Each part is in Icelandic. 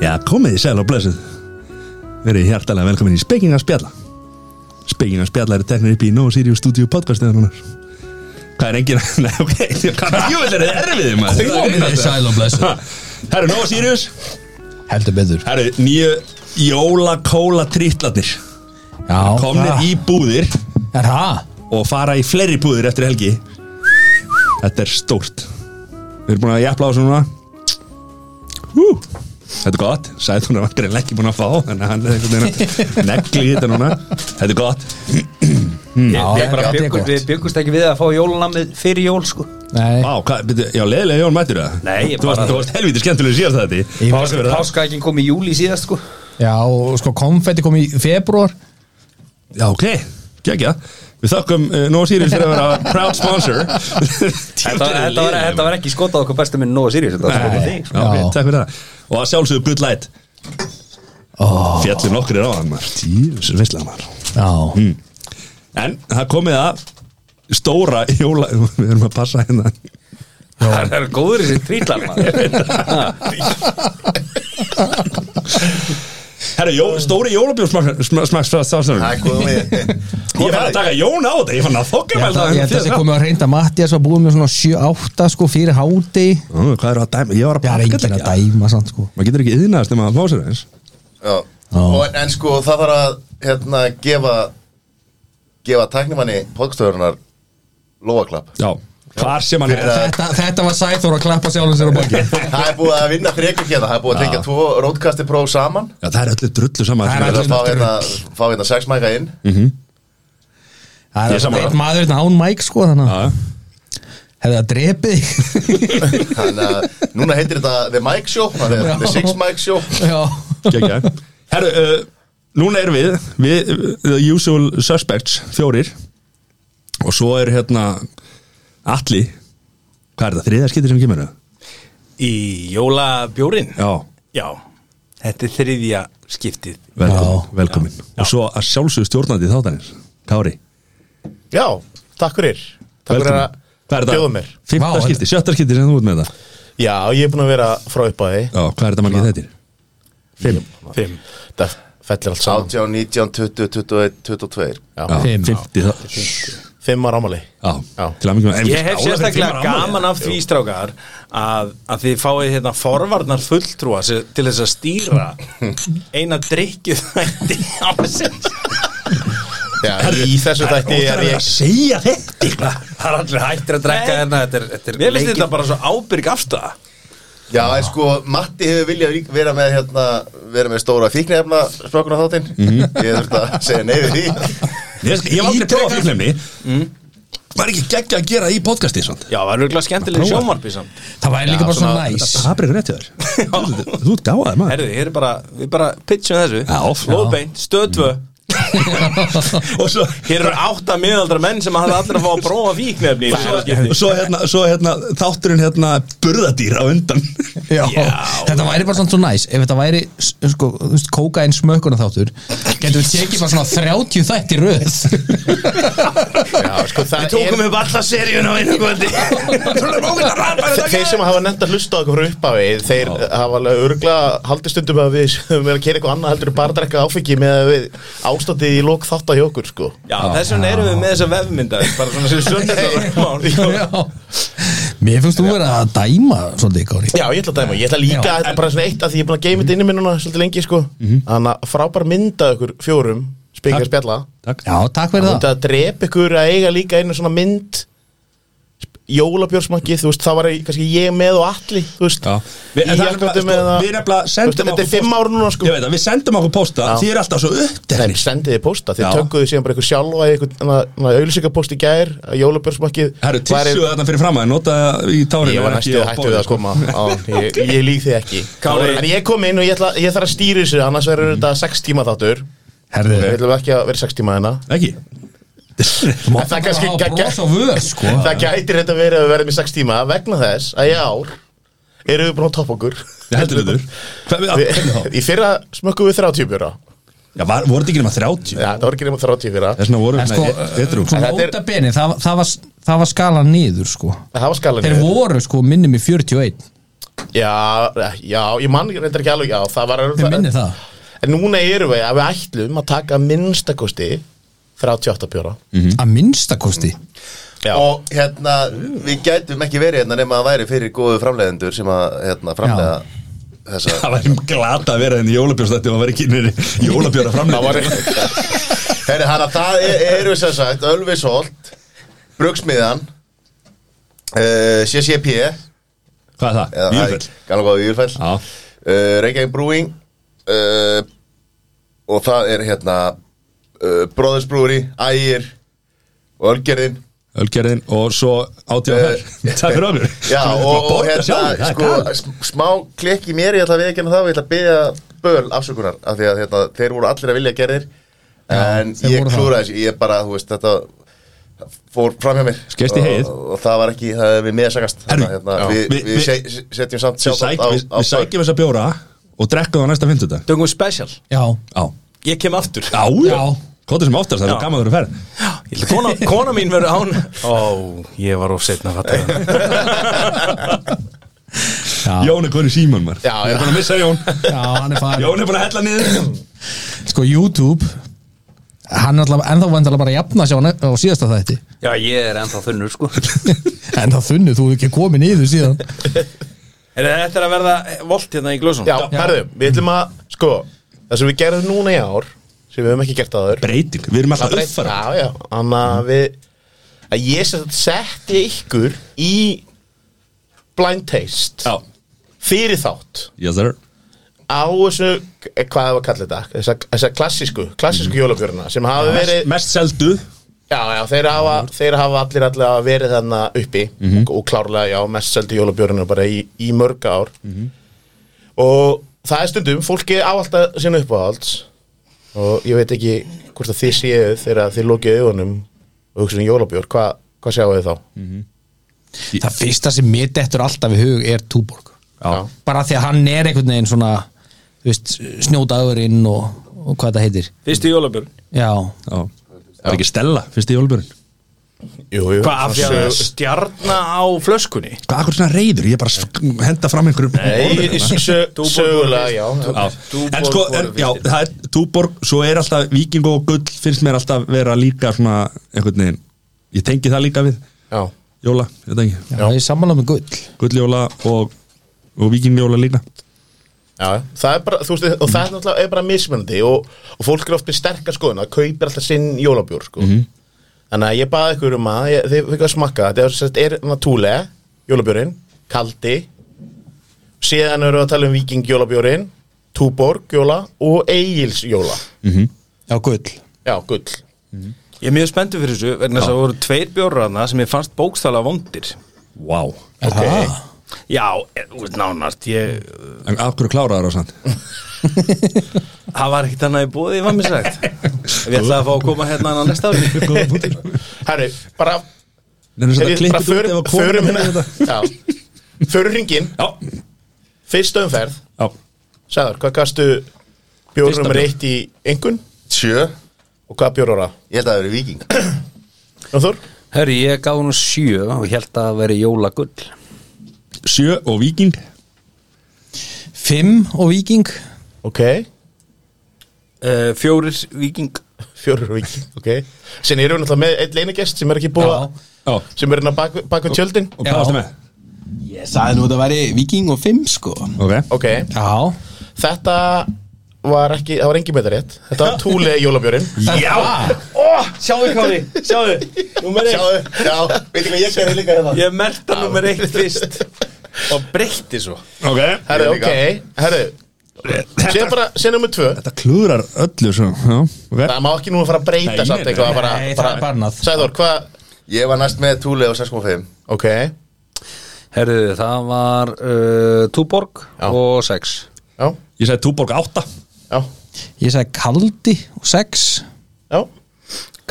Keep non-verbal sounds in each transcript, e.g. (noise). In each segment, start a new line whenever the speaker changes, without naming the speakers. Já, komið í sæl og blessuð Verið hjartalega velkomin í Speking að spjalla Speking að spjalla er teknir upp í No Sirius Studio podcast eða núna Hvað er engin (laughs) Nei, ok, hvað er júvillir er erfið maður
Komið þið sæl og blessuð.
Það eru No Sirius
Heldur betur
Það eru nýju jólakóla trítlarnir
Já
Komnir
Ah.
í búðir
Er það?
og fara í fleiri búðir eftir helgi Þetta er stórt Við erum búin að jafla á þessu núna Hú. Þetta er gott, sagði hún að hann er ekki búin að fá Þannig að hann er einhvern veginn að negli í þetta núna Þetta er gott
Við
Já,
bara
þetta er
bjökkum-
gott.
Við byggumst ekki við að fá jólunammið fyrir jól sko
Nei
Vá, hvað, byrju, Já, leiðilega Jón mættur það
Nei, ég
Þú varst,
bara-
þú varst helvítið skemmtilega síðast þetta
Ég-
Páska verið það
Páska ekki kom í júli síðast sko
Já, og sko konfetti kom í februar
Já, ok, gekkja Við þakkum uh, Nóa Sirius fyrir að vera proud sponsor
Þetta var, þetta var, þetta var ekki skotað okkur bestu minn Nóa Sirius Þetta var skotað þig sko
Já, ok,
Já.
takk fyrir það Og að sjálfsögðu good light oh. Fjallum nokkur er á hann maður Týrus veistlega maður
Já
Mm. En það komið að Stóra jóla (laughs) Við erum að passa hérna
Það er góður þessi trítlar maður
Herra, jó, stóri jólabjórsmaksfæðstafsarinn
Það er góð við
Ég fann að taka Jón á þetta Ég fann að þokka
Ég
með
held að- ég held að sé
það
komið að reynda Mattias var búið með svona 7-8 sko fyrir háti
Hvað eru að dæma? Ég var að
Það er
pakka
enginn
þetta
að
ekki
dæma samt sko
Maður getur ekki yðnaðast nema að fá sér eins
Já. Og, en, en sko það þarf að hérna, gefa gefa tæknimanni podkastöðurnar lóaklapp
Já Hvar sem hann er
Þetta, þetta var Sæþór að klappa sjálfum sér á baki
Það er búið að vinna þrekur hérna Það er búið að tengja tvo rótkasti próf saman
Já, það er Mhm. öllu drullu saman
Það
Það
er
er að
allir
fá
með
hérna, fá hérna sex mæka inn
Það
Ég er
er
sammála.
einn maður hérna án mæk sko þannig að
Já.
Hefði það drepið þig?
Þannig að núna heitir þetta The Mike Show það er The Six Mike Show
Já
Gekja Herru, uh, núna erum við Við, uh, the usual suspects, fjórir Og svo er hérna Atli Hvað er það, þriðja skipti sem kemur það?
Í jólabjórin?
Já,
Já, þetta er þriðja skiptið
velkomin,
Já.
velkomin.
Já.
Og svo að sjálfsögðu stjórnandi þáttanins Kári,
Já, takk fyrir Takk fyrir að
Hvað er það?
bjóða mér
Fimmta
Vá,
skipti, sjötta skipti sem þú ert með það
Já, ég er búin að vera frá upp að því
Já, hvað er þetta margir þetta? Fimm
Fimm
Það fellir allt saman
18, 19, 20, 21, 22
Já,
Fimm.
Fimmti þá Já,
Fimm ára ámali Já.
til að mikilvæg
Ég hef sérstaklega gaman af því strákar að, að þið fáið hérna forvarnar fulltrúa sem- til þess að stýra eina drikju þætti ársins
Já, Í þessu þætti er
Ég
ég
segja þetta
Það er allir hættir að drekka
Nei.
hérna Þetta er, þetta er
Mér finnst
leikir-
þetta bara svo ábyrg afstæða
Já, en sko, Matti hefur viljað rík- vera með, hérna, vera með stóra fíknefna sprókuna þáttinn
Mhm.
Ég þurfti að segja nei við því
Ég ég hef aldrei prófað fíknefni
Mm.
Var ekki geggja að gera í podcasti svona
Já, það er auðvitað skemmtileg
Prófa.
sjónvarpi samt
Það væri líka bara svona næs
Paprika rétt hjá (laughs) þér Þú ert gáðað maður
Herðu, hér er bara, við bara pitchum þessu
Já.
Lóðbeint, stöðtvö
Og svo,
Hér eru átta miðaldra menn sem hafa allir að fá að prófa fíknefni í þessu skipti.
og svo, hérna, svo hérna, þátturinn hérna burðadýr á undan (laughs)
Já,
Já.
þetta væri bara svona svo næs Ef þetta væri, s- sko, þú veist, kóka einn smökkuna þáttur Getum við tekið bara svona 30 þætt í röð
Já, sko, það
Við tókum upp alla seríun á einu
(laughs)
kvöldi
um
er Þeir sem hafa nefnt að hlusta á okkur frá upphafi Þeir hafa alveg örgla haldið stundum að við sem vera að kera eitthvað annað heldur en bara að drekka áfengi með að við ástandið í lók þátt hjá okkur sko.
Já, þess vegna erum við með þessa vefmynda bara svona sem söndagsmál
Já Mér finnst þú verið að dæma svolítið, Kári
Já, ég ætla að dæma, ég ætla líka
Já.
að bara svona eitt að því ég er búin að geima þetta inni minn núna svolítið lengi sko. Þannig að frábær mynda okkur fjórum spikar
Takk.
spjalla
Takk
Já, takk fyrir
Það
það
mútið að drepa ykkur að eiga líka einu svona mynd Jólabjórsmakki, þú veist, það var í- kannski ég með og allir, þú veist
Já. Við,
Í
en það er
jakkafötum
nefnilega, sko, við
eða-
nefnilega
Þú veist,
sendum
Þetta er fimm
post-
ár núna, sko
Ég veit að við sendum okkur posta
Já.
Þið eru alltaf svo
Nei,
uppteknir
sendið þið posta, þið
Já.
tökkuðu síðan bara ykkur sjálfa í eitthvað auðlýsingapost í gær að jólabjórsmakkið
Herru, tissu þarna fyrir fram að nota í tárinu
Ég var næstu
á
hættu við
borðið,
að
sko.
koma á, ég, ég lík þið ekki
Kári-
En ég kom inn og ég, ætla, ég þarf að stýra þessu annars verður þetta sex tíma þáttur
Herðu,
Við ætlum ekki að vera sex tíma hérna
sko. Ekki? (laughs)
Má
það er kannski
bara hafa
geggjað.
bros á vör, sko
Það gætir þetta verið að við verðum í sex tíma vegna þess að í ár erum við búin að toppa okkur
Ég heldur þetta Hvað við
Við-
hvernig þá?
(laughs) Í fyrra smökkum við 30 bjóra
Já, var- voru þetta ekki nema 30?
Já, það var ekki nema 30 í fyrra
Þess vegna voru
En sko,
Þetta
sko,
Þetta er-
nota beni, það, það, var, það var skala niður, sko
Það var skalan
Þeir voru, sko, minnum í 41
Já, já, ég mann reyndar ekki alveg, já, það var
Mér minnir það.
En núna erum við, að við ætlum að taka að minnstakosti 38 bjóra
að minnstakosti
Mhm. Já,
og hérna, við gætum ekki verið hérna nema að væri fyrir góðu framleiðendur sem að hérna, framleiða þessa
Það væri glata að vera hérna þenni jólabjörnstætti og það væri kynir jólabjörn að
(laughs) það var
framlega
Herri, þannig að það er, eru sem sagt Ölvisholt, Brugsmiðan uh, CCP
Hvað er það? Víðurfell
Gala góða Júlfell
Já.
uh, Reykjavík Brewing uh, og það er hérna uh, Brothers Brewery, Ægir og Ölgerðin
Ölgerðin og svo átjóðar (laughs) Takk fyrir okkur
Já,
Svo við bara
og, og
borga sjálfur, það
hérna,
er
sko,
gaman.
sm- smá klikk í mér, ég ætla að viðkynna það og ég ætla að byggja böl afsökunar af því að hérna, þeir voru allir að vilja gerðir en
þeir
ég
voru það.
klúraði þessu, ég bara, þú veist, þetta fór fram hjá mér
Skeist í heið.
og, og það var ekki, það er við meðsakast
Herru,
hérna,
já.
við,
Við-
við,
við-
se- setjum samt
Við
sjálf á,
sækjum- við-
á
við sækjum þessa bjóra og drekkum það næsta fyndudag
Döngum special,
já,
Já
ég kem aftur
Já, já
Já.
Kóta sem oftast, það
Já.
er gaman að vera ferð
Ég held að Kona, kona mín verður án Ó, ég var of setna að fatta það
já,
Jón er konið síman maður
Já,
Ég
já.
er búin að missa Jón
já, hann er farin
Jón er búin að hella niður
sko YouTube hann er alltaf ennþá vandalega bara að jafna sig á, ne- á síðasta þætti
Já, ég er ennþá þunnur, sko
(laughs) en það þunnu, þú hefur ekki komið niður síðan
Er þetta er að verða volt hérna í glösum?
Já, herðu, við ætlum að, sko, það sem við gerðum núna í ár sem við höfum ekki gert aður
Breyting, við erum alltaf uppfara
Já, já, þannig að við að ég sem sagt setti ykkur í blind taste
Já
fyrir þátt
Yes sir
á þessu, eh, hvað það var að kalla þetta þessa, þessa klassísku, klassísku mm. sem hafa verið
Mest seldu
Já, já, þeir hafa, þeir hafa allir allir verið þarna uppi og, og klárlega, já, mest seldi jólabjörnum bara í, í mörg ár og það er stundum, fólki á alltaf sinna uppáhalds og ég veit ekki hvort að þið séu þegar þið lokið augunum og hugsa um jólabjörn, hvað hva sjáu þið þá?
það fyrsta sem mitt eftir alltaf í hug er Túborg
Já.
bara því að hann er einhvern veginn svona þú veist, snjótaðurinn og, og hvað það heitir
Fyrstu jólabjörn
já,
Já Það er ekki Stella, fyrst í jólbjörn
Jú, jú,
Hvað af því að
svona
það er
sögu-
stjarna á flöskunni?
Hvað, akkur svona reyður? Ég er bara að sk- henda fram einhverjum orðum
Nei,
hérna.
sö-
Túborg
sögulega,
voru
já
Já,
Túborg
en sko,
voru
en,
fyrstir.
já, það er Túborg, svo er alltaf Víking og Gull finnst mér alltaf vera líka svona einhvern veginn, ég tengi það líka við
Já,
Jóla, ég tengi,
já, það er samanlega með gull
Gulljóla og, og Víkingjóla líka
já, það er bara, þú veist, og það er náttúrulega er bara mismunandi og, og fólk er oft með sterkar skoðuna, kaupir alltaf sinn jólabjór, sko
Mhm.
Þannig að ég baði ykkur um að, ég, þið fikk að smakka, þetta er, sem sagt, er natúle, jólabjórin, kaldi, síðan eru að tala um viking jólabjórin, túborg jóla og eigils jóla.
já, gull
Já, gull.
Ég er mjög spenntur fyrir þessu vegna þess að það voru tveir bjórraðna sem ég fannst bókstala vondir
Vá wow.
okay.
Já, eh, þú veist, nánast ég,
En af hverju kláraðar á samt?
Það var ekkert annað í bóði, ég var mér
(laughs)
sagt Við ætlaði að fá að koma hérna annan næsta ári
Góða punktur
Herri, bara,
Nefnir
er
þetta
ég bara
klippið út ef að
förum, förum
koma
hérna, já, förum ringin,
Já,
fyrsta umferð,
já
sagður, hvað gastu
Fyrsta
bjórum
bjór.
reitt í engun
sjö,
og hvað bjórar það?
ég held að það eru viking
Jónþór?
Herri, ég gaf hún sjö og ég held að það veri jólagull
Sjö og Víking
fimm og viking
Ok,
uh, Fjórir viking
fjórur vik, ok Sen erum við náttúrulega með einn leinagest sem er ekki búið að
Já,
sem er hérna bak, bak við tjöldin
og hvað varstu með?
Ég sagði nú að það væri viking og fimm sko
Ok,
Ok,
já,
þetta var ekki, það var engin með það rétt Þetta var túli jólabjörin
Já, ó, sjáðu Kári,
(laughs)
sjáðu (laughs) Númer eitt,
Sjáðu, já, veit ekki hvað ég gerði líka hérna
ég merta númer eitt fyrst Og breytti sko, svo
ok
Herru,
Ég líka.
ok, herru Sér bara, sér nummer tvö
Þetta klúrar öllu svo Já, ok
Það má ekki nú að fara að breyta
Nei,
samt
nei,
eitthvað
nei.
bara,
Nei, það
bara,
er bannað.
Sæður, hvað,
Ég var næst með Túle og 6.5
ok Já,
Herri, það var uh, túborg
Já.
og sex
Ég segi Túborg átta
já,
ég sagði kaldi og sex
já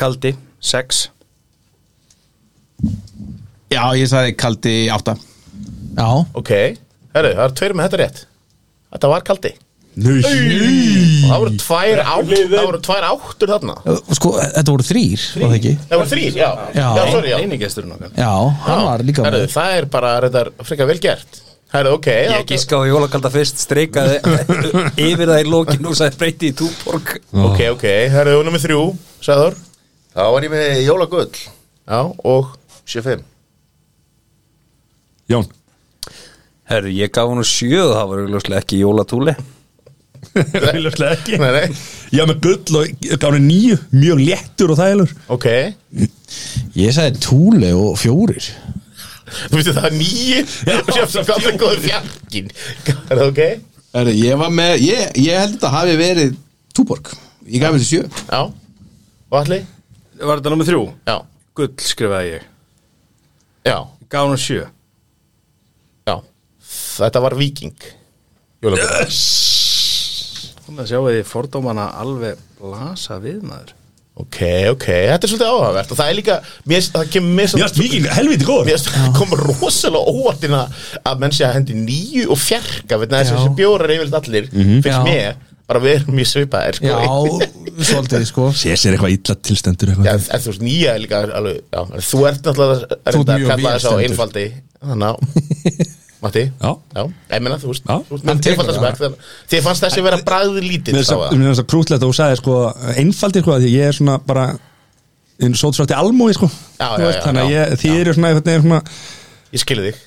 Kaldi, sex
Já, ég sagði kaldi átta
já,
Ok, herru, það er tveir með þetta rétt Þetta var kaldi
Nú,
Og Það voru tvær átt, það voru tvær áttur þarna
og sko, þetta voru þrýr var það ekki?
Það voru þrýr, já
Já.
sorry, já
Einigesturinn okkar
já, hann
Já,
var líka
herru,
með
Það er bara, þetta er frekar vel gert Herra, ok
Ég gíska á jólakalda fyrst, (laughs) streikaði yfir það í lokin og sagði breyti í túborg
Ok, ok, herra, þú nummið þrjú, sagður
Þá var ég með jólagull
Já, og
75
Jón
Herru, ég gaf hún sjö og það var augljóslega ekki jólatúli
(laughs) Augljóslega ekki
Nei, nei,
Já, með gull og gáði nýju Mjög léttur og þægilegur
ok
Ég sagði túli og fjórir
Þú veistu það er nýju Og sér sem gamla (laughs) góður fjarkin Herra, ok Já,
Herri, ég var með, ég, ég held þetta hafi verið túborg Ég gaf þessi sjö
og allir
Var þetta námið þrjú?
Já,
Gull skrifaði ég
já,
Gáði hún sjö
já Þetta var viking Jólabjörn
Þannig að sjáu því fordómana alveg blasa við maður
Ok, ok, þetta er svolítið áhugavert og það er líka, mér, það kemur mér
Já, viking, helviti góður
Mér finnst- (laughs) kom rosalega óvartin að menn sé að hendi nýju og fjarka veit þess að
Já.
þessi bjórar yfirleitt allir finnst
Já.
mér bara við erum mjög svipaðir sko.
Já, svolítið sko
Sér sér eitthvað illa tilstendur
Já,
eitthvað
en, en þú veist nýja er líka alveg, já, en þú ert náttúrulega er
Þú ert
þetta að
mjög
kalla þess á
velstendur.
einfaldi þannig
(laughs)
á Matti,
Já.
já, ég meina þú veist
Já.
þú veist
Hann
með
tekur
einfalda
það.
smekk þannig- þið fannst þessi vera bragður lítið
Mér
þá að-
finnst það krútlegt að þú sagði sko einfaldir sko, af því ég er svona bara en sótsvætti almúi sko
Já,
Þú
já, já,
þannig að
já.
ég, þið eru svona, einhvern veginn svona
ég skilði þig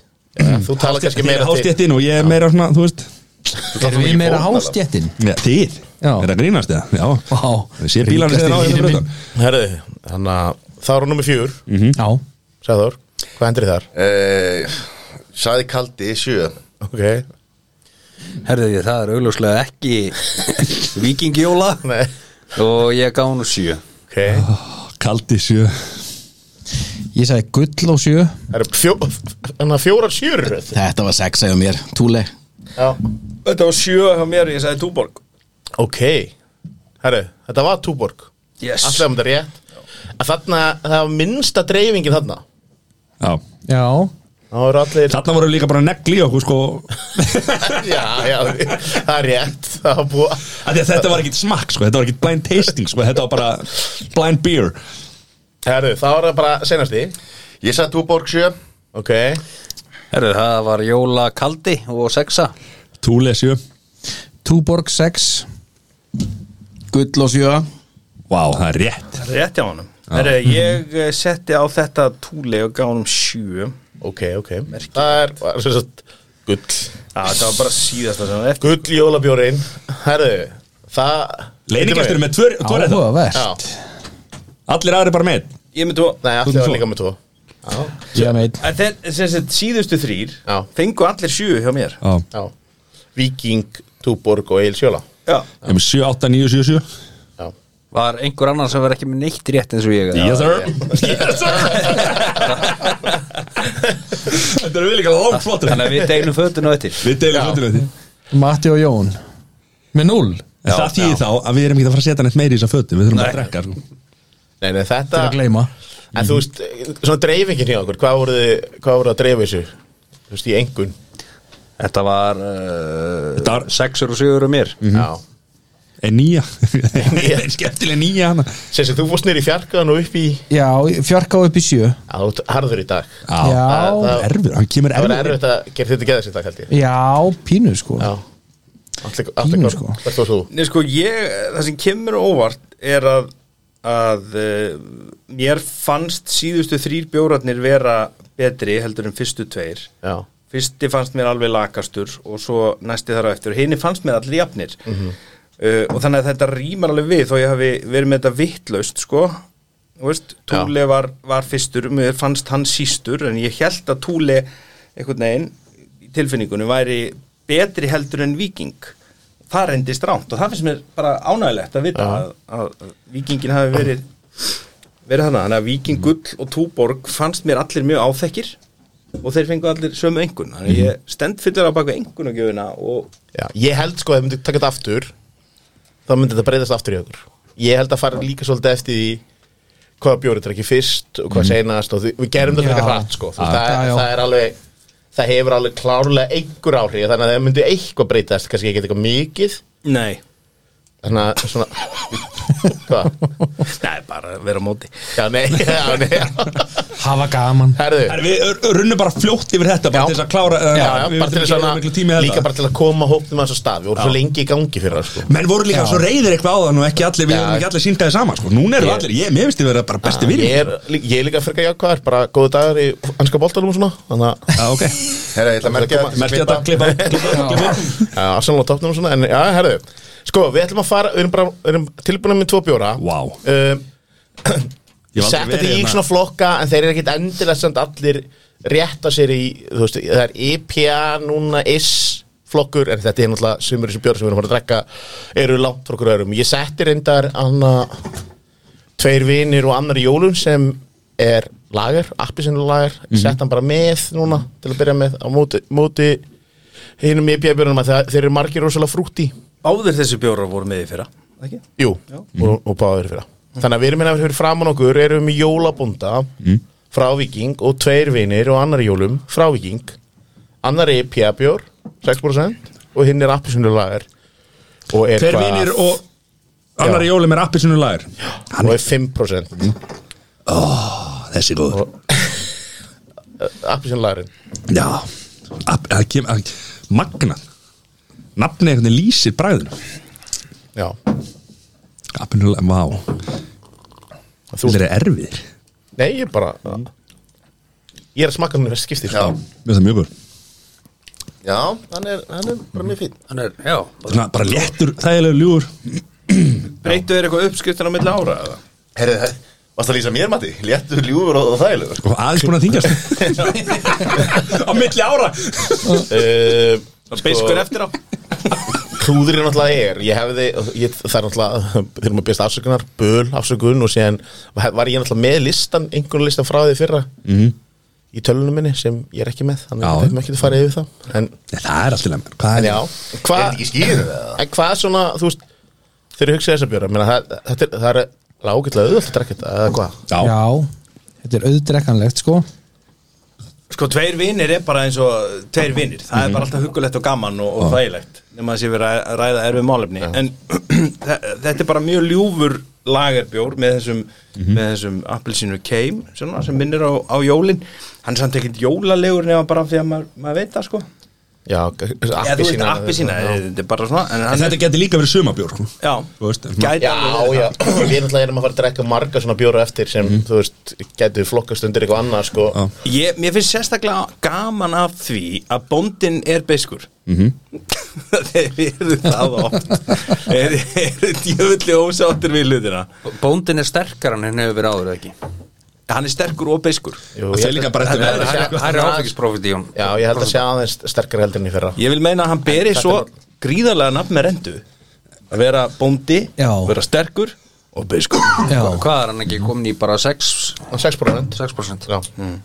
Já, þú tala kannski meira til
hástjettin og ég er meira svona, þú veist
Erum við meira hástjettin?
ja, Þið,
Já.
er það grínast eða? Já,
Vá.
Ég sé bílarnir þeirra
Ríkasti
á
vinur
hérna
minn.
bröðan
Herðu, þannig að það var nummer fjör
Já,
sagður, hvað hendur þar?
uh, Sæði kaldi 7
Ok,
Herðu því, það er augljóslega ekki vikingjóla
nei
og ég gaf hún sjö
Ok,
Kaldi sjö
ég sagði gull og sjö
Það eru fjó, þannig að fjórar sjúrur
Þetta var sex eða mér, túli
Þetta var sjö hjá mér, ég sagði túborg
Ok Herru, þetta var túborg
Yes
Alltaf um þetta rétt að Þarna, það var minnsta dreifingin þarna
Já,
Já,
Það voru allir
þarna voru líka bara negli í okkur sko
(laughs) Já, já, það er rétt Það var búið
af því að Þetta var ekkit smakk sko, þetta var ekkit blind tasting sko, þetta var bara blind beer
Herru, það var það bara senasti
Ég sæði túborg 7
Ok
Herðu, það var jólakaldi og sexa
Túle sjö
túborg sex
Gull og sjö
Vá, það er rétt
Rétt hjá honum Herra, ég eh, setti á þetta túli og gaf honum sjö
Ok, ok Það er, var svo satt Gull
Já, þetta var bara síðasta sem var eftir
Gull jólabjórin Herru, það
Leiningastur með tvör, tvör þetta
Áhugavert
Já,
Allir aðri bara með
Ég myndi að
nei, allir var líka með tvo
Ég meit
En þeir, sem sagt, síðustu þrýr
Já.
fengu allir sjö hjá mér
Já,
Já Viking, túborg og eilsjóla
Já,
ég er með sjö, átta, níu, sjö, sjö
Já
Var einhver annar sem var ekki með neitt rétt eins og ég
Yes sir Yes
(laughs)
sir Þetta er vel líka langt flottur
Þannig að við deilum fötun á eftir
Við deilum flottur þetta
Matti og Jón Með núll
En það þýðir þá að við erum ekki að fara að setja neitt meiri í þessa fötum Við þurfum bara að drekka sko.
Nei, nei, þetta
Til að gleyma
En þú veist, svona dreifingin hjá okkur, hvað voruð þið, hvað voruð þið að dreifa þessu? Þú veist, í engun.
Þetta var, uh,
Þetta var-
sexur og sjöur og mér
Já.
En nýja En (laughs) skemmtileg nýja hana
Sér sem þú fórst nýri fjarkaðan og upp í,
Já, fjarka upp í sjö
já, þú ert harður í dag.
Já
Já,
það-
Erfið, hann kemur
Það var
erfið
erfitt að gera þetta geðast í dag, held ég.
já, pínu sko
Já. Allir, allir,
Fínu,
hvað,
sko.
hvert var þú?
Nei, sko, ég, það sem kemur á óvart er að, að uh, mér fannst síðustu þrýr bjóratnir vera betri heldur en fyrstu tveir.
Já.
Fyrsti fannst mér alveg lakastur og svo næsti þar á eftir. Hini fannst mér allir jafnir. uh, og þannig að þetta rýmar alveg við þó ég hafi verið með þetta vittlaust, sko. Þú veist, Túli var, var fyrstur, mér fannst hann sístur en ég held að Túli einhvern veginn í tilfinningunum væri betri heldur en Víking það reyndist rámt og það finnst mér bara ánægilegt að vita að, að vikingin hafi verið verið hana, þannig að vikingull og túborg fannst mér allir mjög áþekkir og þeir fengu allir sömu engun þannig að ég stend fyrir að baka engun og gjöfuna og
Já. Ég held, sko, ef við myndum taka þetta aftur, þá myndi þetta breyðast aftur í okkur. Ég held að fara líka svolítið eftir því hvað bjórið er ekki fyrst og hvað seinast og því, við gerum þetta
Já.
frekar hratt, sko. Þú veist,
Já,
það,
já.
er- það er alveg, það hefur alveg klárlega einhver áhrif, þannig að það myndi eitthvað breytast, kannski ekki eitthvað mikið,
nei,
Þannig að svona (laughs) Hvað?
Nei, bara vera á móti
Já, nei, (laughs) já, nei
Hafa gaman
Herðu
En við ör- runnum bara fljótt yfir þetta bara
Já.
til þess að klára uh,
Já, já,
við vildum
bara til
ekki
þess
eyða miklu tími í
að
þetta.
Líka bara til að koma hópnum að þess að stað Við vorum svo lengi í gangi fyrir það sko
Menn voru líka svo reyðir eitthvað á þann og ekki allir, við
Já.
erum ekki allir síndaði saman sko. Núna eru
Ég-
allir, ég, mér finnst þið vera bara besti vinni
Ég er, lí- ég er líka frekar jákvæðar Bara góðu dagar í anska boltanum og svona Þannig
(laughs)
að
Já, ok,
Herra, ég ætla að merkja þetta
merkti þetta, klippa, klippa, klippa
Já, Arsenal á toppnum og svona En já, herðu Sko, við ætlum að fara Við erum bara við erum tilbúinum með tvo bjóra
Vá.
um,
Ég hef aldrei
Sett
verið
þetta í
hérna.
svona flokka En þeir eru ekkit endilega samt allir Rétta sér í, þú veist Það er IPA, núna IS flokkur En þetta er náttúrulega sumur þessu bjóra sem við erum að fara að drekka Eru langt frá okkur öðrum Ég setti reyndar anna Tveir vinir og annar í jólum sem er lager, appisinu lager
Mhm.
Sett hann bara með núna Til að byrja með á móti, móti Hinum E IPA björnum að það- þeir eru margir rosalega frútti
Báðir þessi bjórar voru með í fyrra ekki?
Jú, og, og báðir fyrir Þannig að við erum hérna fyrir framan okkur erum við jólabunda
Mm.
frá Viking og tveir vinir og annar í jólum frá Viking annar er Pjabjór 6% og hinn er appisunulagar og er
Tveir
hvað-
vinir og annar í jólum er appisinu lagur
og er 5%
Mm. Þessi góður
appisunulagarinn
Já, App- það kem- það- magnað Nafnið einhvern veginn lýsir bræðinu
Já,
Appisinu lagur, vá Þú er erfiðir
nei ég bara
Mm.
ég er að smaka hann í fyrst skipti sko.
Já,
Mér finnst það mjög góður
já, hann er, hann er bara mjög fín
Hann er, já
Svona bara léttur, þægilegur ljúur
Breytu þeir eitthvað uppskriftin á milli ára eða?
Herri, það- varst að lýsa mér, Matti? Léttur, ljúfur og, og þægilegur sko.
og aðeins búin að þingjast Á milli ára
uh,
Það beiskur eftir á
Klúðurinn náttúrulega er Ég hefði, ég, það er náttúrulega Þeir maður byrst afsökunar, böl afsökun Og síðan var ég náttúrulega með listan Einhvern listan frá því fyrra -hmm. Í tölunum minni sem ég er ekki með Þannig
Já.
að við ekki að fara yfir það En,
(laughs) Nei, Það er alltaf lemn Hvað
en
er
já,
Er
hvað
þetta ekki skýrur eða?
En hvað svona, þú veist Þeir hugsa þess að bjóra Meina, það, það, er, það er lágætlega auðvöld að drekka þetta Eða hvað?
Já.
Já, þetta er auðdrekkanlegt sko
Sko, tveir vinnir er bara eins og tveir vinnir, það er bara alltaf huggulegt og gaman og, og þægilegt, nema þess að ég verið að ræða erfið málefni, en (clears throat) þe- þetta er bara mjög ljúfur lagerbjór með þessum, með þessum appelsínu keim, svona, sem minnir á, á jólin, hann er samt ekkert jólalegur nema bara því að maður, maður veit það, sko
Já,
Já, þú veist,
appisína
appelsína, þetta er bara svona en
En
hann
þetta getur líka verið sumabjór sko.
já,
Þú veist, en-
gæti
Já,
alveg verið
já,
það.
við náttúrulega erum að fara að drekka marga svona bjóra eftir sem, þú veist, gætu flokkast undir eitthvað annað, sko
Já.
Ég, mér finnst sérstaklega gaman af því að bóndin er beiskur mm -hmm. (laughs) þeir eru það (laughs) oft þeir eru djöfulli ósáttir við hlutina
Bóndin er sterkar en hann hefur verið áður eða ekki
hann er sterkur og beiskur
Jú,
Það
ég
er líka bara eftir
Það er-
Það það er áfengisprófitt í hún
Já, ég held að sé aðeins sterkara heldur en ég fyrra
ég vil meina að hann beri svo gríðarlega nafn með rendu að vera bóndi,
Já.
vera sterkur og beiskur
Já,
Hvað er hann ekki komin í bara 6%?
6%
6%?
Já Mm.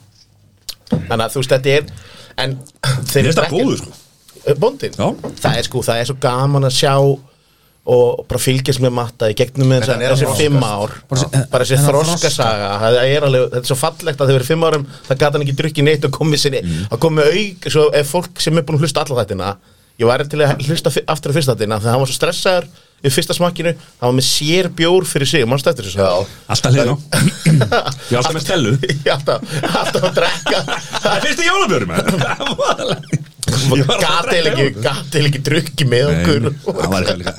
Þannig að þú veist, þetta er En þeir
Mér finnst það góður, sko.
Bóndin?
Já.
Það er sko, það er svo gaman að sjá Og bara fylgjast með matta í gegnum með
Þetta er að
þessa- þessi
þroskast.
fimm ár
Bara-
Bara þessi
en að
þroskasaga Það er alveg, þetta er svo fallegt að þau verið fimm árum Það gat hann ekki drukkið neitt og komið sinni Að komið auk, svo ef fólk sem er búin að hlusta alla þættina Ég var til að hlusta fi- aftur að fyrsta þættina Þegar hann var svo stressaður Í fyrsta smakkinu, hann var með sér bjór fyrir sig Manstu eftir þessu
Já.
Alltaf hliðin á sko. (laughs) Ég er alltaf með stelu
(laughs) Ég alltaf, alltaf að drekka
Það er fyrsti jólabjóri með (laughs)
Gatil ekki, gatil ekki drukki með okkur
Það var eitthvað líka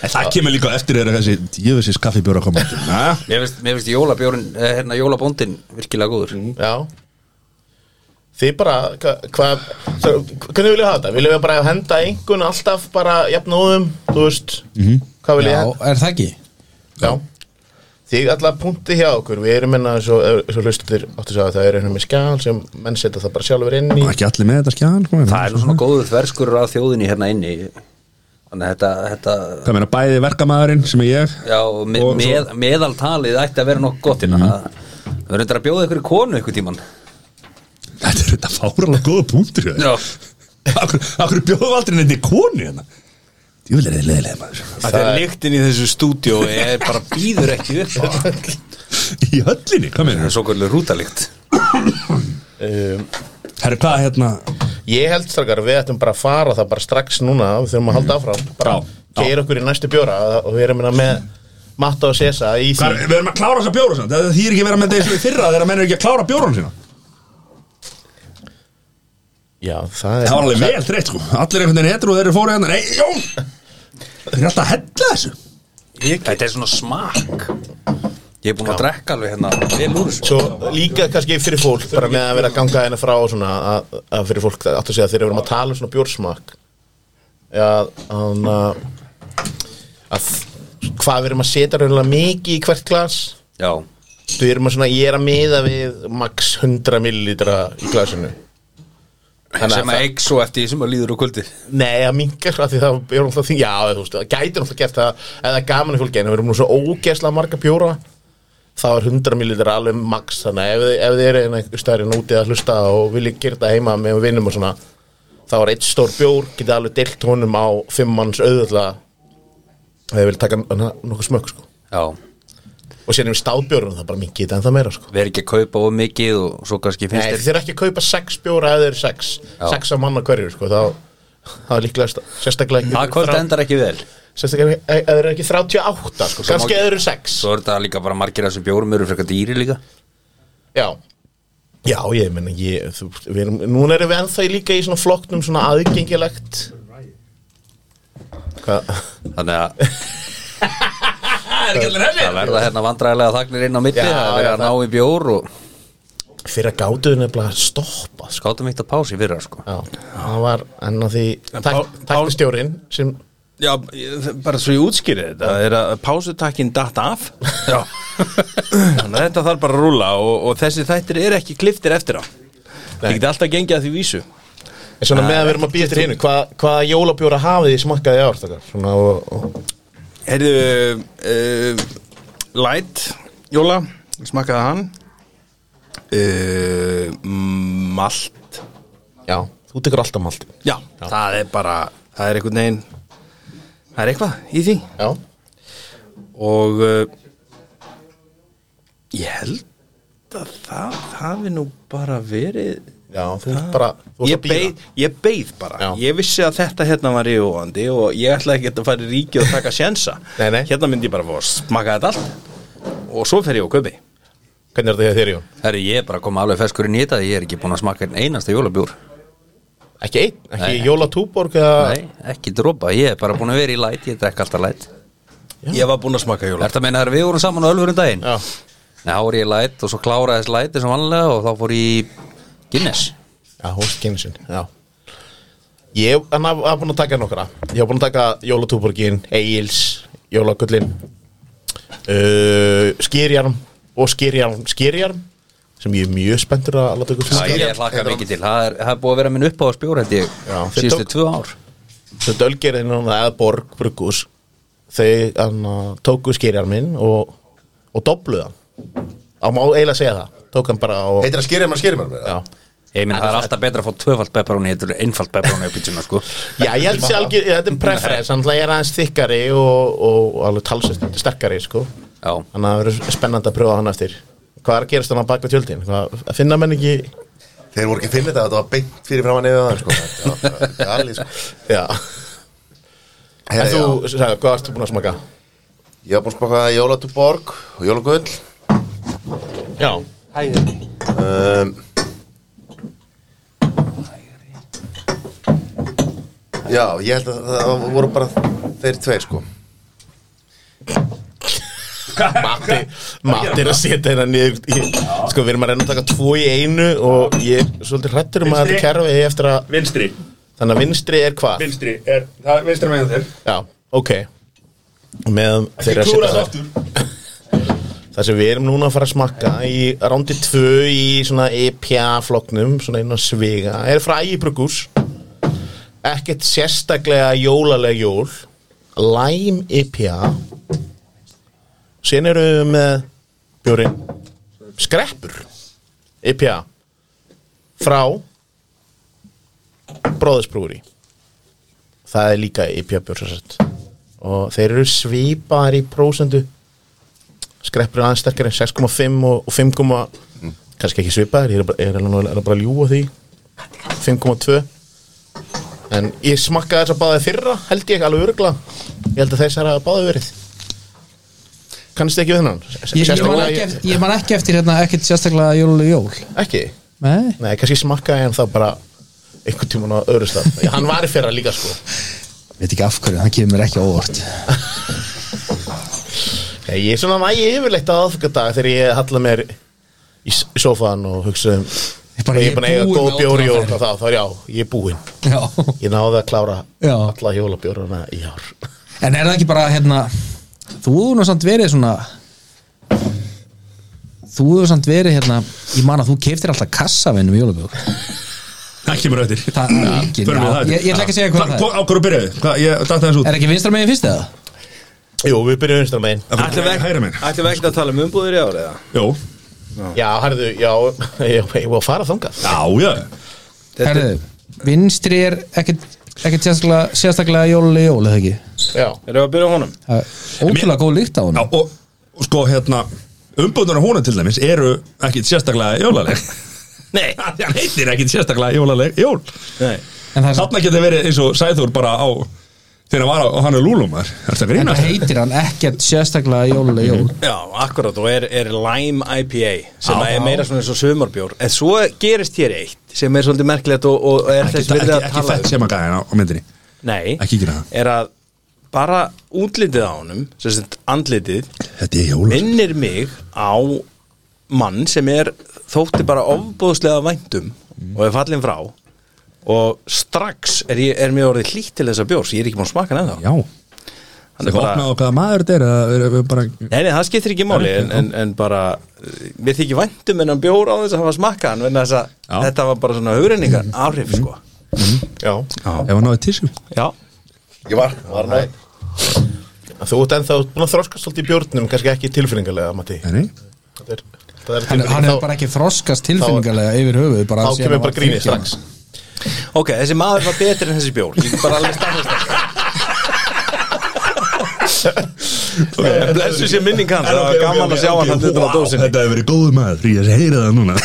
En það kemur líka á eftir þeirra þessi Jöfessis kaffibjóra koma aftur. Na?
Mér finnst, mér finnst jólabjórin, eh, hérna jólabóndin virkilega góður
Já Þið bara, hva- hvað hva, Hvernig viljum við hafa þetta? Viljum við bara henda einhvern alltaf bara jafnóðum Þú veist,
Mhm.
hvað viljum
já,
við
er það ekki?
Já Þið alltaf punkti hjá okkur Við erum hérna, enna, svo, svo hlustutir áttu að það er einhvern með skjál sem menn setja það bara sjálfur inn í
Það er ekki allir með þetta skján sko.
Það er nú
Mhm.
svona góður þverskurur af þjóðinni hérna inni Þannig að þetta, þetta
Það meina bæði verkamæðurinn sem er ég
Já, me,
Og svo-
með, meðaltalið ætti að vera nokkuð gott
Mhm.
hérna Það verður þetta að bjóða ykkur í konu ykkur tíman
Þetta er þetta fáralega góða punktur hjá þér. Akkur akkur bjóðum aldrei nefndi konu hérna Jöfnir er leðilega maður
að þegar lyktin í þessu stúdíó er bara býður ekki
(laughs)
upp á.
Í höllinni, hvað
Það
meina
er svo kvöldlega rútalikt
um,
Herru, hvað hérna Mhm.
Ég held strakkar, við ættum bara að fara það bara strax núna Við þurfum að halda áfram bara, keir okkur í næstu bjóra og við erum hérna með Matta og Sesa í
Hvar,
því
við erum að klára þessa bjóra samt. Það þýr ekki að vera með þessu í fyrra þegar menn er ekki að klára bjóran sína
Já, það er
Það var alveg vel þreytt sko Allir einhvern veginn hetru og þeir eru fóru hérna Nei, Jón! Þeir eru alltaf að hella þessu
Þetta er svona smakk Ég er búin að drekka alveg hérna vel úr þessu
Svo líka kannski fyrir fólk bara með að vera að ganga hérna frá og svona að, að fyrir fólk að átt að segja að þegar við erum að tala um svona bjórsmak Já, hann að að hvað við erum að setja raunlega mikið í hvert glas
Já,
við erum að svona, ég er að miða við max 100 millilitra í glasinu Þannig að
sem að
það-
eik svo eftir því sem að líður á kvöldi
Nei, það mingar að því það er náttúrulega þing Já, þú veist, það gæti náttúrulega gert það ef það er gaman í fólki en við erum nú svo ógeðslega marga bjóra þá er 100 millilitrar alveg max þannig að ef, þið- ef þið eru einhver stærinn úti að hlusta og viljið gera þetta heima með vinnum og svona þá er eitt stór bjór getið alveg deilt honum á fimm manns auðvitað ef þið viljið taka hana, nokkuð smökk sko
Já,
og sér við stáðbjórunum það bara mingið þetta en það meira sko
við erum ekki að kaupa of mikið og svo kannski
Nei, þið
finnst þér
þurfa ekki að kaupa sex bjóra eða þeir eru sex
Já.
sex af manna hverju sko þá það er líklega sérstaklega ekki-
Það kvöld
þrá-
endar ekki vel
Sérstaklega ef- ef þeir eru ekki 38 sko,
Svo
kannski
má-
eða þeir eru 6
Svo er þetta líka bara margir af þessum bjórum eru frekar dýri líka
Já Já, ég menna, ég, þú, við erum, núna erum við ennþá í líka í svona flokknum svona aðgengilegt Hvað?
Þannig að
(laughs)
Það verða hérna vandræðilega þagnir inn á milli
Já,
Það verða
já,
að ná í bjór og
Fyrir að gátu þau nefnilega að stoppa sko.
skátum eitt að pási fyrir það sko
Já, það var enn að því
En
tak,
Pál- Pál-
taktistjórin sem
Já, ég- bara svo ég útskýri þetta það er að pásutakkin datt af Já Þannig að þetta þarf bara að rúla og, og þessi þættir er ekki kliftir eftir á Það
Nei.
geti alltaf gengið að því vísu
En svona meðan við erum að býja til hinn Hvaða hvað jólabjóra hafið þið smakkaði ár þakkar? Svona og, og
Heyrðu, uh, Light, Jóla, smakkaði hann uh, Malt
Já, þú tekur alltaf malti
Já, það er bara, það er einhvern veginn Það er eitthvað í því
Já,
og uh, ég held að það hafi nú bara verið
já, þú ert bara þú ert
ég
að bíða.
beið, ég beið bara
Já.
ég vissi að þetta hérna var yfirvóandi og ég ætlaði ekki að fara í ríkið og taka sjensa
Nei, nei.
hérna myndi ég bara fá að smaka þetta allt og svo fer ég á köpi
Hvernig Hérna er þetta hjá þér, Jón?
Herri, ég er bara að koma alveg feskur inn í þetta Ég er ekki búin að smaka einn einasta jólabjór
Ekki einn, ekki
Nei.
jólatúborg eða
Nei, ekki dropa, ég er bara búin að vera í læt Ég drekk alltaf læt
ég var búinn að smaka jóla
Þetta meina þegar við vorum saman á ölfurum daginn
Já,
Nei, þá voru ég í læt og svo kláraði þess læt sem vanlega og þá fór ég í Guinness
já, hóst kynnsin Já Ég hann haf- haf búin að taka nokkra Ég haf búin að taka jólatúborgin, Egil's Jólagullin uh, Skýrjarm Og skýrjarm, skýrjarm Sem ég er mjög spenntur að láta ykkur
Já,
finnst
ég hlakka mikið til, það er, það er búið að vera minn uppáðarsbjór held ég,
Já, þið
síðustu
tók-
tvö ár
Svo dölgerinn hann eða Borg Bruggus Þau hann uh, tóku skýrjarminn Og, og dobluðu hann Á má eiginlega segja það Tók hann bara og
Heitir að skýrja maður skýrja maður
Já
Ég minn, það er alltaf betra að fá tvöfald pepperoni Þetta er einfalt pepperoni á pítsuna, sko
Já, ég held sér algjör, þetta er preference Þannig að ég er aðeins þykkari og, og alveg talsist sterkari, sko
Já,
Þannig að það verður spennandi að pröfa hann eftir Hvað er að gerast þannig að baka tjöldin? Hvað, að finna menn ekki
Þeir voru ekki að finna þetta Þetta var beint fyrir fram að nefða það sko. Þetta var bara galið, sko.
Já En
Herra,
þú,
já.
sagði, hvað ertu búin að smaka?
Ég var búin að spaka Jólatuborg og Jólagull
Já
um, Já, ég held að það voru bara þeir tveir sko
Matti, Matti er að setja hérna niður ég, Sko, við erum að reyna að taka tvo í einu Og ég er svolítið hrættur um að þetta kerfi eigi eftir að
Vinstri,
Þannig að vinstri er hvað?
vinstri er, Það er vinstri meðan þeir
Já, ok Og meðan þeir eru að setja það Það sem við erum núna að fara að smakka í rándi 2 í svona EPA-floknum, svona inn á sviga, er frá ægibrugus. Ekkert sérstaklega jólaleg jól. E Lime EPA. Sen eru við með bjórin. Skreppur. EPA. Frá bróðisbrúri. Það er líka EPA bjór, svo sett. Og þeir eru svipaðar í prósendu skreppur er aðeins sterkari 6,5 og, og 5, kannski ekki svipaðir, ég er, bara- ég er, alveg- er bara að ljúa því 5,2 en ég smakkaði þess að báði fyrra held ég alveg örgla Ég held að þessar hafa báðu verið Kannist ekki við hennan?
Ég, ég, man ekki, eftir- ég man ekki eftir hérna ekkert sérstaklega jóluleg jól
Ekki?
Nei,
Nei, kannski smakkaði hann þá bara einhvern tímann á öðru stað Já, Hann var í fyrra líka sko
veit ekki af hverju, hann kemur mér ekki á óvart
Já, Ég er svona vægi yfirleitt á aðfengardag þegar ég halla mér í s- í sófan og hugsa um
Ég bara-
og
ég
ég er búin að eiga
búinn
góð
með
bjóri
ótrúlega
jól og þá, þá er já, ég er búinn
Já.
Ég náði að klára
Já.
alla jólabjórana í ár
En er það ekki bara hérna Þú hefur nú samt verið svona Þú hefur samt verið hérna Ég man að þú keftir alltaf kassavinnum í jólabjók
Það kemur auðvitað
Það er ekki
Förum við það
Ég ég ætla ekki að segja hvað það er
Á hverju byrjaðu? Hvað, ég datta þessu út
Er ekki vinstra megin fyrst eða?
Jú, við byrjum vinstra megin
Ætli vekk Hæra minn
Ætlum við ekki að tala um umbúðir í árið
Jó
Já, harðu, já, (laughs) ég ég var að fara þangað
Já, já
Herðu, vinstri er ekkert ekkert sérstaklega, sérstaklega jóluleg jól eða ekki
Já,
Erum við að byrja á honum?
Það er Ótrúlega góð lykt á hún
Já, og, og sko, hérna Umbúðunar húnum til dæmis eru ekkit sérstaklega
(laughs)
jólaleg
Nei,
Hann heitir ekkit sérstaklega jólaleg jól
Nei.
En það er samt-
Þarna getur verið eins og Sæður bara á Þegar hann var á, og hann er lúlum Er þetta
en
grína?
það heitir hann ekkert sérstaklega jóluleg jól
Já, akkurat og er, er Lime IPA sem er meira svona eins og sömarbjór en svo gerist hér eitt sem er svolítið merkilegt og, og er
Ekki,
þess
ekki,
verið að
ekki
tala um.
fett sem að gæða á á myndinni
Nei,
Ekki gera það.
er að bara útlitið á honum sem sagt andlitið
Þetta er jólaleg
minnir mig á mann sem er þótti bara ofbóðslega væntum
Mm.
og er fallin frá og strax er, ég, er mér orðið hlýtt til þessa bjórs ég er ekki búin að smaka hann ennþá
Já Það
Hann er
er bara
bara-
opnað á hvaða maður þetta er eða er- er bara
Nei, nei, það skiptir ekki máli en, en, en bara, eh, mér þykir væntum en hann bjór á þess að hafa smakka hann vegna þess að
Já. Mhm.
þetta var bara svona hugreiningar áhrif sko
já
Ef hann náði tissu
Já,
Ég var, var næ
Þú ert ennþá búin að þroska svolítið í bjórnum kannski ekki tilfinningalega, Matti
Nei, nei
Það er, það
Hann,
er
hann
tilfinningalega.
hefur bara ekki þroskast tilfinningarlega yfir höfuð bara
Þá
síðan
kemur
hann var
bara grínið
40 ára.
strax
ok, þessi maður var betri en þessi bjór Ég get bara alveg staðfest það Blessu sér minning hans, það var gaman að sjá hann hann undan á dósinni
Þetta hefur verið góð maður Ég er að heyra það
(laughs)
núna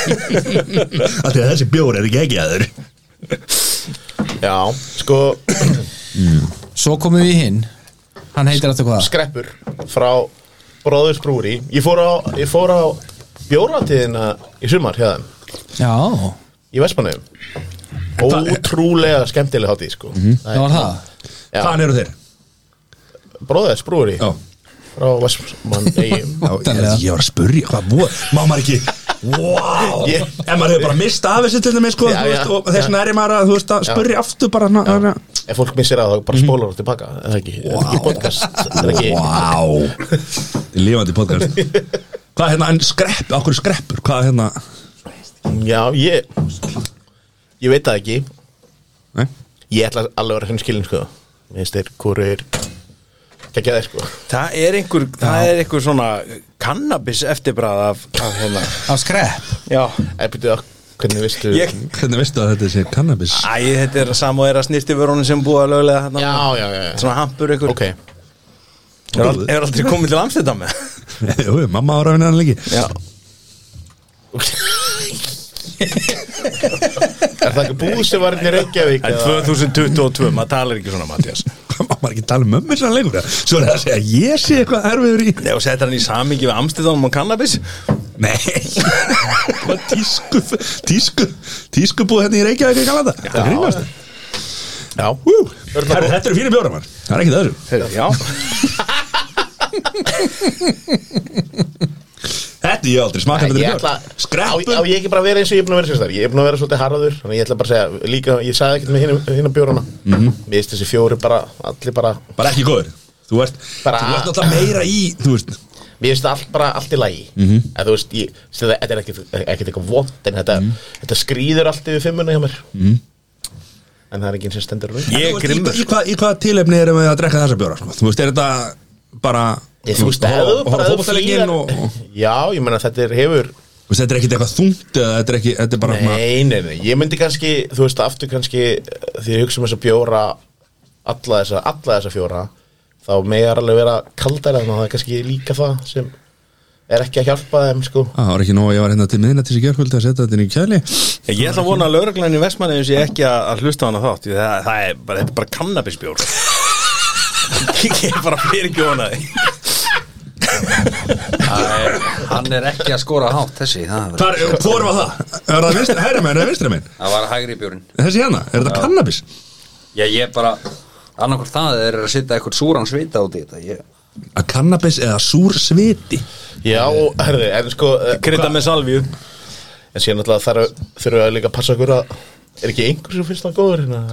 Af því að þessi bjór er ekki ekki aður
Já, sko, (clears throat)
Svo komum við í hinn Hann heitir eftir hvað?
skreppur frá Bróðurs Brúri Ég fór á, ég fór á bjóratíðina í sumar hjá þeim
Já,
í Vespunum Ótrúlega skemmtileg hátíð, sko
það var það
Já.
Hvaðan eru þeir?
Bróðurs Brúri
Já
frá Vestmann eigum
Já, ég,
Óttalega.
ég var að spurja hvað búa Má maður ekki Wow
Ég-
En maður hefur bara mist af þessu til dæmis sko,
Já,
þú veist,
já,
Og þess vegna er ég maður að, þú veist, að spurja aftur bara na, na.
Ef fólk missir að það bara spólar það tilbaka Það er ekki, wow. ekki podcast Það er ekki
Wow Lífandi podcast Hvað hérna, en skrepp, okkur skreppur Hvað hérna
Já, ég Ég veit það ekki
Nei,
Ég ætla alveg að vera hreinskilin, sko Mér finnst þeir kúrir Kekja þeir, sko
Það er einhver, það er einhver svona kannabis eftirbræð af, af hérna
Af skrepp
Já
Eða byrjuðu að Eh, Hvernig veistu
Ég,
hvernig veistu að þetta sé cannabis
æ, þetta er samu er að snýrti vörunum sem búið að löglega hérna
Já, já, já, já.
Svona hampur einhver
Ok
Hefur al- hefur aldrei komið til Amsterdam með
(laughs) Jú, jú, mamma ára vinna hann líki
Já
Er það ekki búð sem var hérna í Reykjavík
En
eða-
2022, maður talar ekki svona Mattias
Hvað má maður ekki tala um mömmu svona lengur Svo er það að segja að ég sé eitthvað erfiður í
Nei, og setja hann í samingi við Amsterdam og kannabis
Nei Hvað tísku Tísku Tísku búið hérna í Reykjavík í Galanda Það er grínast
Já
Ú, herru, Þetta eru fyrir bjóra mann Það er ekki þessu
Heyrðu, Já
Þetta ég hef aldrei smakað
Ég
þetta
ætla,
bjór
á, á
Skreppur
ég ekki bara að vera eins og ég er búin að vera sérstaklega Ég er búin að vera svolítið harðaður Þannig ég ætla bara að segja líka Ég sagði ekkert með hinna, hinna bjórana mm -hmm. Mér finnst þessi fjóri bara Allir bara
Bara ekki góður Þú ert
Bara-
Þú ert alltaf meira í Þú veist
Mér finnst allt bara allt í lagi mm -hmm. Þú veist ég, sem það- Þetta er ekkert ekkert eitthvað vond En þetta, þetta skrýður allt yfir fimmuna hjá mér -hmm. En það er enginn sem stendur raun
Ég er grimmur
Í,
sko.
í, hvað, í hvað tilefni erum við að drekka þessa bjóra sko? Þú veist, er þetta bara
Ég þú veist ef þú bara
Hóra
ef þú
fótballlegin
fílar-
og og-
Já, ég meina þetta er hefur
Þú veist, þetta er ekkit eitthvað þungt Eða þetta er ekki Þetta er bara svona-
Nei, nei, nei, ég myndi kannski, þú veist, aftur kannski eh, því ég hugsa um þess að bjóra alla þessa, alla þessa fjóra þá megar alveg vera kaldar en það er kannski líka það sem er ekki að hjálpa þeim, sko
Á, Það var ekki nóg að Ég var hérna til miðna til þessi gerkvöld Að setja þetta inn í kæli
Ég ætla að vona að lauruglæni í Vestmanniðum sé ekki að að hlusta á hana þátt því það, það er bara, þetta er bara kannabisbjór (laughs) Ég er bara fyrir ekki vonaði
Hann er ekki að skora hátt þessi Það,
Hvar, hvor var það? Er það vinstri, hægri menn eða vinstri menn?
það var hægri björn
Þessi hérna, er þetta kannabis?
Já, ég bara annarkvort það er að setja eitthvað súran svita út í þetta ég,
Að kannabis eða súr sviti
Já, og herði, en sko eh,
Krydda með salvíu
En síðan náttúrulega þarf, þurfum við að líka að passa okkur að Er ekki einhver sem finnst það góður hérna?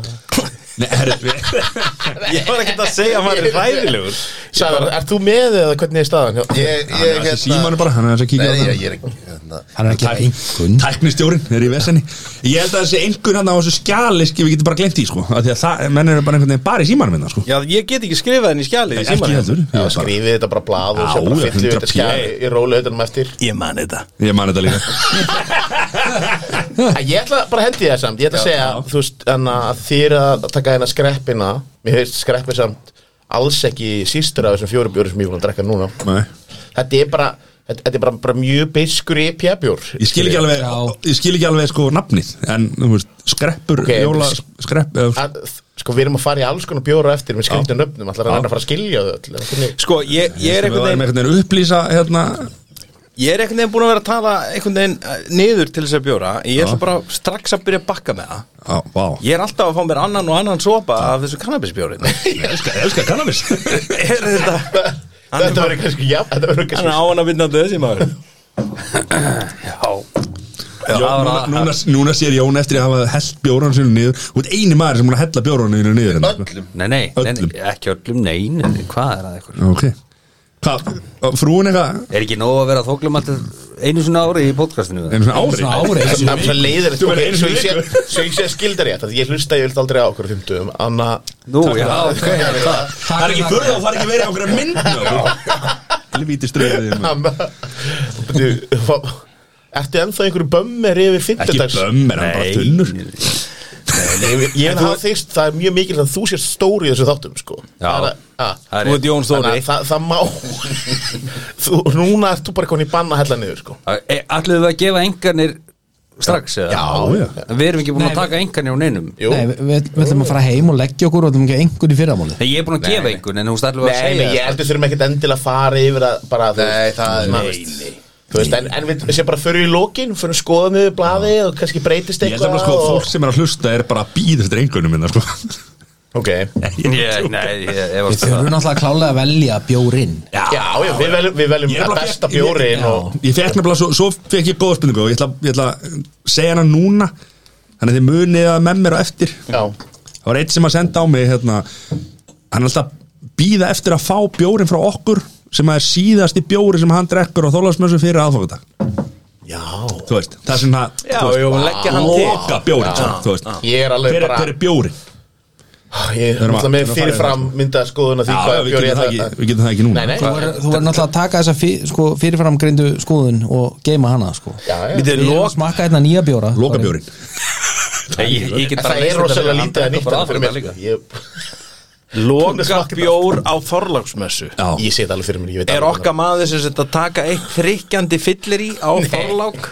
Nei, herri, við-
(laughs)
Ég var ekkert að segja að maður er ræðilegur
Sæðar, ert þú með eða hvernig er staðan? Já,
Ég,
hann
ég,
er að símanu bara, hann er að kíkja á
Nei,
það
ég, ég er ekki hérna.
Hann er ekki að einhvern
Tæknistjórin er í vesenni Ég held að þessi einhvern hann á þessu skjali skil, Við getum bara glemt í sko af Því að það, menn eru bara einhvern veginn bara í símanum minna sko
Já, ég get ekki skrifað henni í skjalið í
Ekki
símanum.
heldur
Já,
Ég, bara,
skrifið þetta bara á blað og
Já,
sem bara fyllu
100
þetta skjæði í rólautunum eftir
Ég man þetta
ég man þetta líka
Æ, Ég ætla bara að hendi það samt Ég ætla að segja, þú veist, en að þýr að taka hérna skreppina Mér hefðist skreppið samt alls ekki sístur af þessum fjórum bjórum sem ég er búin að drekka núna
Nei.
Þetta er bara, þetta, þetta er bara, bara mjög beiskur IPA-bjór
Ég skil ekki alveg Ég skil ekki alveg sko nafnið En þú veist, skreppur
Ok,
Jóla,
sk-
skrepp eða,
að, Sko, við erum að fara í alls konar bjóra eftir með skrýtnum nöfnum, ætlar að reyna að fara að skilja þau öll eða hvernig-
Sko, ég, ég
Við
er einhvern
varum
veginn
einhvern veginn að upplýsa hérna
Ég er einhvern veginn búin að vera að tala einhvern veginn eh, niður til þess að bjóra Ég ætla bara strax að byrja að bakka með það
Á, vá
Ég er alltaf að fá mér annan og annan sopa af þessu kannabisbjórin
(laughs) Ég elska, ég elska kannabis (laughs)
Er þetta Hann er
Þetta
bara
verður kannski, já, þetta verður
Hann er
kannski
á hann að vinna þessi maður Já
Já, núna, núna, núna sér Jón eftir að hafa hellt bjórun sinu niður Þú ert eini maður sem búin að hella bjórun sinu niður hérna, sko.
Öllum
nei, nei, nei, nei,
Öllum.
ekki öllum, nei, nei, nei Hvað er það eitthvað?
Ok Hvað, frúin eitthvað
Er ekki nóg að vera þóklum alltaf einu svona ári í podcastinu?
Einu svona ári
Svona ári eins og-
Það er svo leiðir
Þú verður einu
Svo
sinni
ég sé, svo ég sé skildar ég Ég hlusta ég vilt aldrei á okkur fymtum Anna
Nú, já, ok, það
Það er ekki fyrir þá, það er ekki verið á einhverja mynd Helvíti ströðið
Ertu ennþá einhverju bömmir yfir
Ekki
fymtudags
bömm, er hann bara tunnur
Ég en það þykst, það er mjög mikilvægt að þú sér stóri í þessu þáttum sko
Já.
Það er- að-
Það er
Þú ert Jón
Þannig
Stóri
að það, það má (laughs) þú, Núna ert þú bara komin í banna hella niður sko
Allir E, við að gefa engarnir strax eða?
já.
Við erum ekki búin að taka engarnir á neinum
Jú.
Nei, við- við við ætlum að fara heim og leggja okkur og ætlum ekki einhvern í fyrramáli
Nei, ég er búin að gefa engun en þú veist allir við að
Nei, nei,
segja
ég
það.
heldur þurfum ekkert endilega að fara yfir að bara, þú
Nei,
veist,
það er-
svona,
Nei,
veist, Þú veist, en, en við séum bara fyrir í lokin Fyrir skoðum við blaði og kannski breytist
Ég held að
eitthvað
sko,
og-
fólk sem er að hlusta er bara að býða eftir einhvernum minna sko.
Ok Já,
Ég- Nei, ég
Við
efast það
þurfum náttúrulega að klálega að velja bjórinn
já, við veljum, við veljum
Ég er bara
besta
fyrst-
Já.
bjórin og
Ég fekk nefnilega, svo, svo fekk ég góða spurningu og ég ætla, ég ætla að segja hana núna Þannig að þið munið að með mér á eftir
Já,
Það var eitt sem að senda á mig hérna, Hann er alltaf býða eftir að fá bjórin frá okkur sem að er síðasti bjóri sem hann drekkur á þólasmössu fyrir aðfokkata
já
Þú veist, það er svona
Já, ég var að leggja hann til
loka bjórin svona, þú veist
Ég er alveg
hver,
bara- Ah,
hver er bjórin?
Ég er
Þurfum að-
alltaf
þurfum að
með
fara
fyrirfram mynda skoðun að því
Já, já,
hvað
við
bjór
getum
ég
það
ætla
ekki, við getum það ekki núna
Nei, nei
Þú er, þú er náttúrulega að taka þessa fyr, sko, fyrirframgrindu skoðun og geima hana sko.
Já, já.
Við
Við
erum
erum að
lok
smakka hérna nýja bjóra
Loka bjórin
Nei, Ég ég get
En
bara
Það
leyst þetta
er
fyrir
rosalega
hann,
lítið að
drekka
nýtt
bara
þetta
áfram
fyrir mér
líka.
Ég,
Loka bjór á Þorláksmessu
Já,
ég sé þetta alveg fyrir mér ég veit
Er
alveg
okkar maður sem sett að taka eitt þrykkjandi fyllir í á Þorlák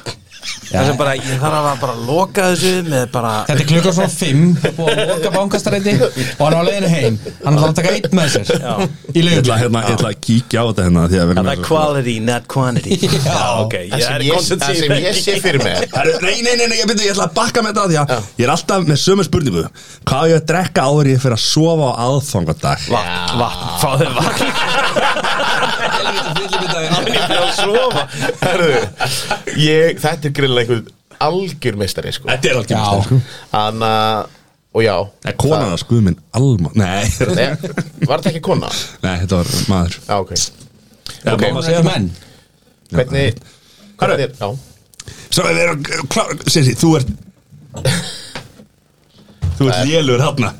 Það sem bara, ég þarf að bara loka þessu með bara
Þetta er klukkan svona 5 og að loka bankastræti og hann er á leiðinu heim hann er að taka einn með sér í
ég ætla,
leiðinu
hérna, ég ætla að kíkja á þetta hérna því að við
Það
erum
er
með svo-
quality, not quantity
Já.
ok,
Það
ég
sem
er
ég-
content
það sem ég sé fyrir mér
Herru, Nei, nei, nei, nei, ég byrja, ég ætla að bakka með þetta af því að ég er alltaf með sömu spurningu Hvað á ég að drekka áður en ég fyrir að sofa á aðfangadag?
Vatn, vatn, fáðu (laughs) vatn
Herðu, ég, þetta er grillan einhver algjör meistari sko.
Þetta er
Já.
algjörn sko.
Anna, og já
Nei, konan að skuðu minn alma Nei, (laughs) nei,
Nei, var þetta ekki kona?
þetta var maður
Já, ok
Já,
Ok.
mamma segir það.
menn
Hvernig, hvernig er, já
Svo við erum klár Sissi, þú ert Þú ert lélur hafna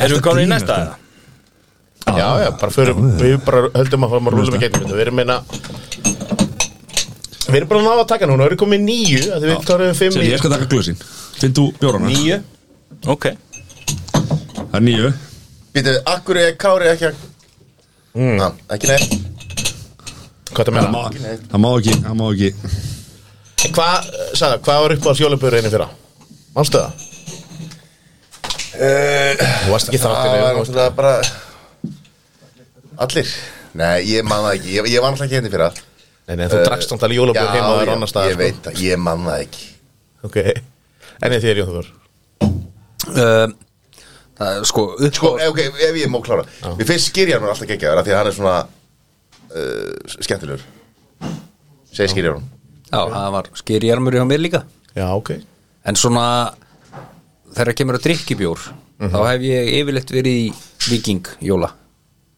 Erum við komin í næsta?
Já, Ah. já, bara förum, við bara höldum að fara að rúlum í gegnum þetta hérna. Við erum meina Við erum bara að ná að taka núna, við erum komið nýju af því Við kláruðum fimm
Sissi,
í
ég skal taka glöðsinn Finn þú bjórana?
Nýju Ok
Það er nýju
Býtu, akkur er Kári ekki að Ná, ekki neitt
Hvað það
Það má,
meina?
það má ekki, það má ekki
Hvað, sagði, hvað var upp á sjólabjörðinu fyrra? Manstu það?
Eh,
Þú varst
Það
ekki
um
þáttir
var náttúrulega bara Allir? Nei, ég man það ekki, ég, ég var alltaf ekki hérna henni fyrir að
Nei, nei, þú uh, drakkst samt alveg jólabjór heima og er annar
Eh,
staðar sko.
ég veit það, ég man það ekki
Ok, en þið er Jón Þór
um, Það er sko upp
Sko, eh, ok, ef ég má klára Mér finnst skýrjarnur alltaf geggjaður af því að hann er svona uh, skemmtilegur Segir skýrjarnum
Já, það var skýrjarmur hjá mér líka
Já, ok
En svona Þegar kemur að drikkibjór
Mhm.
Þá hef ég yfirleitt verið í viking jóla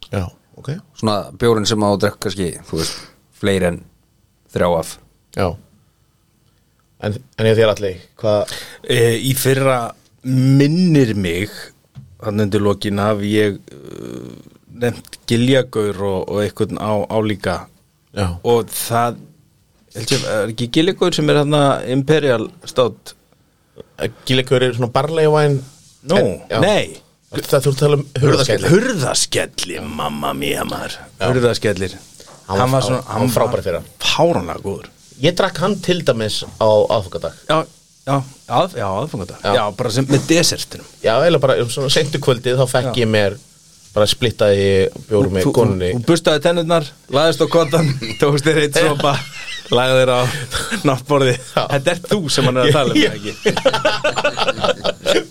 Já, ok
Svona bjórin sem á að drekka kannski Þú veist, fleiri en þrjá af
Já En, en ég þér allir, hvað
e, í fyrra minnir mig hann undir lokin af ég uh, nefnt giljagaur og, og einhvern á, álíka
Já,
og það held ég, er ekki giljagaur sem er hann imperial stát
gílegur er svona barlegvæn
nú,
já.
nei
Það þú ert að tala um hurðaskellir
Hurðaskellir, mamma mía maður Hurðaskellir
Hann var- hann var frábær í fyrra.
Fáránlega góður
Ég drakk hann til dæmis á aðfokadag
Já, já, að, já aðfangandag já. bara sem með desertinum
Já, eða bara um svona seintu kvöldið þá fekk ég mér bara splittaði bjórum með
Þú-
konunni
Þú bustaði tennurnar, laðist á kottan
(laughs)
Tókst þér eitt sopa Lagði þér á náttborði Þetta er þú sem hann er að
(laughs)
tala um það ekki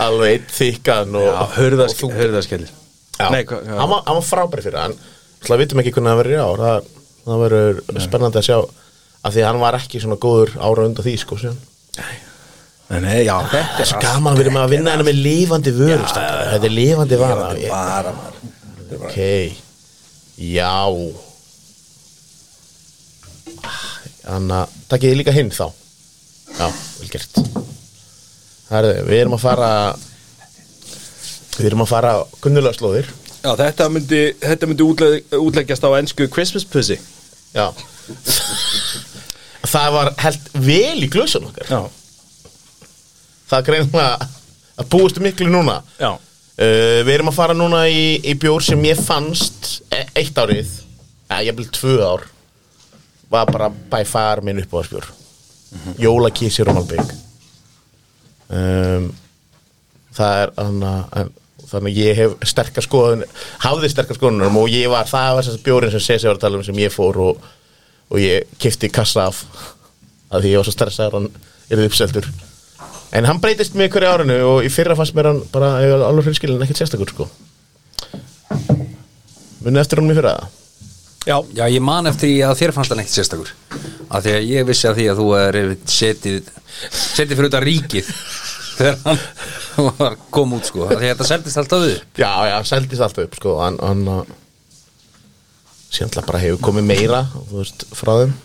Alveg eitt þykkan og,
Já, hurðask, hurðaskellir
Já.
Nei, hvað- já.
hann var, hann var frábæri fyrir hann Það vitum um ekki hvernig það verður í ár Það, það verður spennandi að sjá að því að hann var ekki svona góður ára undan því sko, síðan.
Nei, nei, já, þetta
Þessi gaman verður maður að vinna hennar með lifandi vöru strákar. Þetta er lifandi vara
bara maður
Ok Já Þannig að takkið þið líka hinn þá Já, vel gert Herðu, við erum að fara Við erum að fara kunnulega slóðir
Já, þetta myndi, þetta myndi útleg, útleggjast á ennsku Christmas pussy
Já Það var held vel í glösun okkar
Já,
Það greinum að, að búist miklu núna
já
Uh, við erum að fara núna í, í bjór sem ég fannst e eitt árið, eða ég vil tvö ár var bara by far minn uppáðarsbjór Jólakísi Rómalbygg um, það er þannig að þannig að ég hef sterkar skoðun hafði sterkar skoðunum og ég var það var þessi bjórin sem Sesi var að tala um sem ég fór og, og ég kifti kassa af að því ég var svo stressaður hann er uppseldur En hann breytist með hverju árinu og í fyrra fannst mér hann bara ég var alveg hreinskilin ekkert sérstakur sko Munið eftir honum í fyrra það?
Já,
Já, ég man eftir því að þér fannst hann ekkert sérstakur Af því að ég vissi að því að þú er yfirleitt setið, setið fyrir utan ríkið Þegar hann var kom út sko Af því að þetta seldist alltaf við
Já, já, hann seldist alltaf upp sko hann, hann uh, síðan alltaf bara hefur komið meira þú veist, frá þeim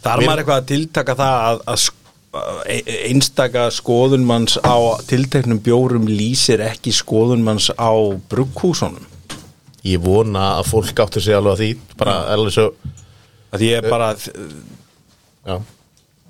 Þar
Mér-
maður eitthvað að tiltaka það að, að sk- að e- einstaka skoðunmanns á tilteknum bjórum lýsir ekki skoðunmanns á brugghúsunum
Ég vona að fólk áttu sig alveg að því bara alveg svo
að ég er bara að
já.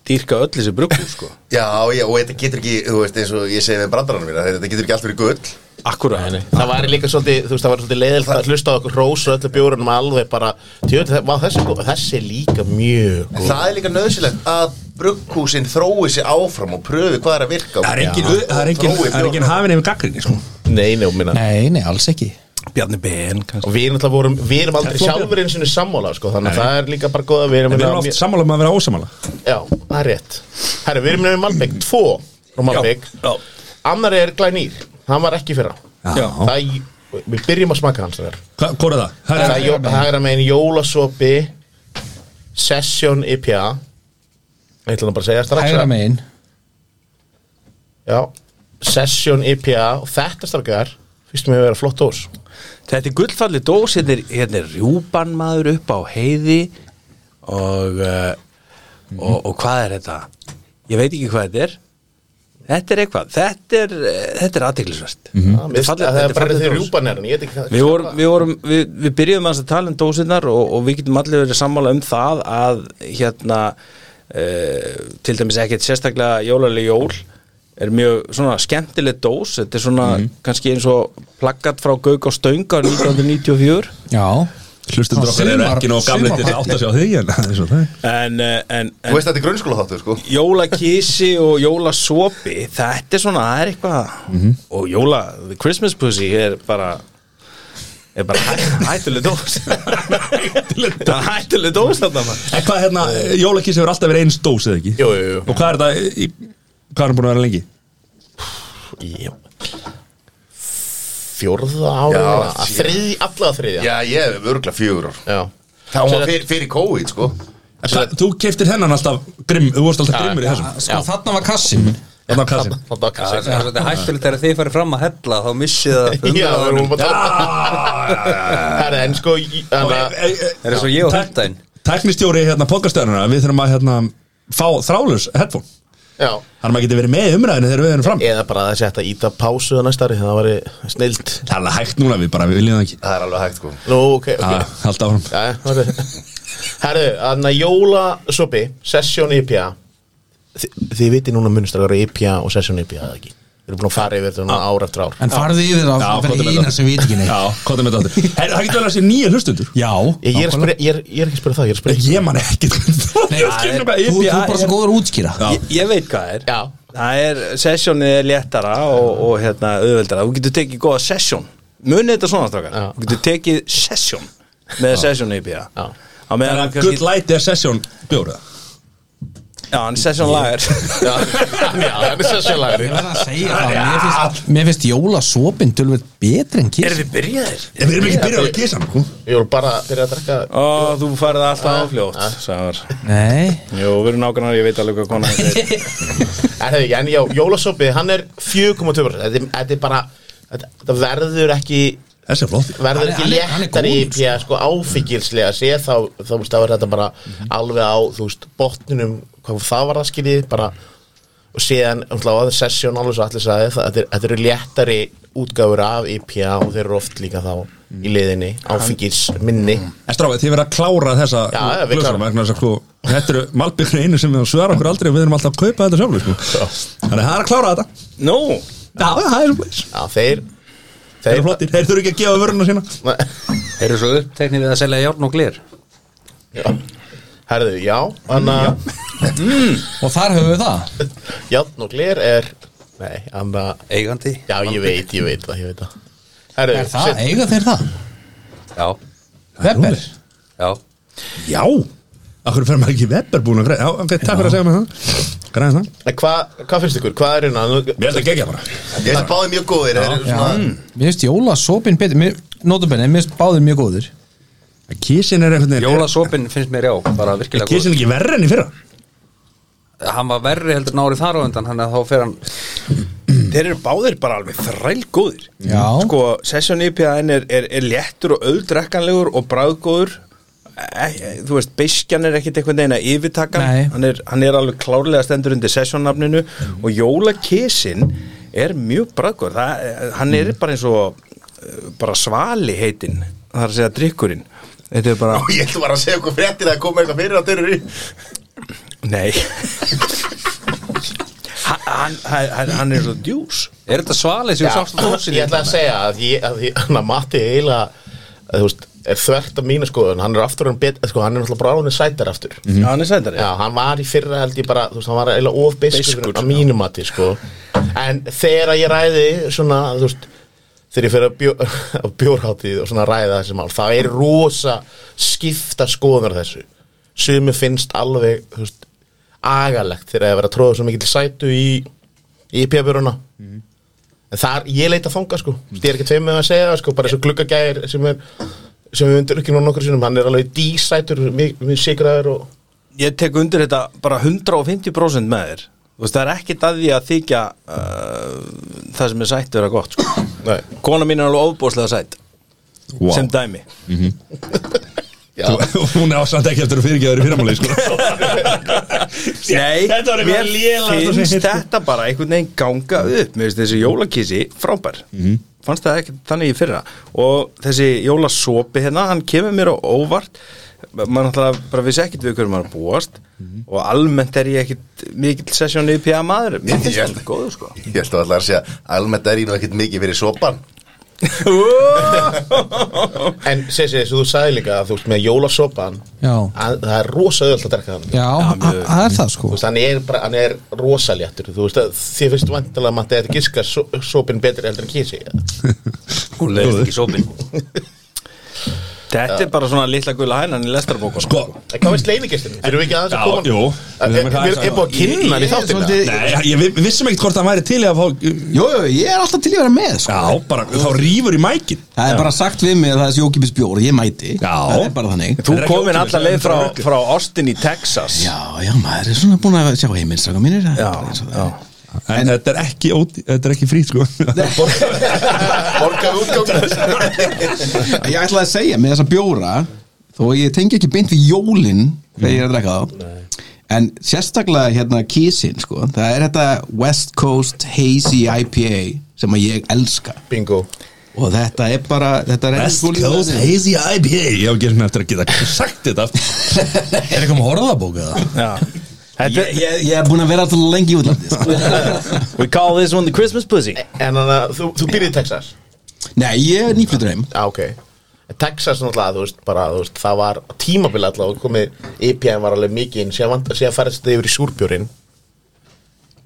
dýrka öll þessi brugghús sko
Já, já, og þetta getur ekki, þú veist, eins og ég segi með brandaranum mína Þetta getur ekki allt verið gull
Akkurat
Það var líka svolítið, þú veist, það var svolítið leiðilt að hlusta á okkur rós og öllu bjórunum alveg bara tjöld, þessi, góð- þessi er líka mjög
En
góð
það er líka nöðsilegt að brugghúsin þrói sig áfram og pröfi hvað er að virka
Það er engin, það er engin, það er engin hafin yfir gaggrinni sko.
Nei, nei, og minna
Nei, nei, alls ekki
Bjarni Ben
og
kannski
við erum alltaf vorum, við erum aldrei sjálfur eins og sammála, sko, þannig að það er líka bara góða við erum,
En við erum oft sammála um að vera ósamála
já, það er rétt herru, við erum með Malbygg, tvo frá Malbygg,
já.
annar er Glænýr hann var ekki fyrra
Já.
það, er- við byrjum að smaka hans þar
Hva- Hvor er það? Það
það
er
er jó- það er að megin jólasopi Session IPA ég ætla hann bara að segja strax
Hægra
að-
megin
já, Session IPA og þetta strafgar, fyrstum við að vera flott dós
Þetta er gullfalli dós hérna er, hérna er rjúpan maður upp á heiði og, uh, og og hvað er þetta? Ég veit ekki hvað þetta er Þetta er eitthvað, þetta er, eh, þetta er aðtiklisvert mm
það mér finnst að það er bara þegar rjúpan er hann, ég veit ekki hvað-
Við, vorum, við, vorum, við, við byrjuðum aðeins að tala um dósinnar og, og við getum allir verið sammála um það að hérna uh, til dæmis ekkert sérstaklega jólalegi jól er mjög svona skemmtileg dós þetta er svona kannski eins og plaggat frá Gauk og Stönga 1994
Já
Hlustundur okkar eru
Sumar-
ekki nóg gamlega til að
sumarpalli.
átta sig á því En það er svo það er.
en, eh, en,
Þú
en
veist þetta er grunnskóla þáttu, sko
jólakísi og jólasopi Mhm. þetta er svona, það er eitthvað og jóla, the Christmas pussy er bara er bara hæ- hættuleg dós Það er (laughs) hættuleg dós þarna maður
En hvað hérna, jólakís hefur alltaf verið eins dós eða ekki?
Jú, jú, jú.
Og hvað er þetta, í, hvað er hann búin að vera lengi?
Jú. Fjórða ára
Já,
að
sí.
Þriði, allavega þriðja
Já, ég hef örgla fjögur ár
Já.
Það var
Sem sagt-
fyrir, fyrir COVID, sko
En hvað, þú keiftir hennan alltaf grimm, þú vorst alltaf grimmur í þessum
Sko, þarna var kassin
Þannig að kassin
Þarna var
Það
kassi.
er það er svolítið hættulegt þegar þið farið fram að hella þá missið það
(laughs) Já, við erum
umræðanum.
bara að tala En sko í- ah, þannig
eh,
að-
Það er svo ég og hundæn
Teknistjóri hérna podcastöðununa, við þurfum að hérna fá þrálaus headphone
Já
Þannig að maður getur verið með í umræðinu þegar við erum fram
Eða bara að setja íta pásu á næsta ári Það væri snilt
Það er alveg hægt núna, við bara, við viljum það ekki
Það er alveg hægt, sko
Nú, ok, ok
ah, Alltaf áfram
Jæja, það er Herðu, þannig að jólasopi Session E IPA Þi, Þið viti núna munstrakar IPA og Session IPA eða ekki Við erum búin að fara yfir þetta núna ár eftir ár
En farði í þeirra að
komdu
vera
með
eina
það.
sem við ekki neitt
Já, hvað er með (laughs) þetta aftur? Er- Það getur vel að sé nýja hlustundur
Já,
Ég, ég, er að spyrja, ég, er, ég er ekki að spyrja það, ég er að spyrja
Ég man ekkert hvað
Nei,
ég skilur hvað
Þú þú
IPA
er bara svo
E er.
góður að útskýra
Já.
ég, ég veit hvað það er
Já.
Það er, sessjónið er léttara og, og hérna, auðveldara Þú getur tekið góða sessjón Munið þetta svona strákar
Já.
Þú getur tekið sessjón Með sessjón IPA
Já.
Á meðan
Þannig
hann
að
kannski-
Good Light er session bjóra
Já, hann er sessjón lagar (laughs)
Já, það er Session lagri
Ég verð að segja það, mér finnst, mér finnst jólasopin tölvöld betri en kiss
þið byrjaðir?
Við erum ekki byrjað að kisa hann sko.
Ég voru bara að byrja að drekka
Ó, þú farið alltaf áfljótt Sævar
Nei,
Jú, við erum nákvæmnar, ég veit alveg hvað
(laughs)
konan er
En, hefði, en já, jólasopi, hann er 4,2% Þetta er- Þetta er bara, þetta þetta verður ekki
Þessi er flott
verður
Hann er- hann
ekki
er- hann er
léttar í
góður,
IPA sko áfengilslega sé þá þá veist það var þetta bara
Mhm.
alveg á þú veist botninum hvað það var það skiljið bara og síðan umtlá að sessjón alveg svo allir sagði það þetta er- þetta eru léttari útgáfur af IPA og þeir eru oft líka þá í liðinni áfengils minni
En stráfið, þið verða að klára þessa
Já, já, við
glösara
klárum.
vegna þess að sko Þetta eru malbyggur einu sem svara okkur aldrei og við erum alltaf að kaupa þetta sjálfur sko. Þannig að það er að klára þetta
Nú,
Já, það er svo bleis
Já, þeir
Þeir eru flottir, þeir þurfi ekki að gefa vöruna sína
(laughs)
Þeir eru svo uppteknir við að selja járn og glir
herðu, já þannig að
og þar höfum við það
játn og gler er nei, þannig að
Eigandi
já, ég veit, ég veit það, ég veit það Herðu,
Er það,
set-
eiga þeir það?
Já,
Webber?
já
Já Akkur fer maður ekki í Webber búin að greið Já, ok, takk fyrir að segja mér það Greið það
en hvað hvað finnst ykkur, hvað er hérna Nú-
Mér held að gegja bara
Ég er báði mjög góðir þeir eru svona-
Mér finnst jólasopin betri Nótabenni, mér finnst báðir mjög góðir
Kísin er einhvern veginn
Jólasopin finnst mér já, bara
Er
virkilega góð
Kísin ekki verri enn í fyrra
Hann var verri heldur en árið þar á undan Þannig að þá fer hann
þeir eru báðir bara alveg þræl góðir
Já.
Sko, sessjón IPA-in er, er, er léttur og auðdrekkanlegur og bráðgóður e, Þú veist, beiskjan er ekkit einhvern veginn að yfirtaka
Nei.
hann er, hann er alveg klárlega stendur undir sessjónnafninu og jólakesin er mjög bráðgóður Það, eh, Hann er bara eins og eh, bara svali heitin Það er að segja drikkurinn Þetta er bara,
Ég ætlum bara að segja okkur fréttir að koma eitthvað fyrir á dyrur í
(laughs) nei Hann, hann, hann- hann er svo djús
Er þetta svalið sem
Já,
við sást á dósinni?
Ég ætla að segja að ég, að ég hann að Matti eiginlega að þú veist, er þvert af mínu skoðun hann er aftur en bet, sko, hann er náttúrulega bráðunni sætar aftur
Já, hann er sændari
Já, hann var í fyrra held ég bara, þú veist, hann var eiginlega of
Beiskur,
biskur að mínu Matti, sko en þegar ég ræði svona, þú veist þegar ég fyrir á bjó, (laughs) á bjórháttið og svona ræða þessi mál, það er rosa skipta skoðunar þessu sumi finnst alveg, þú veist agalegt þegar það er að vera tróða svo mikill sætu í, í pjabjöruna en þar, ég leita þanga sko ég er ekki tveim með að segja það sko bara þessu gluggagæðir sem er sem við undir ekki nú nokkur sinum, hann er alveg dísætur við sigraður og
ég tek undir þetta bara 150% með þér Þú veist, það er ekkit að því að þykja uh, það sem er sætt vera gott sko.
Nei.
kona mín er alveg ofbúslega sætt sem dæmi
Þú- (laughs) Hún er ásand ekki eftir að fyrirgeða þér í sko. fyrramáli sko.
(laughs) Nei,
Þetta var eitthvað lélegasta sem
finnst
ég heyrti.
þetta bara einhvern veginn ganga upp Mér finnst þessi jólakísi frábær Fannst það ekki þannig í fyrra Og þessi jólasopi hérna, hann kemur mér á óvart Man ætla bara vissi ekkit við hverju maður er að búast Og almennt er ég ekkit mikill sessjón í PA maður Mér finnst
Ég-
þetta góður sko (laughs)
Ég ætlum alltaf að segja, almennt er ég nú ekkit mikið fyrir sopan
en segi þessu, þú sagði líka að þú veist með jólasopan
Já.
að, það er rosa öll að drekka þannig
Já, það það er það sko
Þú veist, hann er, bara, hann er rosaléttur þú veist, að þið finnst vantilega að maður er giska so, sopin betri heldur en kísi
Hún leiðist ekki sopin
Þetta er bara svona litla gula hænan í lestarabókunum
Sko,
En Hvað veist leinigistinni? Erum við ekki aðeins
Já,
að koma? Eh,
jú.
Er, er, er, er búið að kynna hann í
Ég- ég er
þáttina?
svolítið-
nei, ég, við við vissum ekkert hvort það væri til í að fá
Jú, jú, ég er alltaf til í að vera með sko.
Já, bara, þá rýfur í mækin
Það er bara sagt við mig að það er sjókipis bjór Ég mæti,
Já.
það er bara þannig
Þú
Þetta er ekki
komin
ókeypis,
alla leið
þetta
frá,
er rugl.
frá Austin í Texas
Já, já, maður er svona búin að sjá heimilsraka mínir það er bara eins og það er.
En, þetta er ekki, ódý- þetta er ekki frýt sko (laughs)
Borgaði útgangur
Ég ætlaði að segja með þessa bjóra Þó að ég tengi ekki beint við jólin Þegar ég er að drekka þá En sérstaklega hérna kísin sko, Það er þetta West Coast Hazy IPA Sem að ég elska
Bingo
Og þetta er bara þetta er
West
elskólið-
Coast Hazy IPA Ég hef ekki eftir að geta sagt þetta aftur.
(laughs)
Er ekki um horðabók eða?
Þetta,
Ég, ég, ég er búin að vera alltaf lengi í útlandi sko.
(laughs)
We call this one the Christmas pussy
En þannig að þú, þú býrði í Texas?
Nei, ég er nýflutur heim
Já, ok En Texas náttúrulega, þú veist, bara, þú veist, það var tímabili allavega, komið, IPM var alveg mikið inn, síðan, vand- síðan færðist þetta yfir í súrbjörinn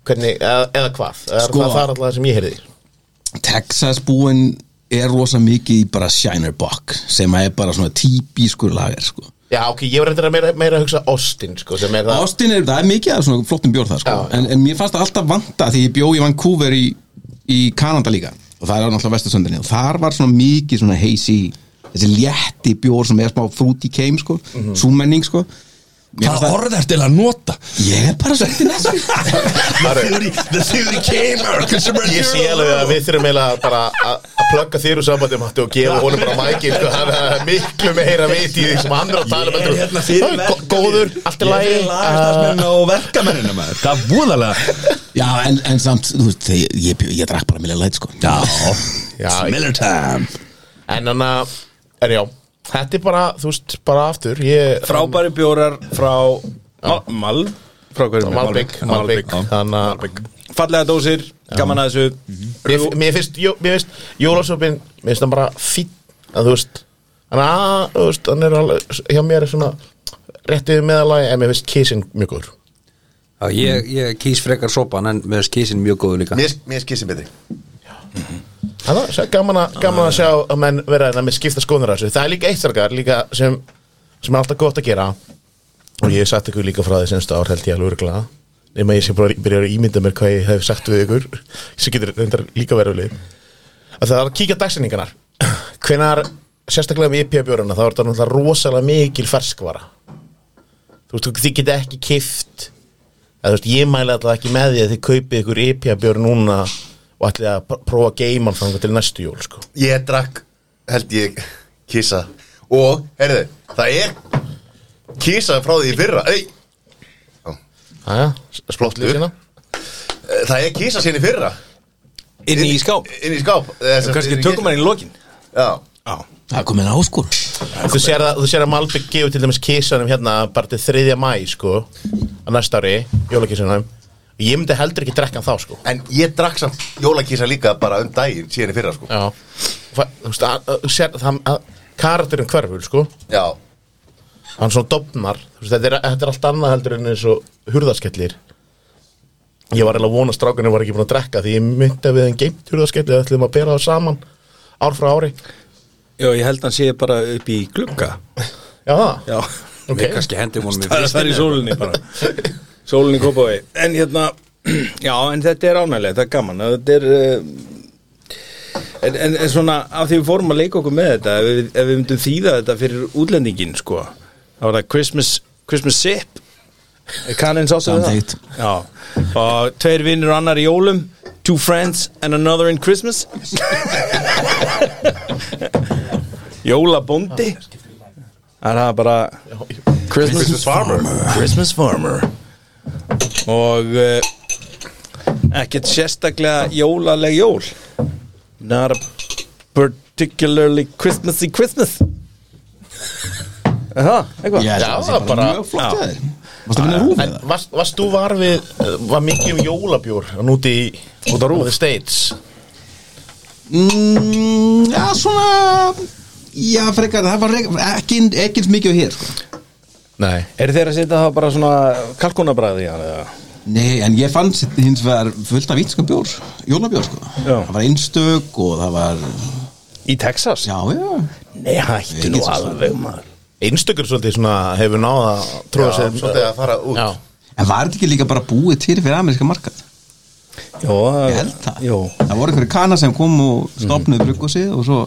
Hvernig, eða, eða hvað?
Sko.
Sko. Það var allavega sem ég heyrði
Texas búinn er rosa mikið í bara Shiner Bock sem að er bara svona típískur lager sko.
Já, ok, ég var reyndar að meira, meira að hugsa Austin, sko, sem er það
Austin er, það er mikið af svona flottum bjór það sko.
Já, já.
En, en mér fannst það alltaf vanta því ég bjó í Vancouver í, í Kanada líka og það er náttúrulega vestursöndinni og þar var svona mikið svona heisi þessi létti bjór sem er smá frúti keim sko, mm súmenning sko Mér fannst
Hvaða orð er til að
(laughs)
nota?
Ég er bara svolítið næstu
The theory, the theory came out consumer
Ég sé alveg að við þurfum eiginlega bara að að plugga þér úr sambandi Matti og gefa honum bara mækinn sko, hann er miklu meira veit í því sem hann er að tala
Ég
um
er
heldur en-
hérna fyrir
Það er gó- Góður, allt
Ég
í lagi Uh, Ah.
er lagastarfsmenn og verkamennina maður Það er búðalega
(laughs) Já, en, en samt, þú veist, þegar ég, ég, ég, ég drakk bara millir læt sko
Já,
Já,
Miller time
En hann að, en já Þetta er bara, þú veist, bara aftur ég,
Frábæri bjórar frá Ma- Mal Frá hverju
Malbygg, Malbygg Þannig að
Fallega dósir, gaman að þessu
Mér mér finnst, jó- mér finnst Jólasopin, mér finnst hann bara fín að þú veist hann, að, þú veist, hann er alveg, hjá mér er svona réttið meðalagi en mér finnst kísinn mjög góður
Já, ég, ég kýs frekar sopan en með kísin mjög góður líka
Mér er skissin betri
Þannig að það er gaman, að- gaman að sjá að menn vera hérna með skipta skoðunar þessu það er líka eitt þargar líka sem, sem er alltaf gott að gera og ég hef sagt ykkur líka frá því senstu ár held ég alveg örgla nema ég sé bara byrja að ímynda mér hvað ég hef sagt við ykkur sem getur reyndar líka veruleg að það er að kíka dagsetningarnar hvenar sérstaklega með IPA bjóruna þá er það náttúrulega rosalega mikil ferskvara þú veist, þið geta ekki kift eða þú veist, ég mæli alltaf ekki með því að þið kaupið ykkur IPA bjór núna og ætlið að pr- prófa að geima hann þangar til næstu jól, sko
Ég drakk, held ég, kísa Og, heyrðu, það er Kísa frá því í fyrra Ei,
Aja,
Splottur.
sína
Það er kísa sín í fyrra
Inni í skáp
Inn í skáp eða sem sagt,
Kanski
inn í
tökum hann í lokin
kista. Já
Það er sko. komin áskur
Þú sér að, þú sér að Malbygg gefur til dæmis kísanum hérna bara til 3. mæ, sko á næsta ári, jólakísanum og ég myndi heldur ekki drekka hann þá, sko
En ég drakk samt jólakísa líka bara um daginn síðan í fyrra sko
Já Fa- Þú veist, að, að, þú sér að, að karakterin hverfur, sko
Já,
hann svona dofnar þú veist, þetta, er, þetta er allt annað heldur en eins og hurðasketlir ég var eiginlega að vona að strákunni var ekki búin að drekka því ég myndi að við þeim geimt hurðasketlir Það ætlum að bera það saman ár frá ári
Já, ég held hann sé bara upp í glugga
já, það,
(laughs) Já
ok
Við kannski hendum honum í
Það er að það er í sólinni bara Sólinni kópaði En hérna (clears throat) Já, en þetta er ánægilegt, það er gaman Þetta er uh, En, en, en svona, af því við fórum að leika okkur með þetta ef við, ef við myndum þýða þetta fyrir útlendingin sko, þá var það Christmas Christmas Sip kannins áttu við
Samþykkt.
það Já. og tveir vinnur og annar í jólum two friends and another in Christmas (laughs) jólabondi það er það bara Christmas, farmer Christmas farmer og uh, ekkert sérstaklega jólaleg jól Not a particularly Christmassy Christmas Er Það, eitthvað
Já, það
það
er bara
bara-
mjög flott
já.
að þér Mástu að vinna rúfið
En
það?
varst, varst þú var við eh, var mikið um jólabjór hann úti í út á rúf the States
Mm, já, svona Já, frekar, það var rek- ekki ekki eins mikið á hér, sko
nei
Er þeir að setja það bara svona kalkunabræði í hann eða?
Nei, en ég fann sitt- hins vegar fullt af ínskan bjór, jólabjór, sko
Já.
Það var einstök og það var,
Í Texas?
já, já
Nei, hættu nú alveg maður
Einstakur svolítið svona hefur náða að tróða
Já,
sér
svolítið að fara út.
Já,
En var þetta ekki líka bara búið til fyrir ameríska markað?
Jó,
Ég held það
Jó,
Það voru einhverju kana sem kom og stopnuðu bruggosið og svo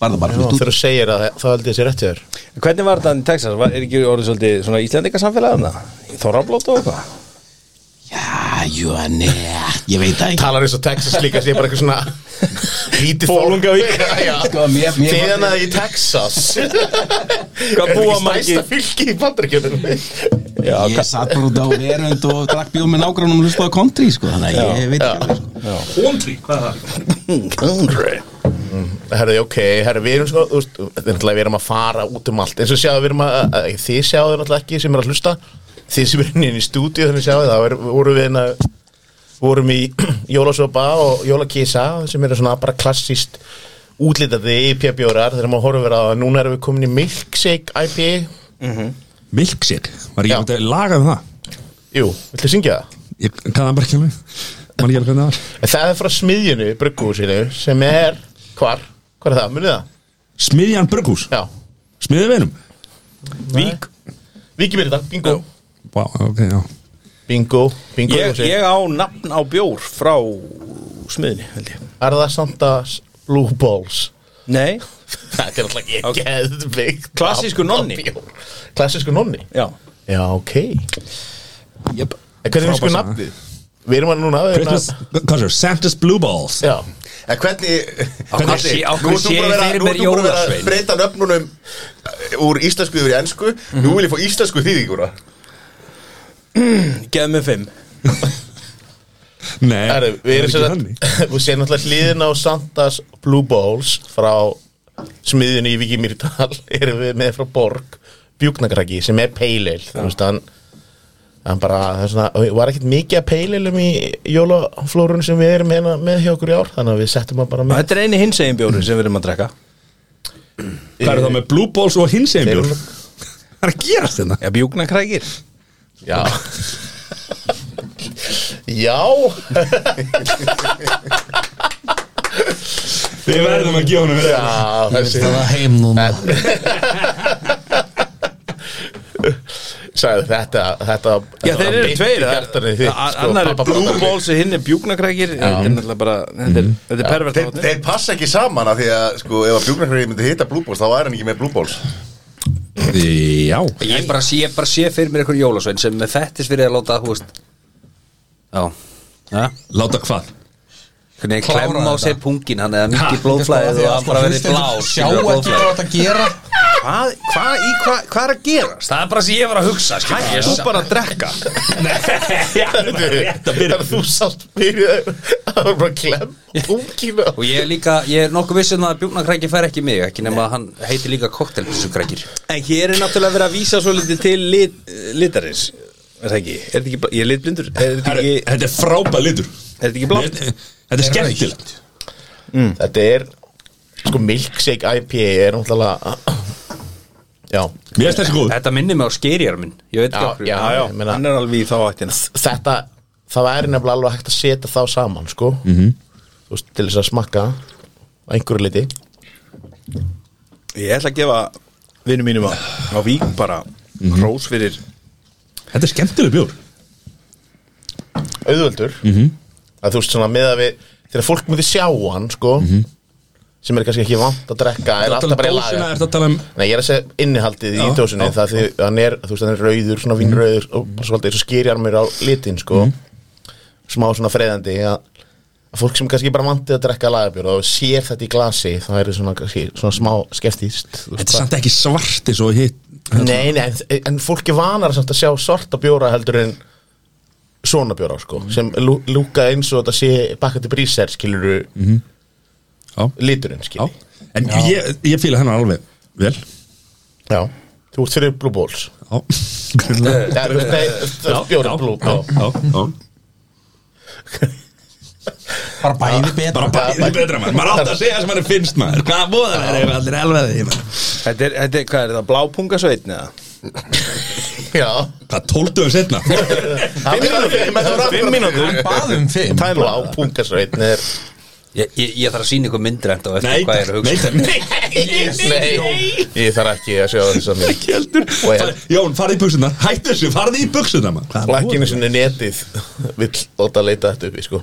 var það bara
já
flutt út
þegar þú segir að það held ég sér rétt hjá þér
Hvernig var þetta í Texas? Var, er ekki orðið svolítið svona íslendinga samfélagana? Þorrablóta og hvað?
Já, jú, neða, ég veit það ekki
Talar eins og Texas líka sé bara eitthvað svona Lítið fólk.
Bolungavík.
(laughs) Já,
Sko, mér- mér-
Þegar það í Texas
(laughs)
Hvað
búa margir?
Stæsta fylki í bandaríkjörnum
Já,
Ég satt bara út á verund og drakk bjóð með nágrannum og hlustaði á country, sko Þannig að ég veit ekki alveg, sko.
Herði, ok, herði, við erum sko þú veist, þetta er náttúrulega, Við erum að fara út um allt eins og sjáðu, við erum að, að þið sjáðu náttúrulega ekki sem er að hlusta Þið sem er inn í stúdíu þannig sjáðu það er- vorum við inn að vorum í (clears throat) jólasopa og jólakísa sem eru svona bara klassist útlitandi IPA bjórar þegar maður horfir á að núna erum við komin í milkshake IPA
Milkshake, var
Já.
ég að laga um það
Jú, viltu syngja það?
Ég kann það bara ekki alveg Man ekki alveg hvernig það var
En Það er frá smiðjunu, brugghúsinu sem er, hvar? Hvar er það? Munið það?
Smiðjan Brugghús,
Já,
smiðið vinum
Vík Víkjum er þetta, bingo
Vá, ok, já
Bingo, bingo
ég,
húsi.
ég á nafn á bjór frá smiðinni, held ég
Er það samt að Blue Balls?
(laughs) Nei,
Þetta er alltaf ekki okay. geðvikt
Klassískur nonni.
Klassísku nonni?
já
Já, ok yep. En hvernig finnst sko
Frábær saga.
nafnið? Við erum að núna að hérna-
Christmas, hvað sér, Santa's Blue Balls
Já,
En hvernig
hverju
Patti,
sé- á hverju
Nú ert þú
sé
búin að vera-
ég fyrir
nú
mér
ert þú búin að vera að
jólasvein?
breyta nöfnunum eh, úr íslensku yfir í ennsku
Mhm.
Nú vil ég fá íslensku þýðinguna
Geð með fimm
Nei,
Herru, við erum
það
sér
er ekki
að
þannig
(laughs) Við séum náttúrulega hliðin á Santas Blue Balls frá smiðinu í Viki Mýrdal (laughs) erum við með frá Borg Bjúknakraki sem er peileil þú veist hann hann bara, það er svona, var ekkert mikið að peileilum í jólaflórun sem við erum hérna með hjá okkur í ár, þannig að við settum hann bara með
Þetta er eini hinsegin bjóri sem við erum að drekka
Hvað er það með Blue Balls og
Þeir
hinseinbjör?
eru-
Það er að gerast hérna. þetta
Já, bjúkna krækir
Já Já
Við verðum að gefa honum verið
Já, þessi
Það var heim núna
sagði þetta, þetta
Já, þeir eru tveir
sko,
Annar er Blue
Balls
Balls (laughs) og hinn er bjúkna krækir Þetta er náttúrulega bara, þetta er, þetta er pervert
Þeir,
hátíð.
þeir passa ekki saman af því að sko, ef að bjúknarkræði myndi hitta Blue Balls þá er hann ekki með Blue Balls
Já,
Ég bara sé, ég bara sé fyrir mér einhvern jólasvein sem með fettis fyrir að láta, hú veist Já, ja.
láta hvað?
hvernig
Klára
klem á
þetta.
sér pungin hann eða
Ha,
mikið
Sko,
blóðflæðið
því að
og hann
sko
bara verið
hlustendur
blás
Sjá ekki hvað þú ert að gera
Hvað, hvað, í hvað, hvað er að gerast?
Það er bara sem ég var að hugsa
Hættu þú bara að drekka
Þannig að þú sátt fyrir þeim Það var bara klemm Punginu
(laughs) Og ég er líka, ég er nokkuð vissið að bjúknakrækir fær ekki í mig, ekki nema að hann heitir líka koktelpissukrækir
En hér er náttúrulega verið að vísa svo litið til lit, litarins Er það ekki? Er þetta ekki, bara- ég er litblindur Er þetta
Herru,
ekki,
Þetta er frábæð litur
er þetta ekki blátt?
Þetta þetta er skemmtilegt
Þetta er Sko milkshake IPA er náttúrulega Já,
Mér finnst þessi góð
Þetta minnir mig á skerjar minn, ég veit
já,
ekki
já,
Já, já,
ég meina,
hann er alveg í þá ættina
Þetta Það væri nefnilega alveg hægt að setja þá saman Sko
Mhm.
-hmm. Þú veist, til þess að smakka Á einhverju liti
Ég ætla að gefa vinnu mínum á, á vík bara Hrós fyrir
Þetta er skemmtileg bjór
Auðvöldur -hmm.
Mhm.
Að þú veist svona með að við Þegar fólk myndi sjá hann Sko
Mhm.
Sem er kannski ekki vant að drekka Er alltaf bara í laga
Þetta að tala um
Nei, ég er að segja innihaldið í
Já,
dósinni
já, Mhm.
það því hann er, þú veist, hann er rauður, svona vínrauður og bara svolítið eins og skýrjar mér á litin, sko smá svona freyðandi að, að fólk sem kannski bara vantið að drekka lagabjörð og sér þetta í glasi þá er það svona, kannski, svona smá skeptist
Þetta er samt ekki svart eins og hitt
Nei, nei, en, en fólk er vanar samt að sjá sorta bjóra heldur en svona bjóra, sko, sem lú, lúka eins og þetta sé bakka til brísær, skilur
Já.
liturinn,
Já.
skilur
En ég, ég fíla hennar alveg vel
Já, þú ert fyrir Blue Balls
Já, Greinilega.
Já, þú veist, nei, þú
Já,
veist, bjóra
já,
Blue
já,
Balls
já, já.
Bara bæði betra
Bara bæðið er betra maður Maður átt að segja sem maður finnst maður Hvaða bóðar er ef allir elvað því maður
Þetta er, þetta er hvað er það, blápungasveitn eða?
Já
Hvað tóltuðu setna?
Fimm mínútur
Hann baði um fimm
Blá pungasveitn er
Ég, ég, ég þarf að sína ykkur myndir enda og
Nei,
eftir hvað ég er að
nei,
hugsa
nei,
Nei, ég þarf ekki að sjá þess að mér
ekki heldur
Og ég-
Fa- Jón, farði í buksuna, hættu þessu, farði í buksuna
Og ekki einu sinni netið vill láta leita þetta uppi, sko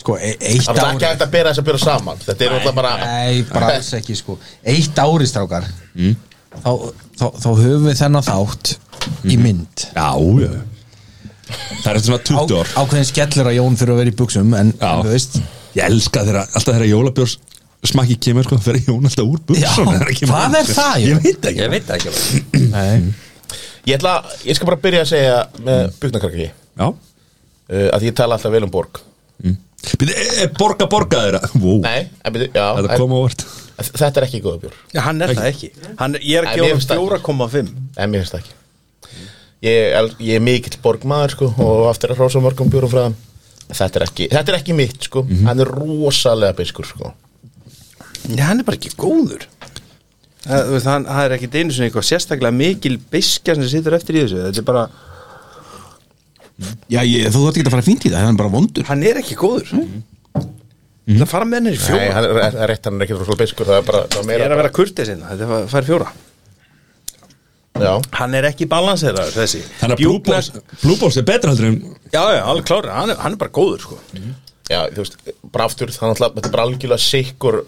Sko, e eitt
Það er ekki
ári
hægt að bera þess að bera saman Þetta er alltaf bara
Nei,
(laughs)
bara alls ekki sko Eitt ári strákar
Mm.
þá, þá, þá höfum við þennan þátt í
Mhm.
mynd
Já, já Það er eftir svona 20 ár
Ákveðin skellur að Jón fyrir að vera í buksum En,
Já.
en þú veist
Ég elska þeirra, alltaf þeirra jólabjórs smakki kemur sko, fer Jón alltaf úr
Já,
buksunum þegar kemur
hvað
út.
er það, Jón?
Ég veit ekki
Ég veit það ekki alveg
Nei,
Ég ætla, ég skal bara byrja að segja með byggnarkrakki
Já
uh, að ég tala alltaf vel um borg
Býtu, e, e, borga, borga þeirra wow.
Nei, en byrju, já,
Þetta
en,
kom á vart
þetta er ekki góða bjór
Já, hann er það ekki hann, Ég er
Nei,
ekki
mér
orðum
finnst það
4,5
En mér finnst það ekki Ég, el, ég er mikill borgmaður, sko og aftur að hrósa mörgum bjórum frá þeim Þetta er ekki, þetta er ekki mitt, sko Hann er rosalega beiskur, sko
Nei, hann er bara ekki góður Það, þú veist, hann, það er ekki einu sinni eitthvað sérstaklega mikil biskja sem situr eftir í þessu Þetta er bara,
Já, ég, þú þátt ekki að fara fínt í það, það er bara vondur
hann er ekki góður Mm-hmm. Það fara með henni í
Nei,
fjóra
hann er, er rétt, hann er ekki rosalega beiskur Það er bara, það er
Ég
meira
er að vera kurtið sinna, þetta fær fjóra
Já,
Hann er ekki balanseraður þessi
Þannig að Blue Balls, Blue Balls er betra heldur en
Já, já, alveg klára, hann, er- hann er bara góður sko.
já, þú veist, bara aftur Þannig að þetta er bara algjörlega sikkur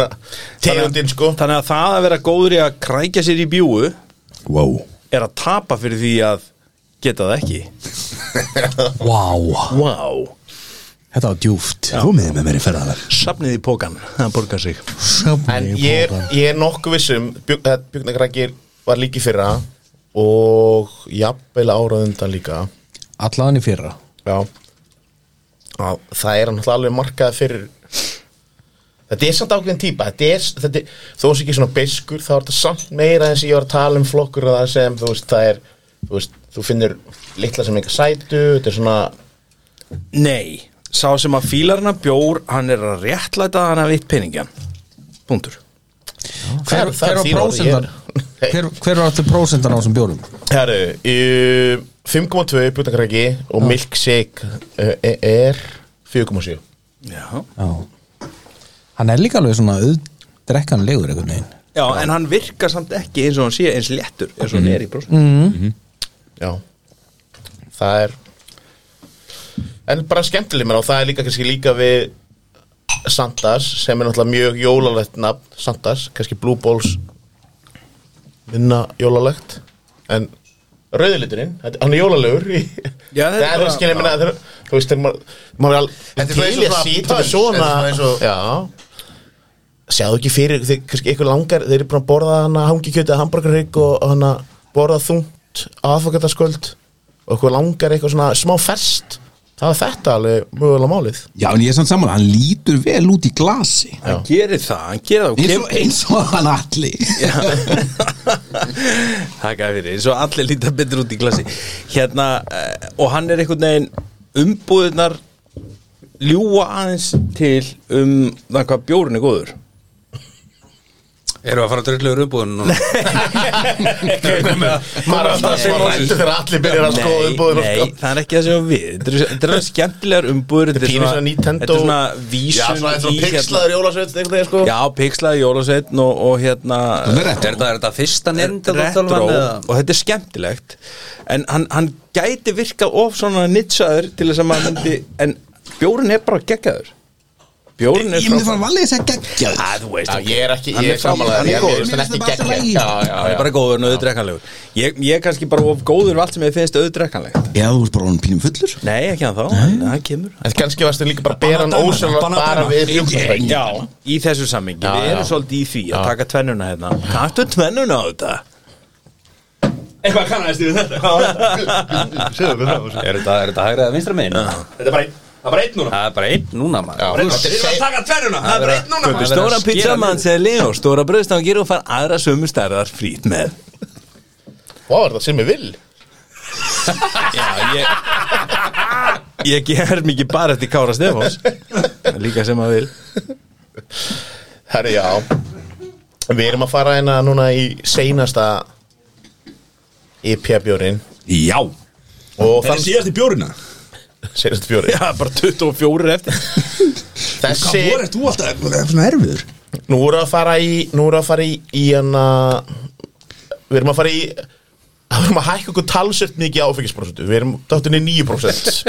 (laughs) Tegundin, sko
Þannig að það að vera góður í að krækja sér í bjúu
Wow
er að tapa fyrir því að geta það ekki
wow
Wow
Þetta var djúft
Komiði með mér í ferðalag
Safnið í pókan, það borgar sig
En ég, er- ég er nokkuð um, vissum Björnagrækir eh, var líki fyrra og jafnvel árað undan líka
Allaðan í fyrra
Já Á, Það er náttúrulega alveg markað fyrir Þetta er samt ákveðin típa þetta er, þetta er, Þó sé ekki svona beskur þá er þetta samt meira eins og ég var að tala um flokkur og það sem þú veist það er þú, veist, þú finnur litla sem eitthvað sætu þetta er svona
Nei, sá sem að fílar hana bjór hann er að réttlæta að hann að vitt peningjan Puntur
Hver,
það
hver
er
var
þín orð,
prósendan?
(laughs) ég er-
(laughs) Hver, hver var þetta prósendan á þessum bjórum?
Herru, uh, 5,2 björnagræki og milkshake uh, er 4,7
Já,
Já Hann er líka alveg svona auðdrekkanlegur einhvern veginn
en hann virkar samt ekki eins og hann sé eins léttur eins og hann er í bros
Já Það er En bara skemmtileg mér á Það er líka kannski líka við Sandas sem er náttúrulega mjög jólalegt nafn Sandas, kannski Blue Balls minna jólalegt en rauðiliturinn þetta- hann er jólalegur í,
Já,
það
þetta er
er
bara-
það skilja minna það er- þú veist, þegar maður maður er
Þetta er
alveg
bara eins og
til að
svona
sýta
punch,
svona
þetta er bara eins og-
já sjáðu ekki fyrir, þeir kannski eitthvað langar þeir eru búin að borða hana hangikjöti að hamburgarrygg og hana borða þungt aðfokkataskvöld og eitthvað langar eitthvað svona smá fest það er þetta alveg mögulega málið
Já, en ég er samt saman, hann lítur vel út í glasi
Hann gerir það, hann gerir (laughs) það og
Eins
kem-
og, eins og hann allir
Það gæði fyrir, eins og allir líta betur út í klassi Hérna, eh, og hann er einhvern veginn umbúðunar ljúa aðeins til um það hvað bjórinn er góður
Erum við að fara að drullu umbúðun núna?
maður er alltaf sem rættu þegar allir byrjar að skoða umbúðin og sko.
nei,
skoða
það er ekki það sem ég á við Þetta eru- þetta eru er skemmtilegar umbúður
Þetta er pínu svona Nintendo-
Þetta er svona
já,
vísun
svona eins og
í, hérna-
pixlaður jólasveit einhvern veginn sko
Já, pixlaði jólasveitn og, og hérna
Það er
Er
rétt
þetta, er þetta fyrsta nefnda
Retro og þetta er skemmtilegt En hann, hann gæti virkað of svona nitsaður til þess að maður myndi En bjórin er bara geggjaður Bjórin er
Ég myndi
frábær.
fara að valið þess að gegja
Æ, þú veist,
Já,
ok.
ég er ekki,
Hann
ég
er
er samanlega
frábær, hann er
ég- ég
góður.
finnst hann ekki
Mér finnst það
geggja
bara allt í lagi.
Já, já,
Hann er
já
bara góður en auðdrekkanlegur ég, ég er kannski bara of góður við allt sem ég finnst auðdrekkanlegt
Eða þú ert bara honum pínum fullur
Nei, ekki hann þá, en það kemur
En kannski varstu líka bara að bera hann ósjálfur bara við fjúknarfæk
Já, í þessu sammingi,
Já,
við erum
já.
svolítið í því að taka tvennuna hérna Taktu tvennuna á þetta
Eitthvað kannaðist yfir þetta
Er þetta, er þetta hægra eða vinstra megin?
Þetta er bara einn Það er bara einn núna
Það er bara einn núna maður
Við erum að taka tverjuna, það er bara einn núna
Kaupi stóra pizza mann segir Leo Stóra bröðstangir og far aðra sömu stærðar frýt með
Vá, er það sem ég vil
Ég ger mikið bara eftir Kára Stefáns Líka sem að vil
Herri, já Við erum að fara hérna núna í seinasta IPA bjórin
Já,
Og
þetta er
þann,
síðast í bjórina
senast fjóri
Já, bara 24 eftir
Þessi,
voru þú alltaf svona erfiður?
nú erum við að fara í Nú erum við að fara í, í hana Við erum að fara í Við erum að hækka okkur talsett mikið áfengisprósentu Við erum dáttunni 9%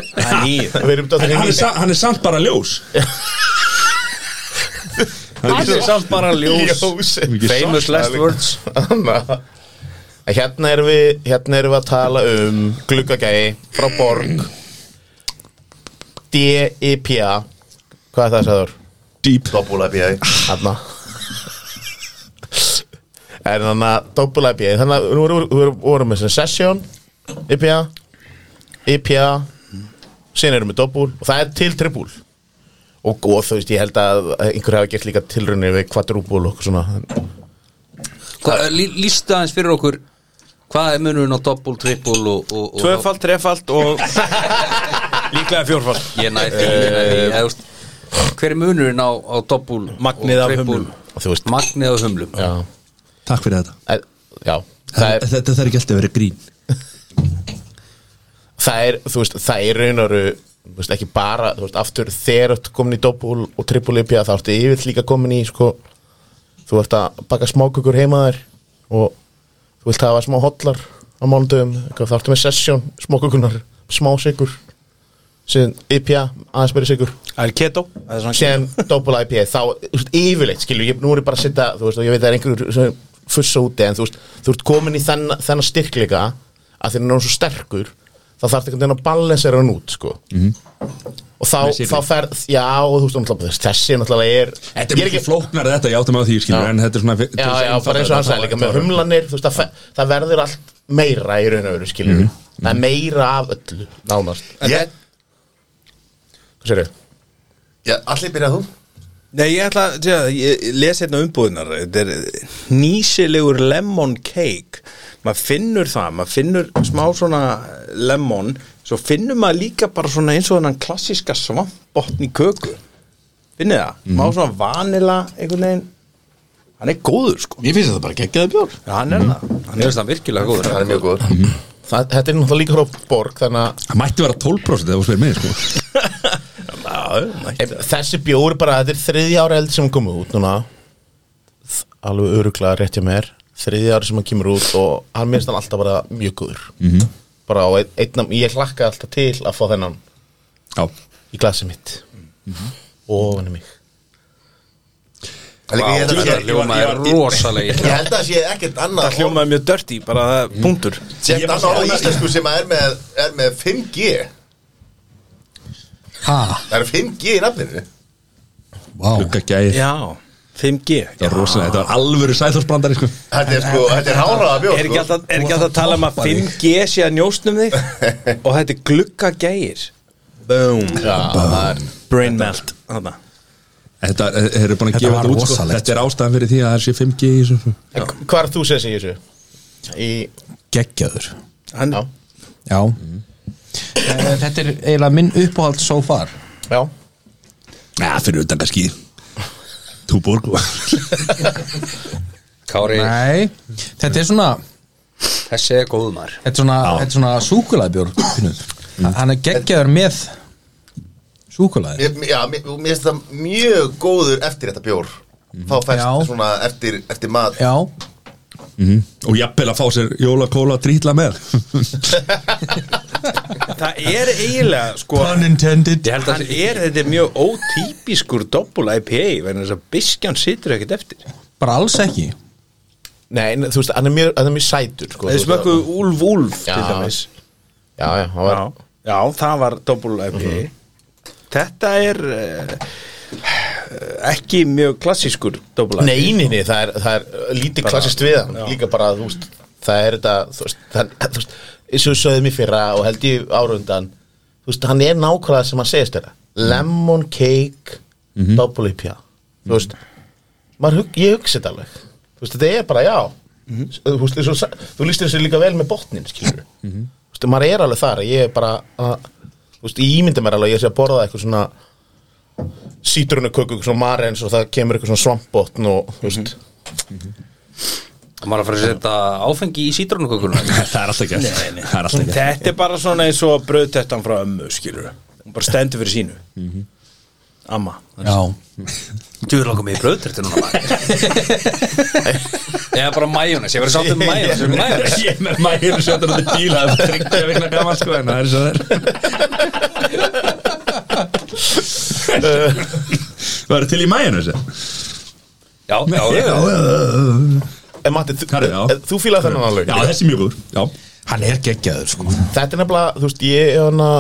Við erum dáttunni
Hann er,
9%
sa- hann er samt bara ljós
Það er samt
(laughs)
bara ljós
Famous last words
Anna. En Hérna erum við Hérna erum við að tala um Gluggagæi frá Borg D.I.P.A Hvað er það að sagður?
Deep
Doppula bíði
Hanna En þannig að Doppula IPA Þannig að nú vorum við vorum með sem session E IPA IPA E Síðan erum við doppul Og það er til tripul Og, og þú veist, ég held að einhver hafi gert líka tilraunir við kvadrúbul og okkur svona
Hva- lí- Lýstu aðeins fyrir okkur Hvað er munurinn á doppul, trippul og, og, og
Tvöfald, trefald og líklega fjórfald
Ég næði því,
Eh,
ég næði því eða, þú veist, Hver er munurinn á, á doppul
Magnið
og
af
triple?
humlum.
Þú veist,
Magnið á humlum
já
Takk fyrir þetta
En, já, það er,
Þetta þetta þarf ekki alltaf að vera grín
það er, þú veist, það er raun og veru, þú veist, ekki bara, þú veist, aftur þegar þú ert komin í doppul og trippul IPA þá ertu yfir líka komin í, sko, þú ert að baka smákökur heima þær og þú vilt hafa smá hotlar á mánudöfum, þá ertu með sesjón, smákökunar, smá sigur, síðan IPA, aðeins meiri sigur
Það er keto Það er svona
síðan double IPA þá, þú veist, yfirleitt, skilju, ég, nú er ég bara að setja þú veist, og ég veit að það er einhverjur sem fussa úti en þú veist, þú ert komin í þenn, þennan styrkleika að þeir eru svo sterkur þá þarf einhvern veginn að balansera hann út, sko
Mhm.
-hmm. og þá, þá fer já, og þú veist, náttúrulega, þú veist, þessi náttúrulega er
Þetta er
ég
mikið flóknar þetta, ég átum á því skilur,
Já.
en þetta er svona til
já,
þess að
já,
einfalda
bara eins og hann
þetta,
sagði
þá
líka
er
með
þetta-
humlanir, þú veist, það, fer- það verður allt meira í raun og veru, skilju
Mhm.
það er meira af öllu, nánast
Ég,
hvað sér þau?
ég, allir byrjað þú
Nei, ég ætla að segja, ég ég les hérna umbúðunar Þetta er nýsilegur lemon cake Maður finnur það, maður finnur smá svona lemon Svo finnur maður líka bara svona eins og þennan klassiska svampbotn í köku Finnið það, smá svona vanila einhvern veginn Hann er góður sko
Mér finnst þetta bara geggjaði bjór
Já, hann er það
Mér finnst það virkilega góður
Það er mjög góð
Það, þetta er náttúrulega líka frá borg þannig að
Það mætti vera 12% ef þú spyrir mig sko.
Ef Þessi bjór bara, þetta er þriðja ára eld sem komið út núna Þ- Alveg öruglega rétt hjá mér Þriðja ára sem hann kemur út og hann minnst hann alltaf bara mjög góður -hmm. Bara á ein, einnam, ég hlakka alltaf til að fá þennan
Já,
í glasi mitt mm -hmm. Og hann er mig
Það er líka ég þetta
Það ljómaði rosalegi
Ég held að það sé ekkert annað
Það hljómaði mjög dirty, bara það er punktur
Sé ekkert annað orð í íslensku sem er með, er með 5G
Ha,
Það eru 5G í nafninu
vá
lukka gæði
Já, 5G
Það er rosalega, þetta var alvöru sæðhórsbrandari sko.
Þetta er sko, þetta er háraða bjór
Er ekki
sko.
alltaf, er ekki alltaf að tala um að 5G sé að njóstnum þig og þetta er glugga gæir Boom Brain melt þarna.
Þetta eh, þeir eru búin að
Þetta
gefa
var
þetta út sko.
rosalegt.
Þetta er ástæðan fyrir því að það sé 5G í þessu sko.
En Hvað er þú sér sig í þessu? Í,
Geggjaður
Hann,
já,
Já
Mm.
Eh, Þetta er eiginlega minn uppáhald so far
já
Já, fyrir utan kannski Túborg og-
Kári,
Nei, þetta er svona
þessi er góð maður
Þetta er svona, þetta er svona súkulaðbjór Hann er geggjaður með súkulaði
Ég- Já, mér mér finnst það mjög góður eftir þetta bjór Þá
Já.
fæst svona eftir, eftir mat
Já,
Mhm. Og jafnvel að fá sér jólakóla trítla með
það er eiginlega sko,
pun intended
Ég held að
hann er þetta er mjög ótípiskur doppul IPA vegna þess að biskjan situr ekkert eftir
Bara alls ekki
Nei, en þú veist, hann er mjög, hann er mjög sætur sko, þú
Þeir
veist,
smökkuðu Úlf Úlf til
Já.
dæmis
Já, já, hann var
Já, já það var doppul IPA Þetta er uh, ekki mjög klassískur doppul IPA
Nei, nei, nei, það er, það er lítið klassist við hann Líka bara, þú veist, það er þetta Þú veist, það, þú veist eins og sögðum í fyrra og held ég árundan Þú veist, hann er nákvæmlega sem hann segist þetta Lemon cake Double IPA Þú veist, maður, hug, ég hugsa þetta alveg Þú veist, þetta er bara, já Þú veist, eins og sa- þú lístir þessu líka vel með botnin, skilur Þú veist, maður er alveg þar Ég er bara, að, þú veist, ég ímynda mér alveg að Ég sé að borða eitthvað svona sítrunu köku, svona marens og það kemur eitthvað svona svampbotn og þú veist
Það maður að fara að setja áfengi í
(laughs)
sítrónukökuna
Það er alltaf gert Það er alltaf gert
Þetta er bara svona eins og bröðtettan frá ömmu, skilur hún bara stendur fyrir sínu amma
Já,
Djúður langar mig í bröðtertu núna
(laughs)
maður. Ég er bara majónes, ég verið sátt um majónes um majónes
(laughs) Ég er með mægir sjötur á þetta bíla Það er tryggt að vinna gaman sko En það er svo þér (laughs) Það er til í mæginu þessi
Já,
(laughs)
já, já, já.
En Matti, þú,
Herri, já.
eh, þú fílaði þennan alveg
Já, þessi er mjög góður Já
hann er geggjaður sko
Þetta er nefnilega, þú veist, ég er hana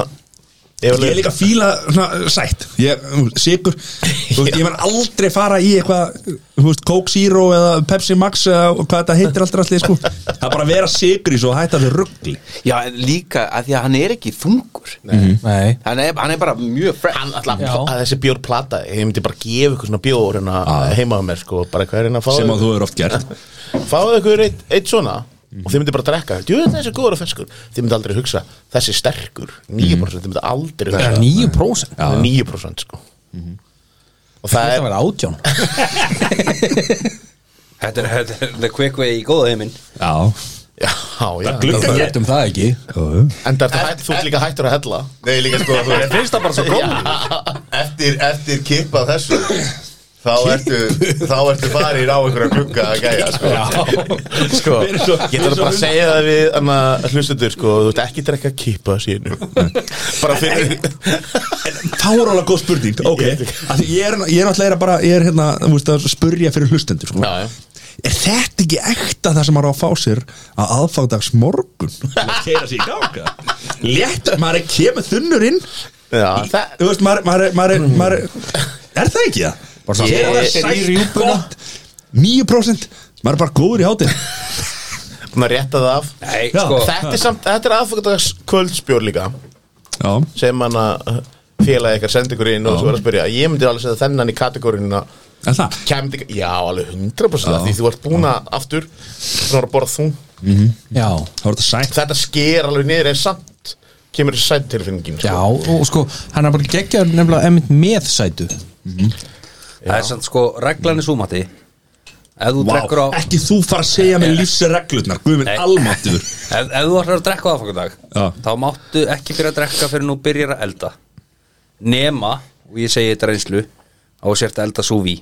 Ég
Ég er líka fíla svona, sætt Ég, þú veist, sigur Þú (laughs) veist, Ég verð aldrei fara í eitthvað Þú veist, Coke Zero eða Pepsi Max eða hvað þetta heitir alltaf allir sko Það er bara að vera sigur í svo og hætta þessu ruggli
Já, en líka að því að hann er ekki þungur
Mhm.
Nei,
hann er, hann er bara mjög fresh
Hann alltaf,
Já.
að þessi bjór plata Ég myndi bara gefa ykkur svona bjór hérna heima á mér, sko, bara hvað er hérna að fá
sem að þú Mhm. er oft gert
fáðu ykkur eitt, eitt svona og þið myndi bara drekka, djú þessi er góður og feskur þið myndi aldrei hugsa, þessi er sterkur 9% þið myndi aldrei hugsa það.
9%
Það er 9% sko
Mhm.
og það
Þetta
er
var átján
Þetta er- þetta er the quick way í góða heiminn
Já,
já, já,
Við
um
veitum það ekki
en það er þú ert líka hættur að hella
Nei, líka sko þú veist,
Finnst það bara svo góð
(laughs) eftir, eftir kipp af þessu Þá ertu, þá ertu farin á einhverja glugga að gæja sko.
sko, ég þarf bara að segja það við hana, hlustendur, sko, þú ert ekki að drekka kippa sínu
(laughs)
bara fyrir
Fáróla góð spurning, ok Af því Ég er, ég er náttúrulega bara ég er, hérna, þú veist, að spurja fyrir hlustendur sko.
Já, já.
Er þetta ekki ekta það sem maður á að fá sér að aðfangdags morgun Keira sér í ganga Létt, maður er kemur þunnur inn
já, það,
Þú veist, maður, maður, er- maður, er- maður er- Er það ekki það? Keira það sætt gott 9% Maður er bara góður í hátinn
búin að rétta það af
Nei,
Já.
sko
þetta er samt, þetta er aðfokkardags kvöldsbjór líka
Já,
sem hann að félagi ykkar sendi ykkur inn og svo var að spyrja ég myndi alveg setja þennan í kategórinna
er það?
kemdi, já alveg 100% af því þú ert búin að aftur þú er að borða þú
Já,
Það var þetta sætt
þetta sker alveg niður en samt kemur þessi sætt tilfinningin
já,
sko.
og sko Hann er bara geggjaður nefnilega emitt með sætu
Það er samt sko, reglan er súmati Ef þú drekkur á
Ekki þú fara að segja með lífsreglurnar Guðminn
Nei.
almáttur
Ef, ef þú ætlar að drekka aðfangadag
Já.
þá máttu ekki byrja að drekka fyrir nú byrjar að elda nema, og ég segi þetta reynslu á sért að elda súví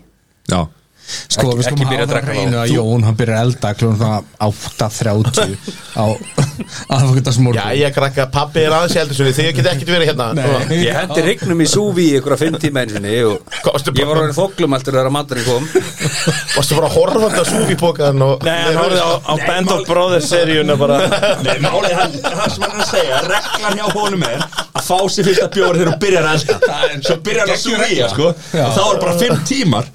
Já
Sko,
Ekki-
við skulum
ekki
hafa
byrja að
það
drekka
reynu
þá.
að Jón, hann byrjar að elda kljóðum svona 8.30 á (laughs)
já
aðfokkundasmorgun
ég er krakka pappi er aðeins heldur svo því ég get ekki verið hérna
Ég hendi rignum í súví í ykkur að fimm tíma einsinni og
Kostu bara-
ég var orðin þoklum alltaf þegar maturinn kom
varstu bara að horfa þetta súfi bókaðan og
Nei, hann horfði á, á Band of Brothers seríuna bara
Nei, málið hann, hann sem hann er að segja Reglan hjá honum er að fá sér fyrsta bjóri þegar hún byrjar að elda Svo byrjar hann að súrýja, sko Og þá er bara fimm tímar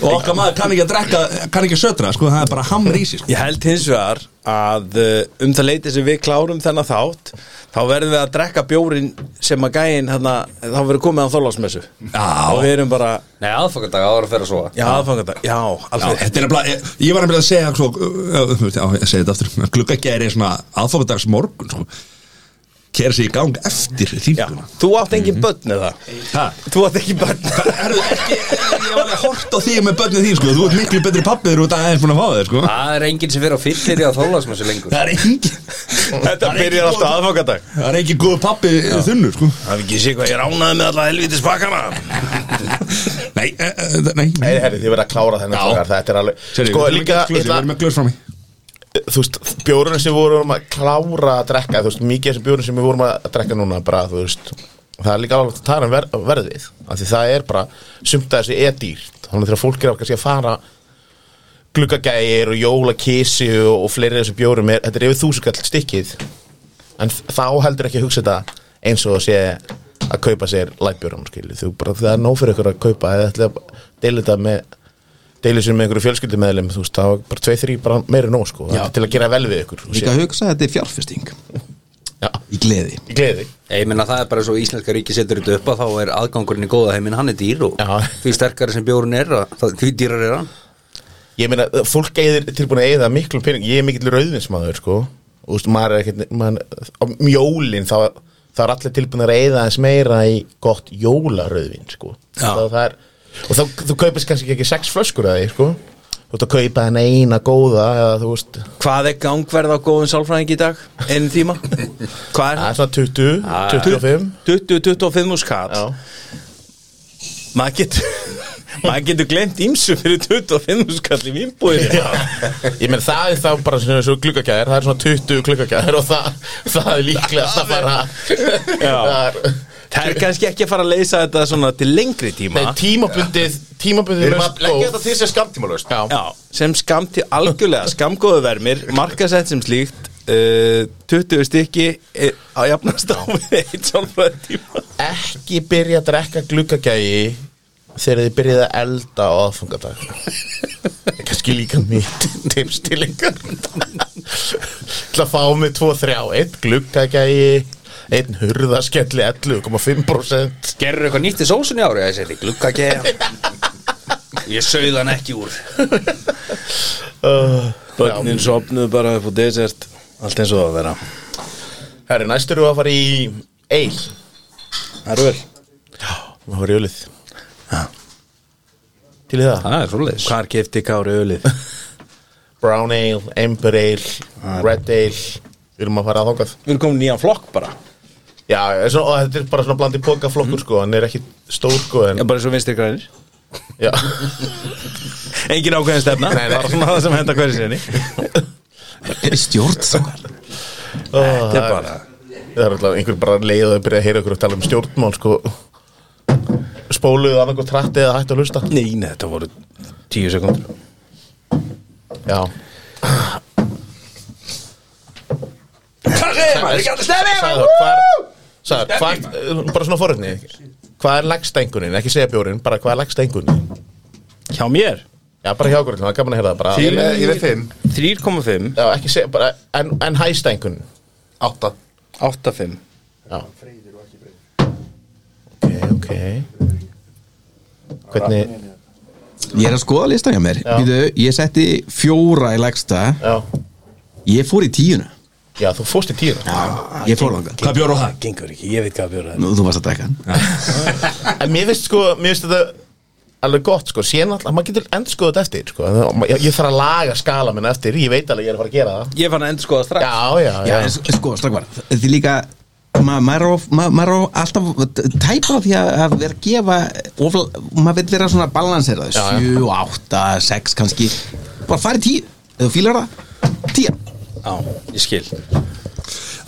Og okkar maður kann ekki að drekka, kann ekki að södra, sko Það er bara hamri í sig, sko
(laughs) Ég held hins vegar að uh, um það leiti sem við klárum þennan þátt þá verðum við að drekka bjórin sem að gæin hérna, þá verður komið á þólasmessu og við erum bara,
Nei, aðfangadag áður að fyrir að sofa
já aðfangandag já,
Já,
alveg
þetta er nefnilega, ég, ég var nefnilega að segja svo, uh, uh, já, ég segi þetta aftur Gluggagæri er svona aðfókadags morgun, sko Kæra sig í gang eftir
Já,
þýnguna
þú átt engin börn eða?
Ha?
Þú átt ekki börn
(laughs) Erðu ekki, ég var að hort á því með börnið þín, sko Þú ert miklu betri pappið þegar þú ert aðeins búin að fá þeir, sko
Það er enginn sem fyrir á fyllir í að þólasmessu lengur
Það er engin
Þetta byrjar alltaf aðfangandag
Það er ekki góð pappi þunnu sko
Það er ekki sé hvað ég ránaði með alla helvitis pakkana
Nei, eh, eh, nei,
Nei,
nei
herri, þið verða að klára þennan strákar, þetta er alveg Sko, líka, ég
Við
ætla-
erum með glöð frá mig
þú veist, bjórunum sem við vorum að klára að drekka, þú veist, mikið af þessum bjórunum sem við vorum að drekka núna, bara, þú veist það er líka alveg að tala um ver verðið af því það er bara, sumt að þessu er dýrt þannig þegar fólk er að kannski að fara gluggagægir og jólakísi og, og fleiri af þessum bjórum er, þetta er yfir þúsugall stikkið en þá heldur ekki að hugsa þetta eins og sé að kaupa sér lætbjórum, skilju, þú bara það er nóg fyrir ykkur að kaupa eða ætla að deila þetta með deilið sér með einhverju fjölskyldumeðlum þú veist, það var bara tveið, þrý, bara meira nóg sko, það er til að gera vel við ykkur þú
Líka
sé.
að hugsa að þetta er fjárfesting
Já,
Í gleði
ég gleði þig
Ég meina það er bara svo íslenska ríki setur þetta upp að þá er aðgangurinn í góða heiminn hann er dýr og
Já.
því sterkari sem bjórun er að- það- því dýrar er hann
Ég meina, eh, fólk eðir tilbúin að eða miklu pening Ég er mikill rauðinsmaður sko og þú veist, maður er ekkert maður, á mjólin, þá, þá er allir tilbúin að eða aðeins meira í gott jólarauðvin sko, þá það er og þá, þú kaupist kannski ekki sex flöskur að því sko þú veist að kaupa henni eina góða eða þú veist,
Hvað er gangverð á góðum sálfræðing í dag? Einn tíma? Hvað
það
er það?
er svona 20, 25
20-25 skall
Já.
Maður getur (laughs) Maður getur glemt ímsu fyrir 25 skall í vínbúðinu
Ég meina það er þá bara svona svo gluggakæðir, það er svona 20 gluggakæðir og það, það er líklegast að fara Það er-
Það er kannski ekki að fara að leysa þetta svona til lengri tíma
Nei, tímabundið, tímabundið
Við erum
laust
að leggja
góð.
þetta til sem skamtímalöst
Já,
Já, sem skamt til algjörlega skamgóðu vermir, markasett sem slíkt uh, 20 stykki eh, á jafnast á við eitt sálfræði tíma
ekki byrja að drekka gluggagægi þegar þið byrjaði að elda á
(laughs)
aðfungadag kannski líka mitt tips til ykkur til að fá mig 2-3 einn gluggagægi einn hurðaskelli 11,5%
Gerður eitthvað nýtt í sósun í ári Ég seti glugga Ég sauð hann ekki úr
uh, já.
Bönnin sopnuð bara upp á desert Allt eins og það að vera
herri, næst eru að fara í eil,
Erfur
það var í ölið til í það
Það er svoleiðis
Hvar kefti Kári ölið?
brown ale, amber ale red ale, við erum að fara að þákað
(laughs) Við erum komin í nýjan flokk bara
Já, er svona, og þetta er bara svona bland í pokaflokkur sko, hann er ekki stór sko en,
Já, bara svo vinstri grænir
já.
Engin ákveðin stefna
Nei, nei.
Bara svona það sem henda hverju sinni
Er í stjórn þá?
Ó, það er bara Það er alltaf einhver bara leið að byrja að heyra okkur að tala um stjórnmál sko Spóluðu annað hvort trætti eða hættu að hlusta
Nei, nei, þetta voru tíu sekundur
Já Sæður, hvað er Sæður, hvað er, bara svona forutni Hvað er lægsta engunin, ekki segja bjórin, bara hvað er lægsta engunin
Hjá mér
Já, bara hjá okkur, það er gaman að heyra það bara
Ég er með- ég er með fimm,
3,5
Já, ekki segja, bara, en, en hæsta engunin
átta
8,5
Já. Ok, ok Hvernig
Ég er að skoða listan hjá mér Býtu, Ég setti fjóra í lægsta
Já,
Ég fór í tíuna
já þú fórst í tíuna
Ég fór þangað
Hvað bjóra það?
Gengur ekki, ég veit hvað bjóra
Nú, þú varst að drekka hann
En mér finnst sko, mér finnst þetta alveg gott sko, síðan alltaf, maður getur endur skoðað þetta eftir sko, ég, ég þarf að laga skala minn eftir, ég veit alveg ég er að fara að gera það
Ég fann að endur skoða strax
Já, já, já,
Já, en sko, strakkvar Því líka ma- maður á ma- maður á alltaf tæpa á því að að vera að gefa of, maður vil vera svona balansera
Já, já.
7, 8, 6 kannski bara farið 10, ef þú fílar það 10
ég skil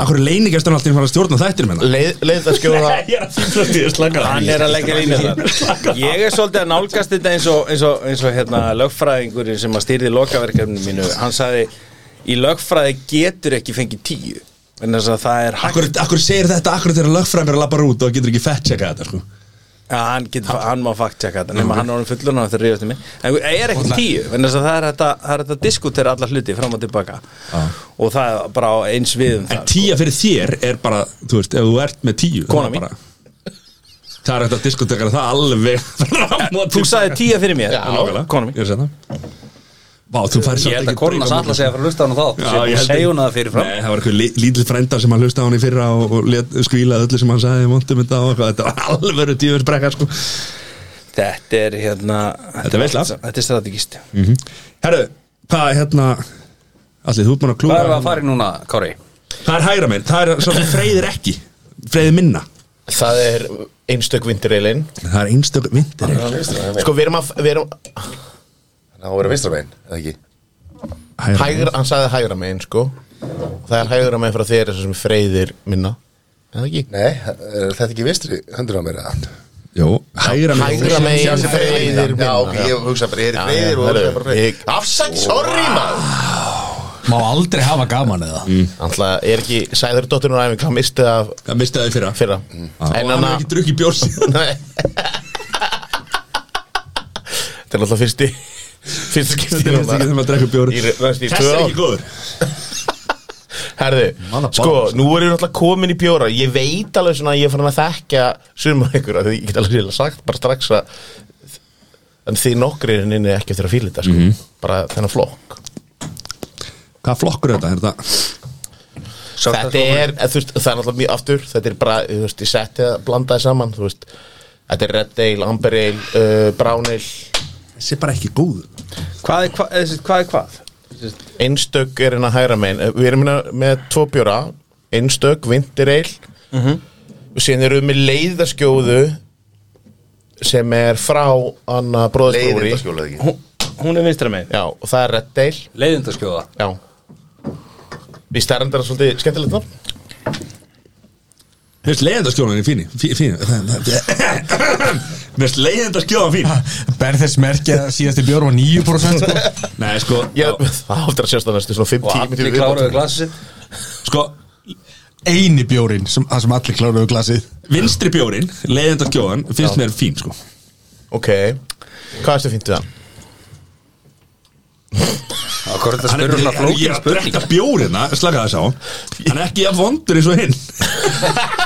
Akkur leinigestan alltaf fara að stjórna hérna? þættir með
leið, leið það
(laughs)
skjóða
Ég er að fýta því að slaka
Hann er að leggja línu þar Ég er svolítið að nálgast þetta eins og, eins og, eins og hérna, lögfræðingur sem að stýrði lokaverkefni mínu Hann sagði, í lögfræði getur ekki fengið tíu En þess að það er hægt
Akkur, akkur segir þetta, akkur þegar lögfræmir að labba út og getur ekki fett checka þetta sko
Já, hann, getur, hann má fakt checka þetta nema hann er orðin fullur hann þegar ríðast í mig en er ekki tíu, en þess að það er þetta það er þetta að diskutera alla hluti fram og tilbaka og það er bara á eins við um
En
það
tíja fyrir þér er bara, þú veist, ef þú ert með tíu það
Kona
er
mín.
bara- Það er hægt að diskotekara það alveg (laughs) fram og
Þú sagði tíu fyrir mér,
Nákvæmlega.
konum
Ég er að segja það Vá, þú færi
Ég held að Korma satla segja frá hlusta hann og þá
Já,
Ég
ég held-
segi hún að það fyrir fram
Nei, það var eitthvað lí- lítill frenda sem hann hlusta á hann í fyrra og, og let, skvílaði öllu sem hann sagði mondum þetta og eitthvað, þetta var alvöru tífur brekka sko.
Þetta er hérna
Þetta er veisla.
Þetta er strategist
Herru, hvað hérna Allir, þú ert búin að klúra
Hvað er það að fara í núna, Kári?
Það er hægra minn, það er svo sem freyðir ekki Freyðir minna
Það er einstök vindureilin
Það er einstök vindir
Sko, við erum að, við erum,
Þannig að það verður vinstra megin, eða ekki
hægra, hann sagði hægra megin sko Það er hægra megin frá þér sem freyðir minna Eða ekki?
Nei, er þetta ekki vinstri höndur á mér eða?
Jó, hægra minn
Hægra megin freyðir
Já,
minna
ok, ég hugsa bara, er
Já,
þetta reyðir og
já,
hugsa bara
ég-
reyðir Afsæk, sorry maður
Má aldrei hafa gaman eða
Alltaf er ekki Sæður dóttirinn á æfingu, hann misti það
Það mistaði þau fyrra
fyrra
Og
En
hann
hann
hefur ekki drukkið bjór síðan
Nei. Þetta er alltaf fyrsti Fyrsti skipti
Þetta er ekki þegar maður drekka bjór
Í- næst í
Þessi
tvö
er
ár.
ekki góður
Herðu, sko, nú erum við alltaf komin í bjóra Ég veit alveg svona að ég er farin að þekkja Summa ykkur, af því ég get alveg reyla sagt Bara strax að En þið nokkrir henni ekki eftir að fíla þetta sko.
Mhm.
Bara þennan flokk
Hvað flokkur er þetta? Er þetta?
Þetta er, eða, þú veist, það er alltaf mjög aftur Þetta er bara, þú veist, ég setti að blanda það saman Þú veist, þetta er Red Ale, Amber Ale uh, Brown Ale
Þessi er bara ekki góð
Hvað er hvað? Þessi, hvað, er hvað?
einstök er hérna hægra megin við erum hérna með tvo bjóra einstök, vindireil Mhm. og síðan erum við með leiðaskjóðu sem er frá Anna Bróðsbróri
Leiðinda skjólaði ekki
Hún er vinstra megin
já, og það er Reddeil
Leiðindaskjóða
já við stærndar svolítið skemmtilegt nafn
Mér finnst leiðindaskjólan er fín Fín Mér finnst leiðindaskjólan fín
Berðis merkja síðasti bjór var 9% sko.
(laughs) Nei, sko
já, það áttur að sjást það næstu svona 5-10
Og allir
mínútur í
kláruðu
viðbót.
glasið sitt.
Sko,
Eini bjórin, sem, það sem allir kláruðu glasið
vinstri bjórin, leiðindaskjólan finnst mér fín, sko
ok, hvað er þetta fínt við hann?
Á hvað er þetta
Hann er
spyrur svona
ég
flókin
er að drekka bjórina, slaka þess á Hann er ekki að vondur eins og hinn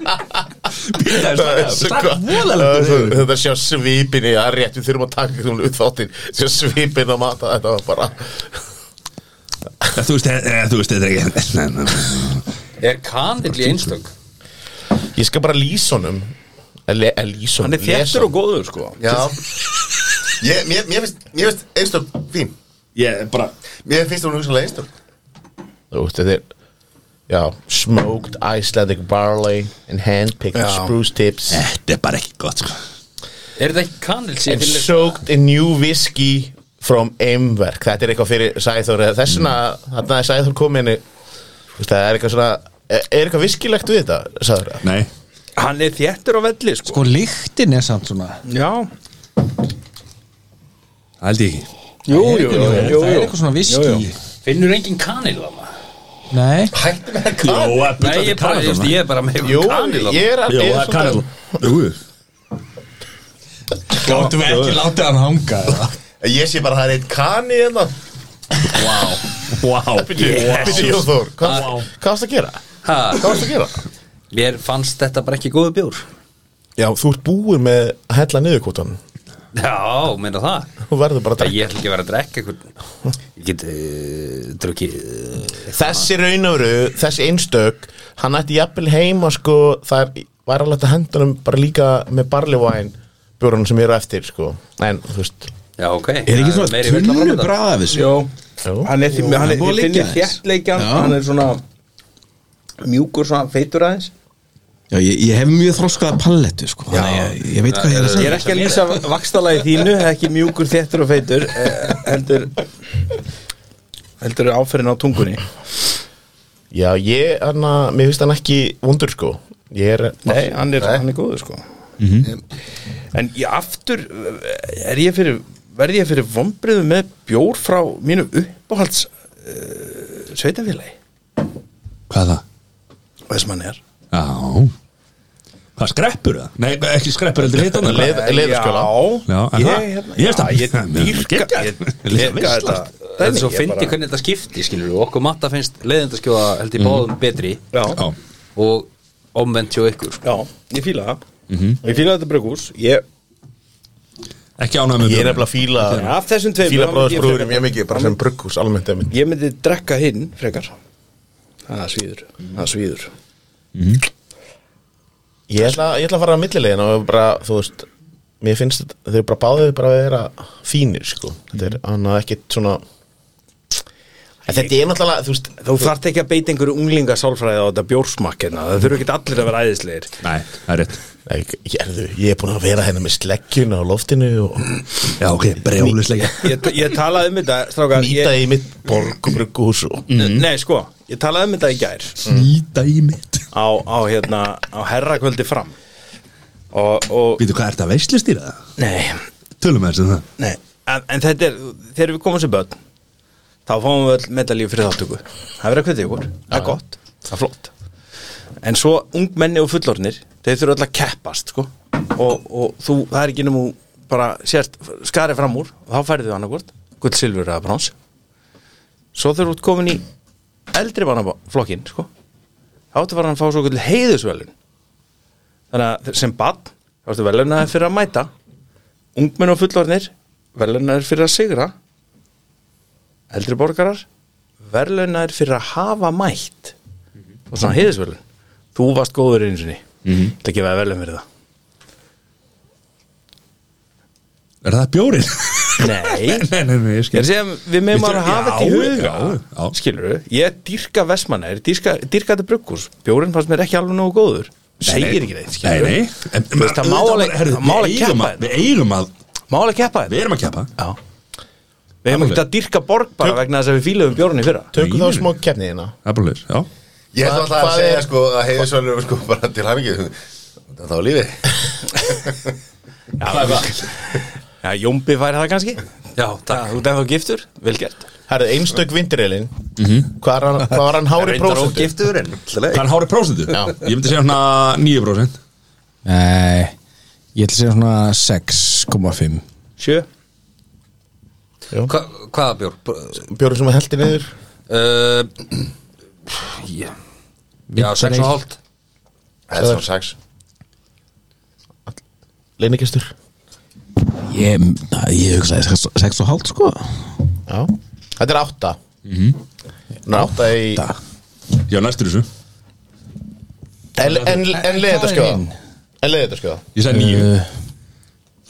Býta,
Það er
slaka
svo
Slaka
gott.
voðalega
Það er svo- Þetta sjá svipin í að rétt Við þurfum að taka þetta út þáttinn Sjá svipin að mata þetta var bara
Þú veist, eh, eh, þú veist, þetta er ekki (laughs) Nei, nei, nei
Er kandill í einstök?
Ég skal bara lýsa honum Ele- eh, Lýsa honum
Hann er þéttur og góður sko
Já ég, mér, mér, finnst, mér finnst einstök fín
Ég bara
Mér finnst hún hugsanlega einstök
Þú veist þetta er Já Smoked Icelandic barley And handpicked spruce tips
Eh,
Þetta er bara ekki gott, sko
Er þetta ekki kandill sem
And
fyrir
soaked in new whiskey From Imverk Þetta er eitthvað fyrir Sæþór eða Þessuna
Mm.
Þarna er Sæþór komin í- Þú veist það er eitthvað svona Er er eitthvað viskilegt við þetta Sæþór
Nei
Hann er þéttur á velli sko
Sko lyktin er samt svona
Já
Hældi ekki
Jú, jú, jú,
Það
jú,
er
jú.
eitthvað svona viski
Jú,
Finnur engin kanil á maður?
Nei,
Hættu með
Jó, að
Nei,
byrja
ég,
til
bara, ég, veist,
Kanadana
ég er bara með
Jú,
einhvern kanil á
ég er
Jó, það
ég er
er
svolítið-
Kanadana Jú
gáttum við ekki látið hann hanga eða?
það Ég sé bara að það er eitt kani en það
Wow
hérna. Bíddu, Jóþór, Hvað hvað varst að gera? Hvað
maður
varst að gera?
Mér fannst þetta bara ekki góðu bjór
Já, þú ert búin með að hella niður kvotan
Já, meina það
Þú verður bara að
Það
drekka
ég ætla ekki að vera að drekka einhvern Ég get uh, drukkið eh,
Þessi raunöfru, þessi einstök Hann ætti jafnvel heima sko Það er, var alveg að henda hann bara líka með barleyvæn Björnum sem eru eftir sko En, þú veist
Já, ok
Er ekki svona tunnu bræða af þessu?
Jó,
Jú.
hann er því, hann er, ég
Búið að liggja
finnir
aðeins.
þéttleikjan,
Já.
hann er svona mjúkur svona feitur aðeins.
Já, ég, ég hef mjög þroskaða pallettu sko Þannig að ég, ég veit hvað ég er að
Ég
segja
er ekki að lýsa vakstalagi þínu, ekki mjúkur, þéttur og feitur, eh, heldur, heldur áferðin á tungunni.
Já, ég, hann að, mér finnst hann ekki vondur sko Ég er,
Nei, hann er, hann er góður sko. En ég aftur, eh, er ég fyrir, verði ég fyrir vombriðu með bjór frá mínu uppáhalds uh, sveitafélagi,
Hvað er það?
þess mann er.
Já Hvað skreppur það? Nei, ekki skreppur heldur hitt hann
leið, leiðarskjóla
Já, en
ég,
það?
hérna,
Ég veist það.
já, ég dýrka
Geggjað.
ég
Líka
dýrka
veisla.
þetta
Það er svo
Ég
fyndi
bara- Mhm.
hvernig þetta skipti, skilur við Okkur matta finnst leiðindaskjóða held ég báðum betri
Já
já,
Og omvendt hjá ykkur sko.
já, ég fíla það ég fíla þetta brugús ég,
Ekki ánægð með
Ég er
björn
nefnilega að fíla
af þessum tveim
Fíla
þá myndi ég
bróðsbróður
frekar-
mjög mikið, bara sem brugghús almennt eða
ég myndi drekka hinn frekar það svíður það svíður
Ég ætla, ég ætla að fara að millilegin og bara, þú veist Mér finnst þetta, þau bara báðið bara að vera fínir, sko Þetta er annað ekkit svona En þetta er náttúrulega, þú veist
þú þarft ekki að beita einhverju unglinga sálfræði á þetta bjórsmakkina það þurfa ekki allir að vera æðisleir
Nei, það er rétt
Nei, ég, erðu, ég er búin að vera hérna með sleggjun á loftinu og
Já, ok, brjóðlislega
ég, ég talaði um þetta strákar
nýta
ég,
í mitt borgbrugghús og
nei sko, ég talaði um þetta í gær
Mm. Snýta í mitt
á, á hérna á herrakvöldi fram og, og
Býtu, hvað er þetta veislistýra það?
nei,
Tölum við þessum það
Nei, en, en þetta er, þegar við komum sem börn þá fáum við öll medalíu fyrir þáttöku það er verið að hvetja ykkur, það er gott það er flott en svo ungmenni og fullornir, þeir þurfa öll að keppast sko. og, og þú, það er ekki nefnum bara sért skarið fram úr og þá færðu annarkvort, gull, silfur eða brons svo þeir eru út komin í eldri mannaflokkin sko. þá áttu var hann að fá svo gull heiðusvelun þannig að sem barn þá ertu velunaði fyrir að mæta ungmenn og fullornir verðlunar fyrir að sigra eldri borgarar verðlunar fyrir að hafa mætt og svona heiðisverðlun þú varst góður einu sinni mm -hmm. það gefaði verðlun fyrir það
Er það bjórin?
Nei
(laughs) Nei, nei, nei, ég skil
Ég er að segja, við meðum að hafa þetta í
Já,
huga
já, já.
Skilur ég dýrka Vestmannæri, dýrka, dýrka þetta brugghús Bjórinn fannst mér ekki alveg nógu góður Segir ekki neitt,
Nei,
skilur
nei en- en-
veist, það má
auðvitað
alveg-
bara- herru,
það má
við
alveg
eigum
keppa
að- Við eigum að,
Mála keppa þetta
við erum að keppa
Já Við hefum ekki að dyrka borg bara vegna þess að við fíluðum bjórinn í fyrra
Tökum
Nei,
þá smá hérna. keppniðina
Það er bara leir, já
Ég ætla alltaf
Hvað
að segja
er-
sko að heiðisvöldur sko bara til hæmingi Það er þá á lífi
Já, Jómbi fær það kannski
Já,
Já, Þú ert ennþá giftur, vel gert
Herðu, einstök vindireilin Hvað var hann- hvað var hann hári
Reyndar
prósentu?
ógiftur en
Hvað er hárið prósentu?
Já.
Ég myndi segja svona 9%
Nei, ég ætla að segja svona 6,5
Sjö
Hva, Hvaða bjór?
Bjórið sem að heldi niður
Uh, (clears throat) yeah. Já, sex og hálft
Það er svona sex
Leinigestur
Ég, na, ég hugsaði 6,5 sko
Já Þetta er átta Ná, átta í
Já, næstur þessu
En, en, en leiði
Hvað
þetta
er
skjóða
hinn?
En leiði þetta skjóða
Ég sagði 9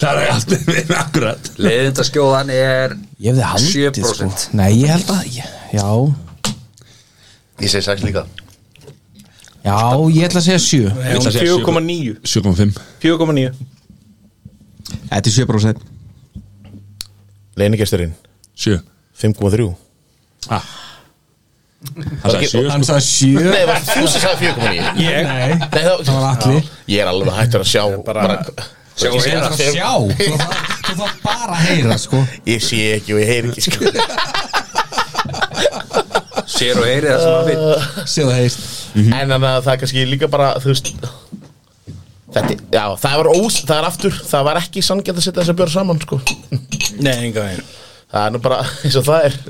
Það er allt með akkurat
Leðindaskjóðan er
Ég hefði haldið
7%
sko Nei, ég held að, ég, já
Ég segi sex líka
Já, ég ætla að segja 7
Ég ætla að segja
4,9
7,5
4,9
Þetta er 7%
Leinigesturinn
7
5,3
Ah. Hann sagði sko. 7
Hann sagði 7
Nei, var- þú sem sagði 4,9
Ég? Nei,
Nei,
það var allir
Ég er alveg hættur að sjá bara,
Sjá og heyra.
að sjá Þú þarf- þú þarf bara að heyra sko
Ég sé ekki og ég heyri ekki sko.
Sér og heyri það sem hann veit
Sér það heist
En þannig að það er kannski líka bara Þú veist Þetta, já, það var ós, það er aftur Það var ekki sanngjönd að setja þess að bjóra saman sko.
Nei, enga veginn
Það er nú bara (laughs) eins og það er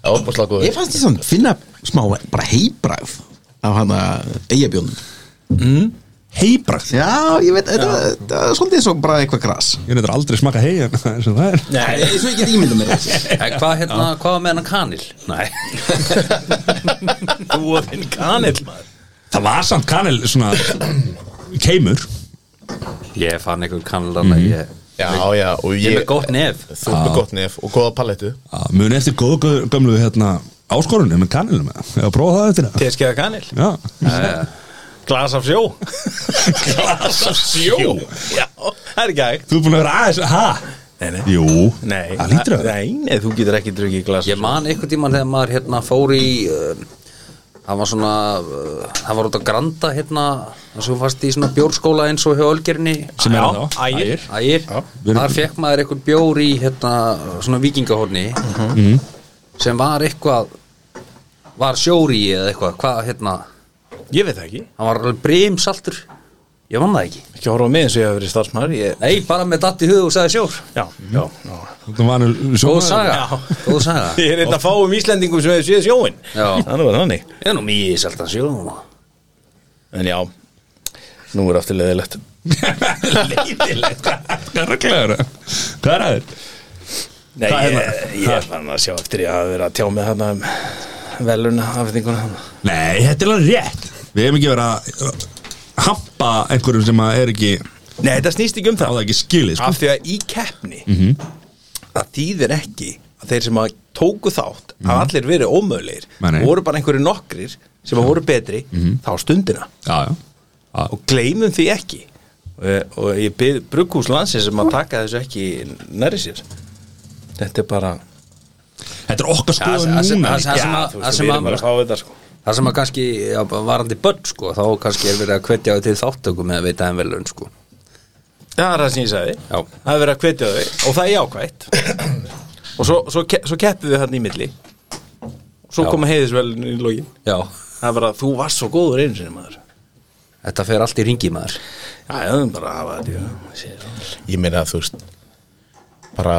Já, bara slá góður
Ég fannst því svona finna smá bara heibræð af hann að eigabjónum
Heibrakt
Mm. Já, ég veit, þetta var- þetta var svolítið eins og bara eitthvað gras
Ég nefnir aldrei smaka hei en eins og það er
Nei, eins og (laughs) ég get ímynda mér
En hvað hérna, hvað var með hennan kanil? Nei,
Þú og þinn kanill maður
Það var samt kanel svona keimur
ég fann einhvern kanilana
Mhm.
mm. ég,
Já, já, og
ég er
ég
með gott nef
Þú er með gott nef og góða palettu
Að Muni eftir góðu gö- gömlu hérna áskorunni með kanelum eða að prófa það eftir það
Teskeða kanill
Já,
Eh, Glas
(laughs)
af sjó Glas af sjó Já, það er ekki hægt
þú er búin að vera aðeins, ha?
Nei, nei
Jú,
Nei,
það lítur að
Nei, nei, þú getur ekki drukkið glas
Ég man einhvern tímann þegar maður hérna fór í uh, Það var svona uh, Það var út að granda hérna Það sem fast í svona bjórskóla eins og hjá Ölgerinni
sem er
Já,
það þá
Ægir.
Ægir,
við erum-
þar fekk maður einhvern bjór í hérna svona vikingahorni sem var eitthvað var sjór í eða eitthvað hvað hérna,
Ég veit það ekki
hann var alveg brimsaltur ég vann það ekki
Ekki horfa á mig eins og ég hef verið starfsmæður ég...
Nei, bara með datt í hug og sagði sjór
Já, já, já
Þú vanur
Góð
sjómaður. (laughs)
saga, góð
(laughs)
saga
Ég er einn að fáum Íslendingum sem hefur séð sjóin
Já.
Þannig var þannig
Ég er nú mjög seltan sjór núna
En já, nú er aftur leðilegt
Leiðilegt, hvað hvað er rugglegur? Hvað er aður?
Nei,
Hvað er
hérna?
ég,
það?
ég er fann að sjá eftir ég hafa verið að tjá mig þarna um veluna afþinguna hana
Nei, þetta er alveg rétt Við hefum ekki verið að uh, hampa einhverjum sem að er ekki á
Nei, þetta snýst ekki um það
það ekki skilið sko.
Af því að í keppni það þýðir ekki að þeir sem að tóku þátt að allir verið ómöðlegir
Mhm. Nei, Mhm. nei.
voru bara einhverju nokkrir sem að voru betri þá stundina
Já, já Já.
og gleymum því ekki Eh, og ég byrð brugghús landsins sem að taka þessu ekki nærri sér þetta er bara
Þetta er okkar skoðun
það sem-
núna
það sem-
Já,
að-
þú
það
veist,
sem
við
að-
erum bara að fá þetta sko
Það sem að kannski já, varandi börn sko, þá kannski er verið að hvetja þau til þáttöku með að veita þeim velun sko.
það er það sem ég sagði,
Já.
það er verið að hvetja þau og það er jákvætt
(coughs)
og svo, svo, ke- svo keppum við þarna í milli svo
Já.
koma heiðisvelin í login
Já,
það er bara, þú varst svo góður einu sinni maður
þetta fer allt í ringi maður
já, já, það er bara að hafa þetta í huga. Sér það.
Ég meina að þú veist Bara,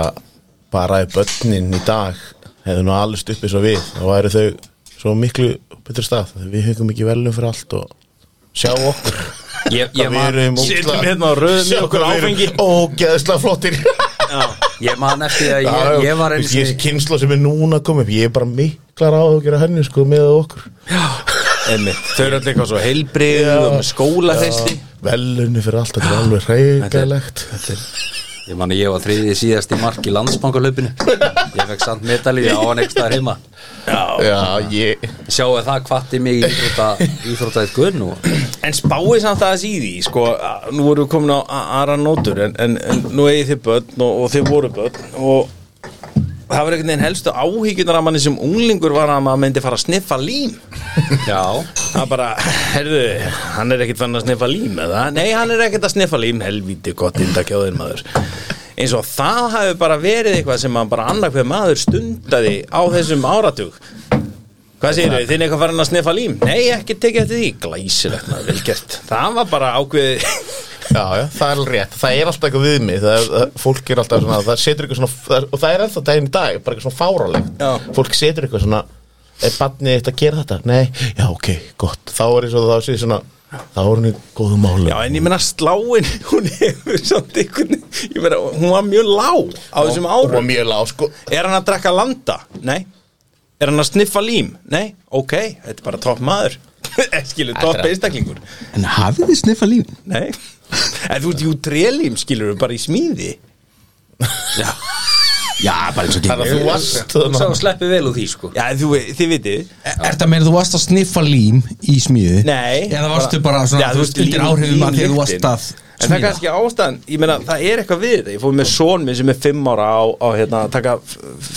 bara ef börnin í dag Hefðu nú alveg stuppið svo við Þá væru þau svo miklu betur stað Við hengum ekki velum fyrir allt og Sjá okkur
(laughs) Ég,
Hvað
ég,
við
man,
erum
Sitjum hérna og röðum í okkur áfengi.
Ógeðsla flottir
ég man eftir að
Já,
ég, ég var einu
veist, Ég er
sinni
kynsla sem er núna komið Ég er bara miklar á að gera henni sko með okkur
Einmitt. þau eru allir eitthvað svo heilbrið og með skóla Ah, þessi
Velunni fyrir allt, þetta er alveg reygalegt
Ég man að ég var þriðið síðast í mark í landsbankalaupinu Ég fekk samt medalíði á hann ekstra heima
Já, ég
Sjáu það hvatti mig í íþrótta, íþróttaðið gunn og
En spáið samt aðeins í því, sko, að- nú voru við komin á a- aðra nótur en, en, en nú eigið þið börn og, og þið voru börn og það var einhvern veginn helstu áhyggjurnar að manni sem unglingur var að maður myndi fara að sniffa lím
Já,
Það bara, herðu, hann er ekkert fann að sniffa lím eða? Nei, hann er ekkert að sniffa lím, helvíti gott indakjáðir maður eins og það hafi bara verið eitthvað sem hann bara annarkveð maður stundaði á þessum áratug Hvað segir þau, þinn eitthvað farin að sniffa lím? Nei, ekki tekið eftir því, glæsilegt maður, vel gert Það var bara ákveðið
Já, já, það er alveg rétt, það er alltaf eitthvað við mig það er, það, fólk er alltaf svona, það setur eitthvað svona það, og það er ennþá daginn í dag, bara eitthvað svona fárálegt
Já.
fólk setur eitthvað svona er barnið eitt að gera þetta? Nei, já, ok, gott þá er eins og það sé svona þá er henni góðum málum
Já, en ég meina sláin, (laughs) hún hefur samt einhvern ég meina, hún var mjög lág á þessum
og var
árum
mjög lág, sko
Er hann að drekka landa? Nei Er hann að sniffa lím? Nei, ok, þetta er bara topp maður (laughs) Eh, Skilur, topp einstaklingur
En hafið þið sniffað lífin?
Nei En þú ert jú trélím, skilur, bara í smíði
Já,
Ah,
bara eins og
þannig að þú varst
svo sleppið vel úr því sko
Já, þú, þið vitið
Er þetta meira þú varst að sniffa lím í smíði?
Nei
Eða varstu bara svona, þú veist, undir áhrifum að því að þú varst að
En það er
smíða?
kannski ástæðan, ég meina, það er eitthvað við þetta Ég fór með són minn sem er fimm ára á, á hérna, að taka,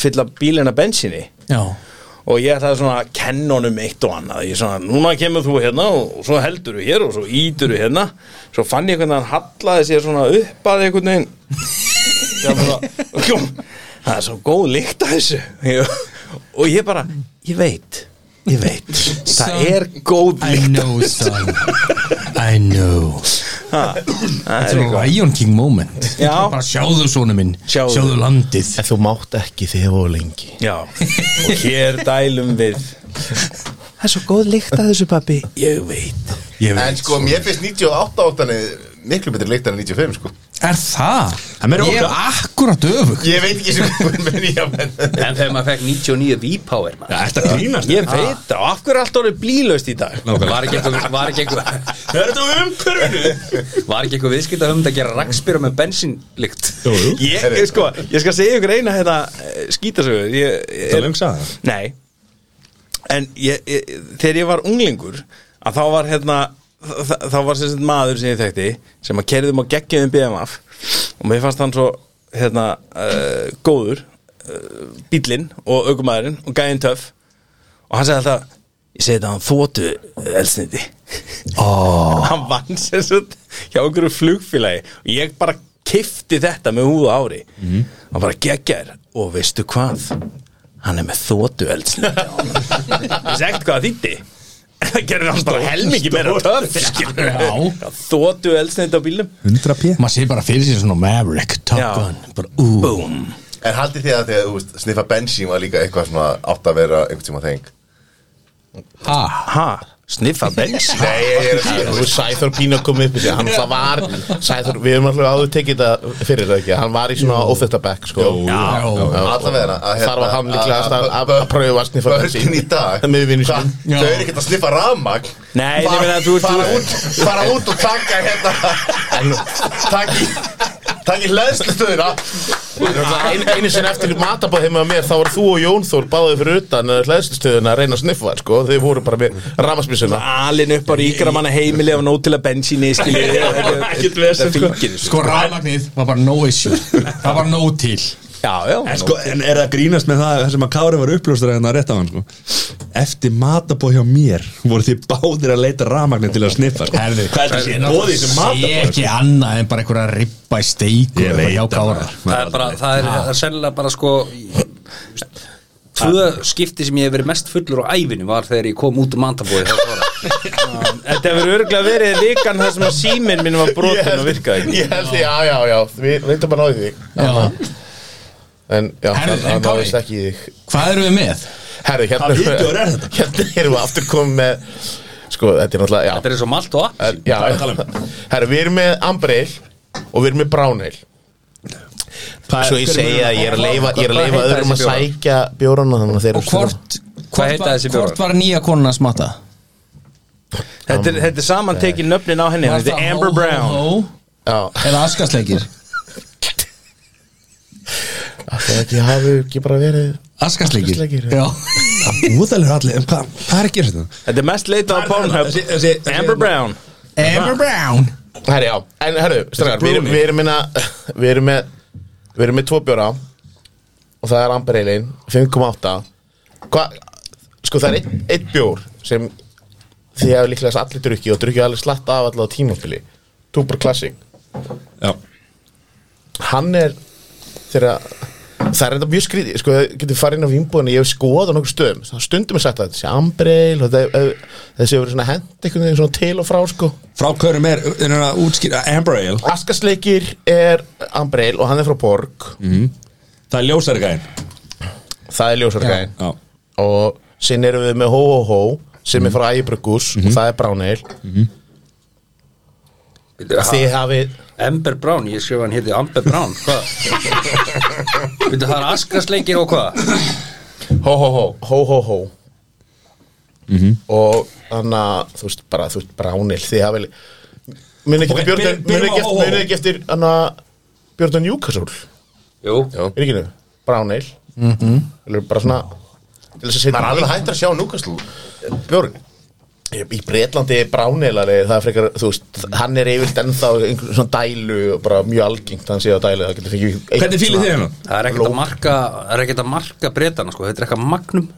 fylla bílina bensinni
Já
og ég ætlaði svona að kenna honum eitt og annað ég svona, núna kemur þú hérna og og svo heldur þú hér og svo ítur þú hérna svo fann ég hvernig hann hallaði sér svona upp að
(laughs)
einhvern veginn Það var bara, og kom, það er svo góð lykt að þessu ég, og ég bara, ég veit ég veit, það
Son,
er góð
I
lykt
know, son I know
Ha, það
Þetta
er
er
eitthvað.
Lion King moment
Já.
Bara sjáðu sonu minn
Sjáðu.
Sjáðu landið
en þú mátt ekki þegar og lengi
Já, og hér dælum við
Það er svo góð lykt að þessu pappi
ég veit
Ég
En
veit
sko, mér finnst 98 áttanni miklu betri leikt en 95 sko
Er það?
Það er meira
Ég er akkurat öfug
Ég veit ekki sem hvað menn ég að menn
En þegar maður fekk 99 V-Power maður.
Þetta grínast
Ég veit það, og af hverju er allt orðið blílaust í dag?
Var ekki eitthvað Var ekki eitthvað
Það er þetta umhverfinu
Var ekki eitthvað viðskipt að höfum að gera rakspýra með bensínlykt
Ég, ég, sko, ég skal segja ykkur eina hérna skítasögu ég, ég,
Það er lengst að
Nei En ég, ég, þegar ég var unglingur að þá var hérna þ- þ- þá var sem sagt maður sem ég þekkti sem að um kerðum á geggjum BMF og mér fannst hann svo hérna uh, góður uh, bílinn og aukumæðurinn og gæðin töff og hann sagði alltaf ég segi þetta hann þótu elsniti oh. hann vann sem sagt hjá einhverju flugfélagi og ég bara kifti þetta með húða ári hann bara geggjar og veistu hvað hann er með þótu elsniti ég segt hvað það þýtti En það gerði hann bara helmingi meira töf
Já.
þótu elsniti á bílum
100 p
Maður sé bara fyrir sér svona Maverick, Top
Já.
Gun Bara ú
Búm
En haldið þið að því að, þú veist, sniffa bensín var líka eitthvað svona átt að vera einhvern tíma þeng
Ha
Ha, sniffa bens
Nei, ég er sko. að
þú veist Sæþór Pína kom upp í sig hann alltaf var, Sæþór, við höfum alltaf áður tekið þetta fyrir það ekki, hann var í svona óþetta bekk sko,
Já.
Allavega að
þar var hann líklega að, að, að pröfa að sniffa
Börkin í dag
Það með vinnu
Hva-
sínum.
Já.
Þau eru ekkert að sniffa rafmagn
Nei, ég
Fara-
meina, þú ert-
fara
þú-
út, fara út og taka hérna Takki Takki hlæðslustöðina
Ein, einu sinni eftir í matabóð heima með mér þá var þú og Jón Þór báðið fyrir utan hlæðslustöðuna að reyna að sniffa sko. þeir voru bara með ramasmissuna
alin upp á ríkra manna heimili af nótilega bensíni skilur við, þetta- þetta- þetta fylgir þessu.
Sko rafmagnið var bara no issue Það var no til
já, já
En, sko, en er það grínast með það það sem að Kári var uppljóstur að rétt á hann sko. Eftir matabóð hjá mér voru þið báðir að leita rafmagnin til að sniffa sko.
Herðu,
Hvað er þessi bóði sem
Sé
matabóð?
ekki annað en bara einhverja ribba í steik og eitthvað jákára
Það er bara Það er, það er sennilega bara sko Tvö skipti sem ég hef verið mest fullur á ævinu var þegar ég kom út um mantabóði
(laughs) þetta hefur örgulega verið vikan þar sem að síminn minn var
Ég
brotin og
held-
virkaði ekki
ég held því, já, já, já, við reyndum bara náðið þig
Já.
en já,
Herðu,
hann
en
hann náðist
Kári?
ekki í þig
Hvað erum við með?
herri, hérna
Hvaða vídeóur er þetta?
(laughs) hérna erum við aftur komið með sko, þetta er náttúrulega, já
Þetta er eins og malt og
Er- Já, herru, við erum með Ambreil og við erum með Bráneil Svo ég segi að ég er að leifa, ég er að leifa
Hvað heita
öðrum að
þessi bjórar?
sækja bjórana þannig að þeir
Og hvort,
Hvað
hvort,
heita
var,
þessi bjórar?
hvort var nýja konuna að smatta?
þetta er, þetta er saman tekið nöfnin á henni
Var
þetta
það
er Amber
Ho, Ho,
Brown
Ho
Já,
Eða askasleikir
Það ekki hafi ekki bara verið
Askasleikir
Askasleikir,
Já,
Það búðalur allir, en hvað hvað er að gera þetta?
Þetta er mest leitað á Pornhub
Þessi- þessi-
Amber Brown
Amber Brown
Herri, já, en herru, strengar, við erum, við erum minna Við erum með Við erum með tvo bjóra Og það er Amber Eilin, 5,8 Hvað, sko það er einn ein bjór Sem þið hefur líklega allir drukki Og drukkið allir slatt af allir á tímafili Tuber Classic
Já,
hann er þegar það er þetta mjög skrítið sko, það getur farið inn á vínbúðinu, ég hef skoðað á nokkur stöðum þá stundum er sagt að þetta sé ambreil og það- eh, þessi hefur verið svona hent einhvern veginn svona til og frá sko
frá hverjum er er að útskýra Amber Ale
Askasleikir er ambreil og hann er frá Borg
Mm. Það er ljósari gæðin
það er ljósargæðin
Já,
og sinn erum við með Hó Hó Hó sem
Mm.
er frá Ægibrugus og það er bráneil þið hafið
Amber Brown, ég skrifa hann héti Amber Brown Hvað? Veitu, það er askasleikir og hvað?
Hó Hó Hó Hó Hó Hó
Mm-hmm.
og þannig að þú veist bara, þú veist, bránil þið hafið muni
Ok,
ekki okay, Björn
byrjum- byrjum
muni ekki,
á Hó Hó.
muni ekki eftir hann að Björn Júkasól er
Jú,
ekki nefn bránil mm
Mhm.
-hmm. bara svona til þess að
Það
setja
er alveg hægt að sjá núkastlu Björn
í í Bretlandi er bránilari það er frekar þú veist hann er yfirlt ennþá einhvern svona dælu og bara mjög algengt að hann sé á dælu það getur fengið eitt
Hvernig fýlið
svona-
þið hérna?
það er ekkert að marka það er ekkert að marka breytana, sko, þetta er eitthvað magnum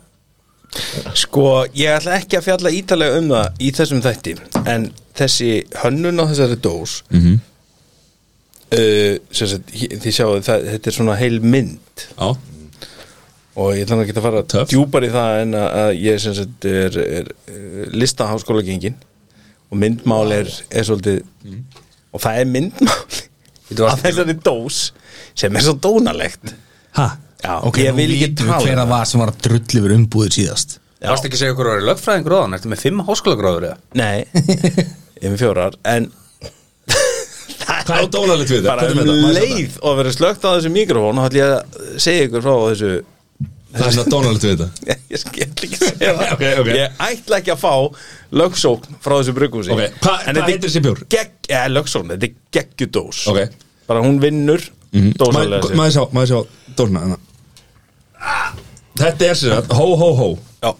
Sko, ég ætla ekki að fjalla ítalega um það í þessum þætti en þessi hönnun á þessari dós mm -hmm. uh, sagt, hér- þið sjáu það, þetta er svona heil mynd
Já,
og ég ætla nú ekki að fara
Töff.
djúpar í það en að, að ég sem sagt er, er eh, listaháskóla gengin og myndmál er, er svolítið og það er myndmál af þessari dós sem er svo dónalegt
Ha?
Já,
ok,
ég
nú
vil ekki
vitum við
tala um
hver
það.
það var sem var að drulli verið umbúðið síðast
Þú varst ekki að segja okkur að það er lögfræðingur á hann, ertu með fimm háskólagráður eða?
nei,
(laughs)
ég er með fjórar en
Hvað er dónalegt við þetta?
bara
Hvernig með
um
þetta? Maður
leið og að vera slögt á þessu mikrofón og ætla ég að segja ykkur frá þessu (laughs)
Það er svona dónalegt við þetta
ég skal ég ætla ekki að segja það
(laughs) Ok, ok.
ég ætla ekki að fá lögsókn frá þessu brugghúsi
Ok, hva-
En
hvað
þetta er
heitir þessi bjór?
Gegg, eh, lögsókn, þetta er geggjudós
Ok.
bara hún vinnur mm
Mhm. Maður maður sjá, maður sjá Dóna, hérna Þetta er sér að Hó, hó, hó
já,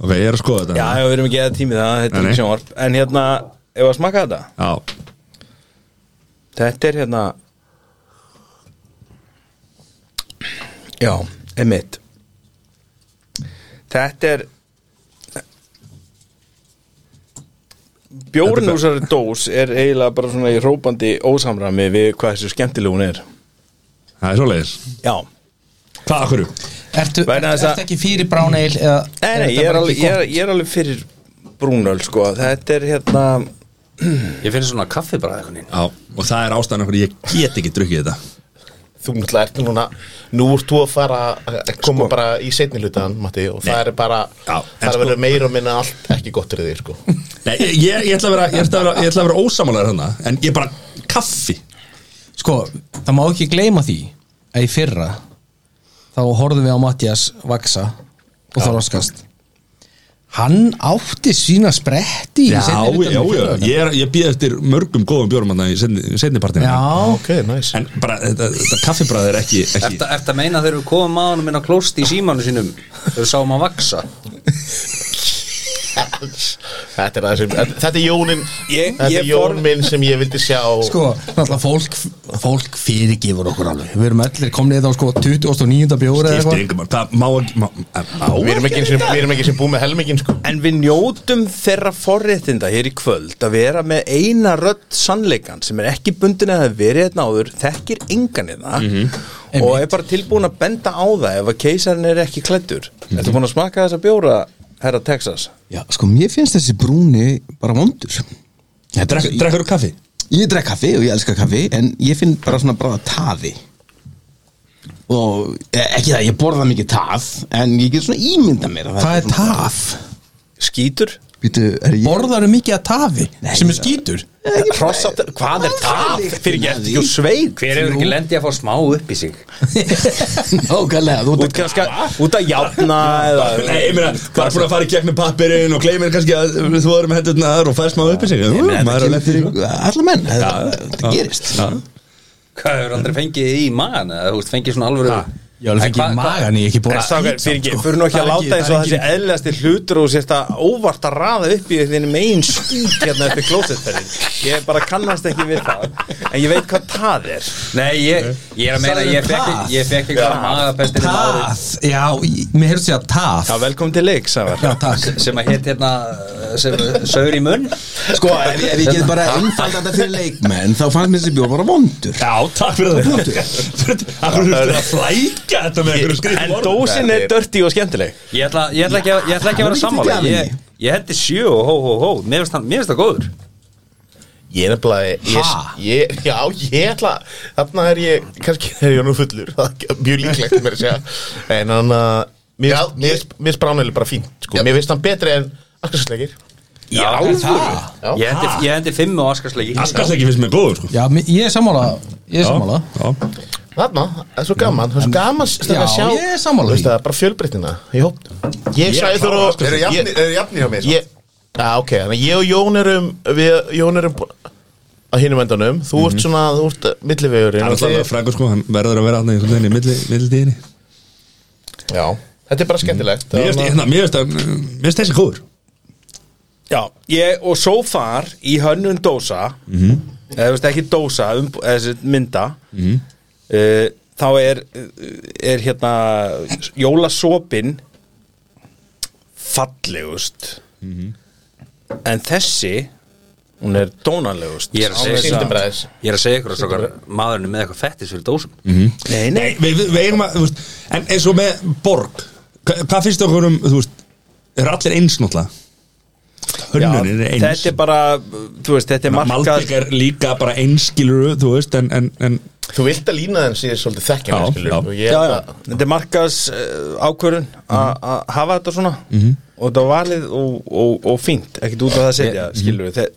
Ok, ég er að skoða þetta
já, já, við erum ekki eða tími það þetta
Nei,
er
nei.
ekki sjónvarp en hérna, ef að smaka þetta
já
þetta er hérna já, emitt þetta er bjórnúsari dós er eiginlega bara svona í hrópandi ósamræmi við hvað þessu skemmtilegu hún er
Það er svoleiðis
já,
Hvað, hverju?
Ertu,
Vegna
ertu
þess að-
ekki fyrir bráneil eða
nei, nei, ég, er alveg, ég, er, ég er alveg fyrir brúnöl sko, þetta er hérna
Ég finn svona kaffi bara eitthvað neina.
Já, og það er ástæðan okkur ég get ekki drukkið þetta
þú náttúrulega ert núna nú ert þú að fara að koma bara í setni hlutan Matti og það er bara
Sko- Já, en
það er
sko-
verið meira og minna allt ekki gott fyrir því sko.
Nei, ég, ég, ég ætla að vera, ég ætla að vera, ég ætla að vera ósamálaður hérna En ég bara, kaffi
Sko, það má ekki gleyma því að í fyrra þá horfðum við á Mattias vaksa og þá raskast Hann átti sína spretti í
Já, já,
seinni hlutanum
já,
í fyrra.
Ég, er, ég býð eftir mörgum góðum bjórum hérna í seinni setni partinu
Já,
Ah, ok, nice
En bara, þetta, þetta kaffibræð er ekki, ekki
Ertu ertu að meina þegar við komum að honum inn á klóst í símanu sínum þegar við sáum að vaksa?
þetta er, það sem, þetta er jónin
Ég-
þetta
ég
er jón
fór-
minn sem ég vildi sjá
sko, náttúrulega fólk, fólk fyrirgifur okkur alveg Við erum allir komnið þá sko 29. bjóra eða
Skiptir
eitthvað
yngum, það má ekki má, má,
við erum ekki eins og- við erum ekki sem búið með helmingin sko.
en við njótum þeirra forréttinda hér í kvöld að vera með eina rödd sannleikan sem er ekki bundin að verið hérna áður þekkir engan hérna
Mhm.
og er bara tilbúin að benda á það ef að keisarinn er ekki klættur Ertu búin að smaka þessa bjóra, herra Texas?
Já, sko, mér finnst þessi brúni bara vondur
Drekkur drekkur þú kaffi?
Ég drek kaffi og ég elska kaffi En ég finn bara svona bara taði Og e, ekki það, ég borða mikið tað En ég get svona ímynda mér
Hvað er taf?
Skítur?
Býtu, er ég
Borðarum mikið að tafi sem er skítur
Hrossatt, hvað er það? Fyrir ekki eftir ekki sveig
Hver hefur ekki lendið að fá smá upp í sig?
Nákvæmlega, þú
Út, kannski, út að játna eða
Nei, ég meina, það er búin að fara í gegnum pappirinn og gleymir kannski að þú erum hendurnar og fæst maður upp í sig Ú, maður er að
kemur
leta í
fyrir alla menn,
Já,
það, það
já.
gerist
Já.
Hvað hefur aldrei fengið í magan eða þú veist, fengið svona alvöru
Ég hafði fengið
Hvað-
í magan, ég er ekki búin
En
að
strákar,
ít
fyrir ekki,
samt, sko.
fyrir nú ekki að
Það er
láta eins og það
það
sé
er ekki-
eðlilegasti hlutur og sérst að óvart að raða upp í þinnum einn skýt hérna upp í klósetferðin Ég bara kannast ekki við það En ég veit hvað það er
Nei, ég, ég er að meina
Sagðirðu
ég fekk,
tað?
ég fekk eitthvað magapestir hérna árið
Tað, já, í- mér hefði segjað tað
Já, velkomin til leik, Sævar
Já, takk
sem að hétt hérna sem sögur í munn
Sko, ef, ef ég get bara einfalda þetta fyrir leikmenn þá fannst mér þessi bjór bara vondur
Já, takk fyrir það Það er að flæka þetta með einhverju
En
skrifum
dósin er dörti og skemmtileg
Ég ætla, ég ætla, ekki, að- ég ætla ekki að vera
Já,
sammála
hann er ekki
Ég,
gæðin.
ég hendi sjö og hó, hó, hó Mér finnst það- mér finnst það góður
Ég er nefnilega ég,
Ha?
ég, Já, ég ætla Þarna er ég, kannski er ég nú fullur það er Mjög líklegt mér að segja En hann að Mér,
Já,
mér, mér spránæli bara fínt sko. Mér veist hann betri en Askarsleikir
Já,
Já.
ég hendi, ég hendi fimm á askarsleiki
Askast ekki finnst mér góður sko.
Já, mi- ég er sammála Ég er sammála
Já,
Þarna, það er svo gaman Það er svo gaman stundum
Já,
að sjá
ég er sammála
Þú veist
því.
það, bara fjölbreyttina Ég hóp Ég sagði þú
Eru jafnir, eru jafnir hjá mér svo?
Ég, já, ok, þannig að ég og Jón erum við Jón erum bú- á hinum endanum þú ert svona, þú ert uh, millivegurinn
hann er
og
alltaf
þið-
frangur sko, hann verður að vera hann einhvern veginn í milli, milli tíðinni
Já, þetta er bara skemmtilegt
Mér finnst- hérna, Mér finnst að- mér finnst þessi góður
Já, ég, og so far í hönnun dósa
Mhm.
eða þú veist ekki dósa um, eða þessi mynda uh, þá er er hérna jólasopin fallegust
Mhm.
en þessi hún er dónalegust
Ég er að segja
Sýndum bræðis
Ég er að segja ykkur að strókar maðurinn er með eitthvað fettis fyrir dósum
Mm.
Nei, nei,
Nei, við, við, við eigum að, þú veist, en eins og með borg, hva, hvað finnst okkur um, þú veist, er allir eins náttúrulega? Hönnunin er eins.
þetta er bara þú veist, þetta er markað
Malbik er líka bara einskiluru, þú veist, en, en, en
Þú vilt að lína þenn síðan svolítið þekkja
Já,
mig, skilur
já.
og ég,
já, já. þetta er markas uh, ákvörun að hafa þetta svona og þetta var valið og, og, og fínt ekkert út á það setja, skilur við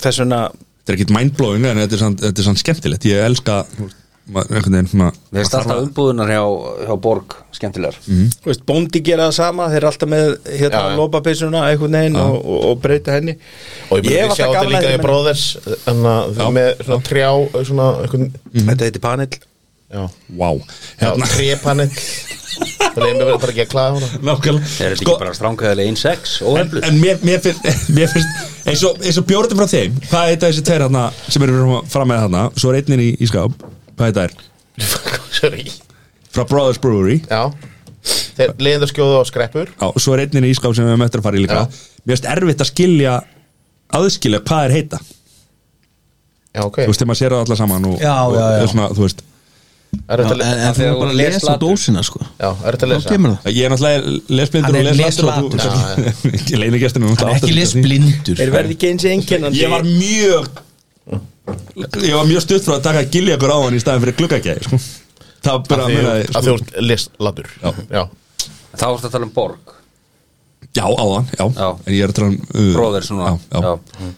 þess vegna,
þetta er ekkit mindblowing, en þetta er sann, þetta er sann skemmtilegt. Ég elska, þú veist, maður einhvern veginn svona,
Mér finnst alltaf umbúðunar hjá, hjá Borg skemmtilegar
Mm.
þú veist, bóndi gera það sama þeir eru alltaf með hérna
Já, já.
lópapeysuna einhvern veginn og, og, og breyta henni
og ég myndi
hef
að sjá
alltaf
þetta
gaman að
líka
því,
í bróðers Þannig að þau
Já.
með svona trjá Svona einhvern
þetta heiti panel
Já,
wow,
já
hérna,
trepanel Það leiðum við bara ekki að klaga hana
nákvæmlega. Sko,
Er þetta ekki bara stránkæðileg 1-6 og
En, en mér, mér, finn, mér finnst eins og, eins og bjórðin frá þeim hvað heita þessi tveir hana sem eru fram með hana svo er einninn í, í skáp hvað heita þær?
Sorry
frá Brothers Brewery
Já Þeir leiðum það skjóðu á skreppur
Já, og svo er einninni ískáp sem við höfum eftir að fara í líka Mér finnst erfitt að skilja aðskilja hvað er heita
Já, ok
Þú veist, þegar maður sér það alla saman og,
Já,
og,
já, já.
og svona, þú veist
Það er
Já,
þetta að
en,
le-
en þú
þegar
var bara
þú
að
les
lesa
latur.
dósina sko
Já, er þetta að
Þá
lesa
kemur það
Ég er náttúrulega lesblindur
Hann er
og leslatur (laughs)
leslatur.
og leinigestin
Hann er ekki lesblindur
þeir verði ekki eins einkennandi
Ég var mjög Ég var mjög stutt frá að taka gilja ykkur á hann í staðin fyrir gluggagæði sko. Það var bara að muna
Að þú ert leslatur
Já.
Já
Þá ertu að tala um Borg
Já, áðan, já.
Já.
En ég er að tala um uh,
Bróðir svona
Já, já.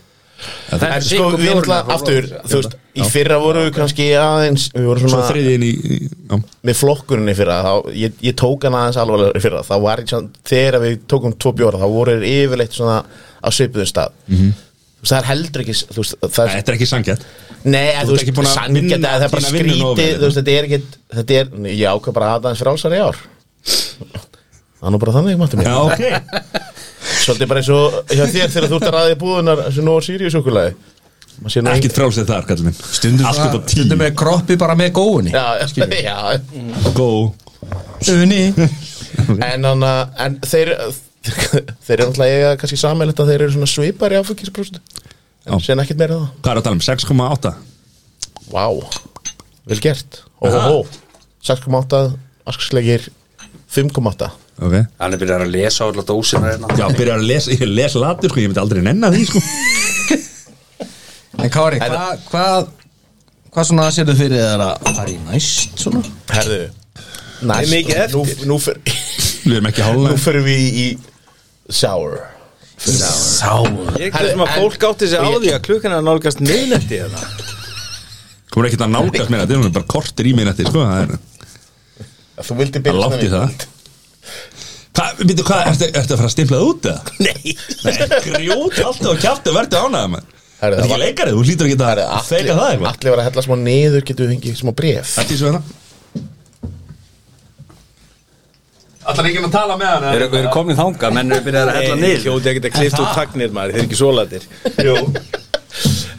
Þetta
En
er
sko,
sikkur
við erum
bjórinn
alltaf aftur
frá Borg.
Þú veist, í fyrra voru við kannski aðeins Við vorum
Svo
svona
þriðin í, í já.
með flokkurinn í fyrra þá, ég, ég tók hann aðeins alvarlegur í fyrra þá var ég samt, þegar við tókum tvo bjóra þá voru þeir yfirleitt svona á svipuðum stað -hmm. þú veist, það er heldur ekki þú veist, það
Mhm. Nei,
er,
Þetta er ekki sangjætt
nei, en
ert
þú
ekki búin
veist,
að
sangjað
vinna
það er bara
þína vinnu nógu
skrítið,
vel,
þú veist, þetta er ekki þetta er, nei, ég ákvað bara aðeins frálsar í ár það er nú bara þannig, máttum
Já,
ég
ok
svolítið bara eins og hjá þér þegar þú ert að ræði búðunar sem nú á Sirius okkurlega
Ekkert frálsett þar, kallið minn
Stundum
Allt upp á
það-
tíu.
Stundum er kroppi bara með góðunni
já, (laughs) já,
Go
Unni
en, hann, að- en þeir þeir eru alltaf eiga kannski sammeilegt að þeir eru svona svipar í áfengispróstu en
Já.
sen ekkert meira en það
Hvað er að tala um? 6,8
Vá, vel gert Óhó, 6,8 Askslegir 5,8
Ok
Hann er byrjað að lesa á alla dósina hérna
Já, byrjar að lesa, ég les latur sko, ég myndi aldrei nenna því sko
En Kári, hvað Hvað hva svona sérðu fyrir þér að fara í næst svona?
Herðu
er mikið eftir.
Nú, nú, fer,
Við erum ekki hálna
nú ferum við í Sour
Sáur
ég er sem að
Herðu,
fólk átti sig á
og ég-
því að klukkan er að nálgast miðnetti hérna
Þú er ekkert að nálgast meina, þetta er bara kortir í meina þetta sko Það er,
Þú
það
vildi
er
byrja
látt í það Hvað, býttu hvað, ertu, ertu að fara að stimplað út eða? Nei Nei, grjót alltaf og kjáttu, verður ánæða maður
Herri,
Það er ekki leikari, þú hlýtur ekki að feika það eitthvað
Allir var að hella smá niður, getur við fengið smá bref
Allt í svo hérna
Allar enginn að tala með hann
Þeir eru er komin þangað, menn eru byrjað að hella
Nei,
niður
hljóti ekkert að klifta út tagnir maður, þeir eru ekki svolætir
Jú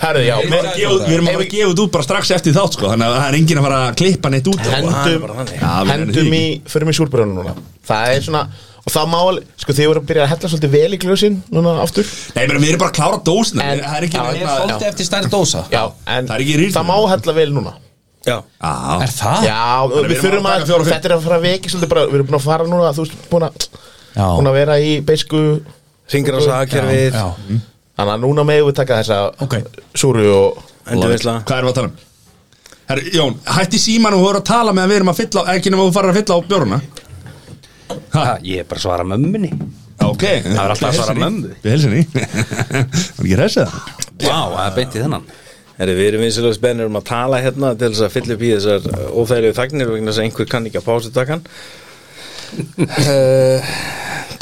Herri, já
Við erum að gefa- við erum að fara að gefa þetta út bara strax eftir þátt sko Þannig að það er enginn að fara að klippa neitt út sko.
Hendum,
Já, við erum
hendum
því
í, förum í súlbrunum núna Það er svona, og það má alveg Sko, þið voru að byrja að hella svolítið vel í glösin Núna aftur
Nei, ég meina, við erum bara að klára dósna
En-
Það er ekki
Já,
neina-
Ég er svolítið eftir stærri dósa
Já, en
Það er ekki rýrt. Ah.
það má hella vel núna
Já,
Er það?
Já,
Þannig við
við
erum
þurfum
að
að,
taka fjóra og fimm.
þetta er að fara að veki svolítið bara, við erum búin að fara núna, þú veist, búin að,
Já.
búin að vera í beisku,
Ringir á sagkerfið,
Já.
þannig að núna megum við taka þessa
Ok.
súru og,
endurvinnsla
Hvað erum við að tala um? Herri, Jón, hætti síman og þú voru að tala með að við erum að fylla á, ekki nema þú farir að fylla á bjórna
Ha, Ég er bara að svara mömmunni
Ok, það
alltaf að svara mömmu.
Við helsin í Það er ekki reysa það
Vá, það er beint í þennan
Herri, við erum vinsilega spennir um að tala hérna til þess að fylla upp í þessar óþægilegu þagnir vegna þess að einhver kann ekki að pásu takan uh,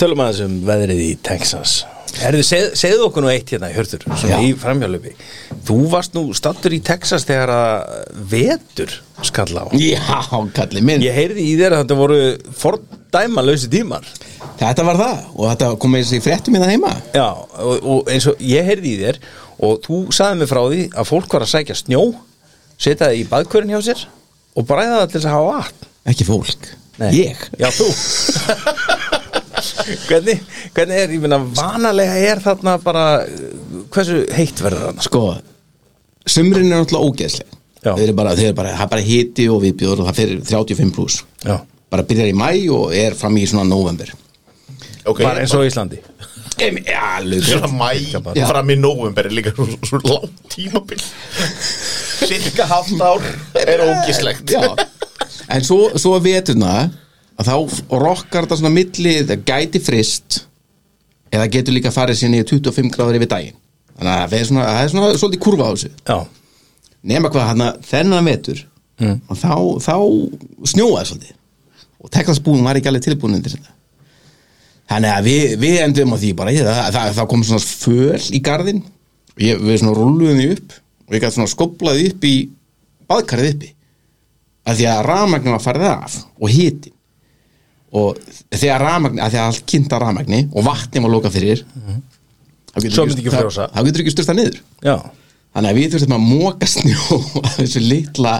Tölum aðeins um veðrið í Texas Herri, seg, segðu okkur nú eitt hérna, Hjörtur, svona í framhjálupi Þú varst nú stattur í Texas þegar að vetur skall á
Já, kallið minn
Ég heyrði í þér að þetta voru fordæma lausi tímar
Þetta var það og þetta kom með þessi fréttum minna heima
Já, og, og eins og ég heyrði í þér og þú sagði mig frá því að fólk var að sækja snjó setja það í baðkvörin hjá sér og bræða það til þess að hafa vatn
Ekki fólk, ég
Já, þú (laughs) hvernig, hvernig er, ég meina, vanalega er þarna bara uh, hversu heitt verður þarna?
Sko, sumrin er náttúrulega ógeðsleg
Já.
Þeir eru bara, þeir eru bara, það er bara hiti og viðbjóður og það fyrir 35 pluss
Já.
Bara byrjar í mæ og er fram í svona november
ok,
Bara eins og á Íslandi
Já, lögur
svona mæ,
Já.
fram í nóvember er líka svo, svo langt
(laughs)
tímabil, cirka halvt ár er ógislegt.
Já, en svo, svo að vetuna að þá rokkar þetta svona milli það gæti frist eða getur líka farið sinni 25 gráður yfir daginn þannig að það er svona, það er svona svolítið kurva á þessu
Já,
nema hvað hann að þennan vetur
Mm.
og þá, þá snjóaði svolítið og Texas búin var ekki alveg tilbúin undir þetta þannig að við, við endum á því bara ég, það, það, það kom svona föl í garðin og ég, við svona rúluðum því upp og ég gæti svona skoplaði upp í baðkarið uppi að því að rafmagnin var farið af og hitin og þegar rafmagnin, að því að allt kynnta rafmagni og vatni var lokað fyrir þá getur
Mhm. Svo myndi ekki
þá,
frjósa.
þá getur ekki styrsta niður
já,
Þannig að við þurfum að móka snjó (laughs) af þessu litla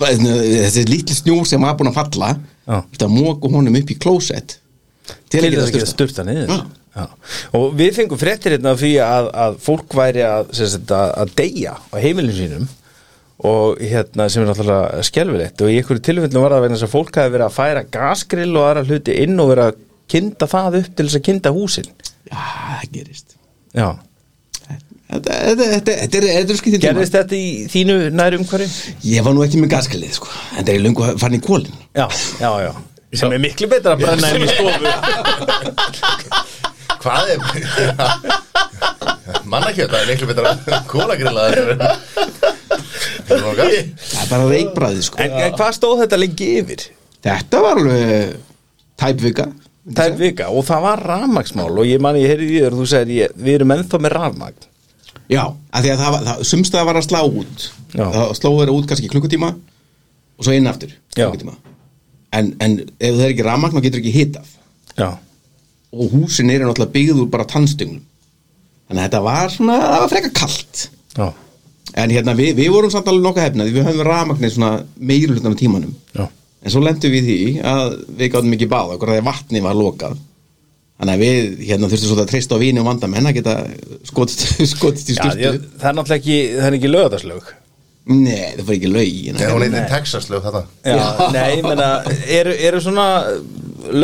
þessi litli snjó sem var búin að falla
Já.
þurfum að móka honum upp í klósett til
til
að geta
þess að Mm. geta
styrsta
sturta niður
Já.
Já. Og við fengum fréttir hérna af því að, að fólk væri að, sem sagt, að, að deyja á heimilinu sínum og hérna sem er náttúrulega skelfilegt og í einhverju tilfellinu var það vegna þess að fólk hafi verið að færa gasgrill og aðra hluti inn og verið að kynda það upp til þess að kynda húsin
Já, það gerist
Já,
Þetta, þetta, þetta, þetta er, þetta er skýttin
gerðist þetta í þínu nærum umhverju?
Ég var nú ekki með gaskalið sko en það er löngu farin í kólin
Já, já, já sem er miklu betra að brenna inn í stofu
(laughs)
Hvað er Mannakjöta er miklu betra Kólagrillaður
Það er bara reikbræði sko
en, en hvað stóð þetta lengi yfir?
Þetta var alveg tæpvika
Það er vika og það var rafmagsmál og ég manni, ég heyrði í þér og þú segir ég, við erum ennþá með rafmagn
Já, af því að það, var- það sumstaða var að slá út
Já.
það sló þeirra út kannski klukkutíma og svo inn aftur
Já.
klukkutíma en, en ef það er ekki rafmagn þá getur ekki hitað
Já,
og húsin eru náttúrulega byggð úr bara tannstöngum þannig að þetta var svona, það var frekar kalt
já,
en hérna við, við vorum samt alveg nokkuð hefna því við höfum rafmagnir svona meiri hlutan af tímanum
já
en svo lendum við í því að við gátum ekki báða okkur að vatni var lokað þannig að við hérna þurftum svolítið að treysta á vini og vandamenn að geta skotist, (laughs) skotist í
Já,
styrtu
ég, það er náttúrulega ekki, það er ekki lögðarslög
Nei, það fór ekki laugin
Er hún einnig Texas lög þetta?
Já, nei, ég meina, eru, eru svona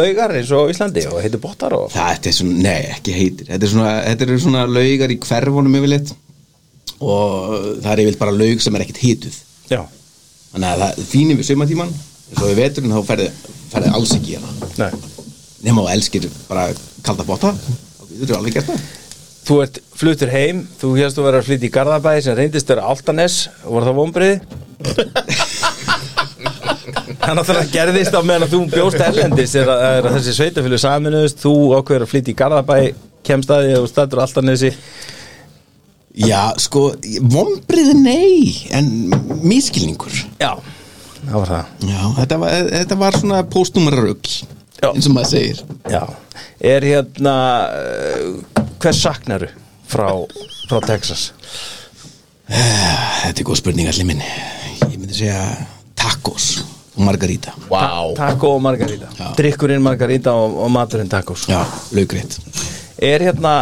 laugar eins og á Íslandi og heitir botar og
Það þetta er svona, nei, ekki heitir Þetta, er svona, þetta eru svona laugar í hverfunum yfirleitt og það er yfirleitt bara laug sem er ekkit hituð
Já,
Þannig að það þínir við sumatíman eins og við veturinn þá ferði, ferði alls ekki í hana
nei
nema og elskir bara kalda bóta og við þurfum alveg gert það
Þú ert fluttur heim, þú hérst að vera að flytja í Garðabæði sem reyndist vera Altanes og voru það (laughs) vonbriði Það náttúrulega gerðist á meðan að þú bjóst erlendis er að, er að þessi sveitafjölu saminuðust, þú ákveður að flytja í Garðabæði kemst að því að þú stættur á Altanesi
Já, sko, vombriði nei en miskilningur
Já, það var það
Já, þetta var, þetta var svona póstnúmerarugl
Já.
eins og maður segir
Já, er hérna eh, Hvers saknaru frá, frá Texas?
Þetta er góð spurning allir minni Ég myndi segja tacos og margarita
Vá
Taco og margarita
Já.
Drykkurinn margarita og, og maturinn tacos
Já, laugrétt
Er hérna,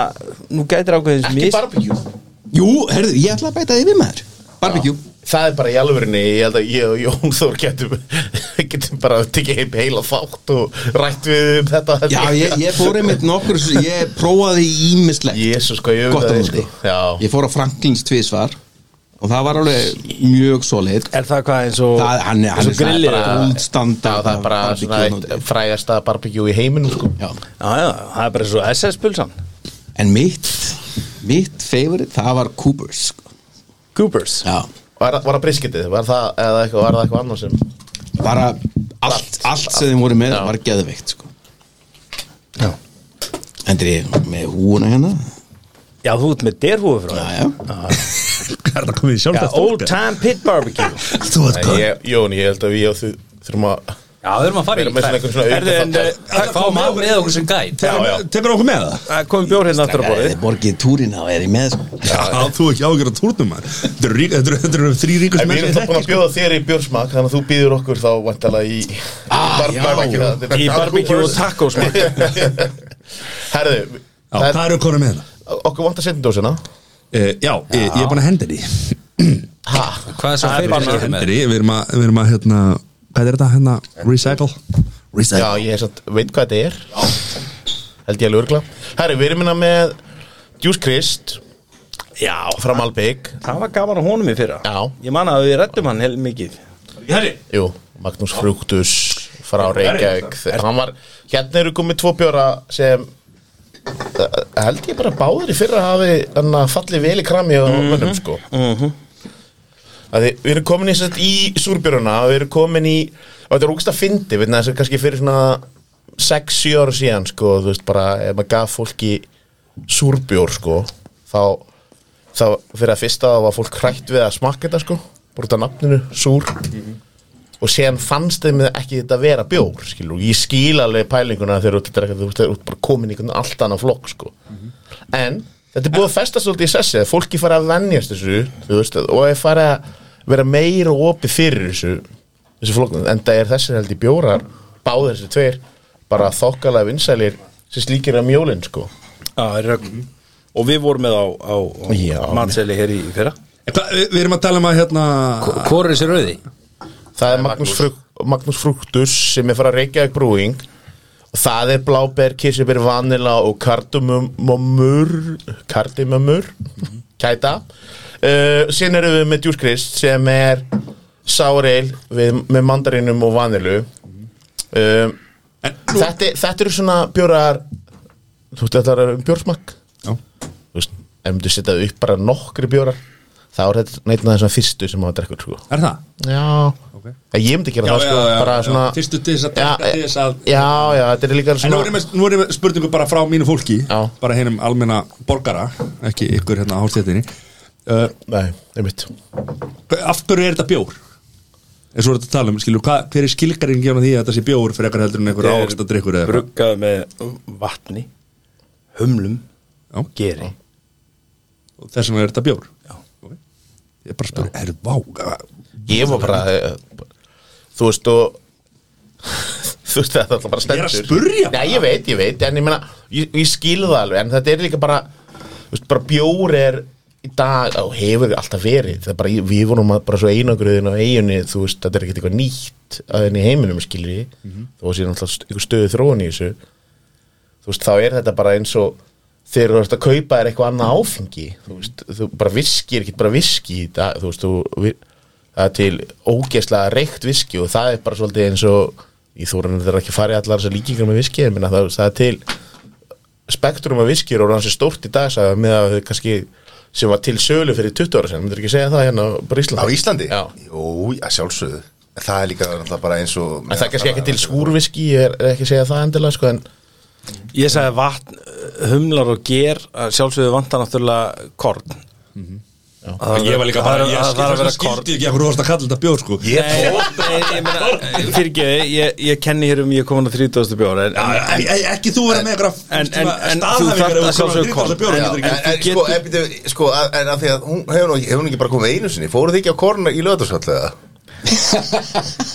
nú gætir ákveðins
Ekki barbecue
Jú, herðu, ég ætla að bæta yfir maður Barbecue
Það er bara í alvörinni, ég held að ég og Jón Þór getum, getum (laughs) bara tekið heim heila þátt og rætt við um þetta
Já, ég, ég fór einmitt nokkur Ég prófaði ímislegt
Jésus, hvað ég
Gott
öfunda
að
þig,
móti
Já,
Ég fór á Franklins tvisvar og það var alveg mjög solid
Er það hvað eins og
Það, hann, er- hann er
grillir
bara
þetta.
útstanda
Já, það er bara svona eitt frægasta barbecue í heiminum sko.
sko. Já
Já, já, það er bara eins og SS-pulsan
En mitt, mitt favorite, það var Coopers sko.
Coopers
Já,
Var, var það briskitið, var það, eða eitthvað, var það eitthvað annars sem
bara allt, allt sem þeim voru með var geðveikt sko.
Já.
Endri með húuna hérna
Já, þú ert með derhúi frá
Já,
þér
já,
Hvað er það komið í
Já,
sjálf
Old Time Pit Barbecue
Þú ert
Sko-
hvað
ég, Jón, ég held að við og þú þurfum að
Já, við erum að fara í
vera með svona einhvern svona
Erðu, en
aukaþátt.
eh,
Það fá maður með okkur sem gæt
Já, já.
Tefnir okkur með það?
það er komið bjór hérna aftur á
Ef
borðið
þið borgið túrin þá er ég með sko.
Já, þú ekki ágjör að tórnum maður Þetta eru rík- þetta eru- þetta eru þrý ríkust
En við
menn
erum
sem sko.
sko- þá búin
þekki
að bjóða þér í björsmak Þannig að þú býður okkur þá vantalega í
Ah,
bar-
já.
barbecue-
Í barbecue og tacos maður.
(laughs) Herðu,
Já,
það
hvað eru konum með það?
er- okkur vantar setjendósina
Eh, Já, ég ég er búin að henda (clears throat) því
Hvað er svo fyrir
Ég
þetta
henda
með?
því, við erum að, við erum að, hérna Hvað er þetta, hérna, recycle?
Já,
Recycle
ég hef satt, veit hvað þetta er Held ég alveg örgla Herru, við erum minna með Juice Christ Já Frá Malbygg
Það var gaman á honum í fyrra
Já.
Ég man að við reddum hann heil mikið
Jú, Magnús Frúktus Frá Reykjavík Hann var, hérna eru komið tvo bjóra sem eh, Held ég bara báður í fyrra hafi Þannig að falli vel í krami á mönnum sko að þið, við erum komin í, sett, í súrbjöruna við erum komin í, og þetta er ógst að fyndi við þessu kannski fyrir svona 6-7 ára síðan sko, þú veist bara ef maður gaf fólki súrbjór sko, þá, þá fyrir að fyrsta þá var fólk hrætt við að smakka þetta sko, bara út af nafninu súr og séðan fannst þeim ekki þetta vera bjór skilur, ég skil alveg pælinguna þegar þú ert að drekka, þú veist, þú ert bara komin í einhvern allt annað flokk sko. en þetta er búið að festa svolítið í sessi að fólki fara að venjast þessu þú veist, og að fara að vera meira opið fyrir þessu, þessu flokk en það er þessi held í bjórar báðir þessi tveir, bara þokkalega vinsælir sem slíkir að mjólin sko.
Já, er rögn Og við vorum með á, á,
Já.
á matseli hér í fyrra
En Eh, hvað- Við við erum að tala um að, hérna
Hvor er þessi rauði?
það er Magnús, Fruk, Magnús Fruktus sem er frá Reykjavík Brewing og það er bláber, kirsibir, vanila og kardamumur kardamumur kæta uh, síðan erum við með Juice Christ sem er sáreil við, með mandarinum og vanilu um, þetta, þetta eru svona bjórar þú veist þetta er bjórsmakk
Já.
þú veist, ef myndu setja upp bara nokkri bjórar þá er þetta neitna þessna fyrstu sem maður drekkur sko.
Er það?
Já, En ég myndi gera
Já,
það sko,
já, já,
bara
já.
svona
Fyrstu til þess að
Já,
taka til þess að
Já, já, þetta er líka
En
svona
nú er ég með, nú er ég með spurningu bara frá mínu fólki
Já.
Bara hennum almenna borgara Ekki ykkur hérna á hálfstéttinni uh,
Nei, einmitt
Af hverju er þetta bjór? En svo er þetta að tala um, skilur, hva, hver er skilgarinn gefna því að þetta sé bjór fyrir ekkert heldur en einhver
Þetta er
ávist að drikkur eða eitthvað?
Bruggað með vatni Humlum
Já.
og Geri
Og Þess vegna er þetta bjór Já Ég er bara að spyrja, er það vága?
Ég var bara eh, Þú veist og (laughs) Þú veist þetta er alltaf
Ég
bara
er
stendur
að spyrja bara.
Nei, ég veit, ég veit, en ég meina Ég, ég skilu það alveg, en þetta er líka bara Þú veist, bara bjór er í dag og hefur alltaf verið það er bara, við vorum að- bara svo einangruðin á eiginni þú veist, þetta er ekkert eitthvað nýtt að henni heiminum skilur ég mm
Mhm.
-hmm. þó að síðan alltaf st- einhver stöðu þróun í þessu þú veist, þá er þetta bara eins og þegar þú ert að kaupa þér eitthvað annað áfengi þú veist, þú bara viski er ekki bara viski í dag, þú veist, þú vi- það er til ógeðslega reykt viski og það er bara svolítið eins og ég þóra þetta er ekki að fara í allar þessar líkingar með viski en minna, það, það er til spektrum af viskir og rannsir stórt í dag sagði, með að þau kannski sem var til sölu fyrir 20 ára sen, myndir ekki segja það hérna á
Á
Íslandi
Íslandi?
Já.
Jú, að sjálfsögðu En Það er líka náttúrulega bara eins og
en það er kannski ekki til skúrviski ég er, er ekki að segja það endilega sko, en
eh, Ég sagði vatn, humlar og ger að Sjálfsögðu vantar náttúrulega korn
Og Ég var líka bara, ég
það var
skil-
að vera kort
skildi ekki að hverju varst að kalla þetta bjór sko Ég
Nei, nei, ég meina, fyrir ekki, ég, ég kenni hér um ég er komin á 30. bjóra en, en,
Æ, æ, e- ekki þú vera með eitthvað
En- en- en þú þarft
staðhæfingar
að
eða
sjálfsögðu korn.
bjór
Já, en, en sko,
getur-
ef, þið- sko, að- en að því að hún hefur nú ekki, hefur nú ekki bara komið einu sinni Fóruð þið ekki á korna í löðarskalllega?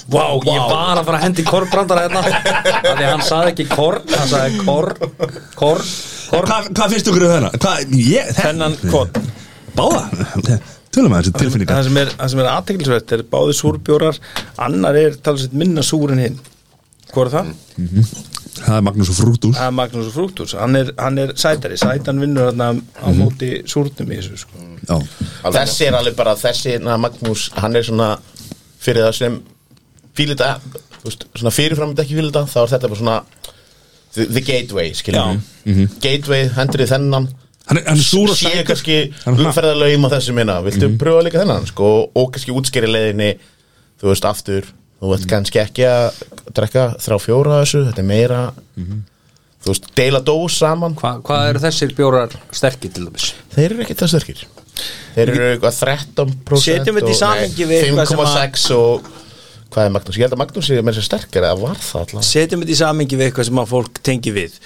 Vá, ég var að fara að hendi korbrandara
(laughs)
hérna Þannig að hann saði ekki korn Hann saði korn, korn
Hvað hvað finnst ykkur um þennan? Hvað, ég,
þennan kott
Báða? Tölum að þessi tilfinningar
það sem er, það sem er aðteklisvert er báði súrbjórar annar er talsett minna súr en hinn hvað er það?
Mm.
Það er Magnús og Frúdús
það er Magnús Frúktús, hann er, hann er sætari sætan vinnur þarna á móti súrnum í þessu sko
Já,
Þessi er alveg bara, þessi, na, Magnús, hann er svona fyrir það sem fílir þetta, þú veist, svona fyrirfram þetta ekki fílir þetta, þá er þetta bara svona the, the gateway, skiljum við Gateway, hendrið þennan
hann er, hann er súr og
sé
sækur
kannski
Hann-
umferðarlaum á þessu minna, viltu pröfa líka þennan sko, og kannski útskýri leiðinni þú veist, aftur, þú veist kannski ekki að drekka þrjá fjóra af þessu þetta er meira þú veist, deila dós saman
Hvað eru þessir bjórar sterkir til dæmis?
þeir eru ekki það sterkir þeir eru eitthvað 13%
Setjum þetta í
og-
samhengi
nei,
við eitthvað sem
5,6 og hvað er Magnús, ég held að Magnús er með þess að sterkir eða var það alltaf
setjum þetta í samengi við eitthvað sem að fólk tengi við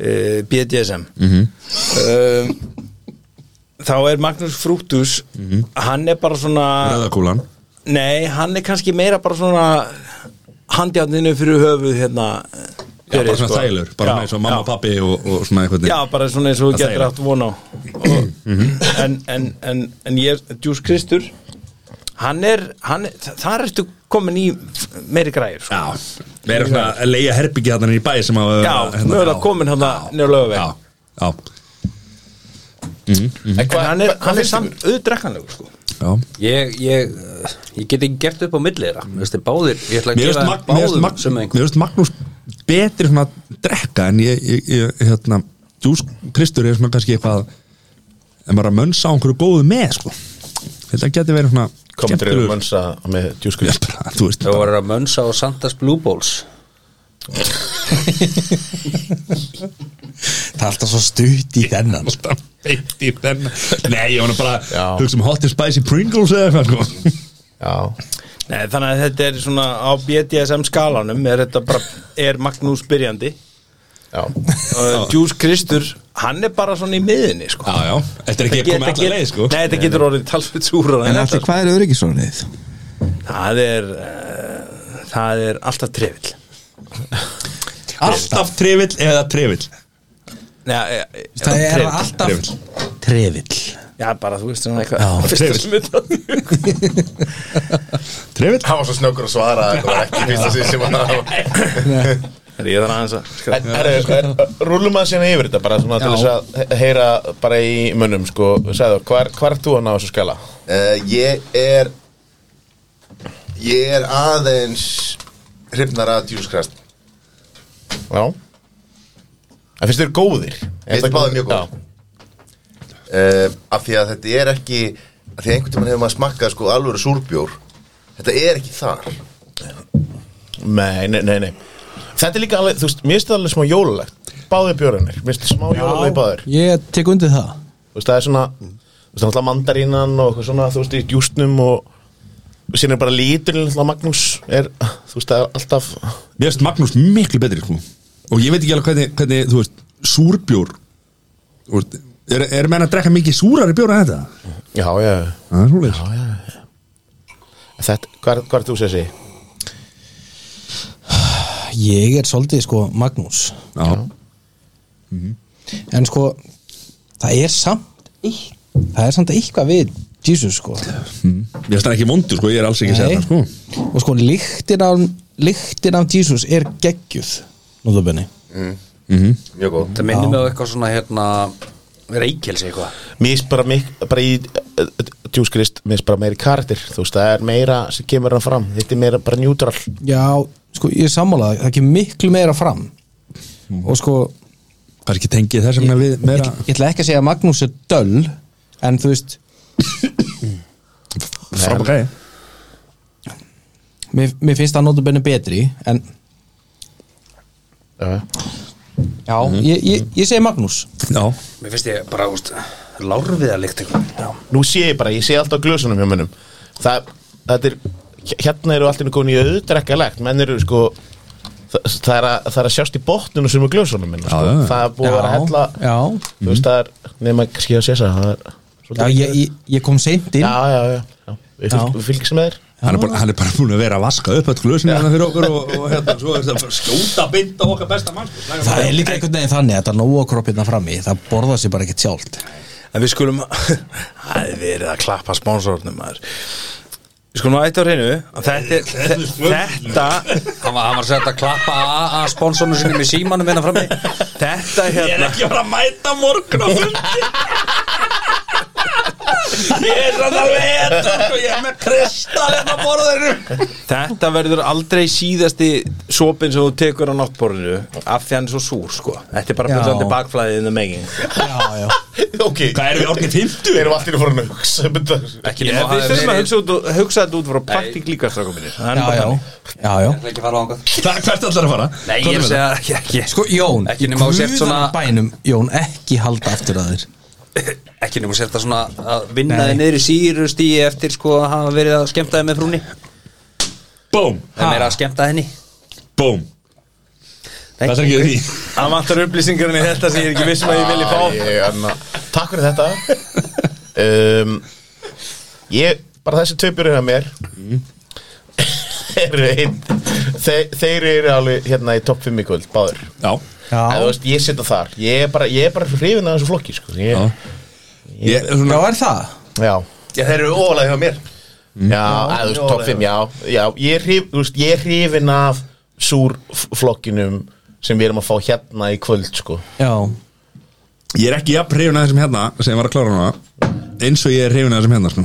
Eh,
uh, BDSM mm þá er Magnús Frúktús hann er bara svona
Röðakúlan
Nei, hann er kannski meira bara svona handjarninu fyrir höfuð hérna
Já, bara
fyrir,
svona
sko.
þælur, bara
Já,
með svo mamma,
já.
pappi og, og svona eitthvað
Já, bara svona eins og þú
Það
getur
þægileg.
átt von á Og- en, en, en, en ég, Djús Kristur hann er, hann, er- þa- þar ertu komin í meiri græður sko.
Já, við erum svona að leiða herbyggi þarna í bæ sem að hérna,
Já, mögulega komin hann nefnir lögveg
Já, mhm. já,
en
En hann er, hann er
finnst ykkur?
samt auðdrekkanlegur sko.
já
Ég, ég, ég get ekki gert upp á milli þeirra Þú veist, þeir báðir, ég ætla að
Mér finnst
gefa
Mag- mér finnst
báðum
Mag-
sem
mér
einhver
finnst Magnús betri svona að drekka en ég, ég, ég hérna Jús Kristur er svona kannski eitthvað en bara að mönsa á einhverju góðu með sko. þetta geti verið svona
komið til
skemmtilegur-
mönsa með
Já,
djúskrið
bara, þú veist
Þau voru að mönsa á Santas Blue Balls
Það er alltaf svo stutt í þennan sko.
alltaf beitt í þennan Nei, ég var nú bara
Já.
hugsa um hot and spicy Pringles eða eitthvað sko.
já,
Nei, þannig að þetta er svona á BDSM skalanum er þetta bara, er Magnús byrjandi
já
og Jús Kristur, hann er bara svona í miðinni sko.
Já, já, þetta er ekki
Þetta
komið allar
get-
leið sko.
Nei, þetta getur orðið talsveit súra
En alltaf hvað er öryggisvörnið?
sko. Það er uh, það er alltaf trefill
Alltaf trefill eða trefill
Nei, e- e-
Það er
trefill.
alltaf trefill
Já, bara þú veist svona eitthvað Fyrsta
trefill.
sem við það-
Trefill?
Hann var svo snökkur að svara að Þetta var ekki fyrsta síð sem hann
Herri, Ég þarf aðeins að
(laughs)
Sko.
En, herru, er- Rúllum að sérna yfir þetta bara svona til þess að he- heyra bara í mönnum sko, sagður, hvar, hvar ert þú hann á þessu skala?
Uh, ég er ég er aðeins hrifnar að djúskrast
Já En finnst þér góðir?
Finnst þér báðir mjög góðir? uh, af því að þetta er ekki af því að einhvern tímann hefur maður smakkað sko alvöru súrbjór þetta er ekki þar
Já. Nei, nei, nei, nei Þetta er líka alveg, þú veist, mér finnst það alveg smá jólalegt Báðir björunir, mér finnst það smá jólalegt báðir
Ég tek undir það
Þú veist, það er svona, þú veist, náttúrulega mandarínan og eitthvað svona, þú veist, í djústnum og og síðan er bara líturinn, náttúrulega Magnús er, þú veist, það er alltaf
Mér finnst Magnús miklu betri sko. og ég veit ekki alveg hvernig, hvernig þú veist, súrbjór þú veist, er, er menn að drekka mikið súrari bjór en þetta?
Já, já,
Það er svoleiðis
já, já Þetta, hvað, hvað er þú sér sig?
Ég er svolítið sko Magnús
Já.
En sko, það er samt eit- Það er samt eitthvað við Jesus sko
Mér finnst það ekki vondur sko, ég er alls ekki að segja það sko.
Og sko, lyktin af, lyktin af Jesus er geggjuð Nóðabenni
mjög góð
Það minnir mig á eitthvað svona hérna Reykjelsi eitthvað
Mér finnst bara, mik, bara í djúskrist, mér finnst bara meiri karakter þú veist, það er meira sem kemur hann fram þetta er meira bara njútral
Já, sko, ég er sammálaði Það kemur miklu meira fram Og sko,
kannski tengið þess að við
ég,
meira
ég ætla ekki að segja að Magnús er döll En þú veist,
frábæði
mér, mér finnst það nótabenni betri En
Já.
já, Mhm. ég, ég, ég segi Magnús
Já,
Mér finnst ég bara, úst, Lárviðarlykt Já,
Nú sé ég bara, ég sé allt á glösunum hjá munum Það, þetta er Hérna eru allt inni komin í auðdrekkalegt Menn eru sko Það, það, er, að, það er að sjást í botninu sem er glösunum minna, sko.
Já, já, já.
Það er búið að vera að hella
já,
Þú veist, það er, nema kannski að sé það það er
já
svolítið-
ég, ég, ég kom seint inn
já, já, já, já. Við fylg,
Já.
við fylgjum með þér (laughs)
hann, er bara, hann er bara búin að vera að vaska upp öll glösin hérna fyrir okkur og, og hérna, svo er þetta bara skjóta beint á okkar besta mann sko.
Það er líka einhvern veginn þannig að þetta nóakroppirna frammi það borða sér bara ekkert sjálft
En við skulum (laughs) Það er verið að klappa sponsornum maður Við skulum að eitt á reynu Þetta, er- þe- þetta,
hann var, hann var að setja að klappa að sponsornu sinni með símanum vinna frammi
þetta
Ég er
hérna
ekki að fara að mæta morgun á fundi Ég er sann að veta sko, Ég er með kristal hérna á borðinu
Þetta verður aldrei síðasti sopin sem þú tekur á náttborðinu af því hann er svo súr sko Þetta er bara
Já.
byrjandi bakflæðið innan megin
Já, já
Ok,
Hvað erum við orðin 50?
erum allt inni fórn að hugsa um þetta?
Ekki
Ég,
nema
Við
hafi
þurfum að
verið-
hugsa, út- hugsa þetta út frá praktík líka strákum minni
Já, já, já, já.
Ætla ekki að fara ángað
Hvað- Hvert ætlar að fara?
Nei, ég er að segja ekki, ekki
Sko, Jón,
Ekki
í
nema þú sért svona-
guðanna bænum Jón, ekki halda aftur að þér
Ekki nema að setja svona að vinna þið niður í síru stíi eftir sko að hafa verið að skemmta þið með frúni
Bóm,
Það er meira að skemmta henni
bóm Það er ekki því
Það vantar upplýsingarinn í þetta sem ég er ekki vissum að ég vilji fá
Ég, anna, Takk fyrir þetta um, Ég, bara þessi töpurinn að mér eru ein, þe Þeir eru alveg hérna í topp 5 í kvöld, báður
Já,
Eða,
Já,
þú veist, Ég setja þar, ég er bara, ég er bara hrifin að þessu flokki sko.
já.
ég,
Ég, er
já,
svona,
er það?
Já, Mm.
Já, þeir eru ólega hjá mér
já, eða, þú veist, topp 5, já, já Ég er hrif- þú veist, ég er hrifin af súr f- flokkinum sem við erum að fá hérna í kvöld sko.
Já,
ég er ekki jafn hrifin að þessum hérna sem var að klára hana eins og ég er hrifin að þessum hérna sko.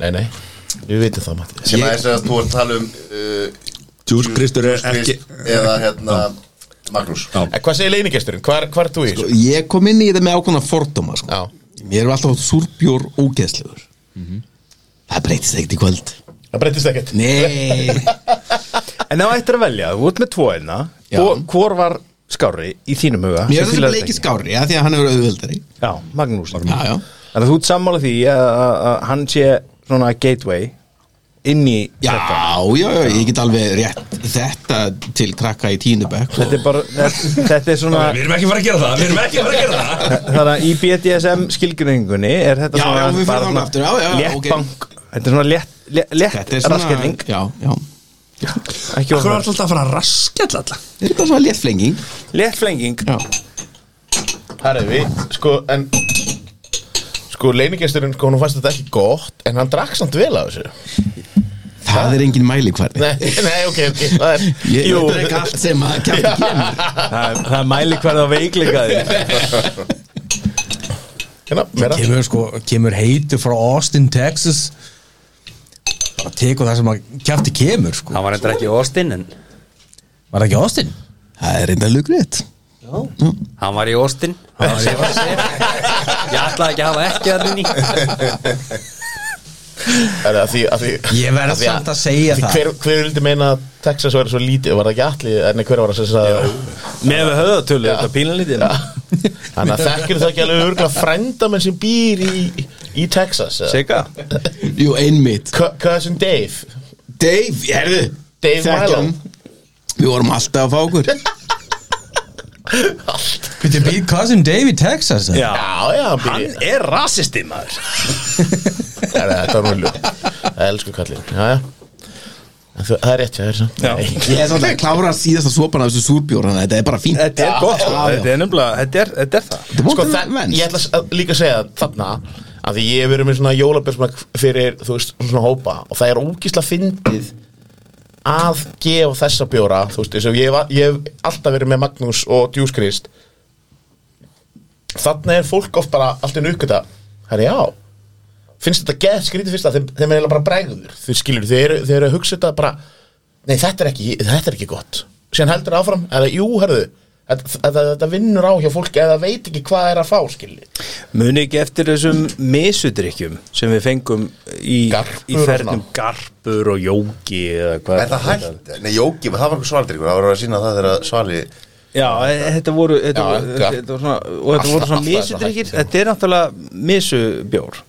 Nei, nei, við vitum það Matti
Sem að þess að þú ert að tala um uh,
Jús Kristur er
Krist
ekki
Eða hérna Magnús
Já.
En Eh, hvað segir leinigesturinn? Hvar, hvar er þú í? þessu?
Sko, Ég kom inn í þetta með ákveðna fordóma sko.
Já
Mér er alltaf súrbjór ógeðslegur Mhm. Það breytist ekkert í kvöld
Það breytist ekkert
(laughs) Nei
En þá ættir að velja, þú ert með tvo einna
Já.
og hvor var skári í þínum huga sem
Mér er þessi
fílaðist
bleiki
ekki?
skári, já, því að hann er auðvöldari
Já, Magnús
Já, já
Þannig að þú ert sammála því að, að, að hann sé svona gateway inn í
Já, já, já, ég get alveg rétt þetta til krakka í tínubæk
þetta er bara, þetta, þetta er svona
Við erum ekki að fara að gera það Við erum ekki að fara að gera það
þannig að í BDSM skilgjöningunni er þetta
Já,
svona
já, við
bara
förum
svona
þangað aftur, já, já, já,
létt
ok.
bank þetta er svona létt, létt, létt
Þetta er svona
raskelling
Já, já
Hvað
ekki
er
ofan
alltaf að fara að raskja alltaf?
Er þetta svona léttflenging?
létt flenging
Já
Herri við Sko en Sko leinigesturinn sko hún fannst þetta ekki gott En hann drakk samt vel af þessu
Það er engin mælikvarði
Nei, nei ok, ok Það er
Ég Jú. er ekki allt sem að kæfti kemur
það, er- það mæli hverða veikleikaði
Hérna, meira
kemur sko, kemur heitu frá Austin, Texas bara tekur það sem að kjæfti kemur sko
Hann var eitthvað ekki Austin en
Var það ekki Austin?
Það er reynda lugrétt
Hann var í Austin Hann var í Austin Ég ætlaði ekki að hafa ekki að rinni
Herri að því að því
Ég verð
af því
samt að segja
af því
það.
Hver, hver vildi meina að Texas var svo lítið Var það ekki allir En hver var það sem sagði
með við höfðatölu, þetta pínlítið
Þannig að þekkir það ekki alveg örgulega frænda menn sem býr í, í Texas eða?
Sigga,
Jú, einmitt
Cu- Cousin Dave
Dave, hérðu
Dave Milo
Við vorum alltaf að fá okkur
Býttu být Cousin Dave í Texas eða?
já
Já, já, hann býr í
hann er rasisti maður
Nei, nei, þetta var nú ljó Elsku kallinn, já, já En þú- Það er rétt, það er samt
Já.
Nei.
Ég er svolítið að klára síðasta sopan af þessu súrbjór Þannig að þetta er bara fínt
þetta er gott, sko.
Já, já.
þetta er nefnilega þetta er, þetta er það
Þetta er
Sko,
vondur
það,
venst.
ég ætla að líka að segja þarna að því ég hef verið með svona jólabjörsmak fyrir, þú veist, svona hópa og það er ógísla fyndið að gefa þessa bjóra þú veist, eins og ég, hef- ég hef alltaf verið með Magnús og Djúskrist þarna er fólk oft bara allt inn aukvita, herri já finnst þetta geð skrítið fyrst að þeim, þeim er eiginlega bara bregður, þau skilur, þau eru, þau eru að hugsa þetta bara, nei þetta er ekki þetta er ekki gott, síðan heldur áfram eða jú, herðu, þetta, þetta, þetta vinnur á hjá fólki eða veit ekki hvað er að fá skilur,
muni ekki eftir þessum misudrykkjum sem við fengum í,
Garpur
í
og
fernum
svona.
garpur og jóki eða hvað
Er það hægt? Nei, Jóki, það var einhver svaldir Það var að sína það þegar Svali
Já, e- þetta voru, þetta
Já,
voru,
ja.
þetta voru svona, og þetta
Alltaf-
voru
alltaf
svona
er þetta
misudrykkir
hægt, já.
Þetta er náttúrulega misubjór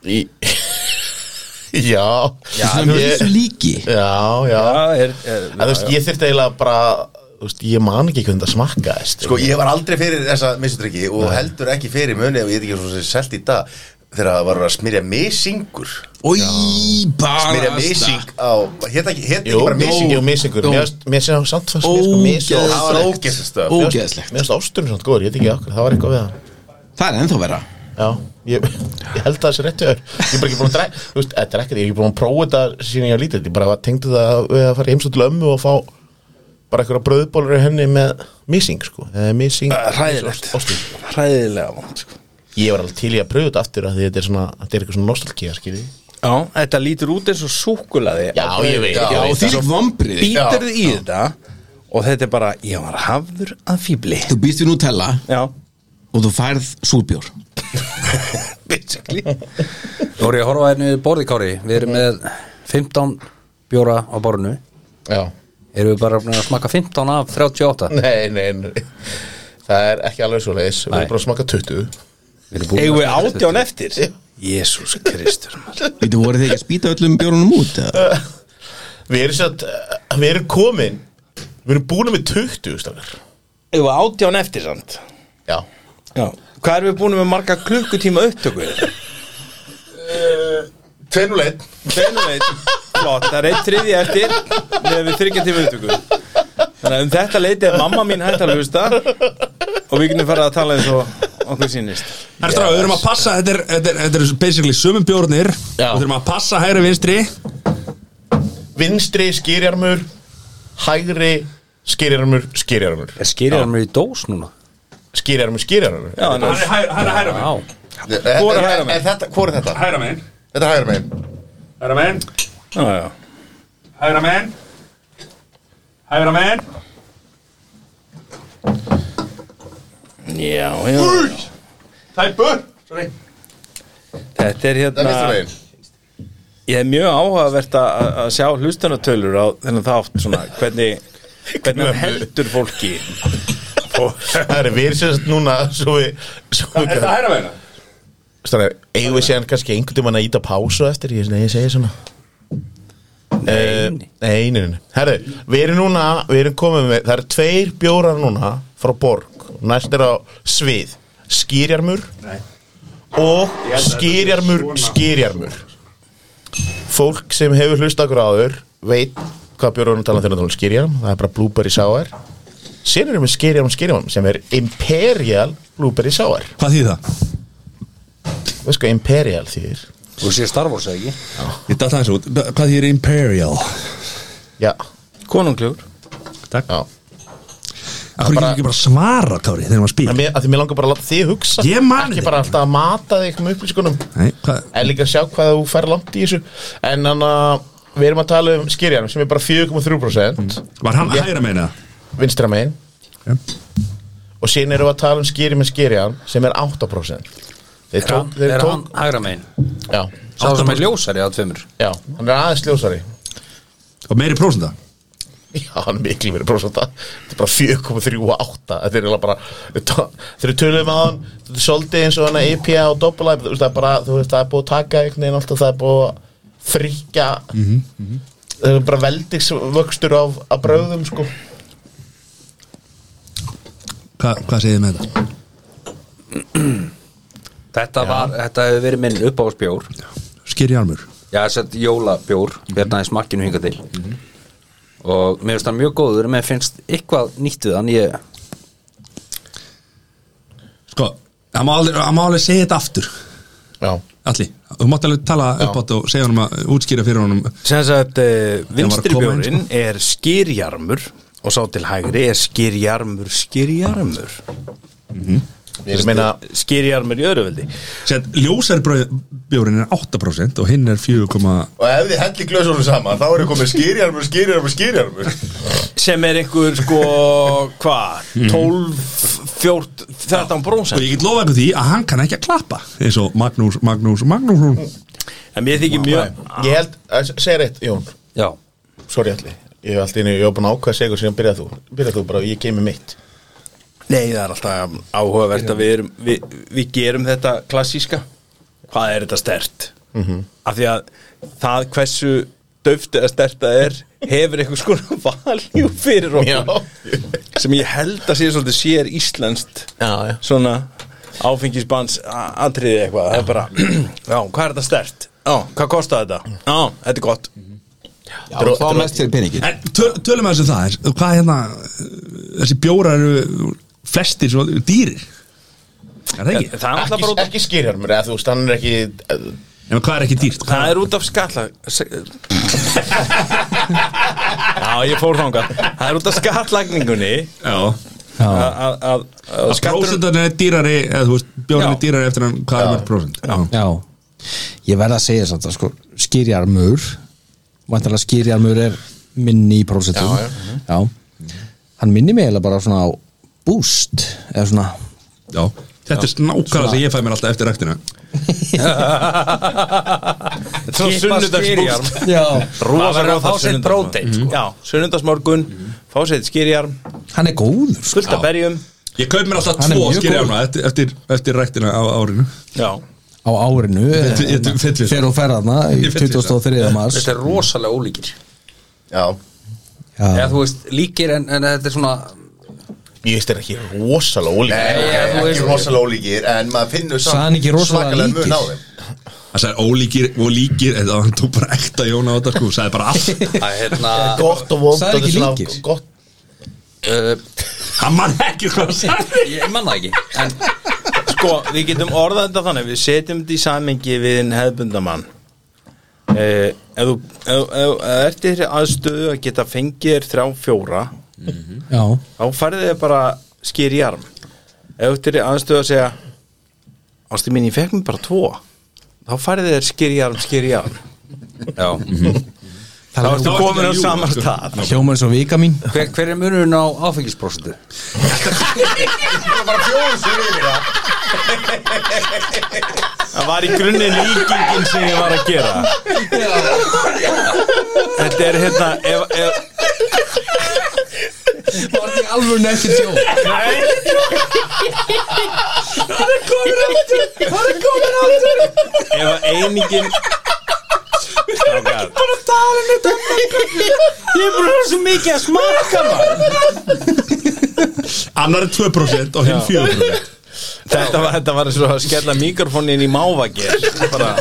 Í... (laughs) já Já,
Svona með
ég,
þessu líki
já, já.
Það er, e- er
En, þú veist, ég þyrfti eiginlega bara þú veist, ég man ekki hvernig það smakkaðist
Sko ég var aldrei fyrir þessa misutryki og heldur ekki fyrir muni og ég veit ekki svo sem selt í dag þegar það var að smyrja misingur
Í
smyrja
bara
mising á hétt ekki, hét ekki
Jú,
bara mising
jú, misingur
Jú.
Mér finnst- mér sé það samt fannst mér sko misingur
það var
Ógeðslegt.
ógeðslega stöf
Mér finnst-
Ógeðslegt.
Mér finnst ásturinn samt góður, ég veit ekki okkur, það var eitthvað við það
Það er ennþá vera
Já, ég, ég held að það sé réttu öður Ég er bara ekki búin að drekka, þú veist, þetta er ekkert Ég er ekki búin að prófa þetta síðan ég var lítill Ég bara tengdi það við að fara heimsótt til ömmu og fá bara einhverja bröðbólur í henni með missing, sko eða missing
Ah, hræðilegt.
ostur.
hræðilega vant sko.
Ég var alveg til í að pröfa þetta aftur af því þetta er svona, þetta er eitthvað svona nostalgía, skilji
Já, þetta lítur út eins og súkulaði
Já, ég veit,
Já,
ég
Og
veit
því lík vombrið
Býtur þið í þetta og þetta er bara, ég var hafður að fýbli
Þú býst við Nutella
Já,
og þú færð súrbjór
basically
Nú er ég að horfa hérna að henni borði kári Við erum með 15 bjóra á borðinu
Já,
Erum við bara búin að smakka 15 af 38
nei, nei, nei Það er ekki alveg svo leiðis, við
Nei.
erum bara að smaka 20
Við erum búin
Eigum
að
við
smakka
átján eftir?
Já.
Jésús Kristur maður.
Býtu voru þið ekki að spýta öllum bjórunum út eða?
Við erum satt, við erum komin Við erum búin með 20, stafnir
Eigum við átján eftir samt?
Já,
Já Hvað erum við búin með marga klukkutíma upptöku?
Tvenuleit
Tveinu veit Flott, það er eitt þriði eftir með við þryggja tíma upptöku Þannig að um þetta leiti er mamma mín hægt að hlusta og við getum farið að tala eins og okkur sýnist
Herra stráð, við erum að passa, þetta er, þetta er, þetta er basically sömum bjórnir Við
Já.
erum að passa hægri vinstri
vinstri skýrjarmur hægri skýrjarmur skýrjarmur
Er skýrjarum í dós núna?
skýrjarmur skýrjarmur
Já, en
Hann er hæ- hann er hægra megin
Já,
Hvor
er hægra megin?
Hvor er þetta?
Hægra megin
Þetta er hægra megin
Hægra megin
Já, já
Hægra megin Hægra megin
Já, já
Tæpur
Þetta er
Það er
hérna
vinstra megin
Ég er mjög áhugavert að- að að sjá hlustunatölur á þennan þátt svona hvernig, hvernig hann heldur fólki
það er við sem sagt núna svo við svo við
hægra megin
Strákar, eigum við séðan kannski einhvern tímann að íta pásu á eftir ég, nei, ég segi svona nei nei, nei, nei herru við erum núna við erum komið með það eru tveir bjórar núna frá borg næst er á svið skýrjarmur og skýrjarmur skýrjarmur fólk sem hefur hlusta okkur áður veit hvað bjórunum tala þegar það er skýrjarm það er bara blueberry sour síðan erum við skýrjarm skýrjarm sem er imperial blueberry sour
Hvað þýð það?
veist hvað imperial þýðir
þú sé Star Wars eða ekki
Ég datt aðeins út Hvað þýðir Imperial?
Já,
Konungljúr
já
Akkur bara... ekki bara svara, Kári, þegar maður spýr
að, mér, að því mér langar bara að láta þig hugsa
Ég man
Ekki
þetta
bara alltaf að mata þig með upplýskunum
Nei, hvað?
En líka að sjá hvað þú fer langt í þessu En hann að við erum að tala um skýrjanum sem er bara 4,3%
Var hann hægra megin eða?
vinstra megin
Já.
Og síðan erum við að tala um skýri með skýrjan sem er 8% Þeir tók, þeir
Er hann
tók
hægra megin?
já,
Sá sem er ljósari á tveimur
já, hann er aðeins ljósari
Og meiri prósenda?
Já, hann er miklu verið prósenta Þetta er bara 4,38 Þetta er eiginlega bara Þegar við tölum á hann Þetta er svolítið eins og hann að IPA og Doppelab Þú veist, það er bara Þú veist, það er búið að taka einhvern veginn alltaf Það er búið að þrykja Það er bara veldingsvöxtur af, af bröðum sko
Hva, hvað segir þið með þetta?
Þetta, var, þetta hefur verið minn uppáðsbjór
Skýr jarmur
Já, sett jólabjór Hérna í smakkinu hinga til Og mér finnst það mjög góður Mér finnst eitthvað nýtt við hann ég,
Sko, hann má alveg, hann má alveg segja þetta aftur
Já
Alli, þú mátt alveg tala upp átt og segja honum að útskýra fyrir honum
sem sagt uh, vinstri
koma inn,
bjórin er skýrjarmur og sá til hægri er skýrjarmur skýrjarmur
Ég meina
skýrjarmur í öðruveldi
Sett, ljósarbjórinn er 8% og hinn er 4,
Og ef þið hendi glösunum saman þá eru komið skýrjarmur, skýrjarmur, skýrjarmur
sem er einhver sko (laughs) hvað, 12 14, 13
og
brónsent
ég get lofa ykkur því að hann kann ekki að klappa eins og Magnús, Magnús, Magnús hún
en mér þykir mjög
Ég held eh, Segir eitt, Jón
Já,
Sorry allir Ég hef alltaf einu, ég hef búin að ákveða segur síðan byrjað þú Byrjað þú bara, ég kemur mitt
Nei, það er alltaf áhugavert að við, erum, við, við gerum þetta klassíska Hvað er þetta stert? Af því að það hversu döft eða stert það er hefur eitthvað (laughs) skona valjú fyrir
Já,
okkur sem ég held að sé svolítið sér íslenskt
já, já
svona áfengisbans atriði eitthvað það er bara, (clears throat) já, hvað er þetta stert? Já, hvað kostar þetta? Já, þetta er gott
Já, fá mest fyrir peningin
En töl, tölum við þessu það er, Hvað hérna Þessi bjórar eru flestir svo dýrir Er það ekki?
Það er alltaf bara
Ekki,
út af,
ekki skýrjarmur, eða þú veist, hann er ekki eh,
En hvað er ekki dýrt? Hvað
það er út af skalla (laughs) Já, ég fór þangað Það er út af skallagningunni
Já
að- að- að- að
Að
(laughs)
prósentan er dýrari eða þú veist bjórar er
Já.
dýrari eftir hann hvað er mörg prósent Já.
Já, ég verð að segja þetta sko, skýrjarmur vantarlega skýrjarmur er minni í prósentum já, hann minni mig eiginlega bara svona á boost eða svona
Já. Þetta er nákvæmlega sem ég fæ mér alltaf eftir ræktina
Svo sunnudagsbúst
já.
Maður verður að fá sér
prótein,
prótein sko. Já, sunnudagsmorgun, fá sér skýrjarm
hann er góður sko.
fullt af berjum
Ég kaup mér alltaf
Hann er
tvo
mjög
skýri
góður.
ána eftir, eftir, eftir ræktina á árinu
Já,
á árinu
Fyllir- ég-
hérna,
fyllir.
þegar þú ferð þarna í
Ég fyllir.
23. mars
Þetta er rosalega ólíkir
Já,
Eða
já,
þú veist, líkir en, en þetta er svona
Ég veist, er ekki rosalega ólík
Nei,
já, þú
ekki
veist-
rosalega ólíkir En maður finnur
Sagði hann ekki rosalega
svakalegan mun
líkir?
á þeim.
Það sagði ólíkir og líkir eða hann tók bara ekta Jóna á þetta sko sagði bara allt
að hérna
Gott og vond
Sagði
og
ekki
svona
líkir.
Gott
uh,
Hann man ekki hvað hann sagði
Ég manna ekki En
sko, við getum orðað þetta þannig Við setjum þetta í samingi við en hefðbundamann eh, Ef þú ef- ef- ef þú ert í þeirri aðstöðu að geta fengið þér þrjá fjóra
já,
þá færði þið bara skýrjarm Ef þú ert í þeirri aðstöðu að segja Ástu mín, ég fekk mér bara tvo þá færði þér skýrjarm, skýrjarm
Já
Þá
það
ertu
er
komin á saman stað
hljómaður svo vika mín
Hver, hver er munurinn á áfengisprósentu?
Það var í grunni líkingin sem ég var að gera Þetta er hérna ef, ef,
var þetta alveg nefnir sjó
ef að einingin Strákar.
Annar er 2% og hinn 4%
þetta, var, þetta var svo að skella mikrofónin í mávagir bara,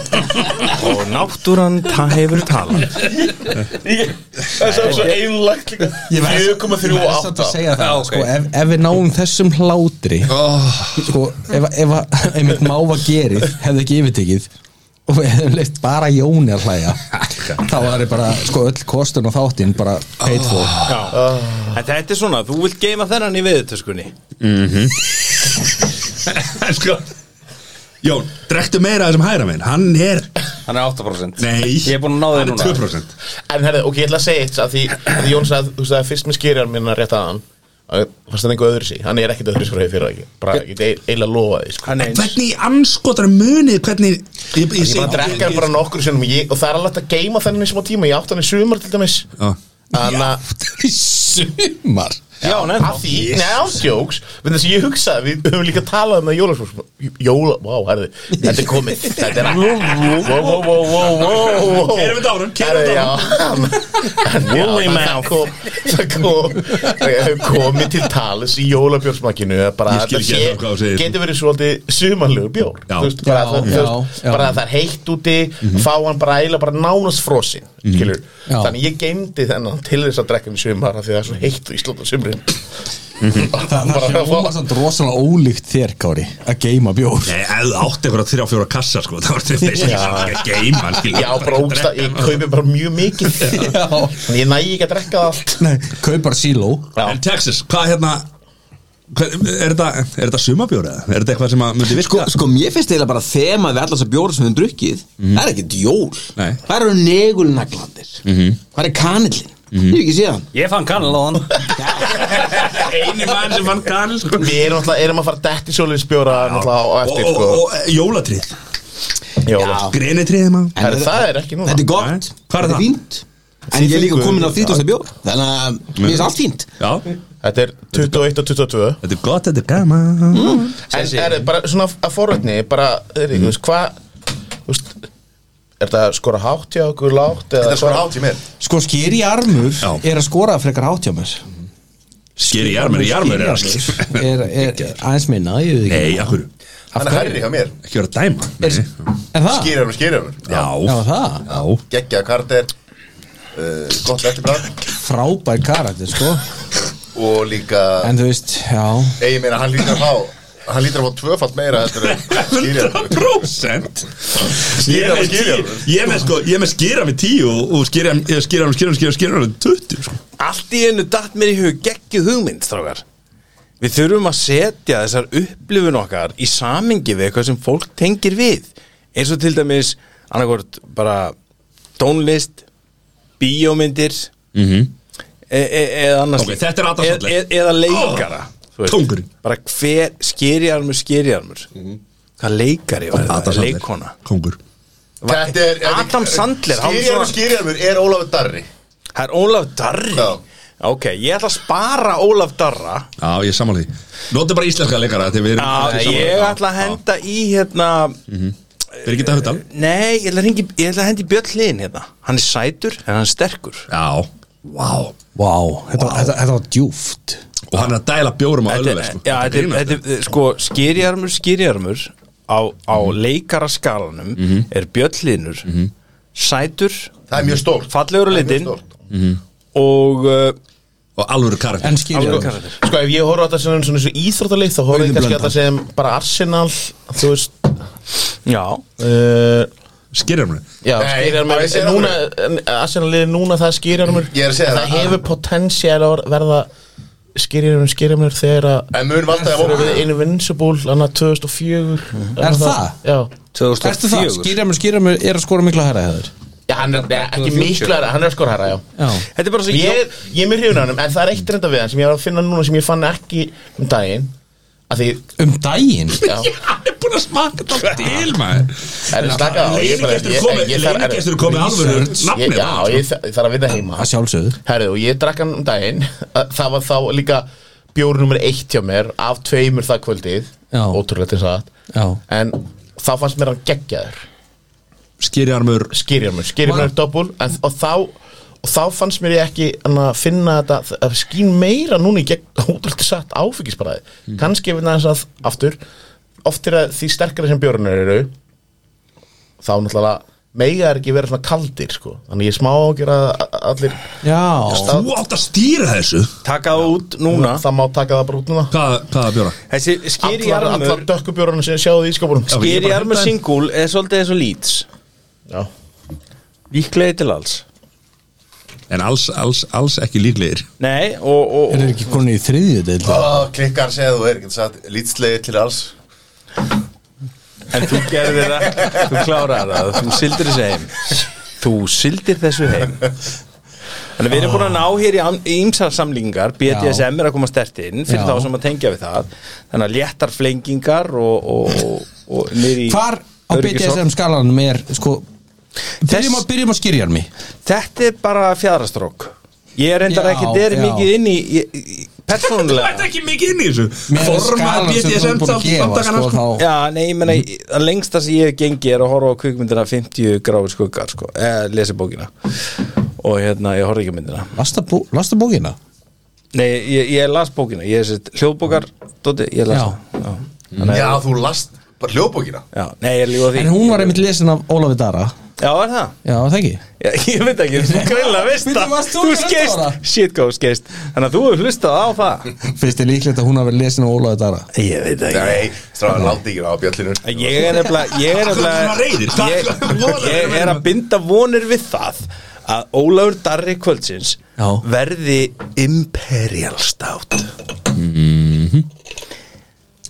og náttúran það hefur talað
Það er svo- svo einlægt líka
Ég verð-
4,38
samt að segja það,
Já, ok.
sko, ef, ef við náum þessum hlátri
Oh.
sko, ef, ef, ef einmitt máva gerið hefði ekki yfirtekið og við hefðum leitt bara Jóni að
(laughs)
hlæja þá var ég bara, sko, öll kostun og þáttinn bara paid for
Ah.
En þetta er svona, þú vilt geima þennan í viðutöskunni
(laughs) En sko Jón, drektu meira af þessum hæra minn Hann er,
Hann er 8%
nei
Ég er búin að ná þér
Hann er
núna.
2%
En herðu, ok, ég ætla að segja eitt að því, að því Jón sagði, þú sagði fyrst með skýrjar minna rétt aðan fannst það einhver öðru sí, hann er ekkert öðru frá því fyrir ekki bara ekki, eiginlega lofa því sko.
Hann er eins
Hvernig í anskotar munið Hvernig Ég, ég,
ég bara drekka hann bara nokkru sinnum og ég, og það er alveg hægt að geima þannig í smá tíma ég átt hann í sumar til dæmis
Já.
þannig að
(laughs)
í sumar
Já, nei,
að því, neðan sjóks vegna þess að ég hugsaði, við höfum líka talað um það í jólaspróf, jóla, vá, herðu þetta er komið, þetta er wow, wow, wow, wow, wow, wow
Erum við dánum,
Herðu,
kerum við dánum
já Woolly mouth kom, Það kom eh, komið til tales í jólabjórsmakinu að bara
Ég skil
þetta
ekki
sé-
ennþá hvað þú segir.
Getur verið svolítið sumanlegur bjór
Já.
Þú veist, bara,
Já,
það, þú
já,
veist,
já.
bara að það er heitt úti fá hann bara eiginlega bara nánast frosinn skilur,
Já.
þannig ég geimdi þennan til þess að drekka hann í sumar af því það er svo heitt í Ísland á sumrin
það
Bara-
hljóma samt rosalega ólíkt þér, Kári að geima bjór
Nei, ef þú átti einhverja þrjá fjóra kassa sko, það var til þess að það er geima hann skilur.
Já, bara ógsta, ég kaupi bara mjög mikið
já,
En ég næ ekki að drekka það allt
(laughs) nei, kaup bara síló
En Texas, hvað hérna hver, Er þetta, er þetta sumabjóra? Er þetta eitthvað sem að myndi virka?
Sko, sko, mér finnst eiginlega bara þema við allar sem bjóra sem við höfum drukkið Það er ekkert jól
Nei.
Það eru negulnaglandir -hmm. Það er kanillin Ég hef ekki síðan
Ég fann kannal á hann
eini mann sem fann kann sko.
Við erum, náttúrulega- erum að fara detti sjóliðis bjóra náttúrulega á
Og,
eftir
og,
sko.
og e, jólatrið
Jóla.
Grenitrið maður
Herri, það er ekki núna
Þetta er gott
Nei. Hvar er
Þetta
það?
fínt En ég er líka komin á 30. bjór Þannig að mér finnst allt fínt
Já,
Þetta er 21 og 22
þetta er gott, þetta er gaman
En er þið bara svona að forvöldni bara, er þið, þú veist, hvað þú veist, er það skora hátt hjá okkur lágt
Þetta
eða
er svona hátíð mér
Sko skýri armur
Já.
er að skora frekar hátt hjá mér
Skeri jarmur, jarmur er alls
Skýriarmur er, er, er aðeins minna ég veit
Nei, akkur,
Hann er hærri hjá mér
ekki vera að dæma
Er-
Nei.
ekki Er það?
Skýrjörnur, skýrjörnur
Já
Já,
það,
já
Geggja karter uh, Gott eftirblad
frábær karakter sko
Og líka eh,
En þú veist, já
Ég meina, hann lítur að fá Hann lítur að fá tvöfalt meira Þetta
(laughs)
er skýrjörnur
100% Ég er með
Skýra með skýra.
tíu- ég er með sko, ég er með skýra með tíu og, og skýra, ég skýra með skýra með skýra með skýra með 20 sko.
Allt í einu datt mér í hug geggju hugmynd, strákar Við þurfum að setja þessar upplifun okkar í samingi við eitthvað sem fólk tengir við eins og til dæmis annarkvort bara tónlist bíómyndir
Mhm.
e e eða annars
Ok, þetta er aðdásamlegt.
e e eða leikara þú veist.
Kóngurinn.
bara hver skýriarmur skýriarmur hvað leikari var
Adam
þetta,
Sandler.
leikona
Kongur
Þetta er
Adam Sandler, hann
Skýrjörnur,
svona-
skýrjörnur er Ólafur Darri
Það er Ólaf Darri
Já.
Ok, ég ætla að spara Ólaf Darra
Já, ég er sammála því Nóti bara íslenska leikara þegar við erum
Já, ég ætla að henda í hérna
Birgitta Höfdal
Nei, ég ætla að, hringi, ég ætla að henda í Björn Hliðin hérna Hann er sætur en hann er sterkur
Já Vá
Vá, þetta, þetta, þetta var djúft
Og hann er að dæla bjórum á
Þetta er-
ölluverð sko.
Já, þetta er- þetta er sko skýrjarmur, skýrjarmur á, á leikaraskalanum er Björn Hliðinur sætur,
Það er mjög stórt
fallegur á
Það er mjög
litin
stórt.
og uh,
Og alvöru karakter
En skýri
alveg
armur
karakter
Sko ef ég horfa á þetta sem svona eins og íþróttaleik þá horfa ég kannski á þetta sem bara Arsenal þú veist
Já,
uh,
Skýrjar mér
Já,
Nei,
skýrjarmur
bara ég sé það
núna, Arsenal liði núna það skýrjarmur
Ég er að segja
það
það.
hefur potensiál að verða skýrjarmur skýrjarmur þegar að
En mun valda að
þegar
vona
við Invincible annað 2004
Er það?
Hérna Já
Ertu það?
2004
Skýri armur, skýri armur er að skora miklu að herra hefur
Já, hann er nei, ekki
2040.
miklu herra, hann er að skora herra, já
Já
þetta er bara svo
Ég, ég er mér hrifun á hann, en það er eitt reynda við hann sem ég var að finna núna sem ég fann ekki um daginn að því,
Um daginn
já, (laughs)
Hann er búin að smaka þetta til maður
er það slaka á ég bara-
Leinigestur
ég-
komið
ég þarf-
Leinigestur komið alvöru
Ég-
Nafnið
Já,
á,
ég þa- ég þarf að vinna heima
Að sjálfsögðu
Herðu, og ég drakk hann um daginn Það var þá líka bjór nummer eitt hjá mér Af tveimur það kvöldið
Já.
Ótrúlegt eins og
Já.
það En þá fannst mér hann geggjaður
sko. Skýrjarmur
Skýrjarmur, skýrjarmur er doppul en, og, þá, og þá fannst mér ég ekki hana, finna þetta að skín meira núna í gegn (laughs) Ótrúlegt satt áfengisbræði mm. Kannski ef við næðum það aftur Oft er að því sterkari sem bjórnir eru Þá náttúrulega mega er ekki vera svona kaldir sko. Þannig ég er smá ágjör að að allir
Já
Þú átt að stýra þessu
taka það út núna
Það má taka það bara út núna
Hvað hvaða bjóra?
Þessi
Allar,
skýrjarmur
allar dökkubjörunum sem sjáðu í skápunum
Já, ég er bara að
Skýrjarmur
henda þeim.
singul er svolítið eins og lýts
Já,
Líklega til alls
En alls, alls, alls ekki líklegir
Nei, og, og,
Er
og
ekki konið í þriðju deildi?
Ó, Klikkar segja þú er ekki satt Lítslegir til alls
En þú gerðir það, þú klárar það Þú sildir þessu heim Þú sildir þessu heim Þannig við erum búin að ná hér í am- í ýmsar samlingar BDSM er að koma stert inn fyrir
Já.
þá sem að tengja við það Þannig að léttar flengingar og, og, og, og niður í
Hvar á
öryggishorn.
BDSM skalanum er sko Byrjum að, byrjum að skýri armi
Þetta er bara fjadrastrók Ég er reyndar
Já,
ekki þeir
já.
mikið inn í, í, í
Þú ert
persónulega
ekki mikið inn í þessu
Með
Forma
skalann sem þú ert
BDSM
búin að gefa,
samtakana
sko,
sko.
þá-
Já, nei, ég meina,
Mhm.
ég- það lengsta sem ég hef gengið er að horfa á kvikmyndina 50 gráður skuggar, sko, eða lesi bókina og hérna, ég horfa ekki á myndina
Lasta, bó, lasta bókina?
Nei, ég, ég las bókina, ég er sett hljóðbókar, Dóti, ég las
Já.
það. Já.
Já, þú last bara hljóðbókina
Já, nei, ég er líka því
En hún var einmitt lesin af Ólafi Dara
Já, er það?
Já, það ekki
Já, (laughs) ég veit ekki, þú
(laughs)
greinlega veist
Bíddu,
það
varst þú
Þú
11
skeist,
ára?
shit hvað þú skeist Þannig að þú hefur hlustað á það
Finnst þið líklegt að hún hafi verið lesin af Ólafi Dara?
Ég veit ekki
Nei, stráðan láti ekki á bjöllinu
Ég er nefnilega Ég er
svona reiðir? Hvað-
nefnilega ég,
hvað vonar þið
ég er að binda vonir við það að Ólafur Darri kvöldsins
Já.
verði imperial stát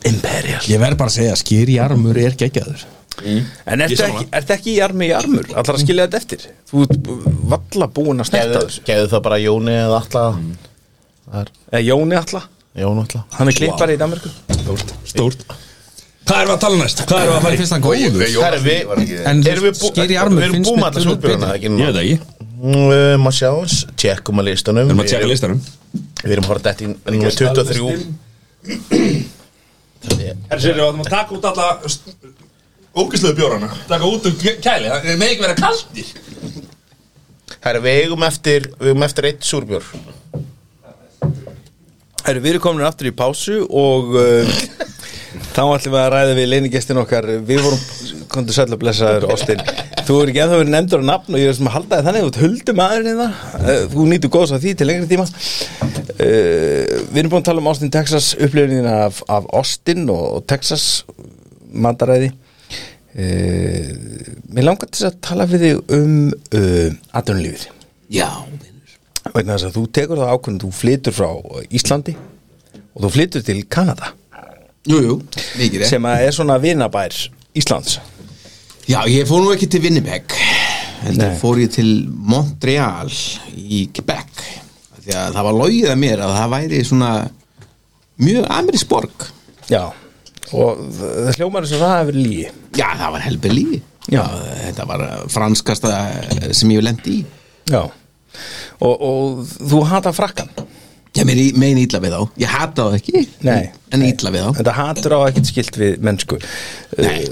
Imperial
Mhm. Ég verð bara að segja, skýri armur er geggjaður
En ertu ekki, ertu ekki í armi í armur allar að skilja þetta eftir Þú ert valla búin að snerta þessu
geðu það bara Jóni eða Alla
Eða Jóni alla,
Jón Alla
hann er klippari í Danmarku
Stórt Hvað erum við að tala næst? Hvað erum við að fara í?
Finnst það
Góður
góður?
Jónas
Herri, við-
var ekki
En
Erum við bú-
skýri armur
Við erum
finnst
búum
mér
alltaf
töluvert
súpjöruna
betri.
ekki núna
Ég veit það ekki
Uh, maður sjá hans, tjekkum að listanum
Við erum að tjekka listanum
Við erum horfði eftir númer 23
Herri Sirri, við ætlum að taka út alla Ógislega bjórana Taka út um kæli, það með ekki vera kaldir
Herra, við eigum eftir, við eigum eftir eitt súrbjór
Herru, við erum komin aftur í pásu og uh, þá ætlum við að ræða við leinigestin okkar Við vorum, komdu sæll að blessa þér, Austin Þú er ekki ennþá verið nefndur á nafn og ég er sem að halda þér þannig að Þú ert huldum aðurinn það Þú nýtur góðs af því til lengri tíma uh, Við erum búin að tala um Austin, Texas upplifinina af, af Austin og, og Texas mataræði uh, Mér langar til þess að tala við þig um uh, aðdunulífið
Já,
vegna þess að þú tekur það ákvörðin þú flytur frá Íslandi og þú flytur til Kanada
jú, jú, mikið rétt
sem að er svona vinabær Íslands
Já, ég fór nú ekki til Winnipeg heldur
Nei.
fór ég til Montreal í Quebec Af því að það var logið að mér að það væri svona mjög amerísk borg
já og það hljómar þess að það hefur lígi
Já, það var helbið lífi
Já.
Þetta var eh, franskasta eh, sem ég lendi í
já og, og þú hata frakkan
Já, mér í- mein ítla við þá Ég hata þá ekki,
Nei.
en ítla við þá
þetta hatur á ekkert skilt við mennsku Nei.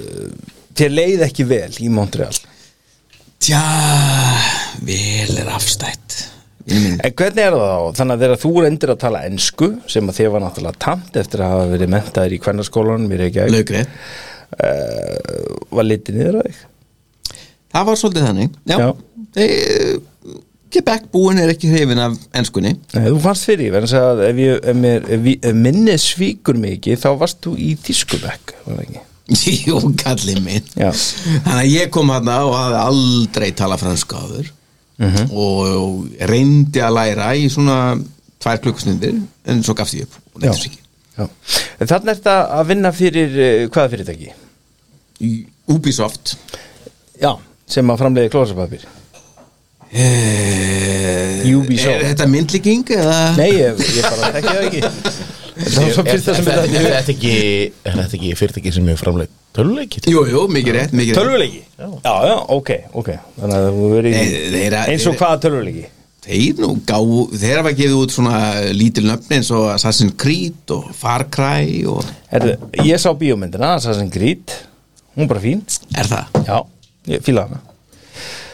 þér leið ekki vel í Montreal
Tja, vel er afstætt Vinur minn.
en hvernig er það þá? þannig að þegar þú reyndir að tala ensku sem að þér var náttúrulega tamt eftir að hafa verið mentaðir í kvennarskólanum mér ekki að
Laugrétt
var litið niður á þig
Það var svolítið þannig Já,
Já.
já. Quebec búin er ekki hrifin af enskunni (laughs)
Nei, þú fannst fyrir, verðan að ef, ég, ef, mér, ef, ég, ef minni svíkur mikið þá varst þú í tískubekk var það ekki?
Jú, kallið minn
Já.
Þannig að ég kom hann og hafði aldrei talað franska áður
Mhm.
og, og reyndi að læra í svona tvær klukkustundir en svo gafst ég upp og neytist ekki
En Þarna er þetta að vinna fyrir eh, hvaða fyrirtæki?
Í Ubisoft
Já, sem að framleiði klósapapir
eh,
Ubisoft.
Er þetta myndlíking eða?
Nei, ég, ég bara þekki það ekki Það var svo
Er
fyrsta sem
þetta
þetta
er þetta ekki, er þetta ekki fyrirtæki sem hefur framleitt töluleiki?
Jú, jú, mikið rétt, mikið rétt
Tölvuleiki? Já, já, ok, ok Þannig að þú verið
Nei,
í-
þeirra-
eins og
þeirra-
hvaða tölvuleiki?
Þeir nú gáu, þeir hafa gefið út svona lítil nöfni eins og Assassin's Creed og Far Cry og
Herðu, ég sá bíómyndina, Assassin's Creed Hún er bara fín
er það?
Já, ég fíla hana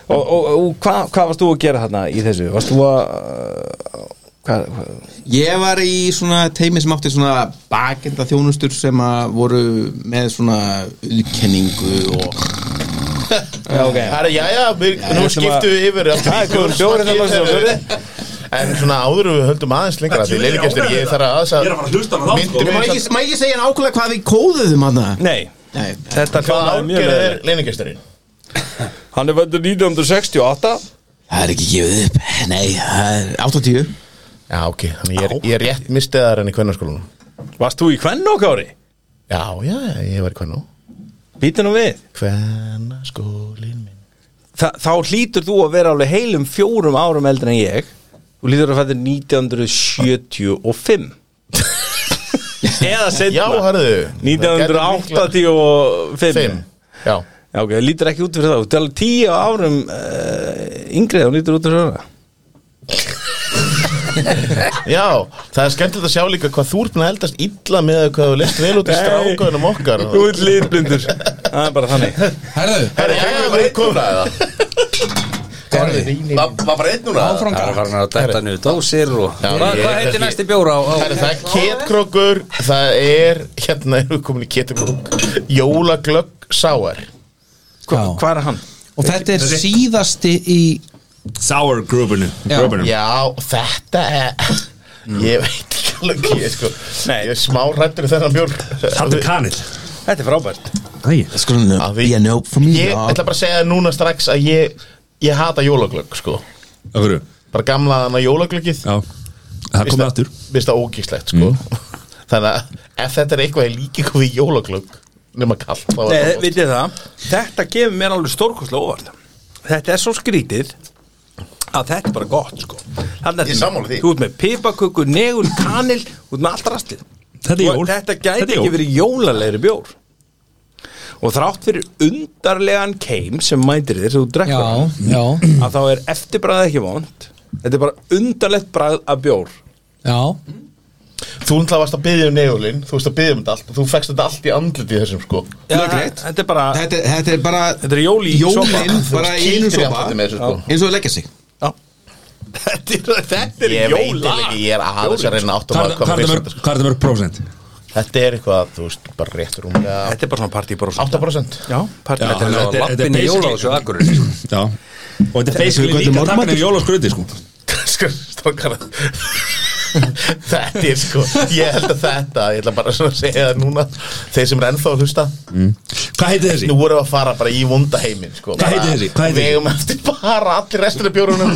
Og, og, og hvað hva varst þú að gera þarna í þessu? Varst þú að uh, hvað, hvað,
Ég var í svona teimi sem átti svona bakenda þjónustur sem að voru með svona ulkenningu og
Já, ok
Herra, já, já, við, nú
ætlum
skiptum við yfir aftur
Það er
í
góður
hérna
bjórinn
smakkið þegar
þarna, svo.
við- En svona áður en við höldum aðeins lengra Því
Ég er
leiligestur,
ánægður
ég
með
þarf að aðeins
Ég er að fara að hlusta á það, sko.
Myndum
Má
við
ekki, má ekki segja nákvæmlega hvað við kóðuðum hann það?
Nei,
Nei,
þetta
Hvað
hljómaði mjög
árgerð er
leðilegt.
leiligesturinn?
Hann er vöndur 1968
það er ekki gefið upp Nei, það er 80
Já, ok, þannig ég er, ég er rétt mistið þar enn í kvennarskólanum
Varst þú í hvern og kári?
Já, já, ég var í kvennu
Býta nú við
Kvennarskólin minn
Þa, Þá hlýtur þú að vera alveg heilum fjórum árum eldri en ég Þú hlýtur að fæta
(laughs)
1975 Eða
Já,
setna
harðu
1985
Fimm, já
Já, ok, það lítur ekki út fyrir það Þú talar tíu árum uh, yngreið og lítur út fyrir það
Já, það er skemmtilegt að sjá líka hvað þú ert búin að eldast illa með hvað þú leist vel út í
Nei.
strákaðunum okkar
Þú ert litblindur Það er bara þannig
Herðu,
Herra, já, já, við komum
Garði,
Var var bara einn núna?
áfram
Það er
Garði
farin að detta niður dósir og
Já,
Hvað
ég-
hva heitir næsti bjór á, á
Herra, það er ketkrókur, það er, hérna erum við komin í ketkrók, jólaglögg sáar.
Hvað er hann?
Og þetta er síðasti í
Sour grubinu
Já.
Grubinu
Já, þetta er,
Mm.
ég veit ekki alveg, ég sko,
Nei.
ég er smá hrættur í þennan bjór.
Þetta er kanil
Þetta er frábært
Æ, sko, no,
Að
be
við-
a nope for me
Ég
já.
ætla bara að segja núna strax að ég, ég hata jólaglögg, sko.
Af hverju?
Bara gamla þannig jólaglöggið.
Já Það komið aftur
Mér finnst það ógíslegt, sko.
Mm.
(laughs) Þannig að ef þetta er eitthvað ég líki eitthvað við jólaglögg, nema kallt, þá er
Nei,
það
vitið það, þetta gefur mér alveg stórkostlega óvart Þetta er svo skrítið að þetta er bara gott sko Þannig
Ég er sammála því.
Þú ert með pipaköku, negul, kanil, þú ert með allt rastlið
Þetta er jól
Og þetta gæti
er jól.
ekki verið jólalegri bjór og þrátt fyrir undarlegan keim sem mætir þér þegar þú drekkur
Já,
hann,
já,
að þá er eftirbræðið ekki vond þetta er bara undarlegt bræð af bjór
já
Þú náttúrulega varst að byggja um neólin Þú varst að byggja um þetta allt og Þú fekst þetta allt í andlit í þessum sko
Já, þetta er bara
þetta, þetta er bara
Þetta er jól í sopa.
jólin bara í einu
Kýldir í
sopa
andliti með þessu sko
eins og að leggja sig
Þetta er- Þetta er jóla Ég er aðeins að reyna átt
Hvað
að
er
koma
það mörg-
fyrst
hvað er það mörg prósent?
Þetta er eitthvað, þú veist, bara rétt rúmlega
þetta er bara svona partýbros
8%
já, partý
Já, þetta
og
þetta er
er- þetta er
lappin í jóla á
basically-
þessu akkurir
Já Og þetta er basically
líka
hvernig morgumattin er jólaskröti sko
(laughs) Sko, strákar (laughs) Þetta er sko Ég held að þetta, ég ætla bara svona að segja það núna Þeir sem er ennþá að hlusta
Hvað heitir þessi?
Nú vorum við að fara bara í vonda heiminn sko.
Hvað heitir þessi? Hvað heitir
Við eigum eftir bara allir restur af bjórunum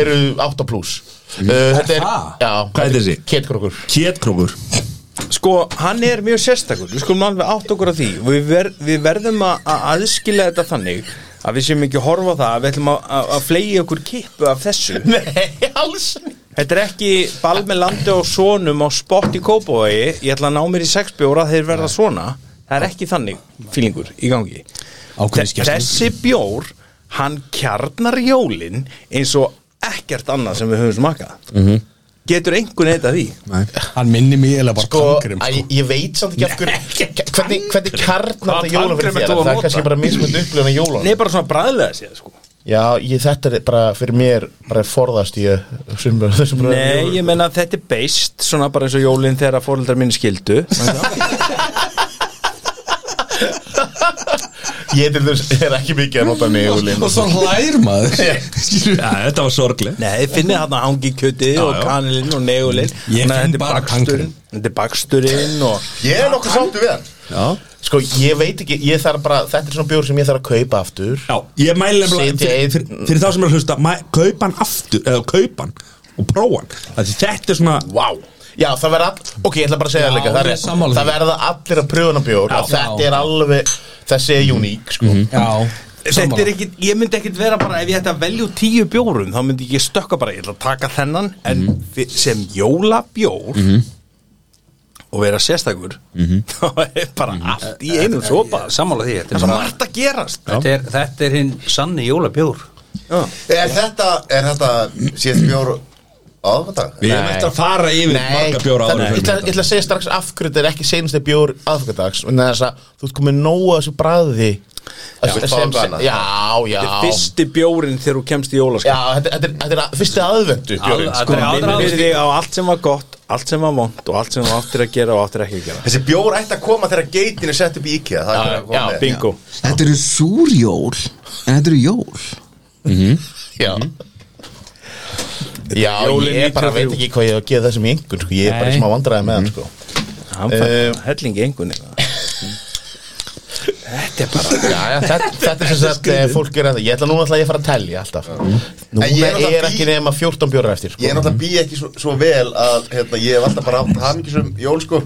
eru 8 pluss uh, Þetta er, já,
Hvað heitir þessi?
Ketkrókur
Kétkrókur
sko, hann er mjög sérstakur við skulum alveg átt okkur á því við, ver, við verðum að að aðskila þetta þannig að við séum ekki að horfa á það að við ætlum að, að, að flegi okkur kippu af þessu
(laughs) Nei, alls ekki.
þetta er ekki ball með landi og sonum á spott í kópavogi ég ætla að ná mér í sexbjóra þeir verða svona það er ekki þannig fílingur í gangi
Ákveðin
Þe- þessi bjór hann kjarnar jólin eins og ekkert annað sem við höfum smakað
Mhm.
getur einhvern eitt af því
Hann minni mig eða bara
Sko,
kongrim
æ, ég veit samt ekki af hverju Hvernig, hvernig karnar
Hvaða
þetta jólum fyrir
tannkrem ert
þér
þú að
Það er
nota?
kannski bara mismönd upplifun að jólum
nei bara svona bræðlega séð sko
Já, ég, þetta er bara fyrir mér bara forðast ég sem, þessum bara-
Nei, ég meina að þetta er beist svona bara eins og jólinn þegar að fóreldrar mínu skildu
(laughs)
Ég til þess er ekki mikið að nota neólin
Og svo hlær maður
(laughs) Já, þetta var sorgleg
Nei, þið finnið hann að hangi kjötið og kanilinn og negulinn
Ég
Þannig að
finn
þetta er
bara
baksturinn. Þetta er baksturinn og
Ég er nokkuð sáttu við hann
Já
Sko, ég veit ekki, ég þarf bara, þetta er svona bjór sem ég þarf að kaupa aftur
Já, ég mæli nefnilega
Setja
fyrir,
einn-
fyrir, fyrir þá sem er að hlusta mæ, kaupan aftur, eða kaupan og prófan, að þetta er svona
Vá Já, það verða, all- ok, ég ætla bara að segja
Já,
það líka
ég
Það,
er sammála
er,
því.
það verða allir að pröfuna bjór að Þetta
Já.
er alveg, þessi er uník, sko
Já,
Þetta er ekkit, ég myndi ekkit vera bara ef ég ætti að velja úr tíu bjórum þá myndi ég stökka bara, ég ætla að taka þennan en mm. sem jólabjór og vera sérstakur (laughs) þá er bara allt í einum sopa
sammála því, þetta
Það
er
er
bara
margt að gerast
þetta er, þetta er hinn sanni jólabjór
Er þetta, er þetta síðan bjór aðfandag?
Við erum eftir að fara yfir marga bjóra
þannig-
ára
ég ætla, ég ætla að segja strax af hverju þetta er ekki seinasti bjór aðfokkardags En þess að þú ert komið nóg að þessu bræði
þú ert fáið annað.
Já, já
Þetta er fyrsti bjórin þegar þú kemst í jólaskap
Já, þetta, þetta, er, þetta er að- fyrsti aðvendu bjórinn, sko
Þetta er aðra
Minnir þig á allt sem var gott, allt sem var vond og allt sem þú áttir að gera og áttir ekki að gera
Þessi bjór ætti að koma þegar geitin er sett upp í IKEA Það er
Já,
að koma
já,
með
Bingo
þetta eru súrjól en þetta eru jól
Já
Mhm.
Já,
Jólin
ég bara
93.
veit ekki hvað ég á að gefa þessum í engun sko. Ég er bara
Nei.
sem að vandræða með hann sko.
Hann
Eh,
fær hellingi engunni Þetta er bara
já, já, þetta, þetta er sem sagt eh, fólk er að Ég ætla núna ætla ég að fara að telja alltaf Núna
En ég er
er,
náttúrulega
ekki
bí-
nema 14 bjórar
Ég
eftir
er
sko.
náttúrulega bý ekki svo, svo vel að hérna, ég hef alltaf bara haft hamingisum jól sko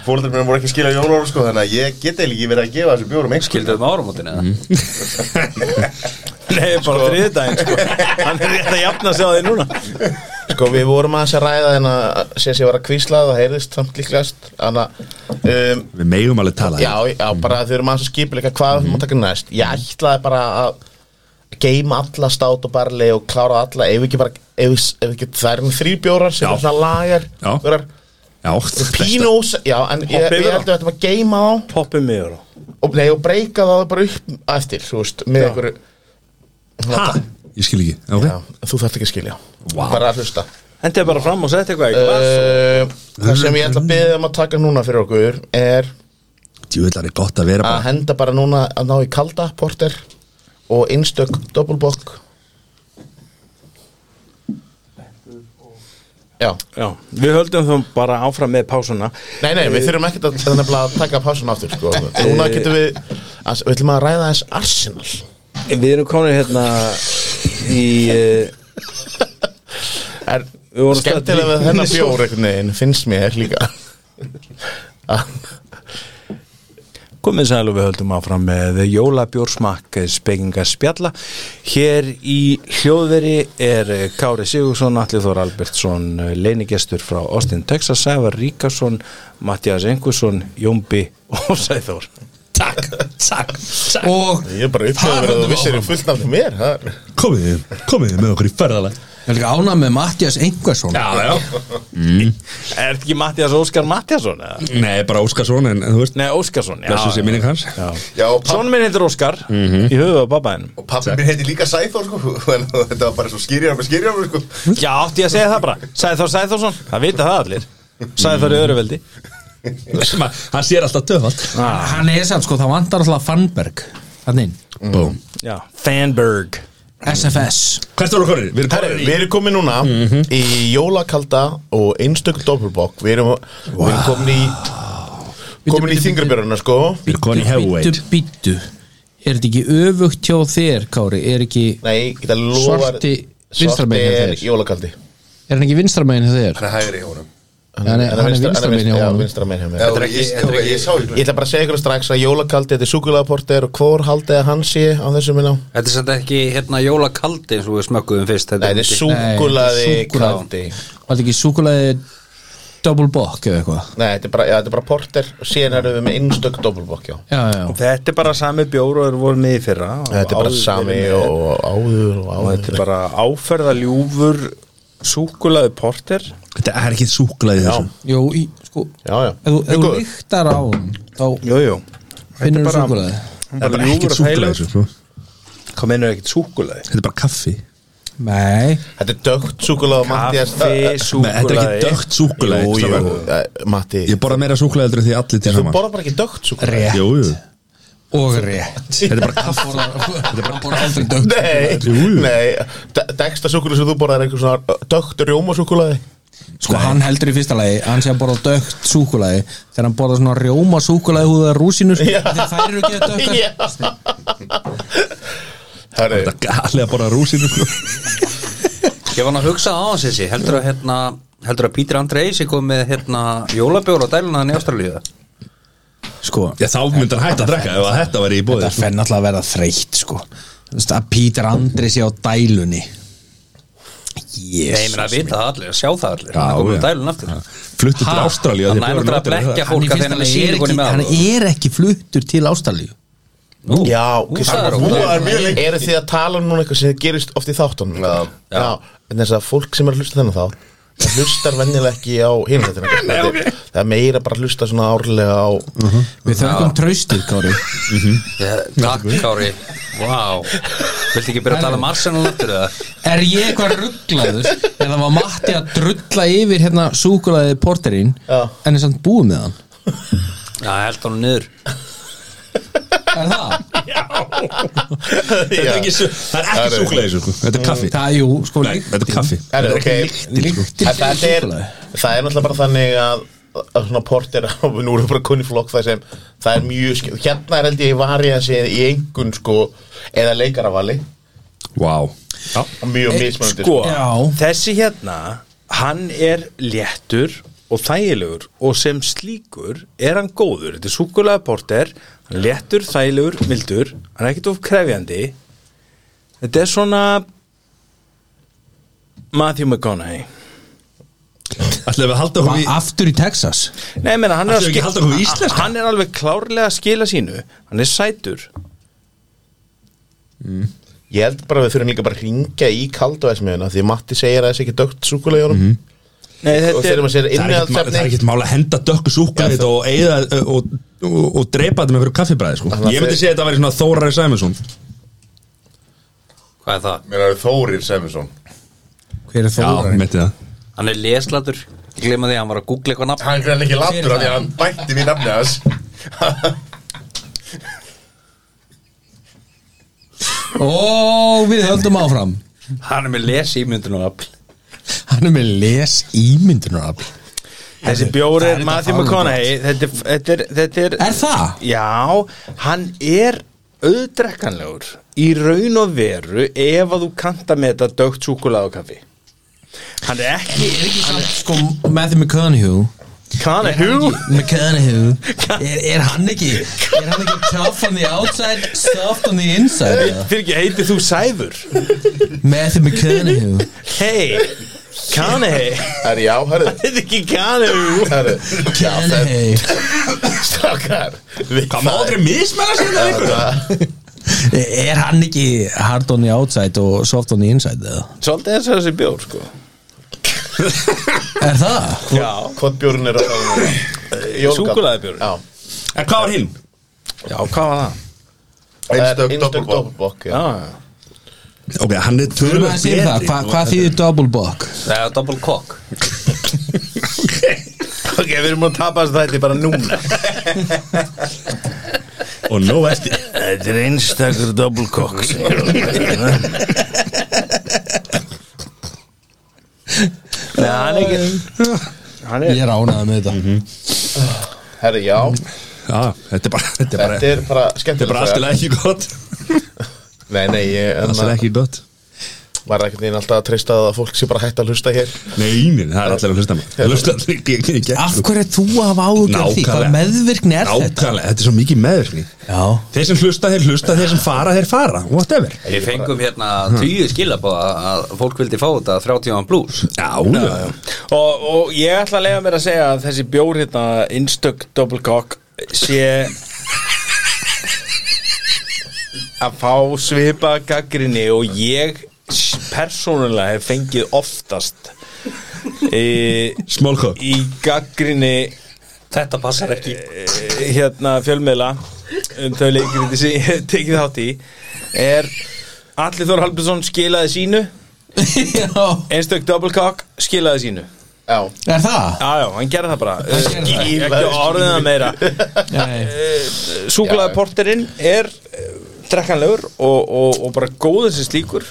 Fólundar mér voru ekki að skilja jólar sko Þannig að ég get eiginlega ekki verið að gefa þessu bjórum einhvern
skildur þetta með áramótinu eða?
Nei, bara þriðdæðin sko Hann er rétt að jafna sig á því núna
Sko, við vorum aðeins að ræða en að sem ég var að kvísla það heyrðist samt líklegast Þannig að um,
Við megum alveg tala
Já, já, bara þau eru maður að skipilega hvað
Mhm.
mm. maður taka næst Ég ætlaði bara að geima alla stát og barli og klára alla ef ekki bara, ef, ef ekki það er þrý bjórar sem
Já.
er svona lagar
Já.
bjórar,
Já,
pínós, já, en ég,
Hoppið
ég
yfir
held að þetta var að geima þá
Poppum yfir á
og, nei, og breyka það bara upp eftir, þú veist, með einhverju
Ha? Ég skil ekki, ok
já, þú þarft ekki að skilja
Vá.
bara að hlusta
Hendi bara fram og setja eitthvað í glas
uh, það sem ég ætla að beða um að taka núna fyrir okkur er
Djúvillar er gott að vera
að
bara
henda bara núna að ná í kalda porter og einstök doppelbokk Já,
Já, við höldum þá bara áfram með pásuna
nei, nei, við þurfum ekkert að, að, nefnilega að taka pásun aftur sko. Núna getum við, að, við ætlum að ræða þess Arsenal
Við erum komin hérna í eh,
er,
Við vorum
Skemmtilega
stödd í-
við þennan bjór einhvern veginn, finnst mér líka Ah. Að-
Komið sæl og við höldum áfram með jólabjórsmakk spekinga spjalla. Hér í hljóðveri er eh, Kári Sigursson, Atli Þór Albertsson, leinigestur frá Austin, Texas, Sævar Ríkarsson, Mattias Engusson, Jómbi og Sæþór.
Takk, takk, takk
og
Ég er bara uppgöður að þú vissir ég fullt nafn mér það er-
Komið, komið með okkur í ferðalag
ég er líka ánað með Mattias Engvarsson
Já, já
Er þetta ekki Mattias Óskar Mattiasson? eða?
Nei, bara Óskarsson, en en þú veist
Nei, Óskarsson, já
Blessu sé minning hans Já,
Já, og papp-
Sónu minn heitir Óskar
Mhm.
Í höfuð af babbaðinum
og pappi mér heiti líka Sæþór sko (laughs) en þetta var bara svo skýrjar með skýrjar sko
Já, átti ég að segja það bara Sæþór Sæþórsson, það vita það allir Sæþór í öruveldi
sem að hann sér alltaf töfald
hann er samt sko, það vantar alltaf Fannberg hann inn,
Búm
Já, Fanberg
SFS
Hvert voru konir? Við erum
Herri,
konir
Við
í
erum komin núna
Mhm.
í jólakalda og einstökul doppelbokk Við erum, við erum komin í komin í þingrabjörnuna sko
Við erum konir í heavyweight
Bíddu, bíddu. Er þetta ekki öfugt hjá þér, Kári? Er ekki,
Nei, ég geta lofað
Svarti vinstra
svarti
megin hjá
er
þér.
jólakaldi
er hann ekki vinstramegin hjá þér?
hann er hægri í honum
Hann er, hann er
vinstra-
vinstramegin hjá
já,
honum
vinstra megin hjá mér
Já, ég- ég- ég sá
Ég ætla bara að segja ykkur strax að jólakaldi Þetta er súkulaporter og hvor haldið að hann sé á þessu minna
Þetta er samt ekki hérna jólakaldi eins og við smökkuðum fyrst
Nei, þetta er
Nei,
súkulaði
súkkulaði.
kaldi
Var þetta ekki súkulaði double bock eða eitthvað?
Nei, þetta er bara, já, þetta er bara porter og síðan erum við með einstök doppelbokk, já
Já, já, já.
Þetta er bara sami bjóru og þeir voru með í fyrra og
Þetta er bara
áður
sami
verið með.
og áður og
Og þetta
áður
er bara áferða ljúfur Súkulaði porter
Þetta er ekki súklaði þessu
Jú, í, sko,
Já, já
ef þú- ef þú
Góð.
lyktar á hann, þá
Jújú
finnur þú súkulaði.
Það er bara ekkert súklaði þessu sko.
Hvað meinur ekkert súkulaði?
Þetta er bara kaffi
Nei,
Þetta er dögt súkulega Mattias
Kaffi,
Nei, Þetta er ekki
súkulaði
dögt súklaði
Jú, jú, eh, Matti
Ég borða meira súklaði heldur en því allir til
Þú
saman
borðar bara ekki dögt súkulega
rétt
Jú, jú
og rétt.
Þetta
(laughs)
er bara (laughs) kaffi
Þetta er bara búin aldrei dögt.
Nei,
Jú, jú.
nei Dexta súkulega sem þú borðar er einhver svona dögt rjómasúkulega
Sko, hann heldur í fyrsta lagi, hann sé að borða dögt súkulaði, þegar hann borða svona rjóma súkulaði húða rúsinur, þegar þær eru ekki að dökkar.
Já Herri,
Þetta er galið að borða rúsinu sko.
Ég var nú að hugsa á hans þessi Heldur að hérna Heldur að Pítur Andrei sé kom með hérna jólabjór á dæluna hann í Ástralíu
Sko,
Já, þá myndi hann hægt að drekka ef að þetta væri í bóði
þetta fenn alltaf að verða þreytt sko Þú veist, að Pítur Andri sé á dælunni
Nei,
yes.
menn að vita það allir, að sjá það allir
Já,
Hann er komið
já.
á dæluna aftur
Fluttu til
Ha?
Ástralíu af því
Þannig að hann
bjórinn
er náttúrulega
aldrei-
að
hann,
blekkja fólk
í
að
fyrsta
þeirna
lagi
sér
er
ekki
ekki, hann er ekki fluttur til Ástralíu
já,
það er
Nú
ótrúlega.
er mjög lengi Eru þið að tala um núna eitthvað sem gerist oft í þáttunum Já, já En þess að fólk sem er að hlusta þennan þá það hlustar vennilega ekki á hinum þetta Það er meira bara að hlusta svona árlega á
við þökkum traustið Kári
Já, Takk Kári Vá Viltu ekki byrja að tala um Arsenal aftur eða?
er ég eitthvað rugglaður eða var Matti að drulla yfir hérna súkulaði porterinn
Já.
en er samt búið með hann
Já, held hann niður
er það?
Þetta er ekki sú- Það er ekki súklaði þessu sko. Þetta er kaffi
það, jú, sko
Nei, þetta er kaffi
Herri, ok
lyktir
En það er, það er náttúrulega bara þannig að, að svona porter (laughs) og nú erum við bara kunni flokk það sem það er mjög skil hérna er held ég var ég að segja í engun sko eða leikaravali
Vá
mjög mismunandi
Sko,
Já.
þessi hérna Hann er léttur og þægilegur og sem slíkur er hann góður, þetta er súkulega porter hann er léttur, þægilegur, mildur hann er ekkert of krefjandi þetta er svona Matthew McConaughey
Ætlum við að halda okkur í
aftur í Texas
Nei, menna, hann, er
Ætlum við
að
ekki að halda okkur við íslenska?
hann er alveg klárlega að skila sínu hann er sætur
ég held bara að við þurfum líka bara að ringja í kalduæsmiðuna því Matti segir að þessi ekki dögt súkulega í honum
Nei,
og
þetta
þegar
er
maður segir
Mhm. Það er ekkert- það er
innihaldsefni
ekkert mála að henda dökku súklaði þetta og, eyða, ö, og, og, og dreipa þetta með fyrir kaffibræði sko.
Þannig að
Ég myndi
þeir-
segja að þetta væri svona Þórari Sæminsson
Hvað er það?
mér er Þórir Sæminsson
hver er
Já,
Þórarinn?
myndi það
Hann er leslatur Ég gleyma því að hann var að googla eitthvað nafn
hann græn ekki
Hver
lappur
er
af því
það?
að hann bætti við nafni hans
og við höldum áfram
Hann er með les í myndinu
Hann er með les ímyndunarafl
Þessi bjóri er Matthew McConaughey þetta er, þetta, er, þetta er
Er það?
Já, hann er auðdrekkanlegur í raun og veru ef að þú kanta með þetta dögt súkulað og kaffi Hann er ekki, er ekki
Samt sko Matthew McConaughey
Conahú
McConaughey er, er hann ekki Er hann ekki tough on the outside Soft on the inside eða?
Fyrir ekki, heitir þú Sæfur?
Matthew McConaughey
Hey,
Kanei Herri, já,
(laughs)
herri Þetta er ekki Kanei Herri, já, þetta
Hey.
Strákar við- Hérna,
Hvað má aldrei mismæla sér það ykkur?
Er hann ekki hard on the outside og soft on the inside eða?
Svolítið þess að þessi bjór sko
Er það?
Já Kottbjórn er
Súkkulaðibjórinn.
Já
En hvað var hinn?
Já, hvað var það?
Einstök
Eh, Einstök
doppelbock
doppelbokk Já,
Já,
Ok, hann er
Þú erum
tölvöld
að segja um það, Hva, hvað þýðir double buck?
Það er double cock
ok, við erum að tapa þess að þetta bara núna
Og nóg eftir
Þetta er einstakur double cock (laughs) Nei, hann er ekki Hann
Ég
er
er ánægð með þetta
herri, já
Já, þetta er bara Þetta er bara
Þetta er Mm. bara
Þetta
skemmtilega
er bara alltaf ekki gott
Nei, nei, ég
Alltaf
enna,
ekki gott
var ekkert einn alltaf að treysta að fólk sé bara hægt að hlusta hér
Nei, nein, það er allir að hlusta maður Það hlusta allir ekki ekki ekki
Af hverju er þú að hafa áhugjur því? Hvað
Nákvæmlega.
meðvirkni er þetta?
Nákvæmlega, þetta er svo mikið meðvirkni
Já
Þeir sem hlusta, þeir hlusta, þeir sem fara, þeir fara Whatever
Við fengum hérna tíu skilabóða að fólk vildi fá þetta 30 plus
Já, já, já
og, og ég ætla að lega mér að segja að þessi bjór hérna einstök double cock sé að fá svipa gaggrinni og ég persónulega hef fengið oftast í,
Smólkó
í gaggrinni
Þetta passar ekki
eh, hérna fjölmiðla um þau leikriti sem ég hef (laughs) tekið þátt í er Alli Þór Halbjörnsson skilaði sínu
(laughs) Já
einstök double cock skilaði sínu
Já
Er það?
Já, já, hann gerði það bara
gerði það.
Skil, ekki orðið það meira
Nei
Súklaði porterinn er eh, drekkanlegur og, og, og bara góður sem slíkur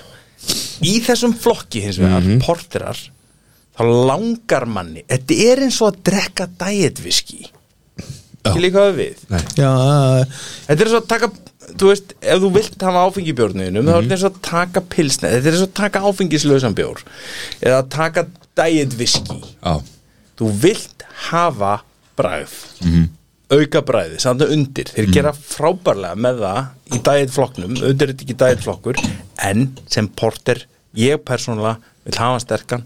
Í þessum flokki hins vegar, porterar þá langar manni Þetta er eins og að drekka dietviski Ekki líka við
Já uh,
Þetta er eins og að taka Þú veist, ef þú vilt hafa áfengi í bjórnuðinum þá er þetta eins og að taka pilsneð Þetta er eins og að taka áfengislausan bjór eða að taka dietviski
Já,
þú vilt hafa bræð auka bræði, samt að undir þeir gera frábærlega með það í dæðflokknum, undir er þetta ekki dæðflokkur en sem porter ég persónulega vil hafa hann sterkan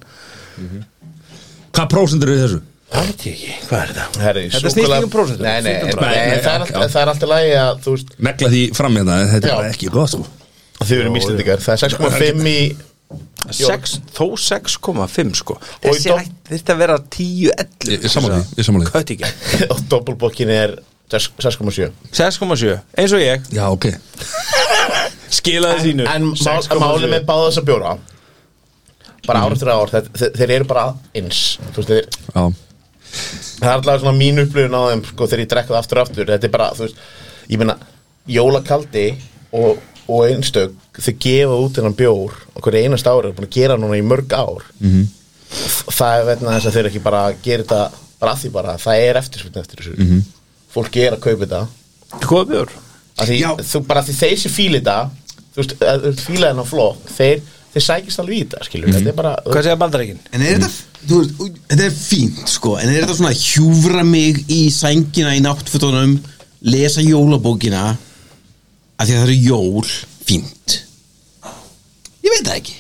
hvað prósendur eru í þessu?
það veit ég ekki, hvað er þetta?
Herri,
Þetta snýst
súkkula-
ekki um prósentur.
Nei, nei,
Þetta
en-
er bara-
nei, en það er
Já.
allt- það er alltaf lægi að, þú veist
Negla því fram hérna, en þetta er
Já.
bara ekki gott sko
Þið erum íslendingar, það er 6,5 í
Sex, þó 6,5 sko
Og í
þessi
dom-
hætt þurfti að vera 10-11
Ég- ég sammála því, ég sammála því.
Kött í gegn.
(laughs) og doppelbokkin er 6,7
6,7 eins og ég,
Já, ok
skilaði sínu
En mál-
6,7.
máli með báða þessa bjóra bara ár eftir ár þeir, þeir eru bara eins Þú veist, þeir,
Já,
það er alltaf svona mín upplifun á þeim sko, þegar ég drekka það aftur og aftur þetta er bara, þú veist, ég meina jólakaldi og, og einstök þau gefa út þennan bjór og hverju einast ári er búin að gera núna í mörg ár -hmm. það er vegna þess að þeir ekki bara gera þetta bara að því bara, það er eftirspilna eftir þessu -hmm. fólk er að kaupa þetta
Góða bjór
að því, þú, bara því þeir sem fíla þetta þú veist, að þú fíla þennan flokk þeir, þeir sækist alveg í þetta, skilur þetta er bara,
hvað segja bandarækin?
En er þetta, þú veist, ú- þetta er fínt sko En er þetta svona að hjúfra mig í sængina í náttfötunum Lesa jólabókina Af því að það eru jól Fínt Ég veit það ekki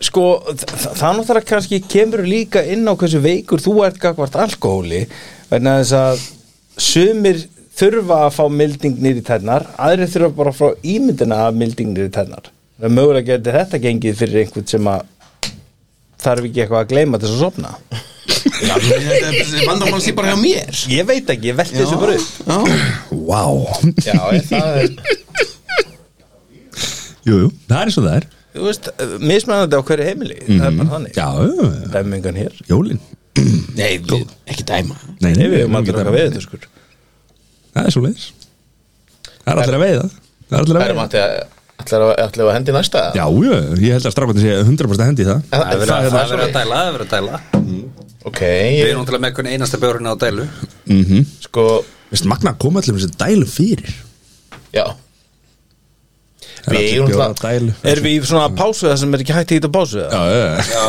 sko, þa það náttúrulega kannski kemur líka inn á hversu veikur þú ert gagvart alkohóli vegna þess að sumir þurfa að fá milding nýri tennar aðrir þurfa bara að fá ímyndina af milding nýri tennar það mögulega getur þetta gengið fyrir einhvern sem að þarf ekki eitthvað að gleyma til þess að sofna
Já, Þetta er vandamál sé bara hjá mér
ég veit ekki, ég velti þessu bara upp
Já,
já, ég, það er
jú, jú, það er eins og það er
þú veist, mismennandi á hverju heimili það er bara þannig,
Já, jú, jú,
dæmingan hér
jólin
nei, við- ekki dæma
Nei,
Nei, við
erum
höfum aldrei
ekki
okkar
að-
við þetta skur
Það er svo leiðis Það er allir að veiða Það er allir að
það er
veiða
mati að ætlar að, ætlar að hendi í næsta
Já, jú, ég held að strafbættin sé 100% hendi í það
En-
Það er
en
verið að- það er verið að
svona-
dæla, það er verið að dæla
ok,
Við
ég,
erum til að með hvernig einasta bjórinu á dælu
sko
Vist, magna að koma allir með þessi dælu fyrir
já,
Það er
Við
allir
eigum
bjóra
það-
dælu
erum við í svona pásu það sem er ekki hægt að hýta pásu það?
Já, já, já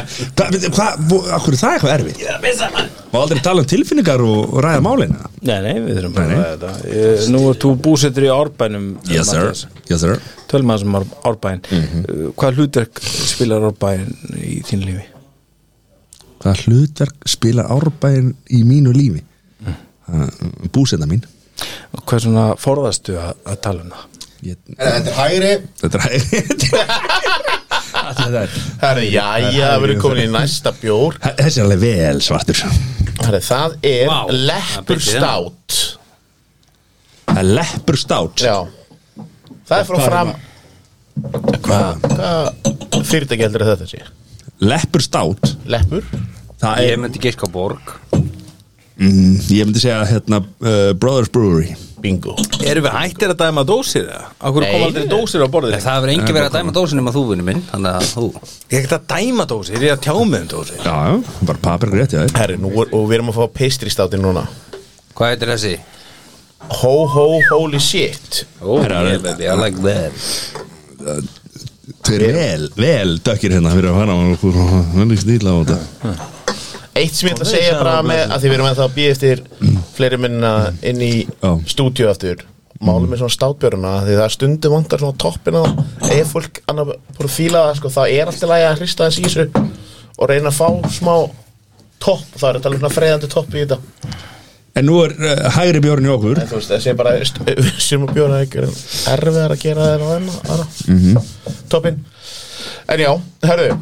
(laughs) Hvað, veitu, hvað, vo- af hverju er það eitthvað erfitt? Ég er að missa maður Má aldrei tala um tilfinningar og, og ræða málina
Nei, nei, við þurfum bara
Nei,
að
nei.
ræða þetta Ég- Nú er þú búsettur í árbænum Matthías.
Yes, sir
Mhm. Uh, Tölum aðeins um Ár- Árbæn mm Hvaða hlutverk spilar Árbæn í þínu lífi?
hvaða hlutverk spila árbæðin í mínu lífi mm. búsenda mín
Hvað svona forðastu að, að tala um það?
ég,
Þetta er hægri
þetta er (laughs) Þetta er-
Herri, jæja, við erum komin í næsta bjór
þessi er alveg vel svartur
Herri, það er
Vá,
wow, leppur stát
það er leppur stát
Já Það er frá fram Hvað hva fyrirtæki heldur að þetta sé?
leppur stát
Leppur?
það
Ég
er,
myndi gíska á borg
mm, ég myndi segja hérna, uh, Brothers Brewery
Bingo
Erum við hættir að dæma dósir það? Akkur
Nei,
kom aldrei
nei.
dósir á borðið?
Það hefur engi verið að dæma dósin um að þú vinni minn Þannig að þú
Ég er ekkert að dæma dósir, ég er að tjá mig um dósir
já, já, bara papir rétt já,
Herri, nú er, og við erum að fá pastry státinn núna
Hvað heitir þessi?
Ho ho holy shit
Oh, yeah, baby, I like that
þau eru vel, vel dökkir hérna fyrir að fara vel í stíla á þetta
Eitt sem ég ætla að segja bara með að því við erum ennþá að býja eftir fleiri minna inn í
Já.
stúdíu aftur Málum er svona státbjörna því það stundum vantar svona toppin á ef fólk annar búið að fíla það sko, þá er alltaf lægi að hrista þess í þessu og reyna að fá smá topp það er talað um svona freyðandi topp í þetta
en nú er uh, hægri bjórn í okkur
En þú veist, (laughs) þessi er bara sem að bjóra ekki erfiðar að gera þeirra en aðra mm toppin en já, herru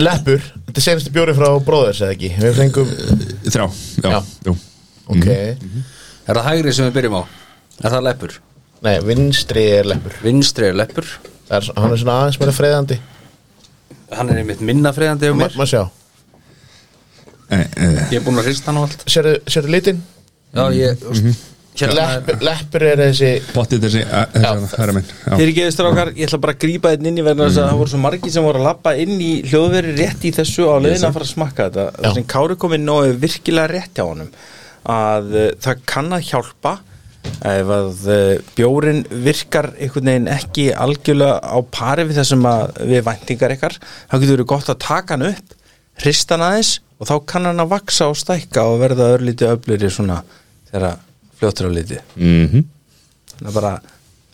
Leppur, þetta er senasti bjóri frá bróðurs eða ekki, við fengum
þrjá, já,
Já.
já.
ok,
Er það hægri sem við byrjum á? Er það leppur?
nei, vinstri er leppur
Vinstri er leppur
Það er, hann er svona aðeins meira freyðandi
Hann er einmitt minna freyðandi um
Ma-
mér
maður sjá,
Eh, eh,
Ég er búin að hrista hann á allt
sérðu, sérðu litinn
Já, ég Hérna er-
leppur, leppur er þessi
pottið þessi, eh, þessi hæra minn já. Mm.
Þeir geðu strákar, ég ætla bara að grípa þetta inn í verðin þess að það voru svo margir sem voru að lappa inn í hljóðveri rétt í þessu á leiðin að fara að smakka þetta
Já.
þess að Kári komið nógu virkilega rétt hjá honum að uh, það kann að hjálpa ef að uh, bjórin virkar einhvern veginn ekki algjörlega á pari við þessum að við væntingar ykkar þá getur verið gott að taka hann upp hrista hann aðeins og þá kann hann að vaksa og stækka og verða örlítið öfliri svona þegar fljóttur á liti
Mhm.
þannig að bara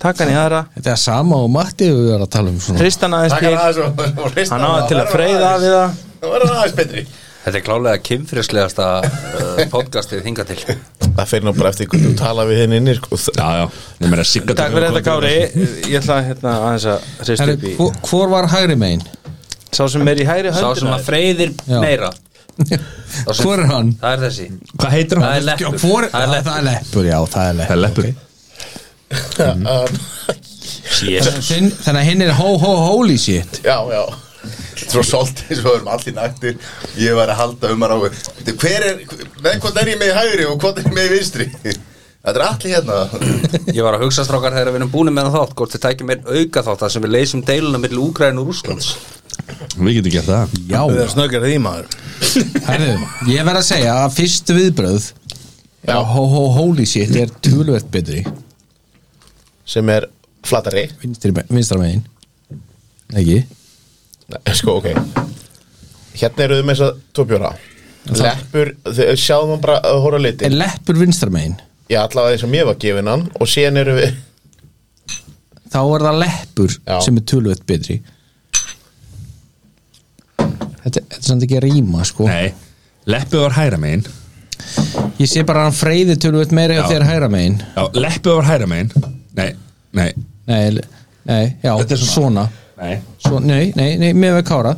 taka hann í aðra
Þetta er sama og Matti við erum að tala um svona
Tristan aðeins
Takk
til
hann aðeins og- og hrista
Hann á það til að
verður
freyða
aðeins-
við það
Það verður aðeins betri
Þetta er klálega kynfrislegasta (laughs) uh, podcastið hinga til
það fyrir nú bara eftir hvernig þú tala við hinn inni sko.
já, já, ég meira sigga
Takk fyrir þetta Kári Ég ætla að, hérna, aðeins að hrist upp
Herri,
í
hvor- Hvor var hægri megin?
Sá sem er í hægri
Sá sem
höndina
að freyðir
Já.
meira sem-
Hvor er hann?
Það er þessi
hvað heitir
Það er
hann?
leppur
Hvor,
Það er leppur
það er leppur, já, það er
það
leppur
er leppur
Þinn- Þannig að hinn er ho ho holy shit
Já, já Svo svolítið, svo erum allir naktir Ég var að halda um að ráðu Bíddu, Hver er, með hvort er ég með í hægri og hvort er ég með í vinstri Þetta er allir hérna
Ég var að hugsa strákar þegar við erum búin með þátt Hvort þið tækjum einn auka þátt Það sem við leysum deiluna millir Úgræn og Rúslands
við getum gert það
Já,
Það er snöggar því maður
herðu, ég verð að segja að fyrstu viðbröð Já, ho ho holy shit er tölvert betri
sem er flatari
Vinstri me- vinstra megin Ekki?
Nei, sko, ok Hérna eru þið með þess að tópjóra Leppur, þau- sjáðum hann bara að horfa á
Er
litin
leppur vinstra megin?
Já, allavega eins og mér var gefin hann Og síðan eru við
Þá er það leppur
Já.
sem er tölvert betri Þetta, þetta er samt ekki að rýma sko
nei, leppur var hæra megin
Ég sé bara að hann freyði tölvöld meira hjá
Já.
þér hægra megin
já, leppur var hæra megin nei, nei,
Nei, l- nei, já,
Þetta er
svona,
svona. nei
Svo, Nei, nei, nei, mér við kára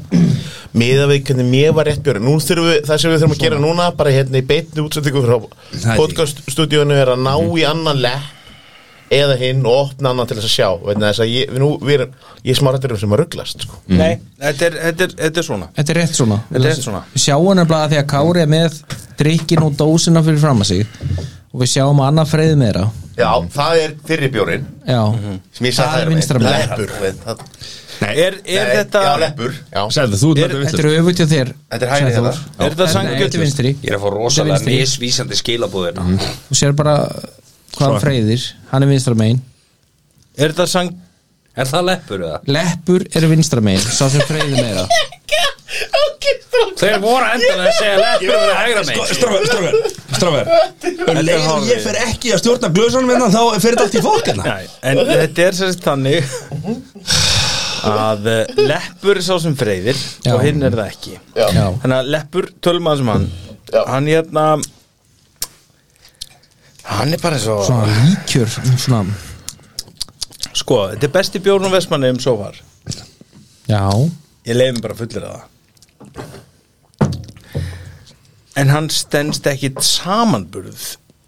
Miða við hvernig mér var rétt björn Nú þurfum við, það sem við þurfum að gera núna Bara hérna í beinni útsendingu frá
er
podcaststudiónu Er að ná
Mhm.
í annan lepp Eða hinn og opna annan til þess að sjá Veitin þess að ég, við nú, við erum Ég er smárættur um sem að rugglast sko.
Mhm.
Nei, þetta er, þetta, er, þetta er svona
Þetta er rétt svona
Þetta er rétt svona.
Við sjáum nefnilega að því að kári er með drikkin og dósina fyrir fram að sig og við sjáum að annað freyði meira
Já, það er fyrri bjórin
Já,
Sem ég sagði
það er
hægri megin.
vinstra megin
Leppur það-
Er, er
Nei,
þetta
Já, leppur
Sæðu, þú
Er-
ert
Þetta er öfugt hjá þér
Þetta er hægri
sagði
hérna.
Þór.
Er þetta
Nei, Þetta er
sanngjöld?
vinstri
Ég er að fá
Þetta
rosalega
vinstri.
misvísandi skilabúðina mm.
Þú sér bara hvað hann freyðir Hann er vinstra megin
Er þetta sang...
Er það leppur eða?
Leppur er vinstra megin Sá sem freyði meira
Þeir voru endan að segja leppur eða hægra megin
Strafver, strafver, strafver Leifur ég fer ekki að stjórna hérna. glöðsanum en þá fer þetta allt í fólk hérna
Nei, en þetta er sérst þannig að eh, leppur er sá sem freyðir og hinn er það ekki
Já.
Já.
þannig að leppur, tölum að sem hann
Já.
hann hérna hann er bara eins og
Svona líkjör svona.
sko, þetta er besti bjórn á Vestmanni um sófar
Já
ég leiðum bara fullir að það en hann stendst ekkit samanburð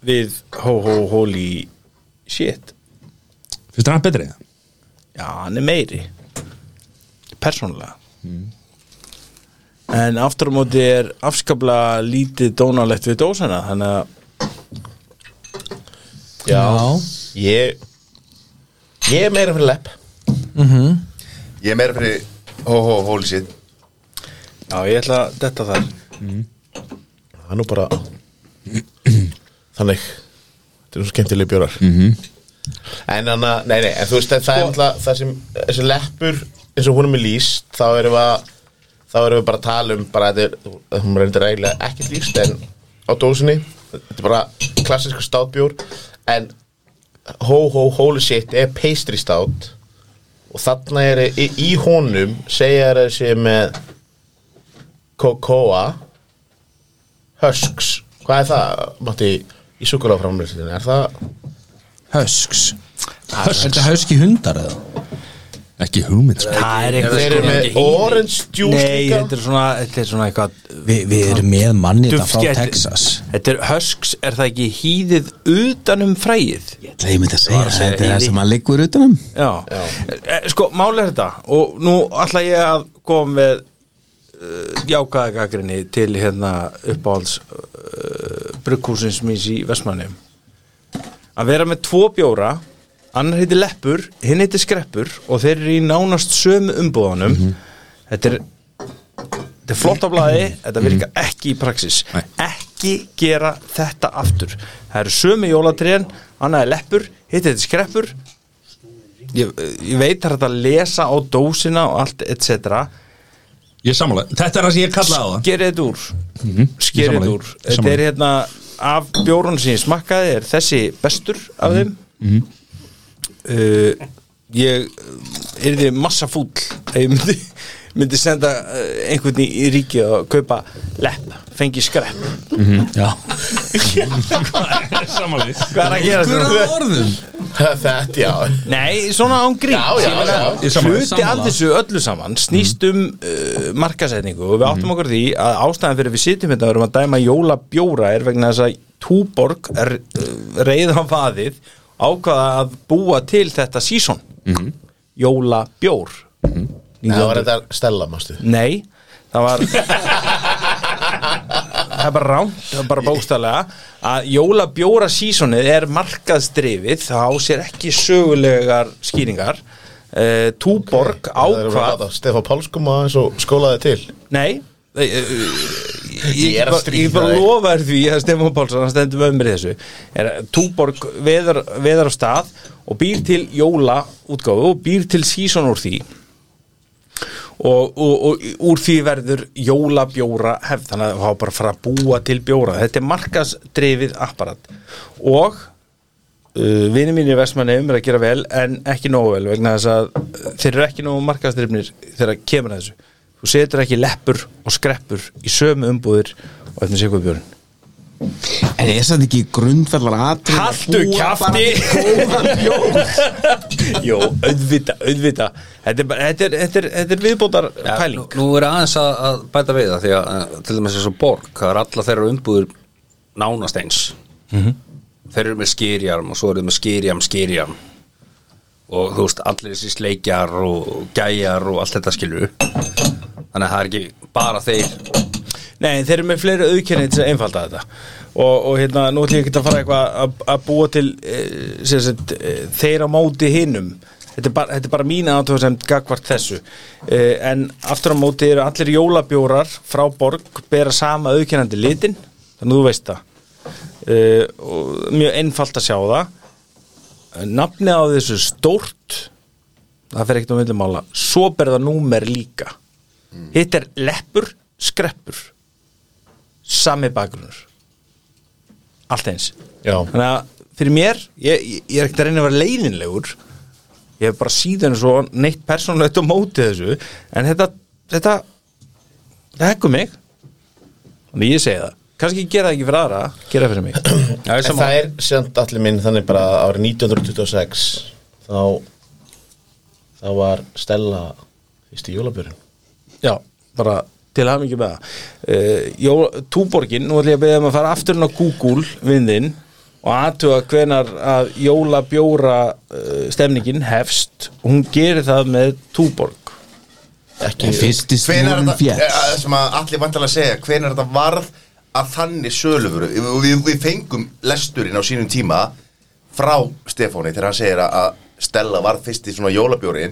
við ho ho holy shit
Fyrst hann betri?
Já, hann er meiri Persónlega En aftur á móti er afskaplega lítið dónalegt við dósana Þannig að
Já. Ég Ég er meira fyrir lepp
Ég er meira fyrir Hó, hó, holy shit
Já, ég ætla að detta þar
Það er nú bara Þannig Þetta er nú skemmtileg bjórar mm -hmm. En hann að, nei, nei, en þú veist að það er alltaf það sem, þessi leppur eins og húnum er lýst, þá erum við að þá erum við bara að tala um bara að þetta er, að hún reyndir eiginlega ekkert lýst en á dósinni, þetta er bara klassísku státbjór en hó, hó, holy shit er pastry stát og þarna er í, í honum segja þeir að þessi með kokoa Husks, hvað er það, Matti, í súkulaframlýstinu, er það,
Husks Husks Er þetta husky hundar eða?
Ekki hugmynd sko.
Það er
þeir eru með orange juice
Nei,
líka?
þetta er svona, þetta er svona eitthvað
Vi, við erum með manni þetta frá
Duftgæti.
Texas
Þetta er husks, er það ekki hýðið utanum fræið?
Það ég myndi að segja,
Bara að segja
þetta er það
Heidi.
sem að liggur um. utanum
Já, Já. Sko, máli er þetta Og nú ætla ég að koma með uh, jákaða gagrinni til hérna uppáhalds uh, brugghúsins míns í Vestmannum að vera með tvo bjóra annar heiti Leppur, hinn heiti Skreppur og þeir eru í nánast sömu umbúðanum þetta er þetta er flott á blaði, þetta virkar ekki í praxis
Nei.
ekki gera þetta aftur það eru sömu jólatriðan, annað er Leppur hitt heiti Skreppur ég, ég veit það er þetta að lesa á dósina og allt etc
Ég er sammála Þetta er það sem ég kallaði á það
skerið þetta úr
Ég
skerið
Mhm, sammála
þetta
því.
úr
Ég
þetta
sammála
er hérna af bjórun sem ég smakkaði er þessi bestur af
Mhm,
þeim uh, ég uh, er því massa fúll ef ég myndi, (laughs) myndi senda uh, einhvern í, í ríki og kaupa lepp, fengi skrepp
Sammála því
hvað er að gera þetta?
orðum?
Þetta, já,
Nei, svona án grín
Já, já, já.
Ég sammála.
hluti af þessu öllu saman snýst um uh, markasetningu og
Mhm.
við áttum okkur á því að ástæðan fyrir við sitjum hérna og erum að dæma jólabjóra er vegna þess að Túborg er uh, reið á vaðið ákvaða að búa til þetta sísón
Mhm.
jólabjór
það var þetta stella, mástu,
Nei, það var
(laughs)
Það er bara ránt, það er bara bókstælega að jólabjóra sísonið er markaðsdrifið, það á sér ekki sögulegar skýringar uh, Túborg
það er
ákvað
það, Stefán Páls kom aðeins og skólaði til,
Nei eh, eh, Ég
Ég er
get
að
bara-
stríða
ég get bara
þér.
lofa þér því að Stefán Pálsson hann stendur með mér í þessu er að Túborg veðar, veðar á stað og býr til jóla útgáfu og býr til síson úr því og, og, og úr því verður jólabjóra hefð þannig að það var bara að fara að búa til bjóra þetta er markasdrifið apparat og uh, vinir mínir í Vestmanneum er að gera vel en ekki nógu vel vegna þess að uh, þeir eru ekki nógu markastrifnir þegar kemur að þessu þú setur ekki leppur og skreppur í sömu umbúðir og eftir Sigvabjörn
En er þetta ekki grundfællar atrið
Haltu kjafti (laughs) Jó, auðvita, auðvita Þetta er, bara- þetta er, þetta er, þetta er viðbótar
nú,
pæling
nú er aðeins að, að bæta við það því að eh, til dæmis eins og borg, það er alla þeirra umbúður nánast eins
Mhm.
þeir eru með skýrjarm og svo eru þeir með skýrjarm, skýrjarm og þú veist, allir þessi sleikjar og gæjar og allt þetta skilur þannig að það er ekki bara þeir
Nei, þeir eru með fleiri auðkenni til að einfalda þetta og, og hérna, nú ætlum ég ekki að fara eitthvað að- að búa til e, sagt, e, þeir á móti hinum þetta er bara, þetta er bara mín aðtöð sem gagvart þessu e, en aftur á móti eru allir jólabjórar frá borg bera sama auðkennandi litin þannig að þú veist það e, og mjög einfalt að sjá það nafnið á þessu stórt það fer ekkert á millum ála svo berða númer líka hitt er leppur, skreppur sami bakgrunur allt eins
já,
þannig að fyrir mér, ég, ég er ekkert að reyna að vera leiðinlegur ég hef bara síðan svo neitt persónulegt á móti þessu en þetta, þetta þetta hekkur mig þannig ég segi það, kannski gera það ekki fyrir aðra gera það fyrir mig Já, ég
En
sammála.
það er semt allir minn þannig bara að árið 1926 þá þá var Stella fyrst í jólabjörn
Já, bara til hafa mikið með það uh, Túborgin, nú ætlum ég að beða um að fara aftur inn á Google við þinn og aðtuga hvenar að jólabjóra uh, stemningin hefst og hún gerir það með Túborg
ekki
Fyrsti
Hvenær
snúrun
þetta,
fjall
eh, sem að allir vantalega segja, hvenær þetta varð að þannig sölufuru og við, við fengum lesturinn á sínum tíma frá Stefáni þegar hann segir að að Stella varð fyrst í svona jólabjórin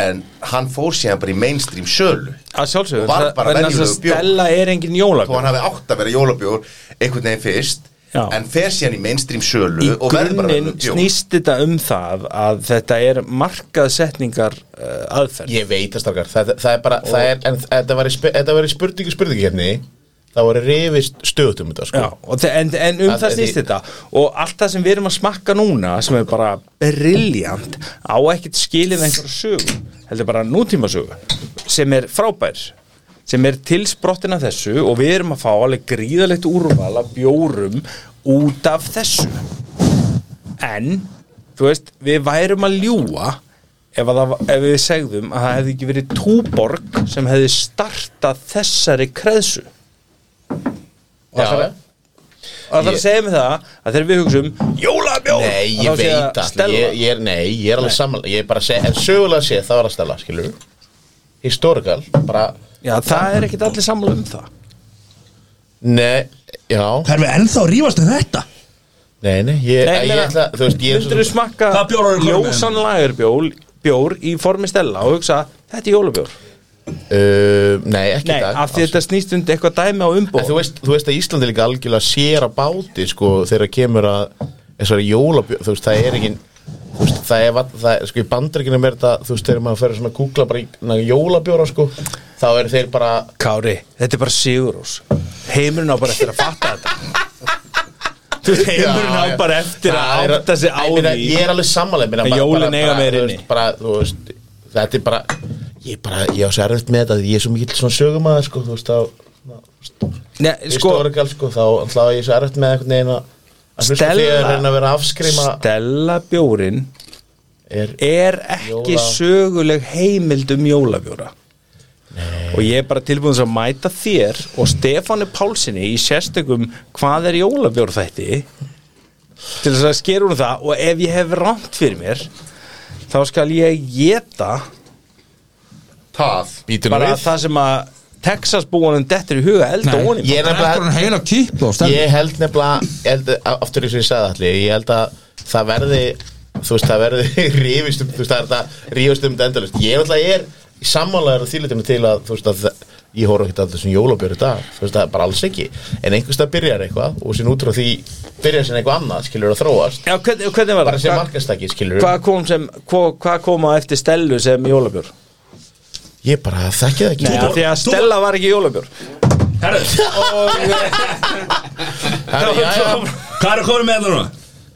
en hann fór síðan bara í mainstream sölu
að sjálfsögur,
Og var bara
að
venjulegur bjór.
Stella er engin
þó hann
jólabjór
hafi átt að vera jólabjór einhvern veginn fyrst
Já.
en fer síðan í mainstream sölu
í
og verður bara
grunninn
venjulegur bjór.
snýst þetta um það að þetta er markaðsetningar uh, aðferð
ég veit það starkar, það, það er bara það er, en þetta var í, spe- þetta var í spurningu spurningu hérna þá var rifist stöðut um þetta sko.
Já, og þe- en, en um
Að-
það snýst
því-
þetta og allt það sem við erum að smakka núna sem er bara brilljant á ekkert skilið einhverja sögu heldur bara nútíma sögu sem er frábær sem er tilsprottin af þessu og við erum að fá alveg gríðalegt úrval af bjórum út af þessu en þú veist, við værum að ljúa ef, að það, ef við segðum að það hefði ekki verið túborg sem hefði startað þessari kreðsu og
Já,
það
já.
er Og það er að
Ég-
segja mig það að þegar við hugsaum Jólabjór
nei,
að
ég
þá sé það
veit allir
Stella.
ég, ég er, nei, ég er alveg samanlega ég er bara að segja, en sögulega sé það var að Stella skilur historical, bara,
Já, það er ekkit allir sammála um það
nei, já
Það er við ennþá að rífast um þetta
nei, nei, ég,
Nei,
ég,
meina,
ætla þú veist, ég er
Myndirðu smakka
Hvaða bjór eru komnir með?
ljósan lagerbjór bjór í formi stella og hugsa þetta er jólabjór
uh, nei, ekki
Nei,
í dag
af því
alls
þetta snýst undir eitthvað dæmi
En
á
þú
umbóð
veist, þú veist að Íslandi líka algjörlega sér á báti sko, þegar kemur að þessari jólabjörn, þú veist, það er ekki þú veist, það er, vat- það er sko, í bandaríkinum er þetta, þú veist, þegar maður fer svona að googla bara í na, jólabjóra, sko, þá eru þeir bara
Kári, þetta er bara Sigurós Heimurinn á bara eftir að fatta
(laughs)
þetta Þú veist, heimurinn á
Já, já.
bara eftir
Það
að
er-
átta sig á
Ég meina,
því
Ég er alveg sammála, ég meina,
Að
bara-
jólin
bara-
eiga
bara,
meira
þú
inni.
veist, bara, þú veist, þetta er bara ég bara, ég á sér erfitt með þetta því ég er svo mikill svona sögumæður, sko, þú veist, þá
Nei,
sko,
sko,
historical, sko, þá ætlaði ég sér erfitt með einhvern veginn að að hlusta á þig að reyna að vera að afskrima
Stella bjórin
er,
er ekki
Jóla.
söguleg heimild um jólabjóra og ég er bara tilbúin þess að mæta þér og Stefáni Pálsini í sérstökum hvað er jólabjór þætti til þess að skera úr um það og ef ég hef rámt fyrir mér þá skal ég geta
það
Býtum
bara það sem að Texas búanum dettur í huga elda
Nei.
honum
Ég er
Drekkur
nefnilega
hann heila kippu á
Ég
stefni
held nefnilega, ég held, aftur eins og ég sagði allir Ég held að það verði Þú veist, það verði (laughs) rífist um Þú veist, það er þetta rífist um þetta endalist Ég er alltaf, ég er sammálaður á þýlutinu til að Þú veist, að það- ég horf ekki að þessum jólabjörn í dag Þú veist, það er bara alls ekki En einhvers það byrjar eitthvað og sín út frá því Byrjar sín eitthvað annað, skilur að þróast
Já, hvernig, hvernig var
Bara sem
það?
markastæki, skilur
Hvað kom, sem, hvað, hvað kom að eftir Stellu sem jólabjór?
Ég bara þekki það ekki
Nei, af því að Stella var ekki jólabjór
Herru, já, já.
Hvað er að koma með það núna?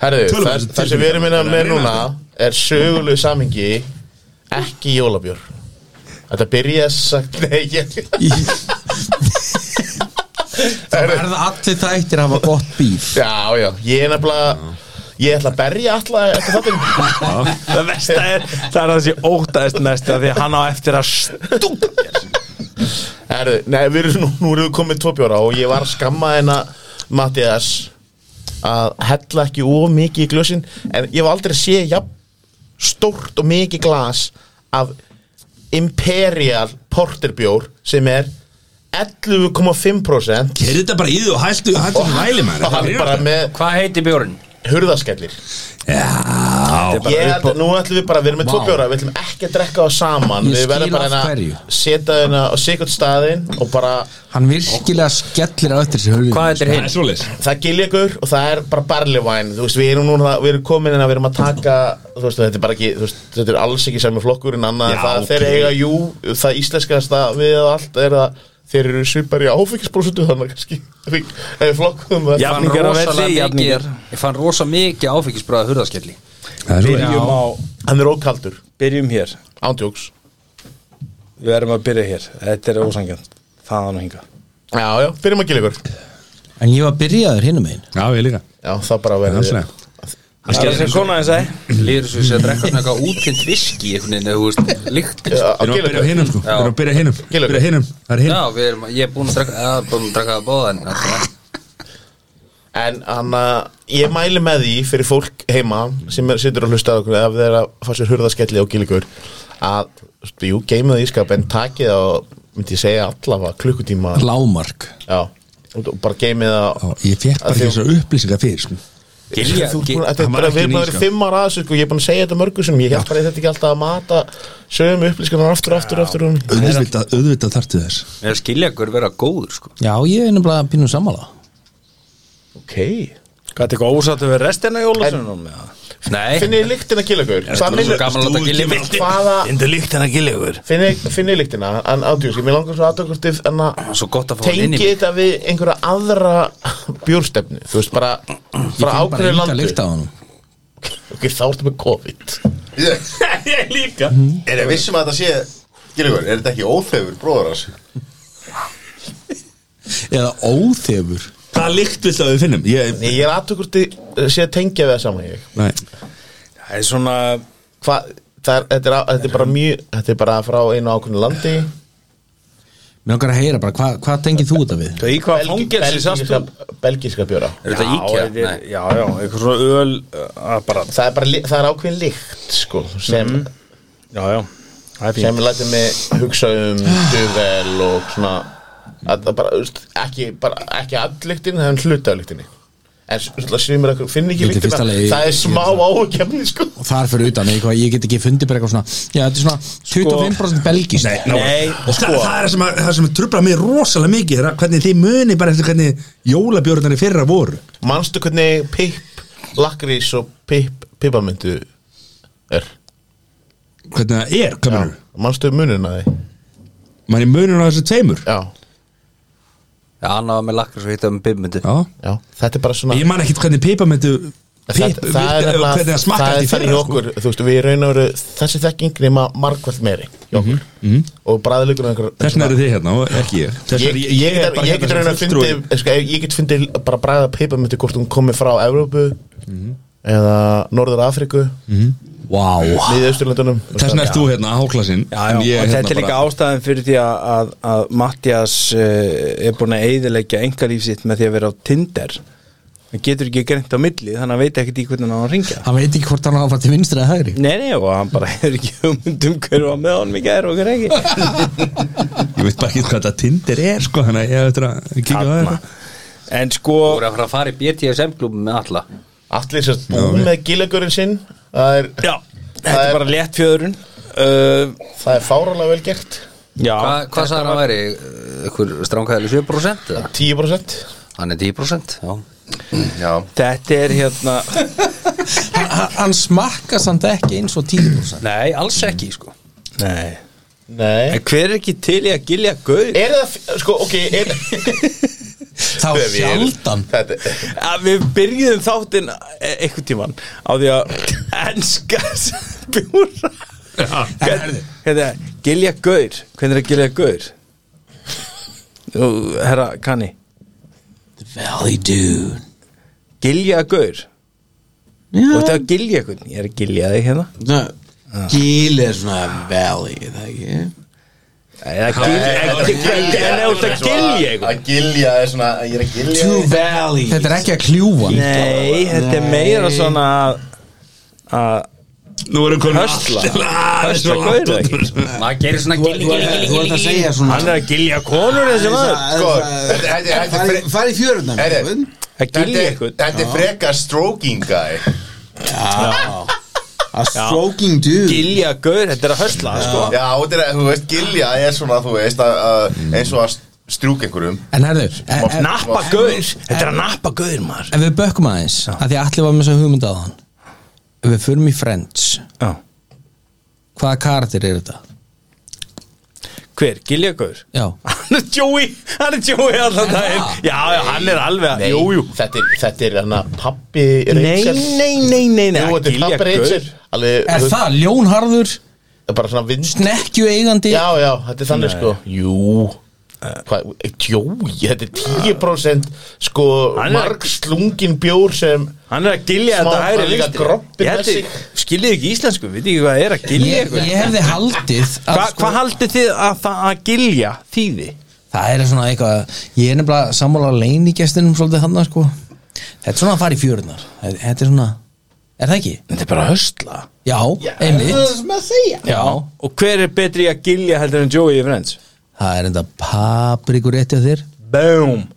Herru,
Tölum
það,
þessu
það sem við erum minna
tilfinningar.
með núna er sögulegu samingi ekki jólabjör Þetta byrjaði sagt Nei, ég
Það verða allir þættir að hafa gott bíf
Já, já, ég er nefnilega Ég ætla að berja alltaf eftir þáttum
Það versta er, það er það sem ég ótaðist mest af því að hann á eftir að stúka mér
Herru, nei, við erum nú, nú erum við komið tvo bjóra og ég var að skamma hennar Mattias að hella ekki of mikið í glösin en ég var aldrei að sé jafn stórt og mikið glas af Imperial Porterbjór sem er 11,5%
Gerðu þetta bara í því og hæltu Hæltu sem væli maður
og
Þetta
hann
er
Oh. bara
rífast.
með
Hvað heiti bjórinn?
hurðaskellir
Já
ég held að nú ætlum við bara, við erum með tvo bjóra við ætlum ekki að drekka það saman
Ég
við verðum
skil af
bara að
hverju.
setja þeirna á sikkert staðinn og bara,
Hann virkilega skellir á eftir sér höfðu
Hvað heitir
Það
hinn?
er svoleiðis
það gilja ykkur og það er bara barley wine, þú veist, við erum núna við erum komin en að við erum að taka þú veist, þetta er bara ekki, þú veist, þetta er alls ekki sami flokkur en annað,
Já,
það
ok.
þeir eiga jú, það íslenskasta við og allt er að þeir eru svipar í áfengisprósutu þannig að kannski, við- ef við flokkum það
Já.
Ég fann
Jafningar á velli,
rosalega
jafningar.
mikið Ég fann rosa mikið áfengisbræða hurðaskelli
Það er svoleiðis
Byrjum á
Hann er ókaldur,
Byrjum hér,
ándjóks
við erum að byrja hér Þetta er ósangjönd, það hann hinga
Já, já, fyrir maður gil ykkur
En ég var byrjaður hinum megin
Já, ég líka
Já, það bara verður
Þannig
Það er þessi kona þess að
Lýður svo sem að drekka svona eitthvað útkynnt viski einhvern veginn, þú veist, líkt
Já, á
Við erum að byrja á
gil
hinum sko Við erum að byrja á hinum
Gilur.
Byrja á hinum Það er hinn
Já, við erum, ég er búin að drekka, að, búin að drekka að bóða en alltaf,
En hann að ég mæli með því fyrir fólk heima sem er, situr og hlusta á okkur ef þeir eru að fá sér hurðaskelli og gilgur að, jú, geymið það í skap en takið á, myndi ég segja allavega klukkutíma
Lámark
Já, og þú- bara geymið það
Já, Ég fekk bara
Að
ekki
því-
þessar upplýsingar fyrir sko
Gilja, þú,
gi-
búin, þetta er
hann var
bara,
ekki
við erum
ný,
bara verið
sko.
fimm ára aðeins sko, ég er búin að segja þetta mörgum sem ég held bara að þetta ekki alltaf að mata sögum upplýskanar aftur og aftur og aftur og
Auðvitað, auðvitað þartu þess
mér er skilja hver vera góður, sko
Já, ég er nefnilega að pínu sammála
Ok
Hvað er eitthvað ósáttu við restina jólasunum?
Nei,
Finnir þið lyktina gilgur?
það
sko,
er svo gaman að þetta gilja
Hvaða,
Findu líkt hennar gilegur
finnir þið lyktina? En ádjúr, mér langar svo aðtökustið en að
Ah, Svo gott að fá hann inn í
tengi
mig
þetta við einhverja aðra (laughs) bjórstefnu þú veist bara
Ég
frá
finn bara
ákveðu
líka
landu
lykt á honum
ok, þá ertu með COVID
(laughs)
Ég líka
Mhm.
Er ég vissum að þetta sé Gilgur, er þetta ekki óþefur bróður hans?
Eða óþefur
Hvað líkt vilt að við finnum? Ég,
ég er aðtökur til eh, sé að tengja við það saman ég
nei,
Það er svona
Hva, það er, þetta, er, á- þetta er bara mjög þetta er bara frá einu ákveðinu landi
Mér okkar að heyra bara, hva, hvað tengið þú þetta við?
Í hvað
Belgi-
fangelsi sastu?
belgíska, belgíska bjóra
Er þetta
Já,
íkja?
þetta er- já, já, eitthvað svona öl uh, bara,
það er bara li- það er ákveðin líkt sko, sem,
já, já Það er
sem læti mig hugsa um duvel og svona að það bara, þú veist, ekki, bara, ekki allíktin, það er hlutaðlíktinni en svona svimur eitthvað, finn ekki
Þetta er fyrsta
líktina
lagi-
það er smá ákefni sko
Og þar fyrir utan, eitthvað, ég get ekki fundið bara eitthvað svona Já, þetta er svona 25% belgist
nei, ná-
Sko- Nei, og
Þa,
sko
það, er sem að, það sem trubla mig rosalega mikið er að hvernig þið muni bara eftir hvernig jólabjörðan í fyrra voru
Manstu hvernig pip, lakrís og pip, pipamindu er?
hvernig það er, hvað mennur
Manstu munin að því?
mann er munur á þessu tveimur
Já,
Já, hann var með lakkar svo hitta með bimmundi
Já.
já, þetta er bara svona
ég man ekkit hvernig pipamentu pip,
það, það er
virka-
nefnilega-
hvernig það
það
smakkaði
er
í
þannig í
fyrra sko.
okkur, þú veist, við raun og veru þessi þekking nema margvælt meiri í okkur og bræðilegur einhver
Mhm, þess vegna eru þið hérna og ekki ég Þess
Ég,
vegna
ég, ég,
er
get-
bara
ég get
hérna
raun
sem
að fyndi
fulltrúi.
sko, ef- ég get fyndi bara bræða pipamöndu hvort hún komi frá Evrópu eða Norður Afríku
Vá
miðið Austurlandunum
þess vegna ert þú hérna að hákla sinn
Já, já, og þetta er hérna
hérna
líka ástæðan fyrir því að, að, að Mattias uh, er búin að eyðileggja engalíf sitt með því að vera á Tinder hann getur ekki greint á milli þannig að hann veit ekkert í hvernig hann á að ringja
Hann veit ekki hvort hann á að fara til vinstri eða hægri
Nei, nei, og hann bara (laughs) hefur ekki hugmynd um hver var með honum í gær og hver ekki
ég veit bara ekki hvað þetta Tinder er sko þannig að ég hef eftir að kíka á
Þarna.
þetta
En sko
Þú voru að fara að fara í BTSM klubum með alla
Allir sérst búin með gillegurinn sinn það er,
Já, þetta
Það
er
er-
bara létt fjöðurinn uh,
það er fárálega vel gert
Já,
Hva, Hvað sagði hann að væri? eh, Ykkur stránkæðileg 7% eða?
10%
Hann er 10% Já
Já,
þetta er hérna
Hann- hann- Hann smakka samt ekki eins og 10%
Nei, alls ekki, sko
Nei
Nei
En hver er ekki til í að gilja gauð?
Er það, f- sko, ok er,
Þá sjaldan
Þetta
að við byrjuðum þáttinn e- einhvern tíman á því að enska bjúra
herðu.
hérna, gilja gaur hvernig er að gilja gaur Þú, herra, kanni
Valley Dune
gilja gaur
Já.
og þetta að gilja einhvern ég er að gilja þig hérna
Svona, Gil er svona valley, er það ekki?
eða gilja en eða út að gilja einhvern
Að gilja er svona, ég er að gilja
Two
þig.
valleys
Þetta er ekki að kljúfa hann.
nei, þetta er meira svona að- að
nú erum komin
Höstla.
allt- Ah, það er svo
Höstla
langt
gaur,
út úr þessu.
Maður gerir svona
Þú- Þú ert- þú ert að segja svona
hann er að gilja konur þessi maður
Sko, þetta- þetta- þetta-
Fari, fari í fjörðna
Heyrðu.
að
Þetta
gilja
er-
einhvern
Þetta er frekar stroking guy
A stroking dude
gilja gaur, þetta er að hösla sko.
Já, og þetta er, þú veist, gilja er svona, þú veist, að- að- eins og að strjúk einhverjum
En herðu, e- e-
nappa gaur, þetta er að nappa gaur maður
ef við bökkum aðeins að Því að allir var með þess að hugmynda á hann Ef við förum í Friends
Já.
Hvaða karakter er þetta?
Hver? Giljagur?
Já.
Hann er Joey, hann er Joey allan daginn Já, já, hann er alveg að, jú, jú
Þetta er, þetta er hann að pappi
Nei,
Rachel
nei, nei, nei, nei
Jú, þetta er pappi Rachel Alveg,
Er
þú-
það ljónharður,
Bara svona vinst
snekkju eigandi
Já, já, þetta er þannig sko Jú Hvað, Jói, þetta er 10% sko
Hann er-
marg slungin bjór sem
Hann er að
Smá-
gilja þetta hægri
hann líka
vinstri.
grobbinn
Ég held
með
ég- Skiljið ekki íslensku, veit ekki hvað er að gilja
ég, sko- ég hefði haldið að
Hva, Hvað haldið þið að, það- að gilja þýði?
Það er svona eitthvað Ég er nefnilega sammála leinigestinum svolítið hann sko. Þetta er svona að fara í fjörunar Þetta er svona Er það ekki?
Þetta er bara að höstla
Já, einmitt Það er sem að segja Já,
Og hver er betri í að gilja heldur en Joey í Friends?
það er enda paprikur rétti á þér
Boom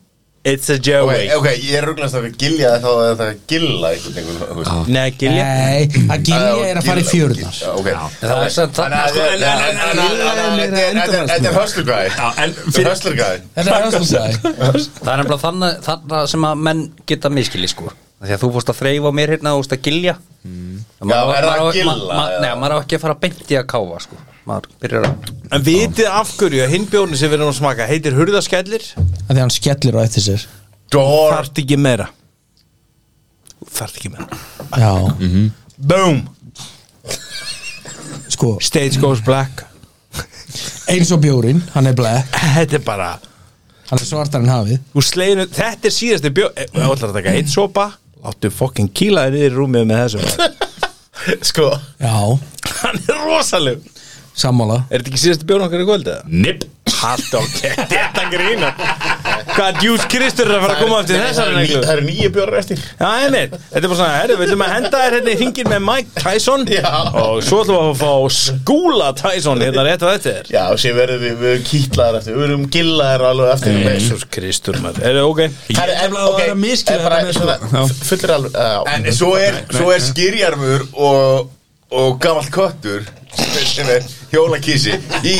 It's a Joey
Ok, eh, ok, ég er rugglast að við gilja það þá er það að gilla einhvern veginn þú veist.
Nei, gilja
Nei, að gilja er að fara í fjörunar
Já, Ok
það er samt
Þannig
Sko,
það
að- þannig að- þannig að- þannig að- þannig að- þetta er- Þetta er hustler guy Þetta er hustler guy
Þetta er aðstofnæði
Það er nefnilega þannig, þannig sem að menn geta miskili sko Af Því að þú fórst að þreyfa á mér hérna og þú fórst að gilja
Mm.
Já, er það að gilla, eða?
Nei, maður á ekki að fara beint í að káfa sko Maður byrjar að
En vitið af hverju að hinn bjórni sem við erum að smaka heitir hurðaskellir
Því hann skellir á eftir sér
Door
Þarft ekki meira Þarft ekki meira
Já,
Mhm. Boom
sko,
Stage goes black
eins og bjórin Hann er black,
Þetta er bara
hann er svartar en hafið
Þú sleginu Þetta er síðasti bjór Þú ætlar að taka eitt sopa Láttu fokkin kýla þér niður í rúmið með þessum maður.
sko,
Já,
Hann er rosaleg
sammála
Er þetta ekki síðasti bjórn okkar í kvöldið? Nipp Hatt ok Þetta grína Hvað djús Kristur er að fara að koma eftir þessari
það
reglu
eru nýju bjórar eftir
Já, einmitt Þetta er bara svona Herru, við ætlum að henda þér hérna í ringin með Mike Tyson
Já.
Og svo ætlum við að fá skúla Tyson hérna rétt á þetta er
Já, og sé verðum við, við erum kýtlaðar eftir Við erum gillaðar alveg eftir
Jesus Kristur maður Er það ok?
Það er
nefnilega að vera að misskilja
bara
þetta með
svona Fullir alveg já.
En svo er, svo er skýrjarmur og, og gamall köttur sem er hjólakísi í,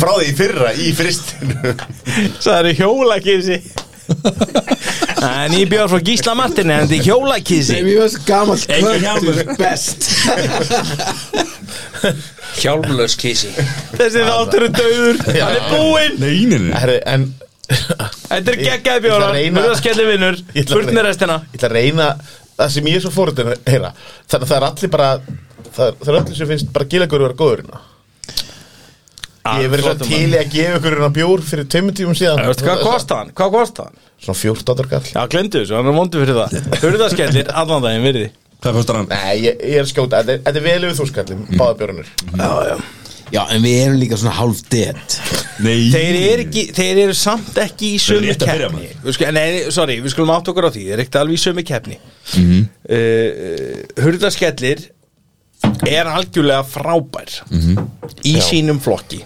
frá því í fyrra í fristinu
Það eru hjólakísi En ég bjóð frá Gísla Martini En þetta er hjólakísi
Mér finnst gammal
Engin hjálmur.
kvöldur best
hjálmlaus kísi
Þessi þáttur er döður Hann er búinn
Nei, nei, nei
Herri, en
Þetta er
Ég-
geggjaði
ég ætla
bjóðar
að reyna-
Þú er að skelli vinnur
Ég ætla að
Burt með
reyna-
restina
Ég ætla að reyna það sem ég er svo fórhundin að heyra Þannig að það er allir bara Það er, það er allir sem finnst bara gilagur að vera góður hérna. Ég hef verið svo til í að gefa ykkur hérna bjór fyrir tveimur tímum síðan
Þú veist hvað kosta hann? Hvað kosta hann?
Svona 14 ára kall
Já, glemdu þessu, hann er vondur fyrir
(laughs)
það Hurðaskellir, allan daginn virði
Hvað kostar hann?
Nei, ég, ég er að skjóta, þetta er- þetta er vel yfir þú skallum,
Mm.
báða björnir
Já, en við erum líka svona hálf dead
Nei
Þeir eru, ekki, þeir eru samt ekki í sömu
rétt að byrja,
keppni Við skulum- Nei, sorry, við skulum átt okkur á því Þeir eru ekkert alveg í sömu keppni
Mhm.
uh, Hurðaskellir er algjörlega frábær
Mhm.
í sínum flokki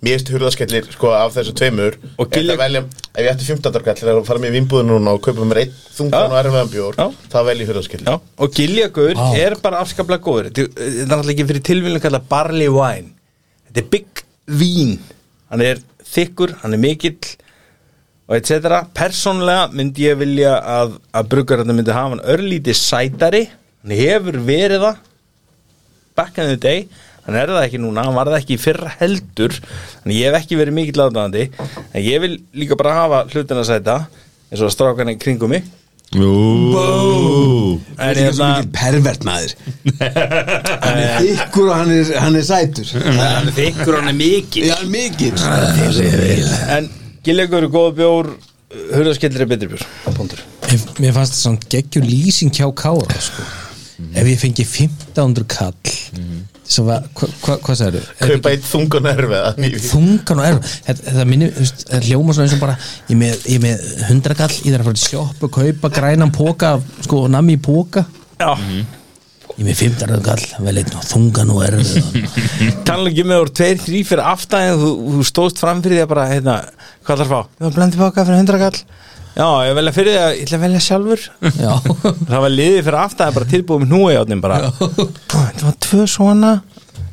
Mér erst hurðaskellir, sko, af þessu tveimur
Og
Ef
Gilja-
ég velja, ef ég ætti 15 ára kall Það er að fara mér í vinnbúðu núna og kaupa mér einn þungan
Já.
og erfiðan bjór
Já.
Þá velja ég hurðaskellir
Já. og Giljagur
Vá.
er bara afskaplega góður Þetta þetta er náttúrulega ekki fyrir tilvíðlega kallað barley wine þetta er big vín hann er þykkur, hann er mikill og etc. Persónlega myndi ég vilja að, að bruggararna myndi hafa hann örlítið sætari hann hefur verið það back in the day hann er það ekki núna, hann var það ekki í fyrra heldur þannig ég hef ekki verið mikill aðdæðandi en ég vil líka bara hafa hlutina sæta eins og strákan í kringum mig
Jú
Það er líka svo
hérna-
mikið pervert maður Hann er þykkur og hann er, hann er sætur
Hann er þykkur, hann er Ah, mikið
Já, mikið
En Gillegur er góð bjór Hurðaskellir er betri bjór Póndur
Mér, mér fannst það samt geggjur lýsing hjá Kára sko.
Mhm.
Ef ég fengi 1500 kall sem var, hva, hva, hvað sagði þau?
Kaupa einn þungan og erfiðan í-
Þungan og erf Þetta, þetta minnir, þú veist, þetta hljóma svona eins og bara ég er með, ég er með 100 kall, ég þarf að fara í sjopp og kaupa grænan póka, af, sko, nami í póka
Já,
Ég er með 1500 kall, vel einn og þungan og erf
(laughs)
tala ekki með úr tveir, þrý fyrir aftan en þú, þú stóðst fram fyrir því að bara hérna, hvað þarf að fá? Já, blendi baka fyrir hundrakall Já, ég velja fyrir því að ég ætla að velja (laughs) sjálfur
Já,
Það var liðið fyrir aftan bara tilbúið með núi átnum bara Það var tvö svona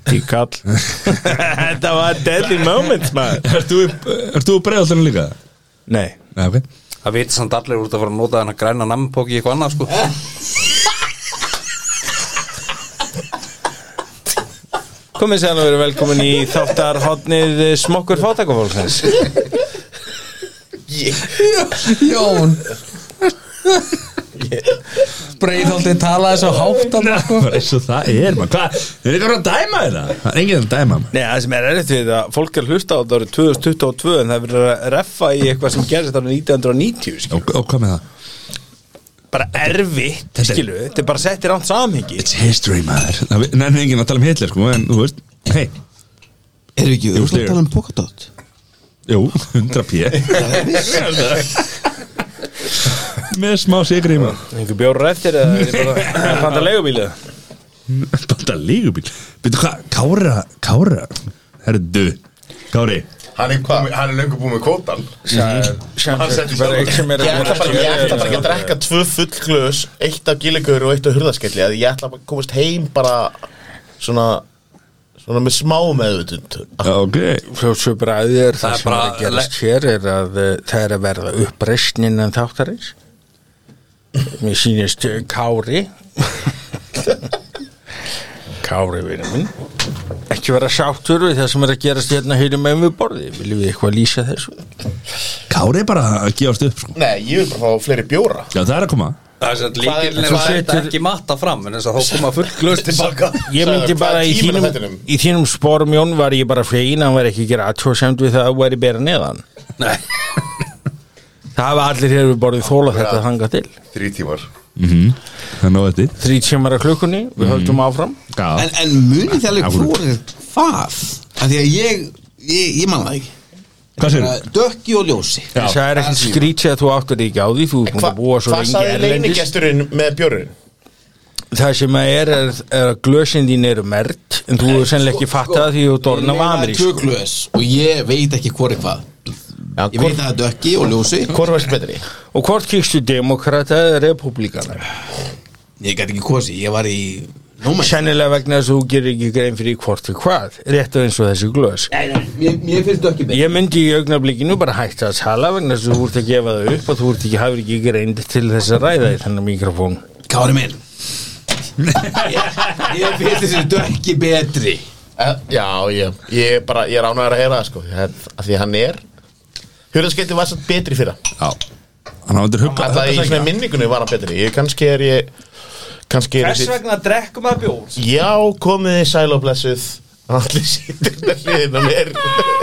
Tíkall (laughs) Þetta var deadly moments maður
Ert þú, ert þú breiðaldurinn líka?
Nei,
Nei, ok
Það veit samt allir út að fara að nota hann að græna nampóki í eitthvað annað sko
Eh?
Komið sér að vera velkomin í þáttar hotnið smokkur fátakafólksins
Jón Breiðholti talaði svo hátt að sko
(laughs) Bara eins og það er maður Hvað, þeir eru að dæma þetta Það er enginn að dæma maður
Nei, það sem er erfitt við það, fólk er að hlusta á þetta árið 2022 en það er verið að reffa í eitthvað sem gerist árið 1990 skilur.
og, og hvað með það?
Bara erfitt,
Þetta er-
skilu, þetta er bara sett í ránt samhengi
It's history maður Það nefnir enginn að tala um Hitler sko En þú veist, hei,
Erum við ekki
Jú,
örugglega
styrir.
að tala um Pokadot?
jú, 100 (laughs) p Með smá sigri maður
Einhver bjórar eftir (laughs) eða er bara að panta leigubílið
Banda lígubíl Veitu hvað, Kára, Kára Herðu, Kári
Hann er, komi, hann er löngu búið með kótan Hann setti
Bara
sjálf
ekki sem er
Ég ætla bara, ég ætla bara ekki að drekka tvö full glös Eitt af gíligur og eitt af hurðaskelli að Ég ætla bara að komast heim bara Svona Svona með smá meðvutund
Ok
Fljótsu bræðir,
Það
það
er
sem er
bara-
að gerast hér er að eh, það er að verða uppreisnin en þáttarins Mér sýnist eh, Kári (laughs) Kári vinur minn Ekki vera sáttur við það sem er að gerast hérna hér með við borði Viljum við eitthvað lýsa þessu?
Kári er bara að gefast upp sko
Nei, ég vil bara fá fleiri bjóra
Já, það er að koma
Það er sem að líkilin er
Þú
að þetta
setur-
ekki matta fram en þess að þá koma full glöst tilbaka
Ég myndi bara í þínum, í þínum sporum Jón var ég bara fegin að hann var ekki að gera aðtjóðsend við það að væri bera neðan
Nei,
(laughs) Það hafa allir hér við borðið þóla þetta þanga til
Þrý tímar
Mhm. Það er nóg eftir
Þrý tímar að klukkunni, við höldum áfram
Já,
En, en munið þið alveg
Akkurat.
hvorið hvað? Af því að ég, ég, ég man það ekki
hvað sér
Bara Dökki og ljósi
Já, það er ekkert skrítið að þú áttur ekki á því þú er búin
Hva,
að búa svo
Hvað
lengi
sagði
erlendis
leinigesturinn með bjórun?
það sem að er er, er að glösin þín eru mert en þú er sennilega
sko,
ekki fattað því þú dorna
Ég
vanri
meina tvö glös og ég veit ekki hvorið hvað Ég veit að það er dökki og ljósi
Hvor var sem betri?
og hvort kýrstu demokrata eða republikana
Ég gæti ekki kosi, ég var í Nómæn
sennilega vegna þess að þú gerir ekki grein fyrir hvort er hvað rétt og eins og þessi glös
Mér, mér finnst dökki betur
ég myndi í augnablikinu bara hætta að tala vegna þess að þú ert að gefa það upp og þú ert ekki hafur ekki grein til þess að ræða í þennan mikrofón
Kári minn Ég, ég finnst þessi dökki betri
Eh, Já, ég, ég, bara, ég er ánægður að heyra það sko Það- af Því hann er Hurðaskelli var satt betri fyrir það
Já Hann hafði hugga
Það í svona minningunni var hann betri Ég kannski er ég Kannski er ég sitt-
vegna drekkum að bjór
Já, komið í sæl og blessuð Allir sýttir með hliðin á mér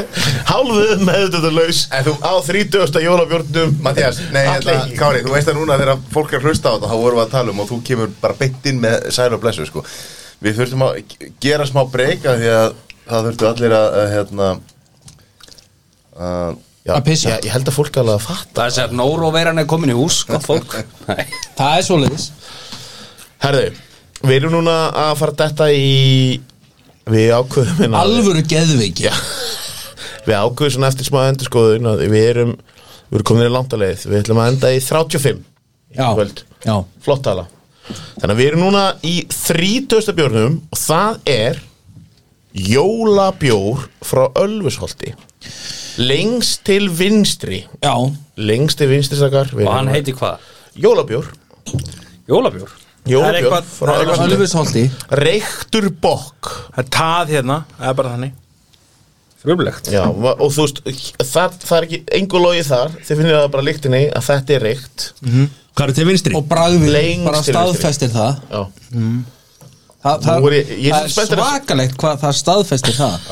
(laughs) Hálfuð meðutöndalaus
En þú-
Á 30. jólabjórnum
Mattias, nei,
Alla-
hérna, Kári, þú veist að núna þegar fólk er að hlusta á þetta þá vorum við að tala um og þú kemur bara beint inn með sæl og blessu sko. Við þurftum að g- gera smá breyka því að það þurftu allir að, að hérna að
Já,
Að pissa.
já, Ég held að fólk alveg að fatta
það er sem að Nóroveiran er komin í hús gott fólk Nei.
(laughs) Það er svoleiðis
Herðu, við erum núna að fara detta í Við ákveðum hérna
Alvöru geðveiki
Við ákveðum svona eftir smá endurskoðun að Við erum, við erum komin í landarleið Við ætlum að enda í 35
Já,
Kvöld.
já
Flott tala Þannig að við erum núna í 30. bjórnum Og það er Jólabjór frá Ölfusholti Lengst til vinstri
Já,
Lengst til vinstri sakar
og hann heiti hvað?
Jólabjór
Jólabjór
Jólabjór frá Ölfusholti
Ölfusholti
Reyktur bokk
það er tað hérna, það er bara þannig þrjumlegt
Já, va- og þú veist, það, það er ekki engu logi þar, þið finnir það bara líktinni að þetta er reykt
Hvað er til vinstri?
Og bragðið
Lengst
bara
til vinstri.
staðfestir það
Já,
Þa, það,
Nú er ég- ég er
það er
spenntur að-
svakalegt hvað það staðfestir það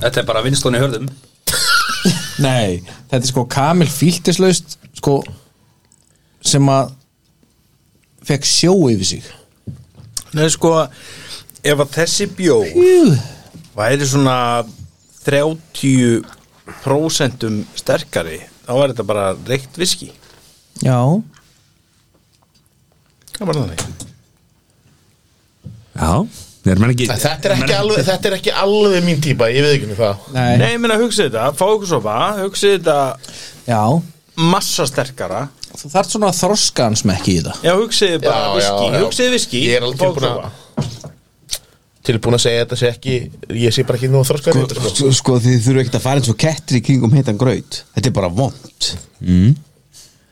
Þetta er bara vinstunni hörðum
(laughs) Nei, þetta er sko Kamil fíltislaust sko, sem að fekk sjó yfir sig
Nei, sko, ef að þessi bjór væri svona 30% sterkari þá væri þetta bara reykt viski
Já
það var þannig
Já Nei, menn ekki
þetta er ekki alveg, þetta er ekki alveg mín típa, ég veit ekki um það
Nei,
Nei, ég minna hugsa þetta, fá ykkur sofa hugsa þetta
Já,
massa sterkara
þú þarft svona að þroska hans mekki í það
Já, hugsa þið bara
Já,
viski,
já, já.
hugsa þið viski
Ég er alveg
fáið ykkur
tilbúin að-
sopa.
Tilbúin að segja þetta sé ekki, ég sé bara ekki nú að þroska þetta sko.
Sko, sko þið þurfa ekkert að fara eins og kettir í kringum heitan graut Þetta er bara vond mm.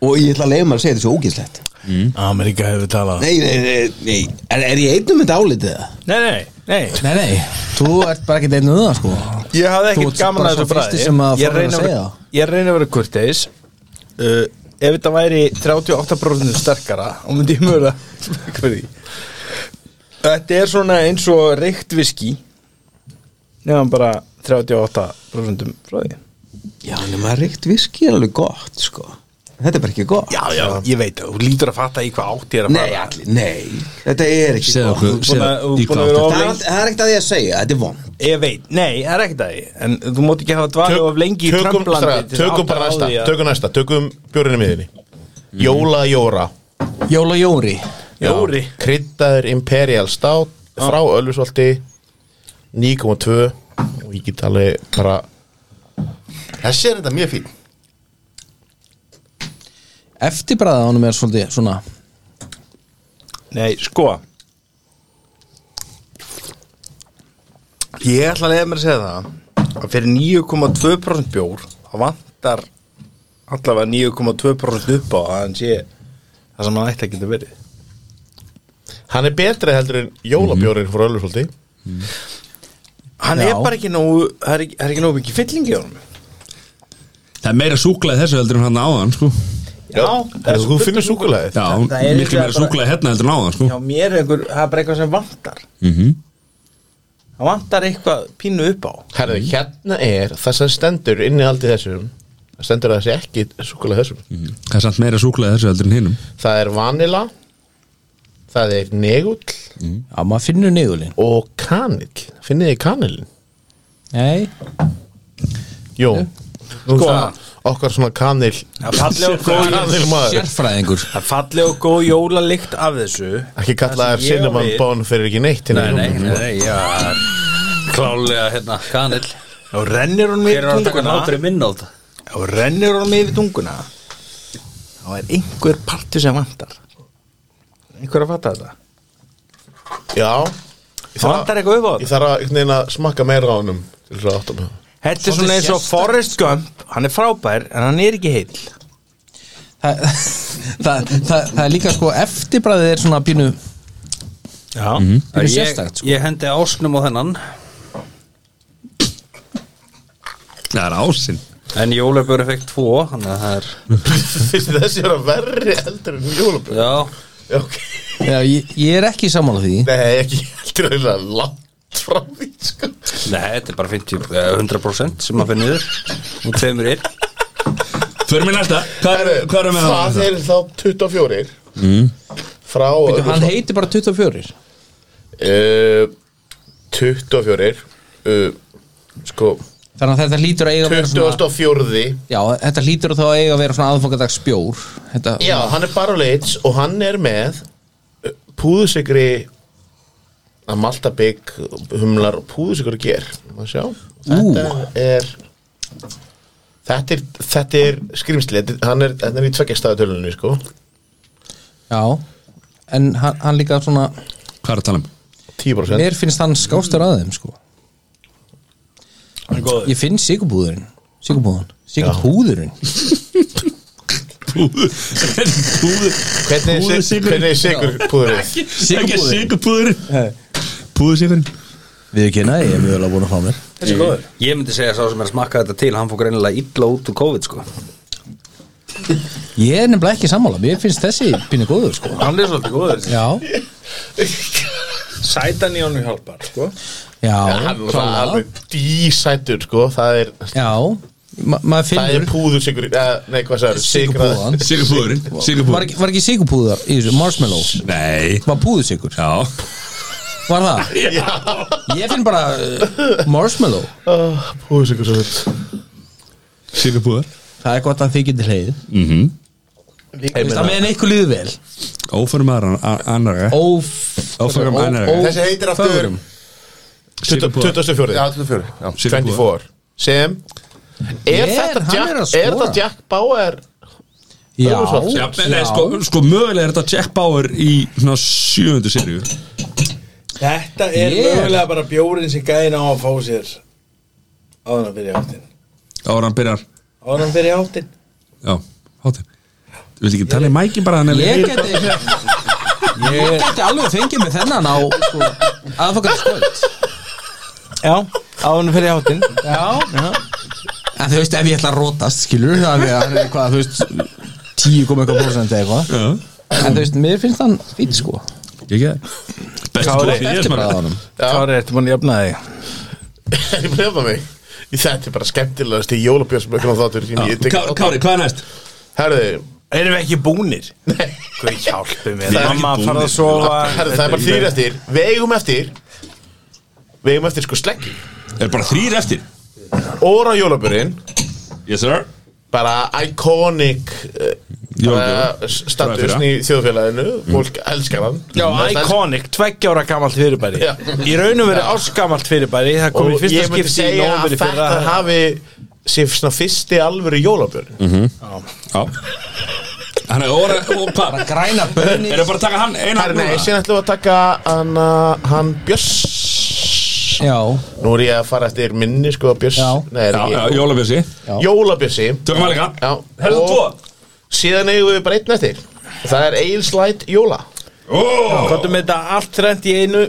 Og ég ætla að leiða maður að segja þetta er svo ógæslegt
Hmm? Ameríka hefur talað
Nei, nei, nei, nei. Er, er ég einnum með þetta álitið það?
Nei, nei, nei
Nei, nei Þú ert bara ekki einu það sko
Ég hafði
Þú
ekkert
ert
gaman
bara
að þessu
sá fyrsti
bræði
sem að
Ég
fór að
reyna að
segja
vera, ég reyni að vera kurteis uh, Ef þetta væri 38% sterkara og myndi ég mjög að smaka fyrir því Þetta er svona eins og reykt viski nefnum bara 38% frá því
Já, nema reykt viski er alveg gott, sko Þetta er bara ekki gott
Já, já, ég veit það, þú lítur að fatta í hvað átt ég er
Nei, allir, nei, þetta er ekki
Segðu
gott
okkur,
Búin að-
segðu
þú
í
búin
hvað
að vera
átt
Það er, allt- það er ekkert að því að segja, þetta er vond
Ég veit, nei, það er ekkert að því En þú mátt ekki hafa dvalið of lengi í
tökum, strax,
tramplandi
tökum bara næsta tökum næsta, tökum bjórinu miðinni
Mm.
Jóla Jóra
Jóla Jóri
Jóri
Kryddaður Imperial Stout frá Ölfusvaldi 9,2 og ég get alveg bara
Þessi er þetta mjög fín
Eftirbræða honum er svolítið svona
Nei, sko Ég ætla að leiða mér að segja það að fyrir 9,2% bjór þá vantar allavega 9,2% upp á að hann sé það sem hann ætti að geta verið
hann er betri heldur en jólabjórin frá Ölfusvaldi
Hann
Já.
er bara ekki nógu það er ekki, það er ekki nógu mikið fyllingi á hann
Það er meira súklaði þessu heldur en hann áðan sko
Já, það er
þú
svo
finnir súkulæði
Já,
það er
miklu meira
líklega bara-
súklaði hérna heldur en áðan sko
Já, mér er einhver, það er bara eitthvað sem vantar
Mhm.
Það vantar eitthvað pínu upp á
Herðu, hérna er það sem stendur inni aldrei þessum það stendur að þessi ekki súkulega þessum
Það er samt meira súklaði þessu heldur en hinnum
það er vanila það er negull
Já, maður finnur niðurlinn
og kanill finnið þið kanilin?
Nei
Jó, nú
Sko.
það okkar svona kanil
(laughs) Það er falleg og góð
kanil maður
Sérfræðingur
Það er falleg og góð jólalikt af þessu
ekki
Það
kallaðar
sem ég á
cinnamon
við-
bón fyrir ekki neitt hérna
Nei,
í
nei,
rúminu.
nei, já Klálega, hérna, kanil
og rennir hún
Hér
yfir
er að taka
tunguna
náttúri minn á þetta
og rennir hún yfir tunguna þá er einhver partur sem vantar einhver að fatta þetta
já Ég
það vantar eitthvað upp á
ég
þetta
þarf að, einhvern veginn að smakka meira á honum til þess að átta
(laughs)
mig á.
þetta er svona eins og Forrest Gump hann er frábær en hann er ekki heill
það, (laughs) það, það, það er líka sko eftirbræðið er svona pínu
já mm -hmm.
Pínu
ég,
sérstakt, sko.
ég hendi ásnum á þennan
Það er ásinn
En jólabjóri fekk tvo Þannig að það er
Finnst þið þessi vera verri heldur en jólabjörn
Já,
ok,
sko. Já, ég, ég er ekki sammála því
nei ekki heldur en það langt frá því sko.
nei, þetta er bara 50, eh, 100% sem maður finnir og tveimur einn
Förum við næsta, hvað
Herru,
er, hvað er með það?
það er þá 24 mm. frá
Þú, Hann heitir bara 24
uh, 24 uh, sko
Þannig að þetta lítur að eiga að vera svona
24
Já, þetta lítur að þá eiga að vera svona aðfangadags bjór Þetta,
já, hann er bara leits og hann er með uh, púðusikri að maltabygg humlar og púðusikri ger Má sjá. þetta er þetta er, þetta er skrimsli Þetta- hann er, hann er í tveggjastæðatölunni sko
já. En hann, hann líka svona
Hvað er að tala um?
10%
Mér finnst hann skástur að þeim sko Ég finn sigurbúðurinn Sigurbúðan Sigurbúðurinn
Púður Púður
hvernig er sig-
Púðusykur.
hvernig er sigur púðurinn
Ekki sigurpúðurinn Púðusigurinn
Við ekki næ, ég er mjög alveg búin að fá mér
Ég myndi segja sá sem er að smakka þetta til Hann fór greinilega illa út úr COVID sko
Ég er nefnilega ekki sammála, mér finnst þessi pínu góður sko
hann er svolítið góður
Já,
(laughs) sætan í honum hjálpar sko.
já,
hann er
klálega.
alveg dísætur sko það er
Já, ma maður
Það er
finnur
púður sigur Nei, hvað sagður? (laughs)
Sykurpúðan.
Sigurpúðurinn
Var
Sigurpúðurinn
ekki, var ekki sigurpúðar í þessu marshmallow
Nei
Var púðusigur,
Já
var það? (laughs) Ég finn bara uh, marshmallow
Púður sigur svo
Sigurpúður
Það er gott að þið getur hleið
Mhm.
Það meðan eitthvað líður vel
Ófærum aðra eh? annara
Óf
Ófærum
ó-
annara
ó-
Þessi heitir aftur
fögrum.
Sigurpúður
24
Já, 24 já.
Sigurpúður
24 Sem (laughs) Er
Er-
þetta
hann er að
Jack
skora.
Er þetta Jack Bauer
Já,
Ölfusholt.
Já, en nei, sko, sko mögulega er þetta Jack Bauer í svona sjöundu seríu
þetta er
Yeah.
mögulega bara bjórin sem gæðin á að fá sér áður en fyrir háttin
Ára hann byrjar
áður en fyrir háttin
Já, hátir Þú vilt ekki tala í mækin bara þannig að-
Ég geti Ég geti alveg fengið með þennan á sko, aðfokkar skvöld
Já, áðunum fyrir hátinn Já, já En þú veist, ef ég ætla að rótast, skilur það við hann er hvað, þú veist 10 kom eitthvað prosent eða eitthvað En þú veist, mér finnst hann fýtt sko
Ekki það Best
Hvað
skóla
er eftir bara á hann?
Kári, ertu búin að jafna þig?
Ég breyfa mig Í þetta er bara skemmtilegast í jólabjörnsmökkunum þáttur sem ég tek
Ká- Kári, hvað er næst?
Herðu,
Erum við ekki búnir? Hvað hjálpi mér?
Við erum
Mamma
ekki búnir.
farið að sofa
herðu það er bara þýr eftir Við eigum eftir Við eigum eftir sko sleggi
Er bara þrýr eftir
Óra jólabjörnin
Yes sir
Bara iconic uh,
Jólabjór.
bara Statusn í þjóðfélaginu
Mm.
Fólk elskar hann
Já,
Það elskar-
Iconic, tveggjára gamalt fyrirbæri
Já.
Í raunum verið ásgamalt fyrirbæri Það kom í
Og
fyrsta
ég myndi
skipti í
segja að
nóveri fyrir
þetta hafi Sér svona fyrsti alvöru jólabjörn
Mhm. Já Hann er óra og hvað
Græna bönni
Er það bara að taka hann eina
Herri, nei, síðan ætlum við að taka hann, uh, hann Björs
Já,
Nú er ég að fara eftir minni, sko, Björs
Já.
Nei, er
Já, já,
ekki
jólabjössi
Jólabjössi
Tökum hann líka
Já
Herðu
og
tvo
Síðan eigum við bara einn eftir Það er Eilslæt Jóla
Ó
Kottum þetta allt trend í einu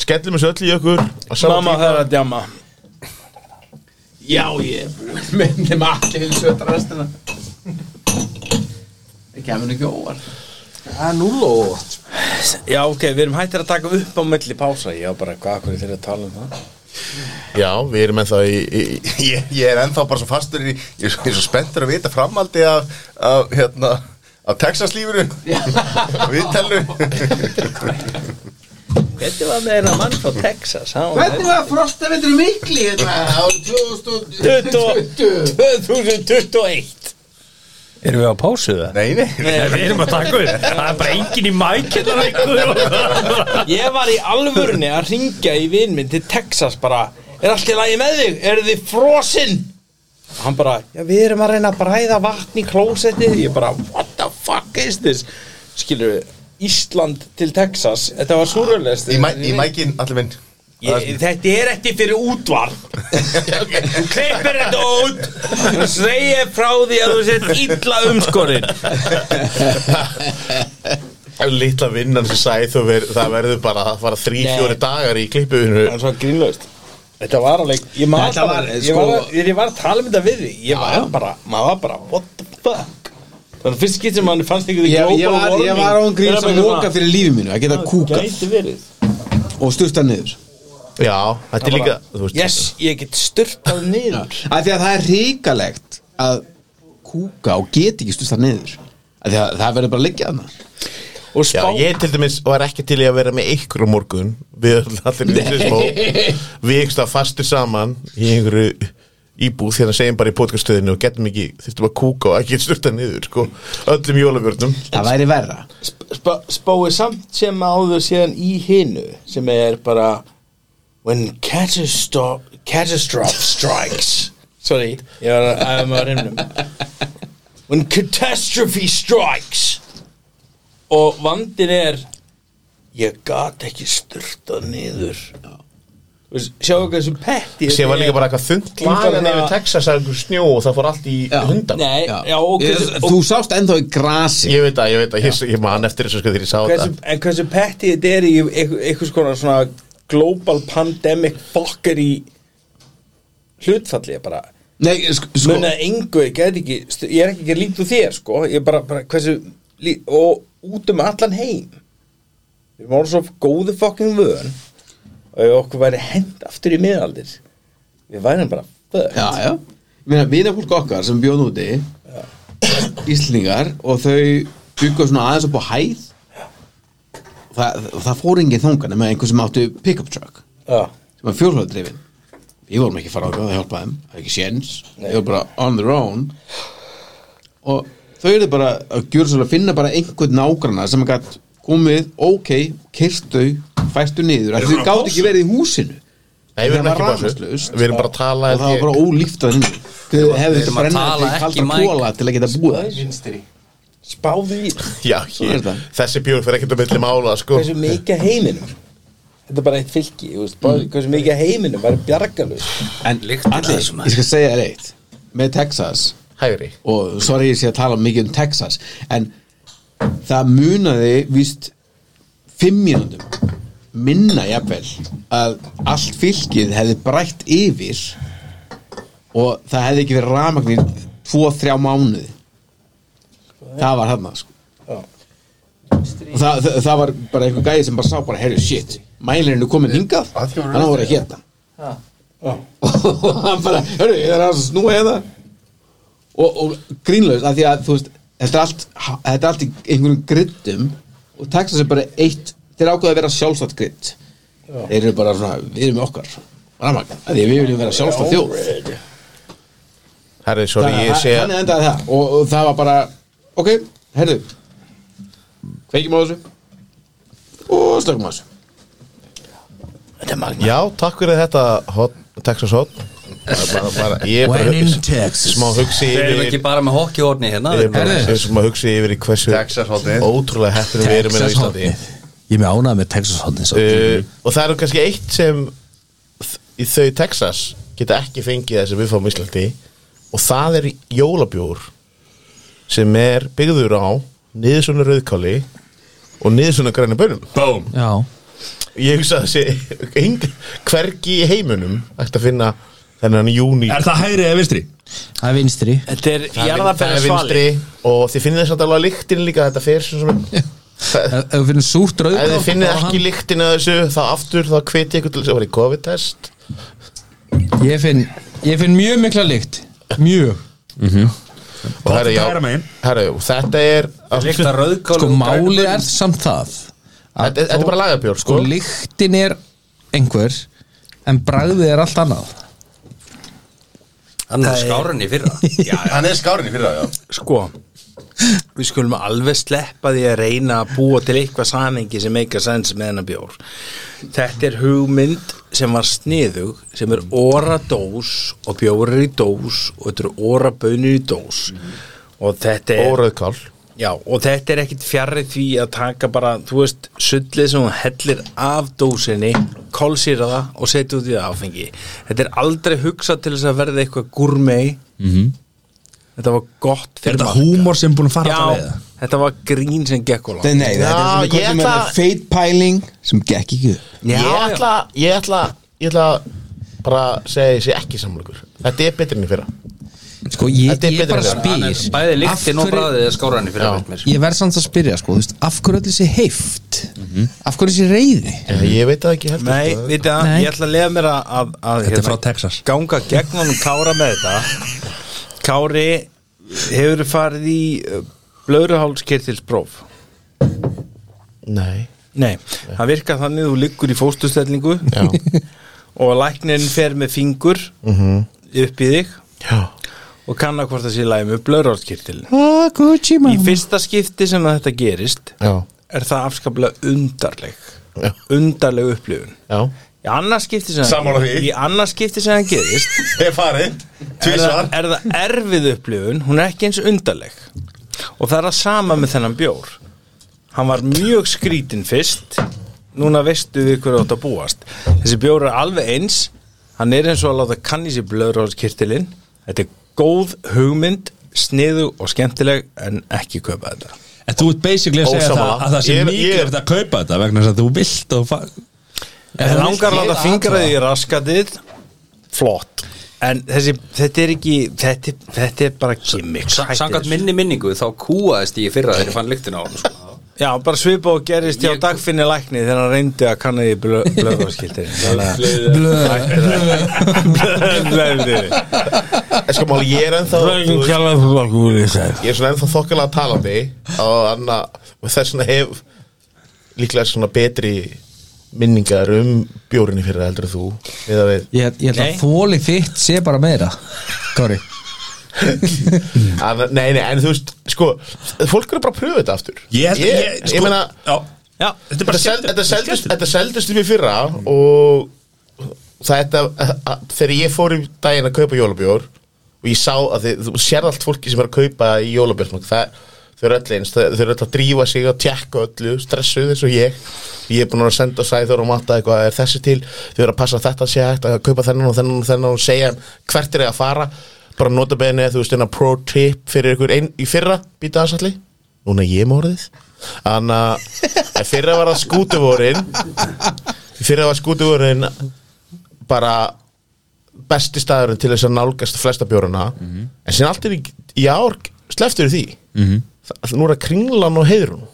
Skellum þessu öll í okkur á sama
Mamma
tíma.
það er að djama
Já, ég myndi maður allir við sötta restina Það kemur ekki óvart
það er núl og
Já, ok, við erum hættir að taka upp á milli pása Já, bara hvað, hvað er þeirra að tala um það?
Já, við erum ennþá í, í, í
(laughs) ég, ég er ennþá bara svo fastur í Ég er svo, ég er svo spenntur að vita framhaldi af, af hérna af Texas
(laughs)
lífuru við tellum
Hvernig var með þeirra mann frá Texas?
Hvernig var frostavindur mikli hérna á 2000
2021 Erum við á pásu það?
nei, nei,
Nei, við erum að taka upp Það er bara engin í mækina Ég var í alvörni að ringja í vinn minn til Texas bara Er allt í lagi með þig? Er þið frosinn? Hann bara, já við erum að reyna að bræða vatn í klósettið Ég bara, what the fuck is this? Skilur við, Ísland til Texas Þetta var súröðlegst
í, mæ, í mækin allir minn
Ég, þetta er ekki fyrir útvarp
(laughs)
Þú klippir þetta út og segir frá því að þú sett illa umskorinn
litla vinnan sem sæð og ver, það verður bara að fara þrý,
Nei.
fjóri dagar í klippuðinu
Það er svo grínlaust Þetta var alveg Ég, man
Þetta
bara-
var,
ég,
sko-
var, ég, ég var að tala um þetta við því Ég var bara, maður var bara What the fuck Það var fyrst skitt sem mann fannst ykkur
Ég, ég var, ég var án gríns að móka fyrir lífi mínu að geta kúkað
Gæti verið
og sturta niður
Já, þetta er líka þú veist,
Yes, ég get styrtað niður
að því að það er hrikalegt að kúka og geta ekki sturta niður að því að það verður bara að liggja þarna
Og
Já,
spá
ég til dæmis var ekki til í að vera með ykkur á morgun Við erum allir í þessu smó Við einhversta fastur saman í einhverju íbúð Hérna segjum bara í podcaststöðinu og getum ekki Þurftum að kúka og ekki styrta niður sko, Öllum jólabjörnum
það væri verra
sp spáið samt sem áður síðan í hinu sem er bara when catastrophe, catastrophe strikes sorry, ég var að æfa mig á
(laughs)
reynum when catastrophe strikes og vandin er ég gat ekki styrtað niður Þú veist, sjáu hvað þessu petti
Sér var líka bara eitthvað þungt lagan yfir Texas að einhver snjó og það fór allt í
Já.
hundan
nei, já, og
Ég-
hversu,
þú sást ennþá í grasi
Ég veit að, ég veit að, ég, ég man eftir þessu sko þegar ég sá
hversu,
þetta
en hversu petti þetta er í einhver- einhvers konar svona global pandemic fokkar í hlutfalli ég bara
Nei, sko, sko,
munið að engu, ég get ekki stu- ég er ekki ekki að líta úr þér sko ég bara, bara hversu, lí- og út um allan heim við erum orðið svo góðu fokkin vön og ef okkur væri hend aftur í miðaldir við værum bara fuck
já, já Ég meina, vinafólk okkar sem bjóð úti Íslingar og þau byggu svona aðeins upp á hæð það, það fór engin þangan nema einhver sem áttu pick-up truck
Já.
sem var fjólhjóðdrifin við vorum ekki að fara á það að hjálpa þeim það er ekki séns, við vorum bara on their own og þau eru bara að gjöra svolítið að finna bara einhvern nágrana sem gætt komið, ok, kirtu fæstu niður, af því þau gátt ekki verið í húsinu
Nei, við erum
Það
ekki
var
bara
rafmagnslaust. sko.
þessu Við erum bara að tala
og það var
held ég-
bara ólíft að henni þau hefðu
þurfum
þetta
að
brennandi
tala
kaldan
ekki í mæk.
kola til að geta búið þar.
spáðu í
Já,
er
ég,
þetta.
þessi björn fyrir ekkert að milli mála sko
hversu mikið af heiminum þetta er bara eitt fylki þú veist, bara hversu mikið af heiminum væri bjargalus
en
Lyktin af
allir,
þessu, maður.
ég skal segja þér eitt með Texas
Hægri
og sorry ég sé að tala mikið um Texas en það munaði víst fimm mínúndum
minna jafnvel að allt fylkið hefði brætt yfir og það hefði ekki verið rafmagnir 2-3 mánuði það var þarna sko. og það, það, það var bara einhver gæði sem bara sá bara herri shit, mælirinn er komin hingað
Að því var
hann á að vera hérna og (laughs) hann bara, hörru, ég er að snúa hérna og, og grínlaus af því að þú veist, þetta er allt þetta er allt í einhverjum griddum og Texas er bara eitt, þeir ákveða að vera sjálfstætt gridd þeir eru bara svona, við erum með okkar rafmagn, af því að við viljum vera sjálfstætt þjóð
Herri, sorry,
þannig
ég
að
sé
hann endaði það og, og það var bara, ok, herðu kveikjum á þessu og slökum á þessu
Já, takk fyrir þetta hot, Texas hot bara, bara, bara, Ég er bara hugsi- smá hugsi
Við erum ekki
yfir
bara með hokkihorni hérna
Ég er bara ég er smá hugsi yfir í hversu
Texas hotnið.
ótrúlega heppinu við erum með á Íslandi
Texas-hornið. Ég er með ánað með Texas hotnið
uh, Og það eru kannski eitt sem þ- í þau Texas geta ekki fengið þessi við fáum á Íslandi og það er jólabjór sem er byggður á niður svona rauðkáli og niður svona græna bönum
Bóm
Já
Ég hugsa að þessi eng- hvergi í heiminum ætti að finna þennan júni
Er það hægri eða vinstri?
Það er vinstri
Þetta er
það er
jarðabæra svali
vinstri og þið finnið þess að alveg lyktin líka þetta fer sem sem
Ef ef við finnum súrt rauðkál
ef þið finnið
þá er
ekki lyktin að þessu þá aftur þá hveti ykkur til þess að vera í COVID-test
hann- Ég finn, ég finn mjög mikla lykt Mjög
og herri, já,
hægra megin.
herri, og þetta er
Líkta
þetta
rauðkál
Sko
og
málið er samt það að
þetta er bara lagabjór
Sko
sko
lyktin er einhver En bragðið er allt annað
Hann er skáran í fyrra
Hann er skárinni fyrir það, já
Sko Við skulum alveg sleppa því að reyna að búa til eitthvað samhengi sem eitthvað sens með hennar bjór Þetta er hugmynd sem var sniðug sem er oradós og bjór er í dós og þetta er orabönir í dós og
Eh.
þetta er
órauðkál
Já, og þetta er ekkit fjarrri því að taka bara, þú veist, sullið sem hún hellir af dósinni, kólsýra það og setja út í það áfengi. Þetta er aldrei hugsað til þess að verða eitthvað gúrmei. Þetta var gott
Er
fyrir
þetta
marga.
húmor sem búin að fara alltaf
Já,
leiða?
þetta var grín sem gekk og langt.
Nei, þetta er
Já,
svona
ég
hvað sem
ætla-
er feit pæling sem gekk ekki upp.
ég ætla ég ætla ég ætla bara að segja að ég sé ekki samlugur þetta er betri enn í fyrra
Sko ég,
Þetta er
ég
betra
bara
en
spyr
Bæði
af
líktin og
hverju-
bræðið er skáran í fyrra finnst mér.
Ég verð samt að spyrja sko, þú veist, af hverju allir sé heift Af hverju sé reiði
ég, ég veit það ekki heldur
Nei,
sko.
veit það,
Nei.
ég ætla að lega mér að, að, að hérna,
Þetta er frá Texas.
ganga gegn honum Kára með þetta Kári hefur farið í uh, blöðruhálskirtilspróf
nei
Nei, það virkar þannig þú liggur í fóstustellingu
Já.
og læknirinn fer með fingur upp í þig
já
og kanna hvort það sé læg með blöðrálskirtil
Ah, Gucci
Í
mamma
fyrsta skipti sem að þetta gerist
já
er það afskaplega undarleg
Já.
undarleg upplifun
já
Í annars skipti sem
Sammála því.
Í annars skipti sem það gerist
Ég er farið,
er það,
tvísvar
er það erfið upplifun hún er ekki eins undarleg og það er að sama með þennan bjór hann var mjög skrítin fyrst núna veistu við hverju átt að búast þessi bjór er alveg eins hann er eins og að láta kanni sér blöður á kirtilinn þetta er góð hugmynd sniðu og skemmtileg en ekki kaupa þetta
En þú ert basically að segja
Ósammála.
það, að það sé
Ég er-
mikilvægt að kaupa þetta vegna þess að þú vilt og fa...
ef langar að láta fingraði í raskatið flott en þessi, þetta er ekki þetta, er- þetta er bara gimmick Hættu
Sangat
þessu.
minni minningu þá kúaðist ég í fyrra þegar ég fann lyktin á hann sko.
Já, bara svipa og gerist hjá dagfinni lækni þegar hann reyndi að kanna því blöðvarskildir Blöðvarskildir
En sko máli, ég er ennþá þú veist-
kjallaði fyrir okkur úr þess
ég er svona ennþá þokkalega talandi og anna, og þess vegna hef líklega svona betri minningar um bjórinni fyrir heldur en þú eða við
Ég, ég ætla
Nei.
að þóli þitt sé bara meira Kári
að, nei, nei, en þú veist, sko fólk eru bara að pröfa þetta aftur
Ég,
ég, ég meina
já,
Já,
þetta er
þetta
bara
sel- þetta seldist-
skemmtilegt.
þetta seldist við fyrra og þetta þegar ég fór í daginn að kaupa jólabjór og ég sá að þið, þú sér allt fólki sem er að kaupa í jólabjór það, þau eru öll eins, þau þau eru öll að drífa sig og tjekka öllu, stressuð eins og ég ég er búin að senda sæður og matta eitthvað er þessi til, þau eru að passa að þetta sé hægt að kaupa þennan og þennan og þennan og segja þeim hvert er ég að fara, bara nota beðinni þú veist, hérna pro tip fyrir ykkur ein, í fyrra, býta aðsalli núna er ég morðið Þannig að fyrra var það skútuvorin Fyrra var skútuvorin bara besti staðurinn til þess að nálgast flesta bjóruna en síðan allt er í, í ár sleftur því mm -hmm. Nú er það kringlan og heiðrun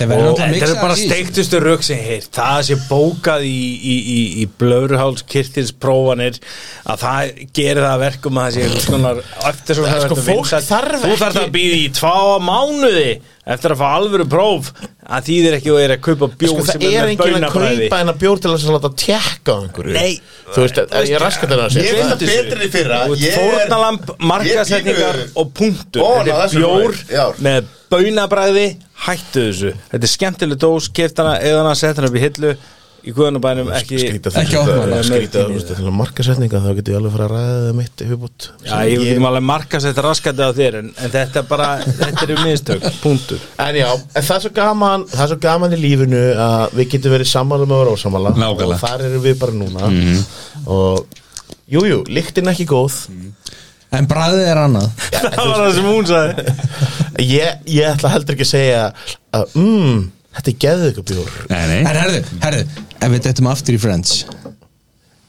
Það verður
Og
náttúrulega
þetta
miksa
eru bara
í-
steiktustu rauk sem heyr það sé bókað í, í, í, í blöruháls kirtilsprófanir að það gerir það að verkum að það sé einhvers konar eftir svo
Það er sko, fólk þarf
þú þarf
ekki-
að býða í tvá mánuði eftir að fá alvöru próf að þýðir ekki og er að kaupa bjóð
sko, Það
sem
er
er með
enginn að
baunabræði
kaupa en að bjór til þess að láta tjekka á einhverju
Nei.
Þú veist, að, ég er raskat að
Ég veit
það
það betri í fyrra Ég er-
fórnalamb, markasetningar
Ég pínu-
og punktur
Ó, ná,
þetta er
þessu
bjór
rói, já.
með baunabræði hættu þessu, þetta er skemmtileg dós keft hana, eða hana, sett hana upp í hillu í guðanabænum ekki
Skrýta
Ekki opna hana.
það Skrýta það Markasetninga þá getur ég alveg að fara að ræða það mitt yfirbútt
Já, ég veit ekki alveg markast þetta raskandi á þér en, en þetta bara, þetta eru mistök punktur
En já, en það er svo gaman Það er svo gaman í lífinu að við getum verið sammála um með voru ósamála
Nákvæmlega.
Og þar erum við bara núna Og Jújú, jú, lyktin ekki góð
En bræðið er annað
Það var það sem hún sagði
(laughs) ég, ég ætla heldur ekki að segja að, mm, Þetta er geðið ykkur bjór
Nei, nei
En herðu, herðu, ef við dettum aftur í Friends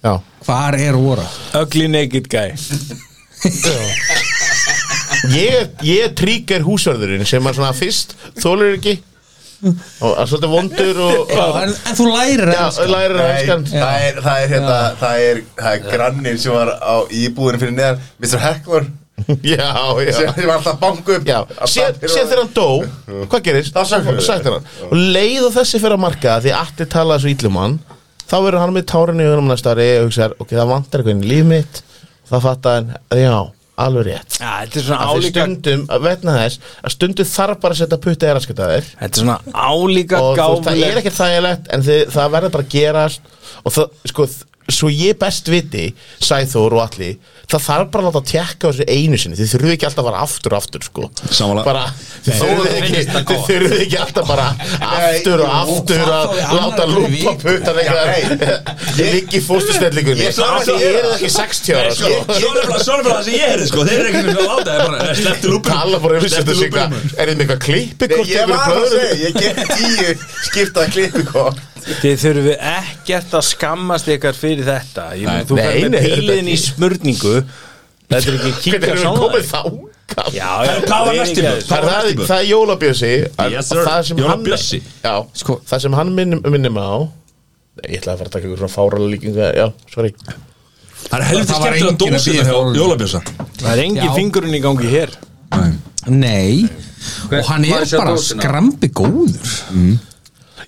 Já,
Hvar er Óra?
Ugly naked guy
ég, ég tríkar húsverðurinn sem er svona fyrst Þólur ekki Og er svolítið vondur og, og
En, en þú lærir sko.
Já,
enska.
lærir að
Nei,
elskan
það er, það er, hérna, það er, það er grannin sem var á íbúðinu fyrir neðan Mr. Heckler
Já, (laughs) já
sem, sem var alltaf banku upp
Já,
Alltaf
síðan
fyrir-
síðan þegar hann dó Hvað gerist?
Þá sagt hann.
sagt hann Og leið og þessi fyrir að marka Því allir talaði svo ítlum hann Þá verður hann með tárinni í augunum næsta ári Og hugsaðar, ok, það vantar eitthvað inn í líf mitt Þá fattar hann, já, alveg rétt
Já, þetta er svona
Að þeir
álíka
stundum, að vegna þess Að stundum þarf bara að setja putta eða raskataðir
Þetta er svona álíka
Og þú veist, það er
gáfuleg
ekkert þægilegt En þið, það verður bara að gerast Og það, sko, þ- svo ég best viti Sæþór og allir Það þarf bara að láta tjekka á þessu einu sinni Þið þurfum ekki alltaf að fara aftur og aftur sko.
Sammála.
bara, Þið þurfum ekki, þið þurfum ekki alltaf bara Aftur og aftur að láta lúpa Puttan eitthvað (laughs) Ég liggi fóstustellingunni
Ég svara
Þið
þér.
eru ekki 60 ára sko.
Svona bara það sem ég er, sko Þeir eru ekki með að láta Það er slepptu lúpum
Tala bara um þessu
Slepptu
Er
lúpum
þið með eitthvað klippi
Nei, ég var að segja, ég geti tíu skiptað klippikort
Þið þurfum ekkert að skammast ykkar fyrir þetta Ég, nei,
Nei,
Þú verður
nei,
með
nei, þetta
píliðin í
ekki.
smörningu Þetta er ekki
Hvernig
kíkja
erum við
svona
komið þá?
Já, já,
Hvað var
ég er
næsti
ekki að
bjór?
þessu.
Það er, það,
Björn?
það er jólabjössi
Yes, sir.
Það sem hann-
Jólabjössi.
Já,
Sko-
það sem hann minnir minni mig á Nei, Ég ætlaði að fara að taka ykkur svona fárala líkinga Já, sorry
Það er helviti
Það var
skemmtilega
enginn að
dósina
bíða
hjá
hjá honum.
Jólabjösa
Það er engin
Já.
fingurinn í gangi hér
Nei Og hann er
maður sér
bara
dósina.
skrambi góður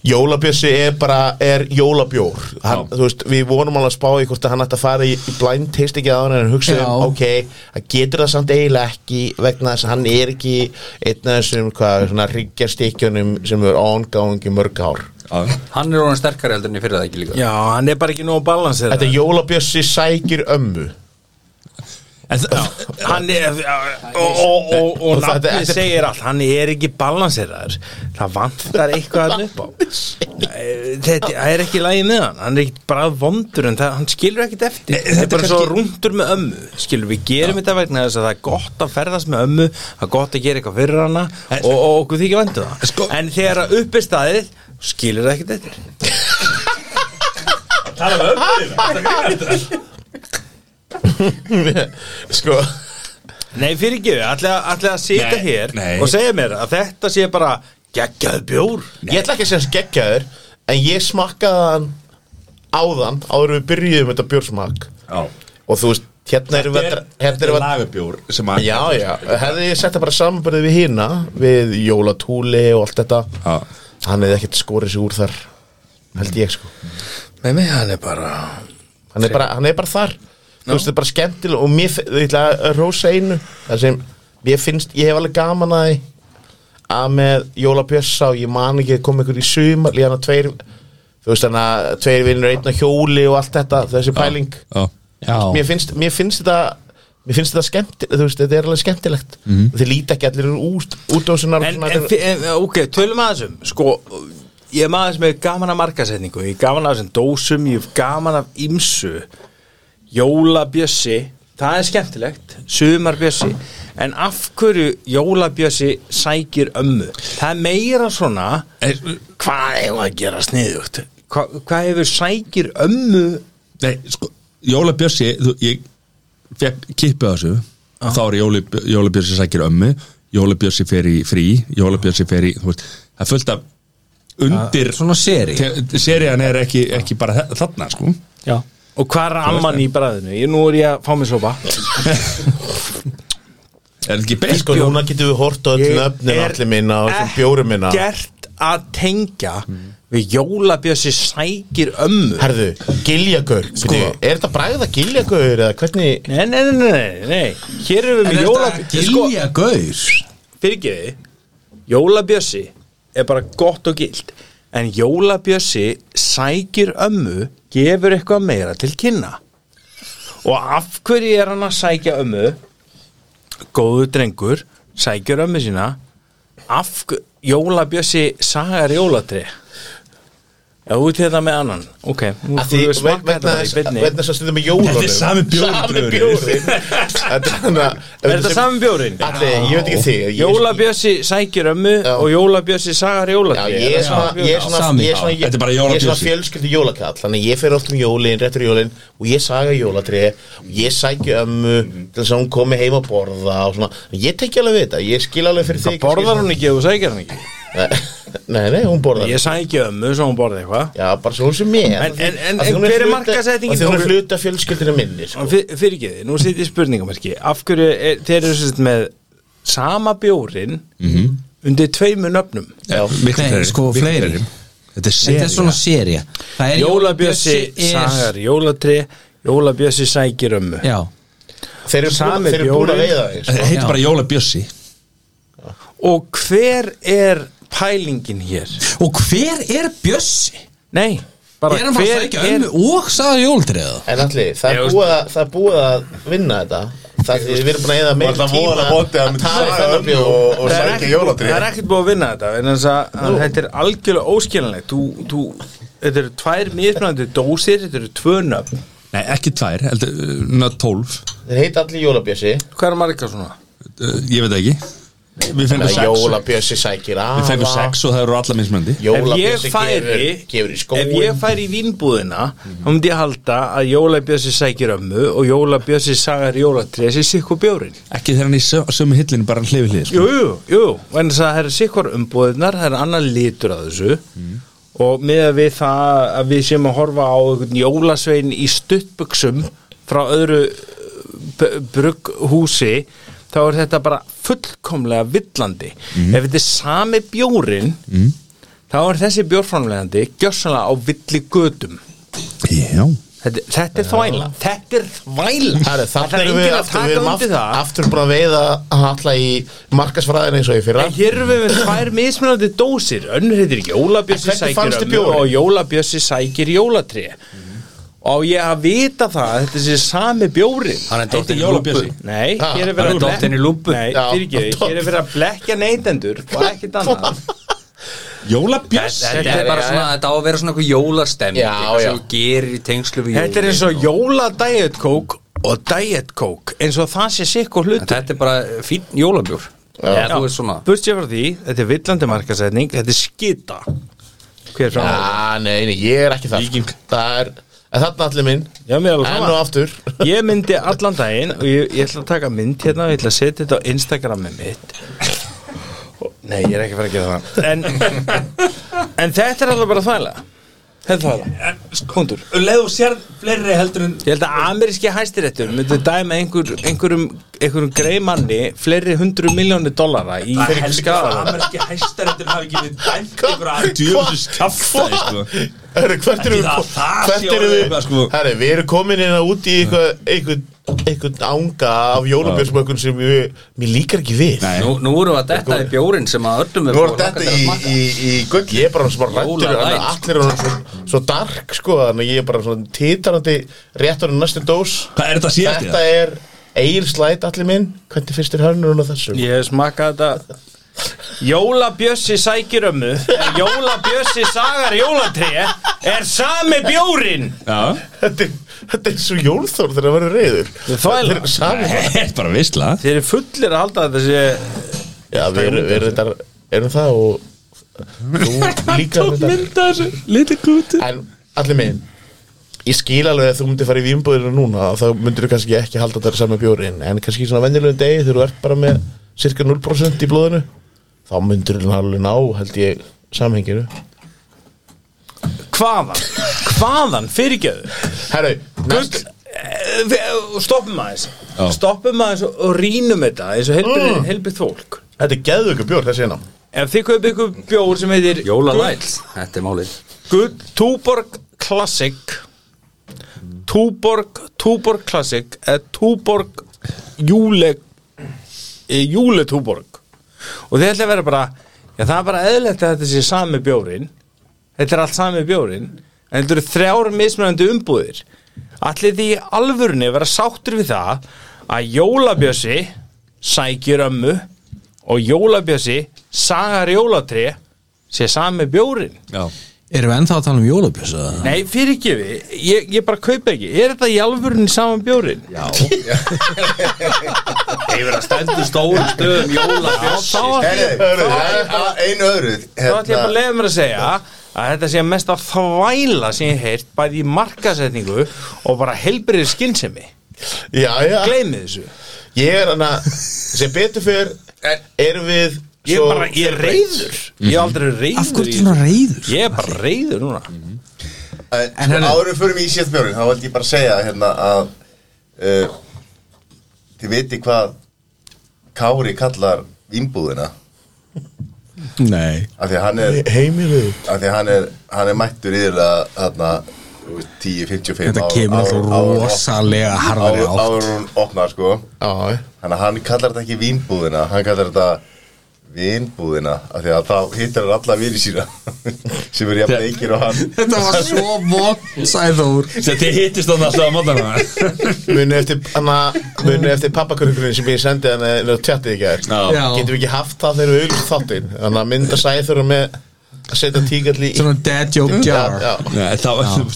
Jólabjössi er bara, er jólabjór hann, Þú veist, við vonum alveg að spá í hvort að hann ætti að fara í í blind tasting að hann en hugsa um,
Já.
ok, hann getur það samt eiginlega ekki vegna þess að hann er ekki einn af þessum, hvað, svona ríkjastikkjunum sem er ongáðing í mörg ár
Hann er orðan sterkari heldur en ég fyrir það ekki líka
Já, hann er bara ekki nóg að balansera
Þetta jólabjössi sækir ömmu (laughs)
En það
hann er og, og, og, og
Og það-
nafnið
þetta-
segir allt, hann er ekki balanseraður það vantar eitthvað hann upp á Nei, þetta það er ekki lægi með hann hann er ekki bara vondur en það, hann skilur ekkit eftir þetta er bara svo rúndur með ömmu skilur við gerum þetta vegna þess að það er gott að ferðast með ömmu, það er gott að gera eitthvað fyrir hana og, og okkur þykir vandu það
Sko-
en þegar að upp er staðið skilur það ekkit eftir
Sko
Nei, fyrir ekki, allir að sita
Nei,
hér
nei.
og segja mér að þetta sé bara geggjað bjór
Ég ætla ekki að segja skeggjaður En ég smakkaði hann áðan Áður en við byrjuðum þetta bjórsmak Og þú veist, hérna erum við að- Hérna erum við að-
lagabjór sem að
Já, já, hefði ég sett það bara samanbyrðið við hína Við jólatúli og allt þetta
Já.
Hann hefði ekkert skorið sig úr þar Held ég sko
Nei, nei, hann er bara
Hann er bara, hann er bara þar Þú veist, þetta er bara skemmtilega Og mér, fi- ég ætla að rósa einu Það sem, ég finnst, ég hef alveg gaman að því að með jólabjössa og ég man ekki að koma ykkur í sumar líðan að tveir þú veist þannig að tveir vinnur einn á hjóli og allt þetta, þessi pæling
Já.
mér finnst, mér finnst þetta mér finnst þetta skemmtilegt, þú veist, þetta er alveg skemmtilegt mm. þið líta ekki allir út, út á sinna
en, en, fi- en, ok, tölum að þessum sko, ég er maður sem hefur gaman að markasetningu ég er gaman að þessum dósum ég er gaman af ymsu jólabjössi, það er skemmtilegt sumarbjössi, en af hverju jólabjössi sækir ömmu það er meira svona hvað hefur að gera sniðugt Hva, hvað hefur sækir ömmu
Nei, sko, Jólabjörsi ég fekk kippið á þessu þá er Jólabjörsi sækir ömmu Jólabjörsi fer í frí Jólabjörsi fer í, þú veist, það er fullt af undir
Svona seri
te- serían er ekki, ekki bara þa- þarna sko
Já
og hvað er amman í bræðinu ég, nú er ég að fá mér sopa
er ekki beint
Sko, núna getum við hort á öll
Ég
nöfnin
er
allir minna og sem bjórum minna
gert að tengja við jólabjössi sækir ömmu
Herðu, giljagaur sko. Er þetta bræða giljagaur eða hvernig
Nei, nei, nei, nei, nei, hér erum við með jólabjössi sko,
Gilja gaur
fyrirgeði Jólabjössi er bara gott og gilt en Jólabjössi sækir ömmu gefur eitthvað meira til kynna og af hverju er hann að sækja ömmu góðu drengur sækjur ömmu sína af hver- Jólabjössi sagar jólatri Já, út hérna með annan Ok, nú
Að því,
skulum við smakka
vegna
þetta bara
þess
í beinni.
vegna þess að stundum með jólunum
Þetta er sami bjórinn,
Sami
bröðurinn.
bjórin
(laughs)
Er
Er þetta sami bjórinn?
Alli, ég veit ekki þig ég-
Jólabjössi sækir ömmu
Já.
og Jólabjössi sagar
Já,
jólatri
ég er svona, ég er svona,
sami.
ég er svona, ég
Þetta er bara
ég er svona
jólabjössi.
fjölskyldi jólakall Þannig að ég fer oft um jólin, réttur jólin Og ég saga jólatri Og ég sækju ömmu Til þess að hún komi heim að borða og svona Ég tekja alveg við þetta, ég skil alveg fyrir þig
Borðar hún ekki ef þú sækir hann ekki?
Nei, (laughs) nei, hún borðar
Ég sæki ömmu svo hún borði eitthvað
Já, bara svo hún sem ég
En- en- en- en hver er markaðssetningin?
Þegar hún er hluta fjölskyldinu minni sko.
Og fyr- Fyrirgeði, nú sitið spurningamerki Af hverju er, þeir eru sérst með sama bjórin
Mhm.
undir tveimu nöfnum
Já.
Miklu
Nei,
fleiri,
sko,
miklu
fleiri.
Þetta er
Þetta
serían
er svona seri Það er
Jólabjössi
er-
sagar jólatri Jólabjössi sækir ömmu
Já
Þeir eru búin-
Sami
þeir eru búin að
bjórinn.
veiða þig sko.
Þetta heitir
Já.
bara Jólabjörsi
Og hver er pælingin hér?
Og hver er Bjössi?
Nei, bara
Er hann bara að
hver
sækja
er
ömmu og sagði jóltriða?
En allir, það er búið að- það er búið að vinna þetta Það er því við erum búin að eða meira
Var það voða bóndi að hann
tíma að
myndi
tala um
saga
þennan
ömmu
bjór
og, og
Það er
sækja
ekkert-
jólatri
Það er ekkert búið að vinna þetta en þess að að þetta er algjörlega óskiljanlegt Þú, þú, þetta eru tvær mismunandi dósir, þetta eru tvö nöfn
Nei, ekki tvær, heldur, na, tólf
Þeir heita allir jólabjössi
Hvað er marga svona?
uh, Ég veit það ekki Við fengum sex
Jólabjössi sækir
Við fengum
afa
sex og það eru alla mismöndi
ef ég
Jólabjössi gefur,
færi
gefur í
ef ég
skóin
færi í vínbúðina þá myndi ég halda að jólabjössi sækir ömmu og jólabjössi sagar jólatrið þessi sikkur bjórin
Ekki þegar hann í sö- sömu hillinu bara hlifi hlið sko.
jú, jú, jú, en þess að það er sikkur umbúðinar það er annar litur að þessu
Mm.
og með að við það að við séum að horfa á einhvern jólasvein í stuttbuxum frá öðru eh, brugghúsi þá er þetta bara fullkomlega villandi
Mm.
ef þetta er sami bjórin þá er þessi bjórframlegandi gjössanlega á villi gödum
Já
þetta, þetta er þvæla þetta er þvæla
Herru,
það
Þarna
er
erum við
enginn að
aftur, við
taka
erum
undir
aftur,
það
aftur búin að veiða Alla í markasfræðin eins og í fyrra
en hér erum við með tvær mismunandi dósir önnur heitir jólabjössi
En hvernig
sækir
fannst þér
ömmu
bjórinn?
og jólabjössi sækir jólatri og ég að vita það að þetta sé sami bjórin
Hann er
Heitir
dottinn í
Jólabjössi
lúpu.
Nei,
Ha,
hér er
hann er
verið að
dottinn í lúbbu.
Nei,
Já,
fyrirgeðu,
hann
hér er verið að blekja neytendur og ekkert annað
Jólabjörsi
Þetta er bara svona, þetta á að vera svona eitthvað jólastemning
Já,
eitthvað
já.
sem þú gerir í tengslu við
Þetta er eins og jóla diet coke og diet coke eins og það sé sikkur
En
hlutur
Þetta er bara fín jólabjór Eða þú veist svona
Burt sér frá því, þetta er villandi markasetning Þetta er skita Hver frá það?
Já, Ah, nei, nei, ég er ekki það sko. Það er, en þarna allir minn
Já, mér er alveg
Enn og
sama
aftur
Ég myndi allan daginn og ég, ég ætla að taka mynd hérna og ég ætla að setja þetta á Instagramið mitt Nei, ég er ekki að fara að gera það En, en þetta er alveg bara þvæla Þetta er þvæla Kundur
Leðu sér fleiri heldur en
Ég held að ameríski hæstiréttur myndi dæma einhver, einhverjum, einhverjum greimanni fleiri hundru miljónu dollara í skada
amerski hæstarættin hafi ekki við dæmt einhverja djöfnsus kafta sko.
Herru, hvert eru
Ekki
við
það, það
Hvert
sé
eru
orðið
við
eitthvað, sko.
Herru, við erum komin inn að úti í eitthvað eitthvað eitthvað ánga af jólabjörnsmökun sem við, mér líkar ekki við
Nei.
Nú, nú erum við að detta í bjórin sem að öllum er
Nú er
búið að
þetta
langa til að
í,
smakka.
í, í gull
Ég er bara svona rættur
Jóla light,
Allir eru svo, svo dark sko Þannig að ég er bara svona titarandi Réttur en næstu dós
Hvað er þetta síðast?
Þetta er Egil Slæt allir minn Hvernig finnst þér hörnur hún á þessu?
Ég hef smakað þetta Jólabjössi sækir ömmu en Jólabjössi sagar jólatré er sami bjórin
Já,
Þetta er, þetta er svo jólþór þegar það verður reyður
þvæla.
er sami
þetta (laughs) er bara visla
Þeir eru fullir að halda að þessi
Já, við erum, við erum, þetta, erum það og þú líka þetta
þessu, liti kúti
En allir minn Ég skil alveg að þú myndir fara í vínbúðinu núna og þá myndir þú kannski ekki halda þetta saman bjórin en kannski svona venjulegum degi þegar þú ert bara með cirka 0% í blóðinu þá myndir þú alveg ná, held ég samhenginu.
hvaðan hvaðan fyrirgjöðu
Herru,
Gull eh, við- stoppum aðeins stoppum aðeins og, og rínum þetta eins og helbið
Mm.
mm. fólk
þetta er geðvöku bjór þessi hérna
ef þið kaupið ykkur bjór sem heitir
Jólalæl, þetta er málið
Gull Túborg Classic Túborg Túborg Classic eða Túborg Júle eh, Júle Túborg og þið ætla að vera bara já, það er bara eðlilegt að þetta sé sami bjórin þetta er allt sami bjórin en þetta eru þrjár mismunandi umbúðir allir því alvörunni vera sáttur við það að jólabjössi sækir ömmu og jólabjössi sagar jólatri sé sami bjórin
Erum við ennþá að tala um jólabjösa?
Nei, fyrirgefi, ég, ég bara kaupa ekki Er þetta í alvörunni saman bjórin? Já
Hefur að stendur stórum stöðum jólabjössi
Þá ætla ég
Hörru, það er einu öðru
þá ætla ég bara að
hérna,
leiða mér að segja að þetta sé mest að þvæla sem ég heirt bæði í markasetningu og bara helbriðir skinnsemi
Já, já,
Gleymið þessu
ég er hann að sem betur fyrr erum við
Ég er
svo-
bara, ég er reyður Ég er aldrei reyður
Af hverju
í
ertu svona
þessu.
reyður?
Ég er bara reyður núna
eh, sko, Áður en við förum í séttbjörn þá vildi ég bara segja hérna að uh, þið viti hvað Kári kallar vínbúðina
Nei
af því að hann er,
Heimilu
af því að hann er, hann er mættur yðurlega þarna 10-55
Þetta
áður-
kemur
áður-
alltaf
áður-
rosalega harðari
áður-
átt
áður hún opnar sko
Já,
Þannig að hann kallar þetta ekki vínbúðina, hann kallar þetta vínbúðina, af því að þá hittar hann alla vini sína (laughs) sem er jafn leikir og hann.
Þetta var svo vond, sæður
Þetta hittist þannig alltaf á mótana
(laughs)
muni eftir, hana, muni eftir pappakörukurinn sem ég sendi hann inn á tjatti í gær
Já.
getum við ekki haft það þegar við auðvitað þáttinn þannig að mynda sæður með að setja tíkalli í
Svona dad joke jar
já,
Nei, þá,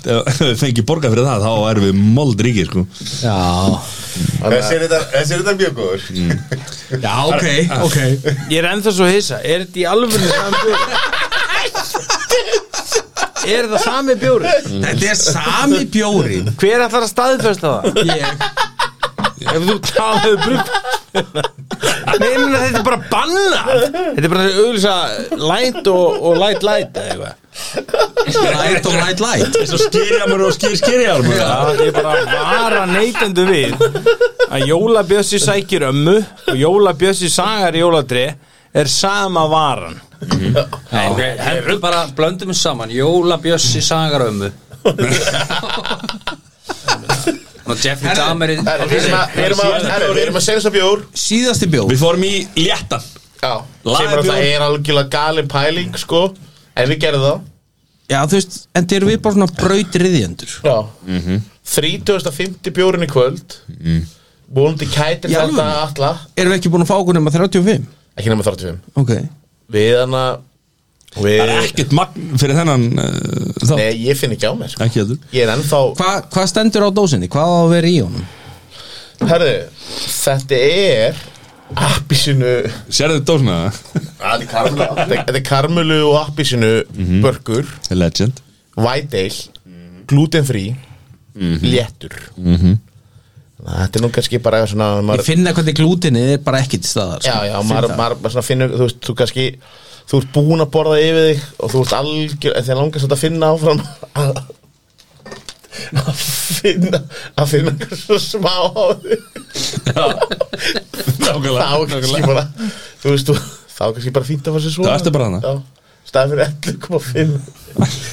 (laughs) ef við fengi borga fyrir það, þá erum við moldríkir, sko
Já,
Þessi er þetta- þessi er þetta mjög góður.
já, ok, ok
Ég er ennþá svo hissa, er þetta í alvörunni saman bjórin? Er þetta sami bjórin?
Þetta er sami bjórin
Hver ætlar að staðfesta það?
Ég
Ef þú talaðu brugg Nei, ég meina þetta er bara banna Þetta er bara auðvisa light og, og light light eða eitthvað
Light og light light
Svo skýrjamur og skýr skýrjamur
Já, þetta er bara að vara neytendu við að jólabjössi sækir ömmu og jólabjössi sagar í jóladri er sama varan
Hefur bara, blöndum við saman Jólabjössi sagar ömmu Og Jeffrey Dahmer í-
Herri, Við erum að- við erum að- herri, við erum að segja þess að bjór
Síðasti bjór
Við fórum í léttan
Já, sem er
Lagabjór.
að það er algjörlega galin pæling sko, en við gerðum það
Já, þú veist, en þeir eru við bara svona brautriðjendur
Já mm -hmm. 3050 bjórin í kvöld mm. Vonandi kætir
Í
þetta
alvöru?
alla
Erum við ekki búin að fá okkur nema 35?
Ekki nema 35
Ok
Við hana við,
Það er ekkert magn fyrir þennan uh, þá
Nei, ég finn ekki á mér sko.
Ekki heldur
Ég er ennþá
Hva, Hvað stendur á dósinni? Hvað á að vera í honum?
Herðu, þetta er Appisinu
Sérðu dósna
Það er karla.
Þetta er karmölu og appisinu
Mhm.
Börgur,
Legend
white ale Glutenfrí
Mhm.
Léttur Ná, Þetta er nú kannski bara svona
Ég
maður,
finna hvernig glútinið er bara ekki til staðar sko.
Já, já,
Finn
maður,
það.
maður, maður svona finnur Þú veist, þú kannski Þú ert búin að borða yfir þig og þú ert algjör en þegar langast að finna áfram að að finna að finna eitthvað svo smá á þig
Nákvæmlega
þá kannski bara þú veist, þú- þá kannski bara fínt að fara sér svona
Þá ertu bara hana.
staðið fyrir 11,5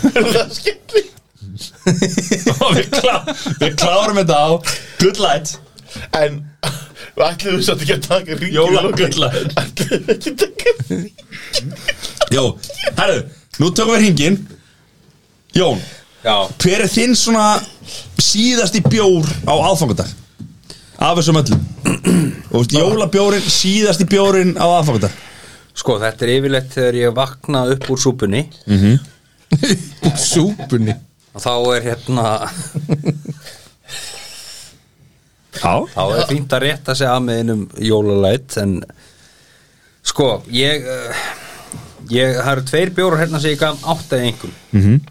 er það skemmtilegt
Og við, klá, við klárum þetta á Good light
en við ætlum við satt ekki að taka ríkið
Jólagulla.
ætlum við ekki að taka
Jó, herru, nú tökum við hringin Jón,
Já,
hver er þinn svona síðasti bjór á aðfangadag? Af þessum öllum Og veist, jólabjórin, síðasti bjórin á aðfangadag
Sko, þetta er yfirleitt þegar ég vakna upp úr súpunni
Úr súpunni
og þá er hérna
Já,
þá er fínt að rétta sig að með einum jólalæt en sko, ég eh, ég, það eru tveir bjórar hérna sem ég gaf átt að einhverjum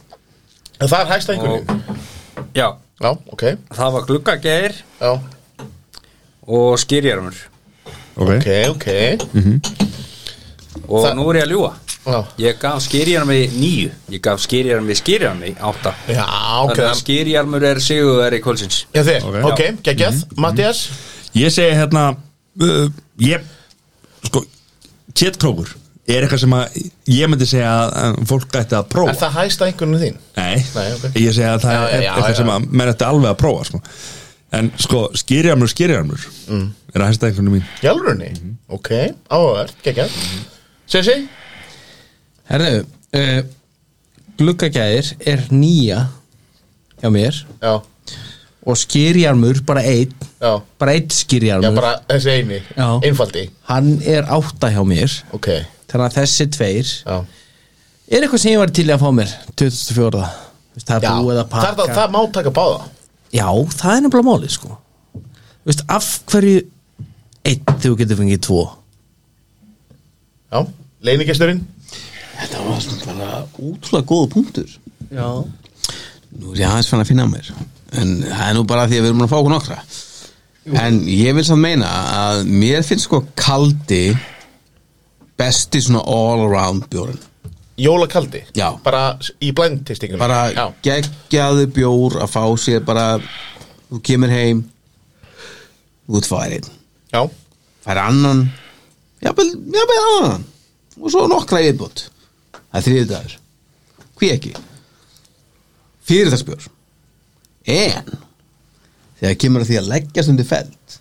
En það er hægst einhvern
og, já,
Já, ok,
það var gluggageir
já
og skýrjarmur
ok
Ok, ok
og
Það-
nú er ég að ljúga
Já,
ég gaf skýrjarmi níu ég gaf skýrjarmi skýrjarmi átta
já ok
þannig að skýrjarmur er sigurveri kvöldsins
Já, þér,
Ok. Mhm.
ok, geggjað Mattias,
Ég segi hérna uh, Ég Sko Kjötkrókur Er eitthvað sem að Ég myndi segja að um, fólk ætti að prófa
er það hægst einhvern þín?
Nei,
Nei, ok.
Ég segi að það
Já,
er
já,
eitthvað
já.
sem að Menn ætti alveg að prófa sko. En sko Skýrjarmur, skýrjarmur mm. Er að hæsta einhvern mín
Jálfurinni?
Mhm.
Ok, áhugavert, geggjað Sessi?
Herðu, uh, gluggagæðir er nýja hjá mér
Já,
og skýrjarmur bara einn
já
bara einn
Já,
skýrjarmur
bara þessi eini,
Já.
einfaldi
hann er átta hjá mér
Ok,
þannig að þessi tveir
já
er eitthvað sem ég var til í að fá mér 2004 Vist, það
Já,
er búið að
það, er
pakka
það, það má taka báða
já, það er nefnilega máli sko Vist, af hverju einn þegar þú getur fengið tvo
Já, leinigesturinn
Þetta var svona bara útrúlega góða punktur
já,
Nú er ég aðeins fann að finna mér En það er nú bara því að við erum búin að fá okkur nokkra En ég vil samt meina að mér finnst sko kaldi besti svona all around bjórin
Jólakaldi
Já.
Bara s- í blendtistingunum
bara
Já,
geggjaðu bjór að fá sér bara þú kemur heim þú ert færin
já,
fær annan jafnvel, jafnvel annan og svo nokkra yfirbútt það er þriðið dagur hví ekki fyrir þess bjór en þegar kemur að því að leggjast undir feld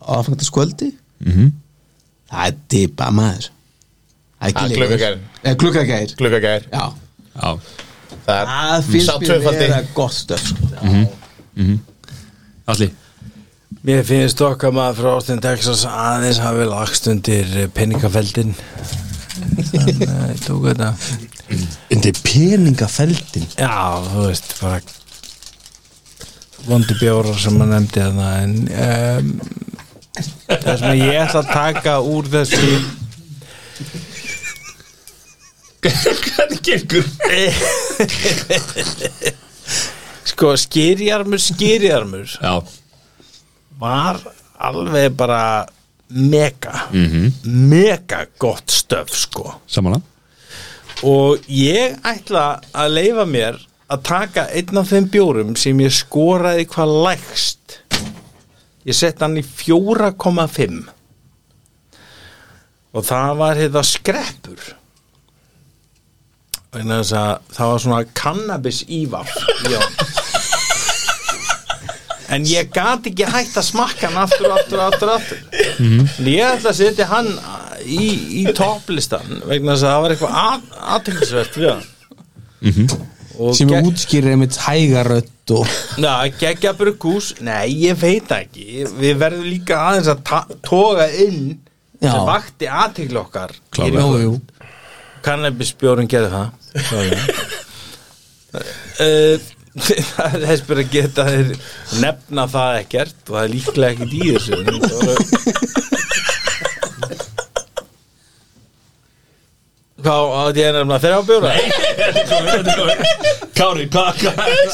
á aðfangta skvöldi mm -hmm. það er dipa maður
Það er gluggagærin.
klukkagæðir
Ah, gluggagær
Eh, já
Já
Það er
Það finnst
sá
mér
tvöfaldi.
vera gott stöf Mhm.
Alli
Mér finnst okkar maður frá Austin, Texas aðeins hafi lagst undir peningafeldin Þannig að ég tók þetta
undir peningafeldin
Já, þú veist, bara vondi bjórar sem maður nefndi þarna en um, það sem ég ætla að taka úr þessu
Hvernig gengur?
(laughs) sko, skýrjarmur, skýrjarmur
Já
var alveg bara mega mega gott stöf, sko
Samanlega
og ég ætla að leifa mér að taka einn af þeim bjórum sem ég skoraði hvað lægst ég sett hann í 4,5 og það var hérna skreppur vegna þess að það var svona cannabis ívaf en ég gat ekki hægt að smakka hann aftur, aftur, aftur, aftur en ég ætla að setja hann í, í topplistan vegna þess að það var eitthvað aðtilsvert við hann og
sem
gegn-
útskýrir einmitt hægarött og
Na, geggja brugghús, nei, ég veit það ekki Við verðum líka aðeins að ta- toga inn
Já.
sem vakti aðtegl okkar
Klárlega.
Jú, jú.
Kannabisbjórun gerði það (laughs) Eh, (laughs) Þess byrja geta þeir nefna það ekkert og það er líklega ekkert í þessu en það voru- Hvað átti ég að nefna þeirra á bjóra? Nei
Kári, hvað?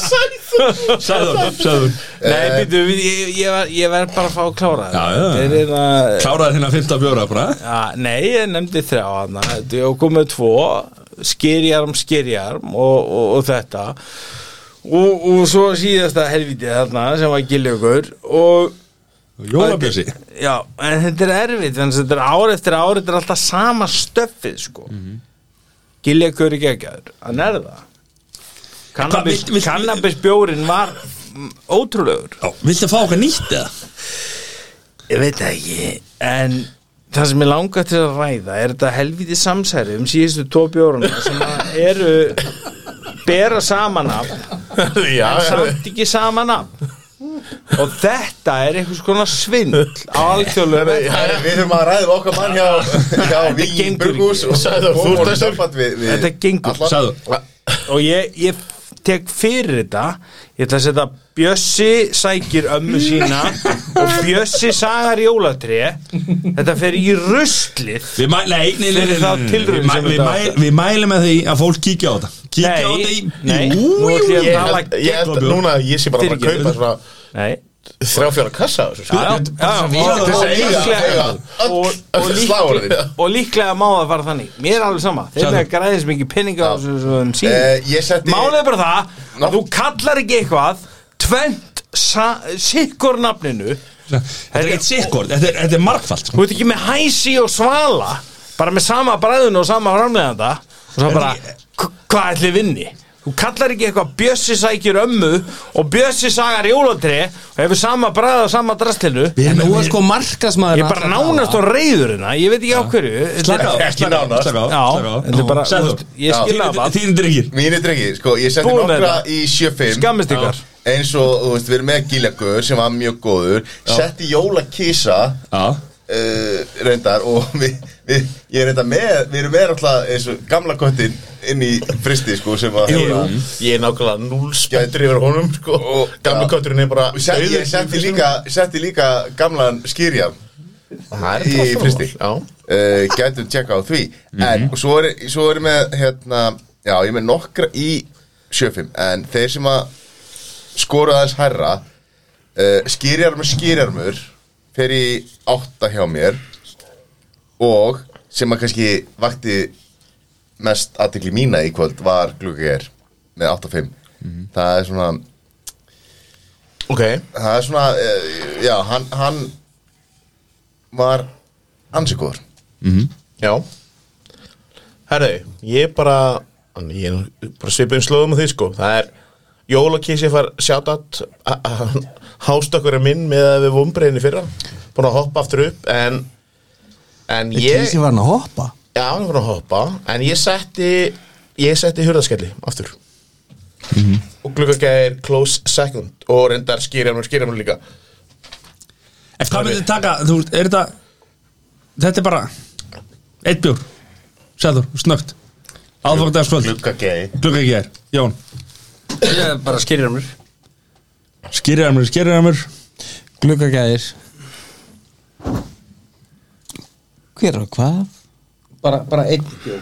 Sæður Sæður
(laughs) Nei, býtu, ég, ég, var- ég verð bara að fá að klára
Já, já.
þetta Þeir eru að
Kláraði hérna 15 bjóra bara
Já, nei, ég nefndi þrjá hana Ég kom með tvo Skirjarm, skirjarm og, og, og þetta og, og svo síðasta helvítið þarna sem var giljögur og
Jólabjösi
já, en þetta er erfitt þannig að þetta er ár eftir ár þetta er alltaf sama stöfið sko mm
Mhm.
-hmm. giljögur í geggjaður hann er það Cannabis,
Hvað, vilt- vilt-
Cannabisbjórin var mm, ótrúlegur
Viltu fá okkar nýtt eða?
Ég veit það ekki En það sem ég langa til að ræða Er þetta helviti samsæri um síðustu tvo bjóruna Sem að eru Bera saman af
(laughs) já,
En samt ekki saman af og þetta er einhvers konar svindl alþjóðlega
Herri, Við þurfum að ræða við okkar mann hjá,
(laughs)
hjá Víi
gengur
Burgús
ekki.
og
Sæður, þú ert
og
að stjórna.
samband við, við
Þetta gengur.
alla.
Sæður.
og ég, ég tek fyrir þetta ég ætla að setja Bjössi sækir ömmu sína og Bjössi sagar jólatri þetta fer í ruslið
Við mæ- nei, nei, nei, nei,
Fyrir þá
nei, nei,
tilraun
við mæ-
sem
við
þetta-
mæ- Við mælum með því að fólk kíkja á þetta Kíkja á þetta í
nei,
Jú,
nú
jú,
ætlum
jú
ég
Ég
að tala
held, ég held
gegn-
núna að ég sé bara að fara að kaupa svona
nei
þrjá fjóra kassa af þessu, sko.
Já, já, og- og líklega- og- og
öll
líklega-
slagorðin.
og líklega má það fara þannig mér er alveg sama, þeir með að græðis mikið peninga á þessu sem sín
Eh, ég setti-
málið er bara það
Nó.
að þú kallar ekki eitthvað tvent sikkur nafninu
Þetta er ekkert sikkord, þetta er- þetta er margfald sko.
þú ert ekki með hæsi og svala bara með sama bræðun og sama framleganda og svo bara, "Hva- hvað ætli vinni þú kallar ekki eitthvað bjössi sækir ömmu og bjössi sagar jólatri og hefur sama bræða og sama drastlinu
En nú er sko markasmaður
ég er bara nánast og reyður hérna ég veit ekki á hverju
Slaka á,
Ekki
slaka á,
nánast.
slaka á, slaka
Já,
á.
þetta er bara, þú
Sæður,
veist, ég skil það bara.
þínu drengir
Mínir drengir, sko, ég setti
Búin með
nokkra
þetta.
í 75
Skammist ykkar.
Já. Eins og, þú veist, við erum með Gílegur sem var mjög góður Setti jólakísa
Já,
uh, reyndar og (laughs) við, við, ég er reyndar með, við erum með alltaf eins og gamla köttin inn í fristi, sko, sem að hérna,
Ég er nákvæmlega núl spettur yfir honum sko. Gamli kötturinn er bara
Og set, ég setti líka, setti líka gamlan skýrjan
Það
í
er
fristi.
Já
uh, Gætum tjekka á því En og svo er, svo er ég með hérna, Já, ég er með nokkra í sjöfum En þeir sem að skoru aðeins herra uh, Skýrjarmur skýrjarmur Fer í átta hjá mér Og sem að kannski vakti mest aðtekli mína í kvöld var glugger með 8-5 það er svona
Ok
það er svona eh, já, hann, hann var ansikor
Já Herðu, ég er bara en Ég er nú bara svipið um slóðum á því sko Það er Jólakísi far (laughs) sjátat Hástakkur er minn með að við vombriðinni fyrra Búin að hoppa aftur upp En En ég
Kísi var hann að hoppa
Já, hann var að hoppa En ég setti Ég setti hurðaskelli aftur
Mhm.
Og gluggagæðir close second Og reyndar skýrjarmur, skýrjarmur líka
En hvað myndir taka, þú veist, er þetta Þetta er bara Eitt bjór, sæður, snögt Aðfangdagarskvöld,
gluggagei
klukka ekki er Jón,
Ég er bara skýrir mér
skýrjarmur, skýrjarmur
Gluggagæðir Hver og hvað?
bara, bara einn bjór.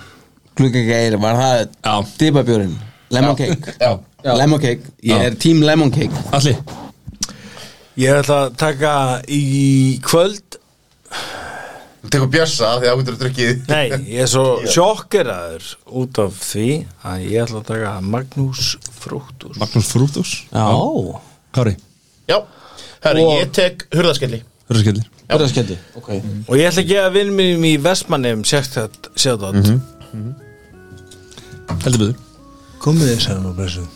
Gluggagæri, var
Já.
það dipabjörinn Lemon cake Lemon cake, ég er team lemon cake
Alli,
ég ætla að taka í kvöld
þú tekur bjössa af því að hún er drukkið
nei, ég er svo sjokkeraður út af því að ég ætla að taka Magnús Frúktus
Magnús Frúdós
Já,
Kári,
Já, herri,
Og-
ég tek hurðaskelli
hörðskellir
verður að skemmti okay.
og ég ætla að gefa vinnum mínum í Vestmannum sérstætt sérstætt
Heldur byggður
komið þið sæðan og blessuð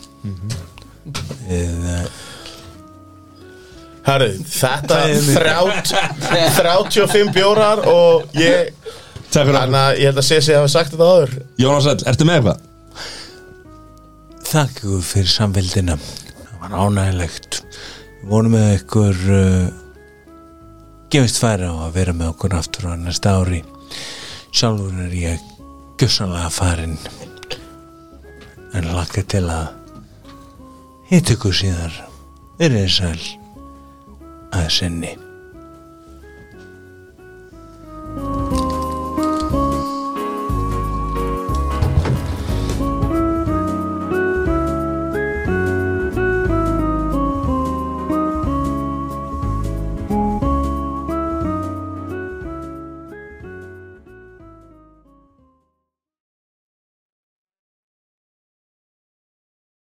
Eh,
Herri, þetta er þrját 35 bjórar Og ég
Takk fyrir
Þannig að ég held að sé sig að hafa sagt þetta áður
Jónas Ell, ertu með eitthvað?
þakka ykkur fyrir samveldina það var ánægilegt við vonum með ykkur uh, gefist færi á að vera með okkur aftur á næsta ári sjálfur er ég gjössanlega farinn en lakka til að hitt ykkur síðar verið þið sæl að sinni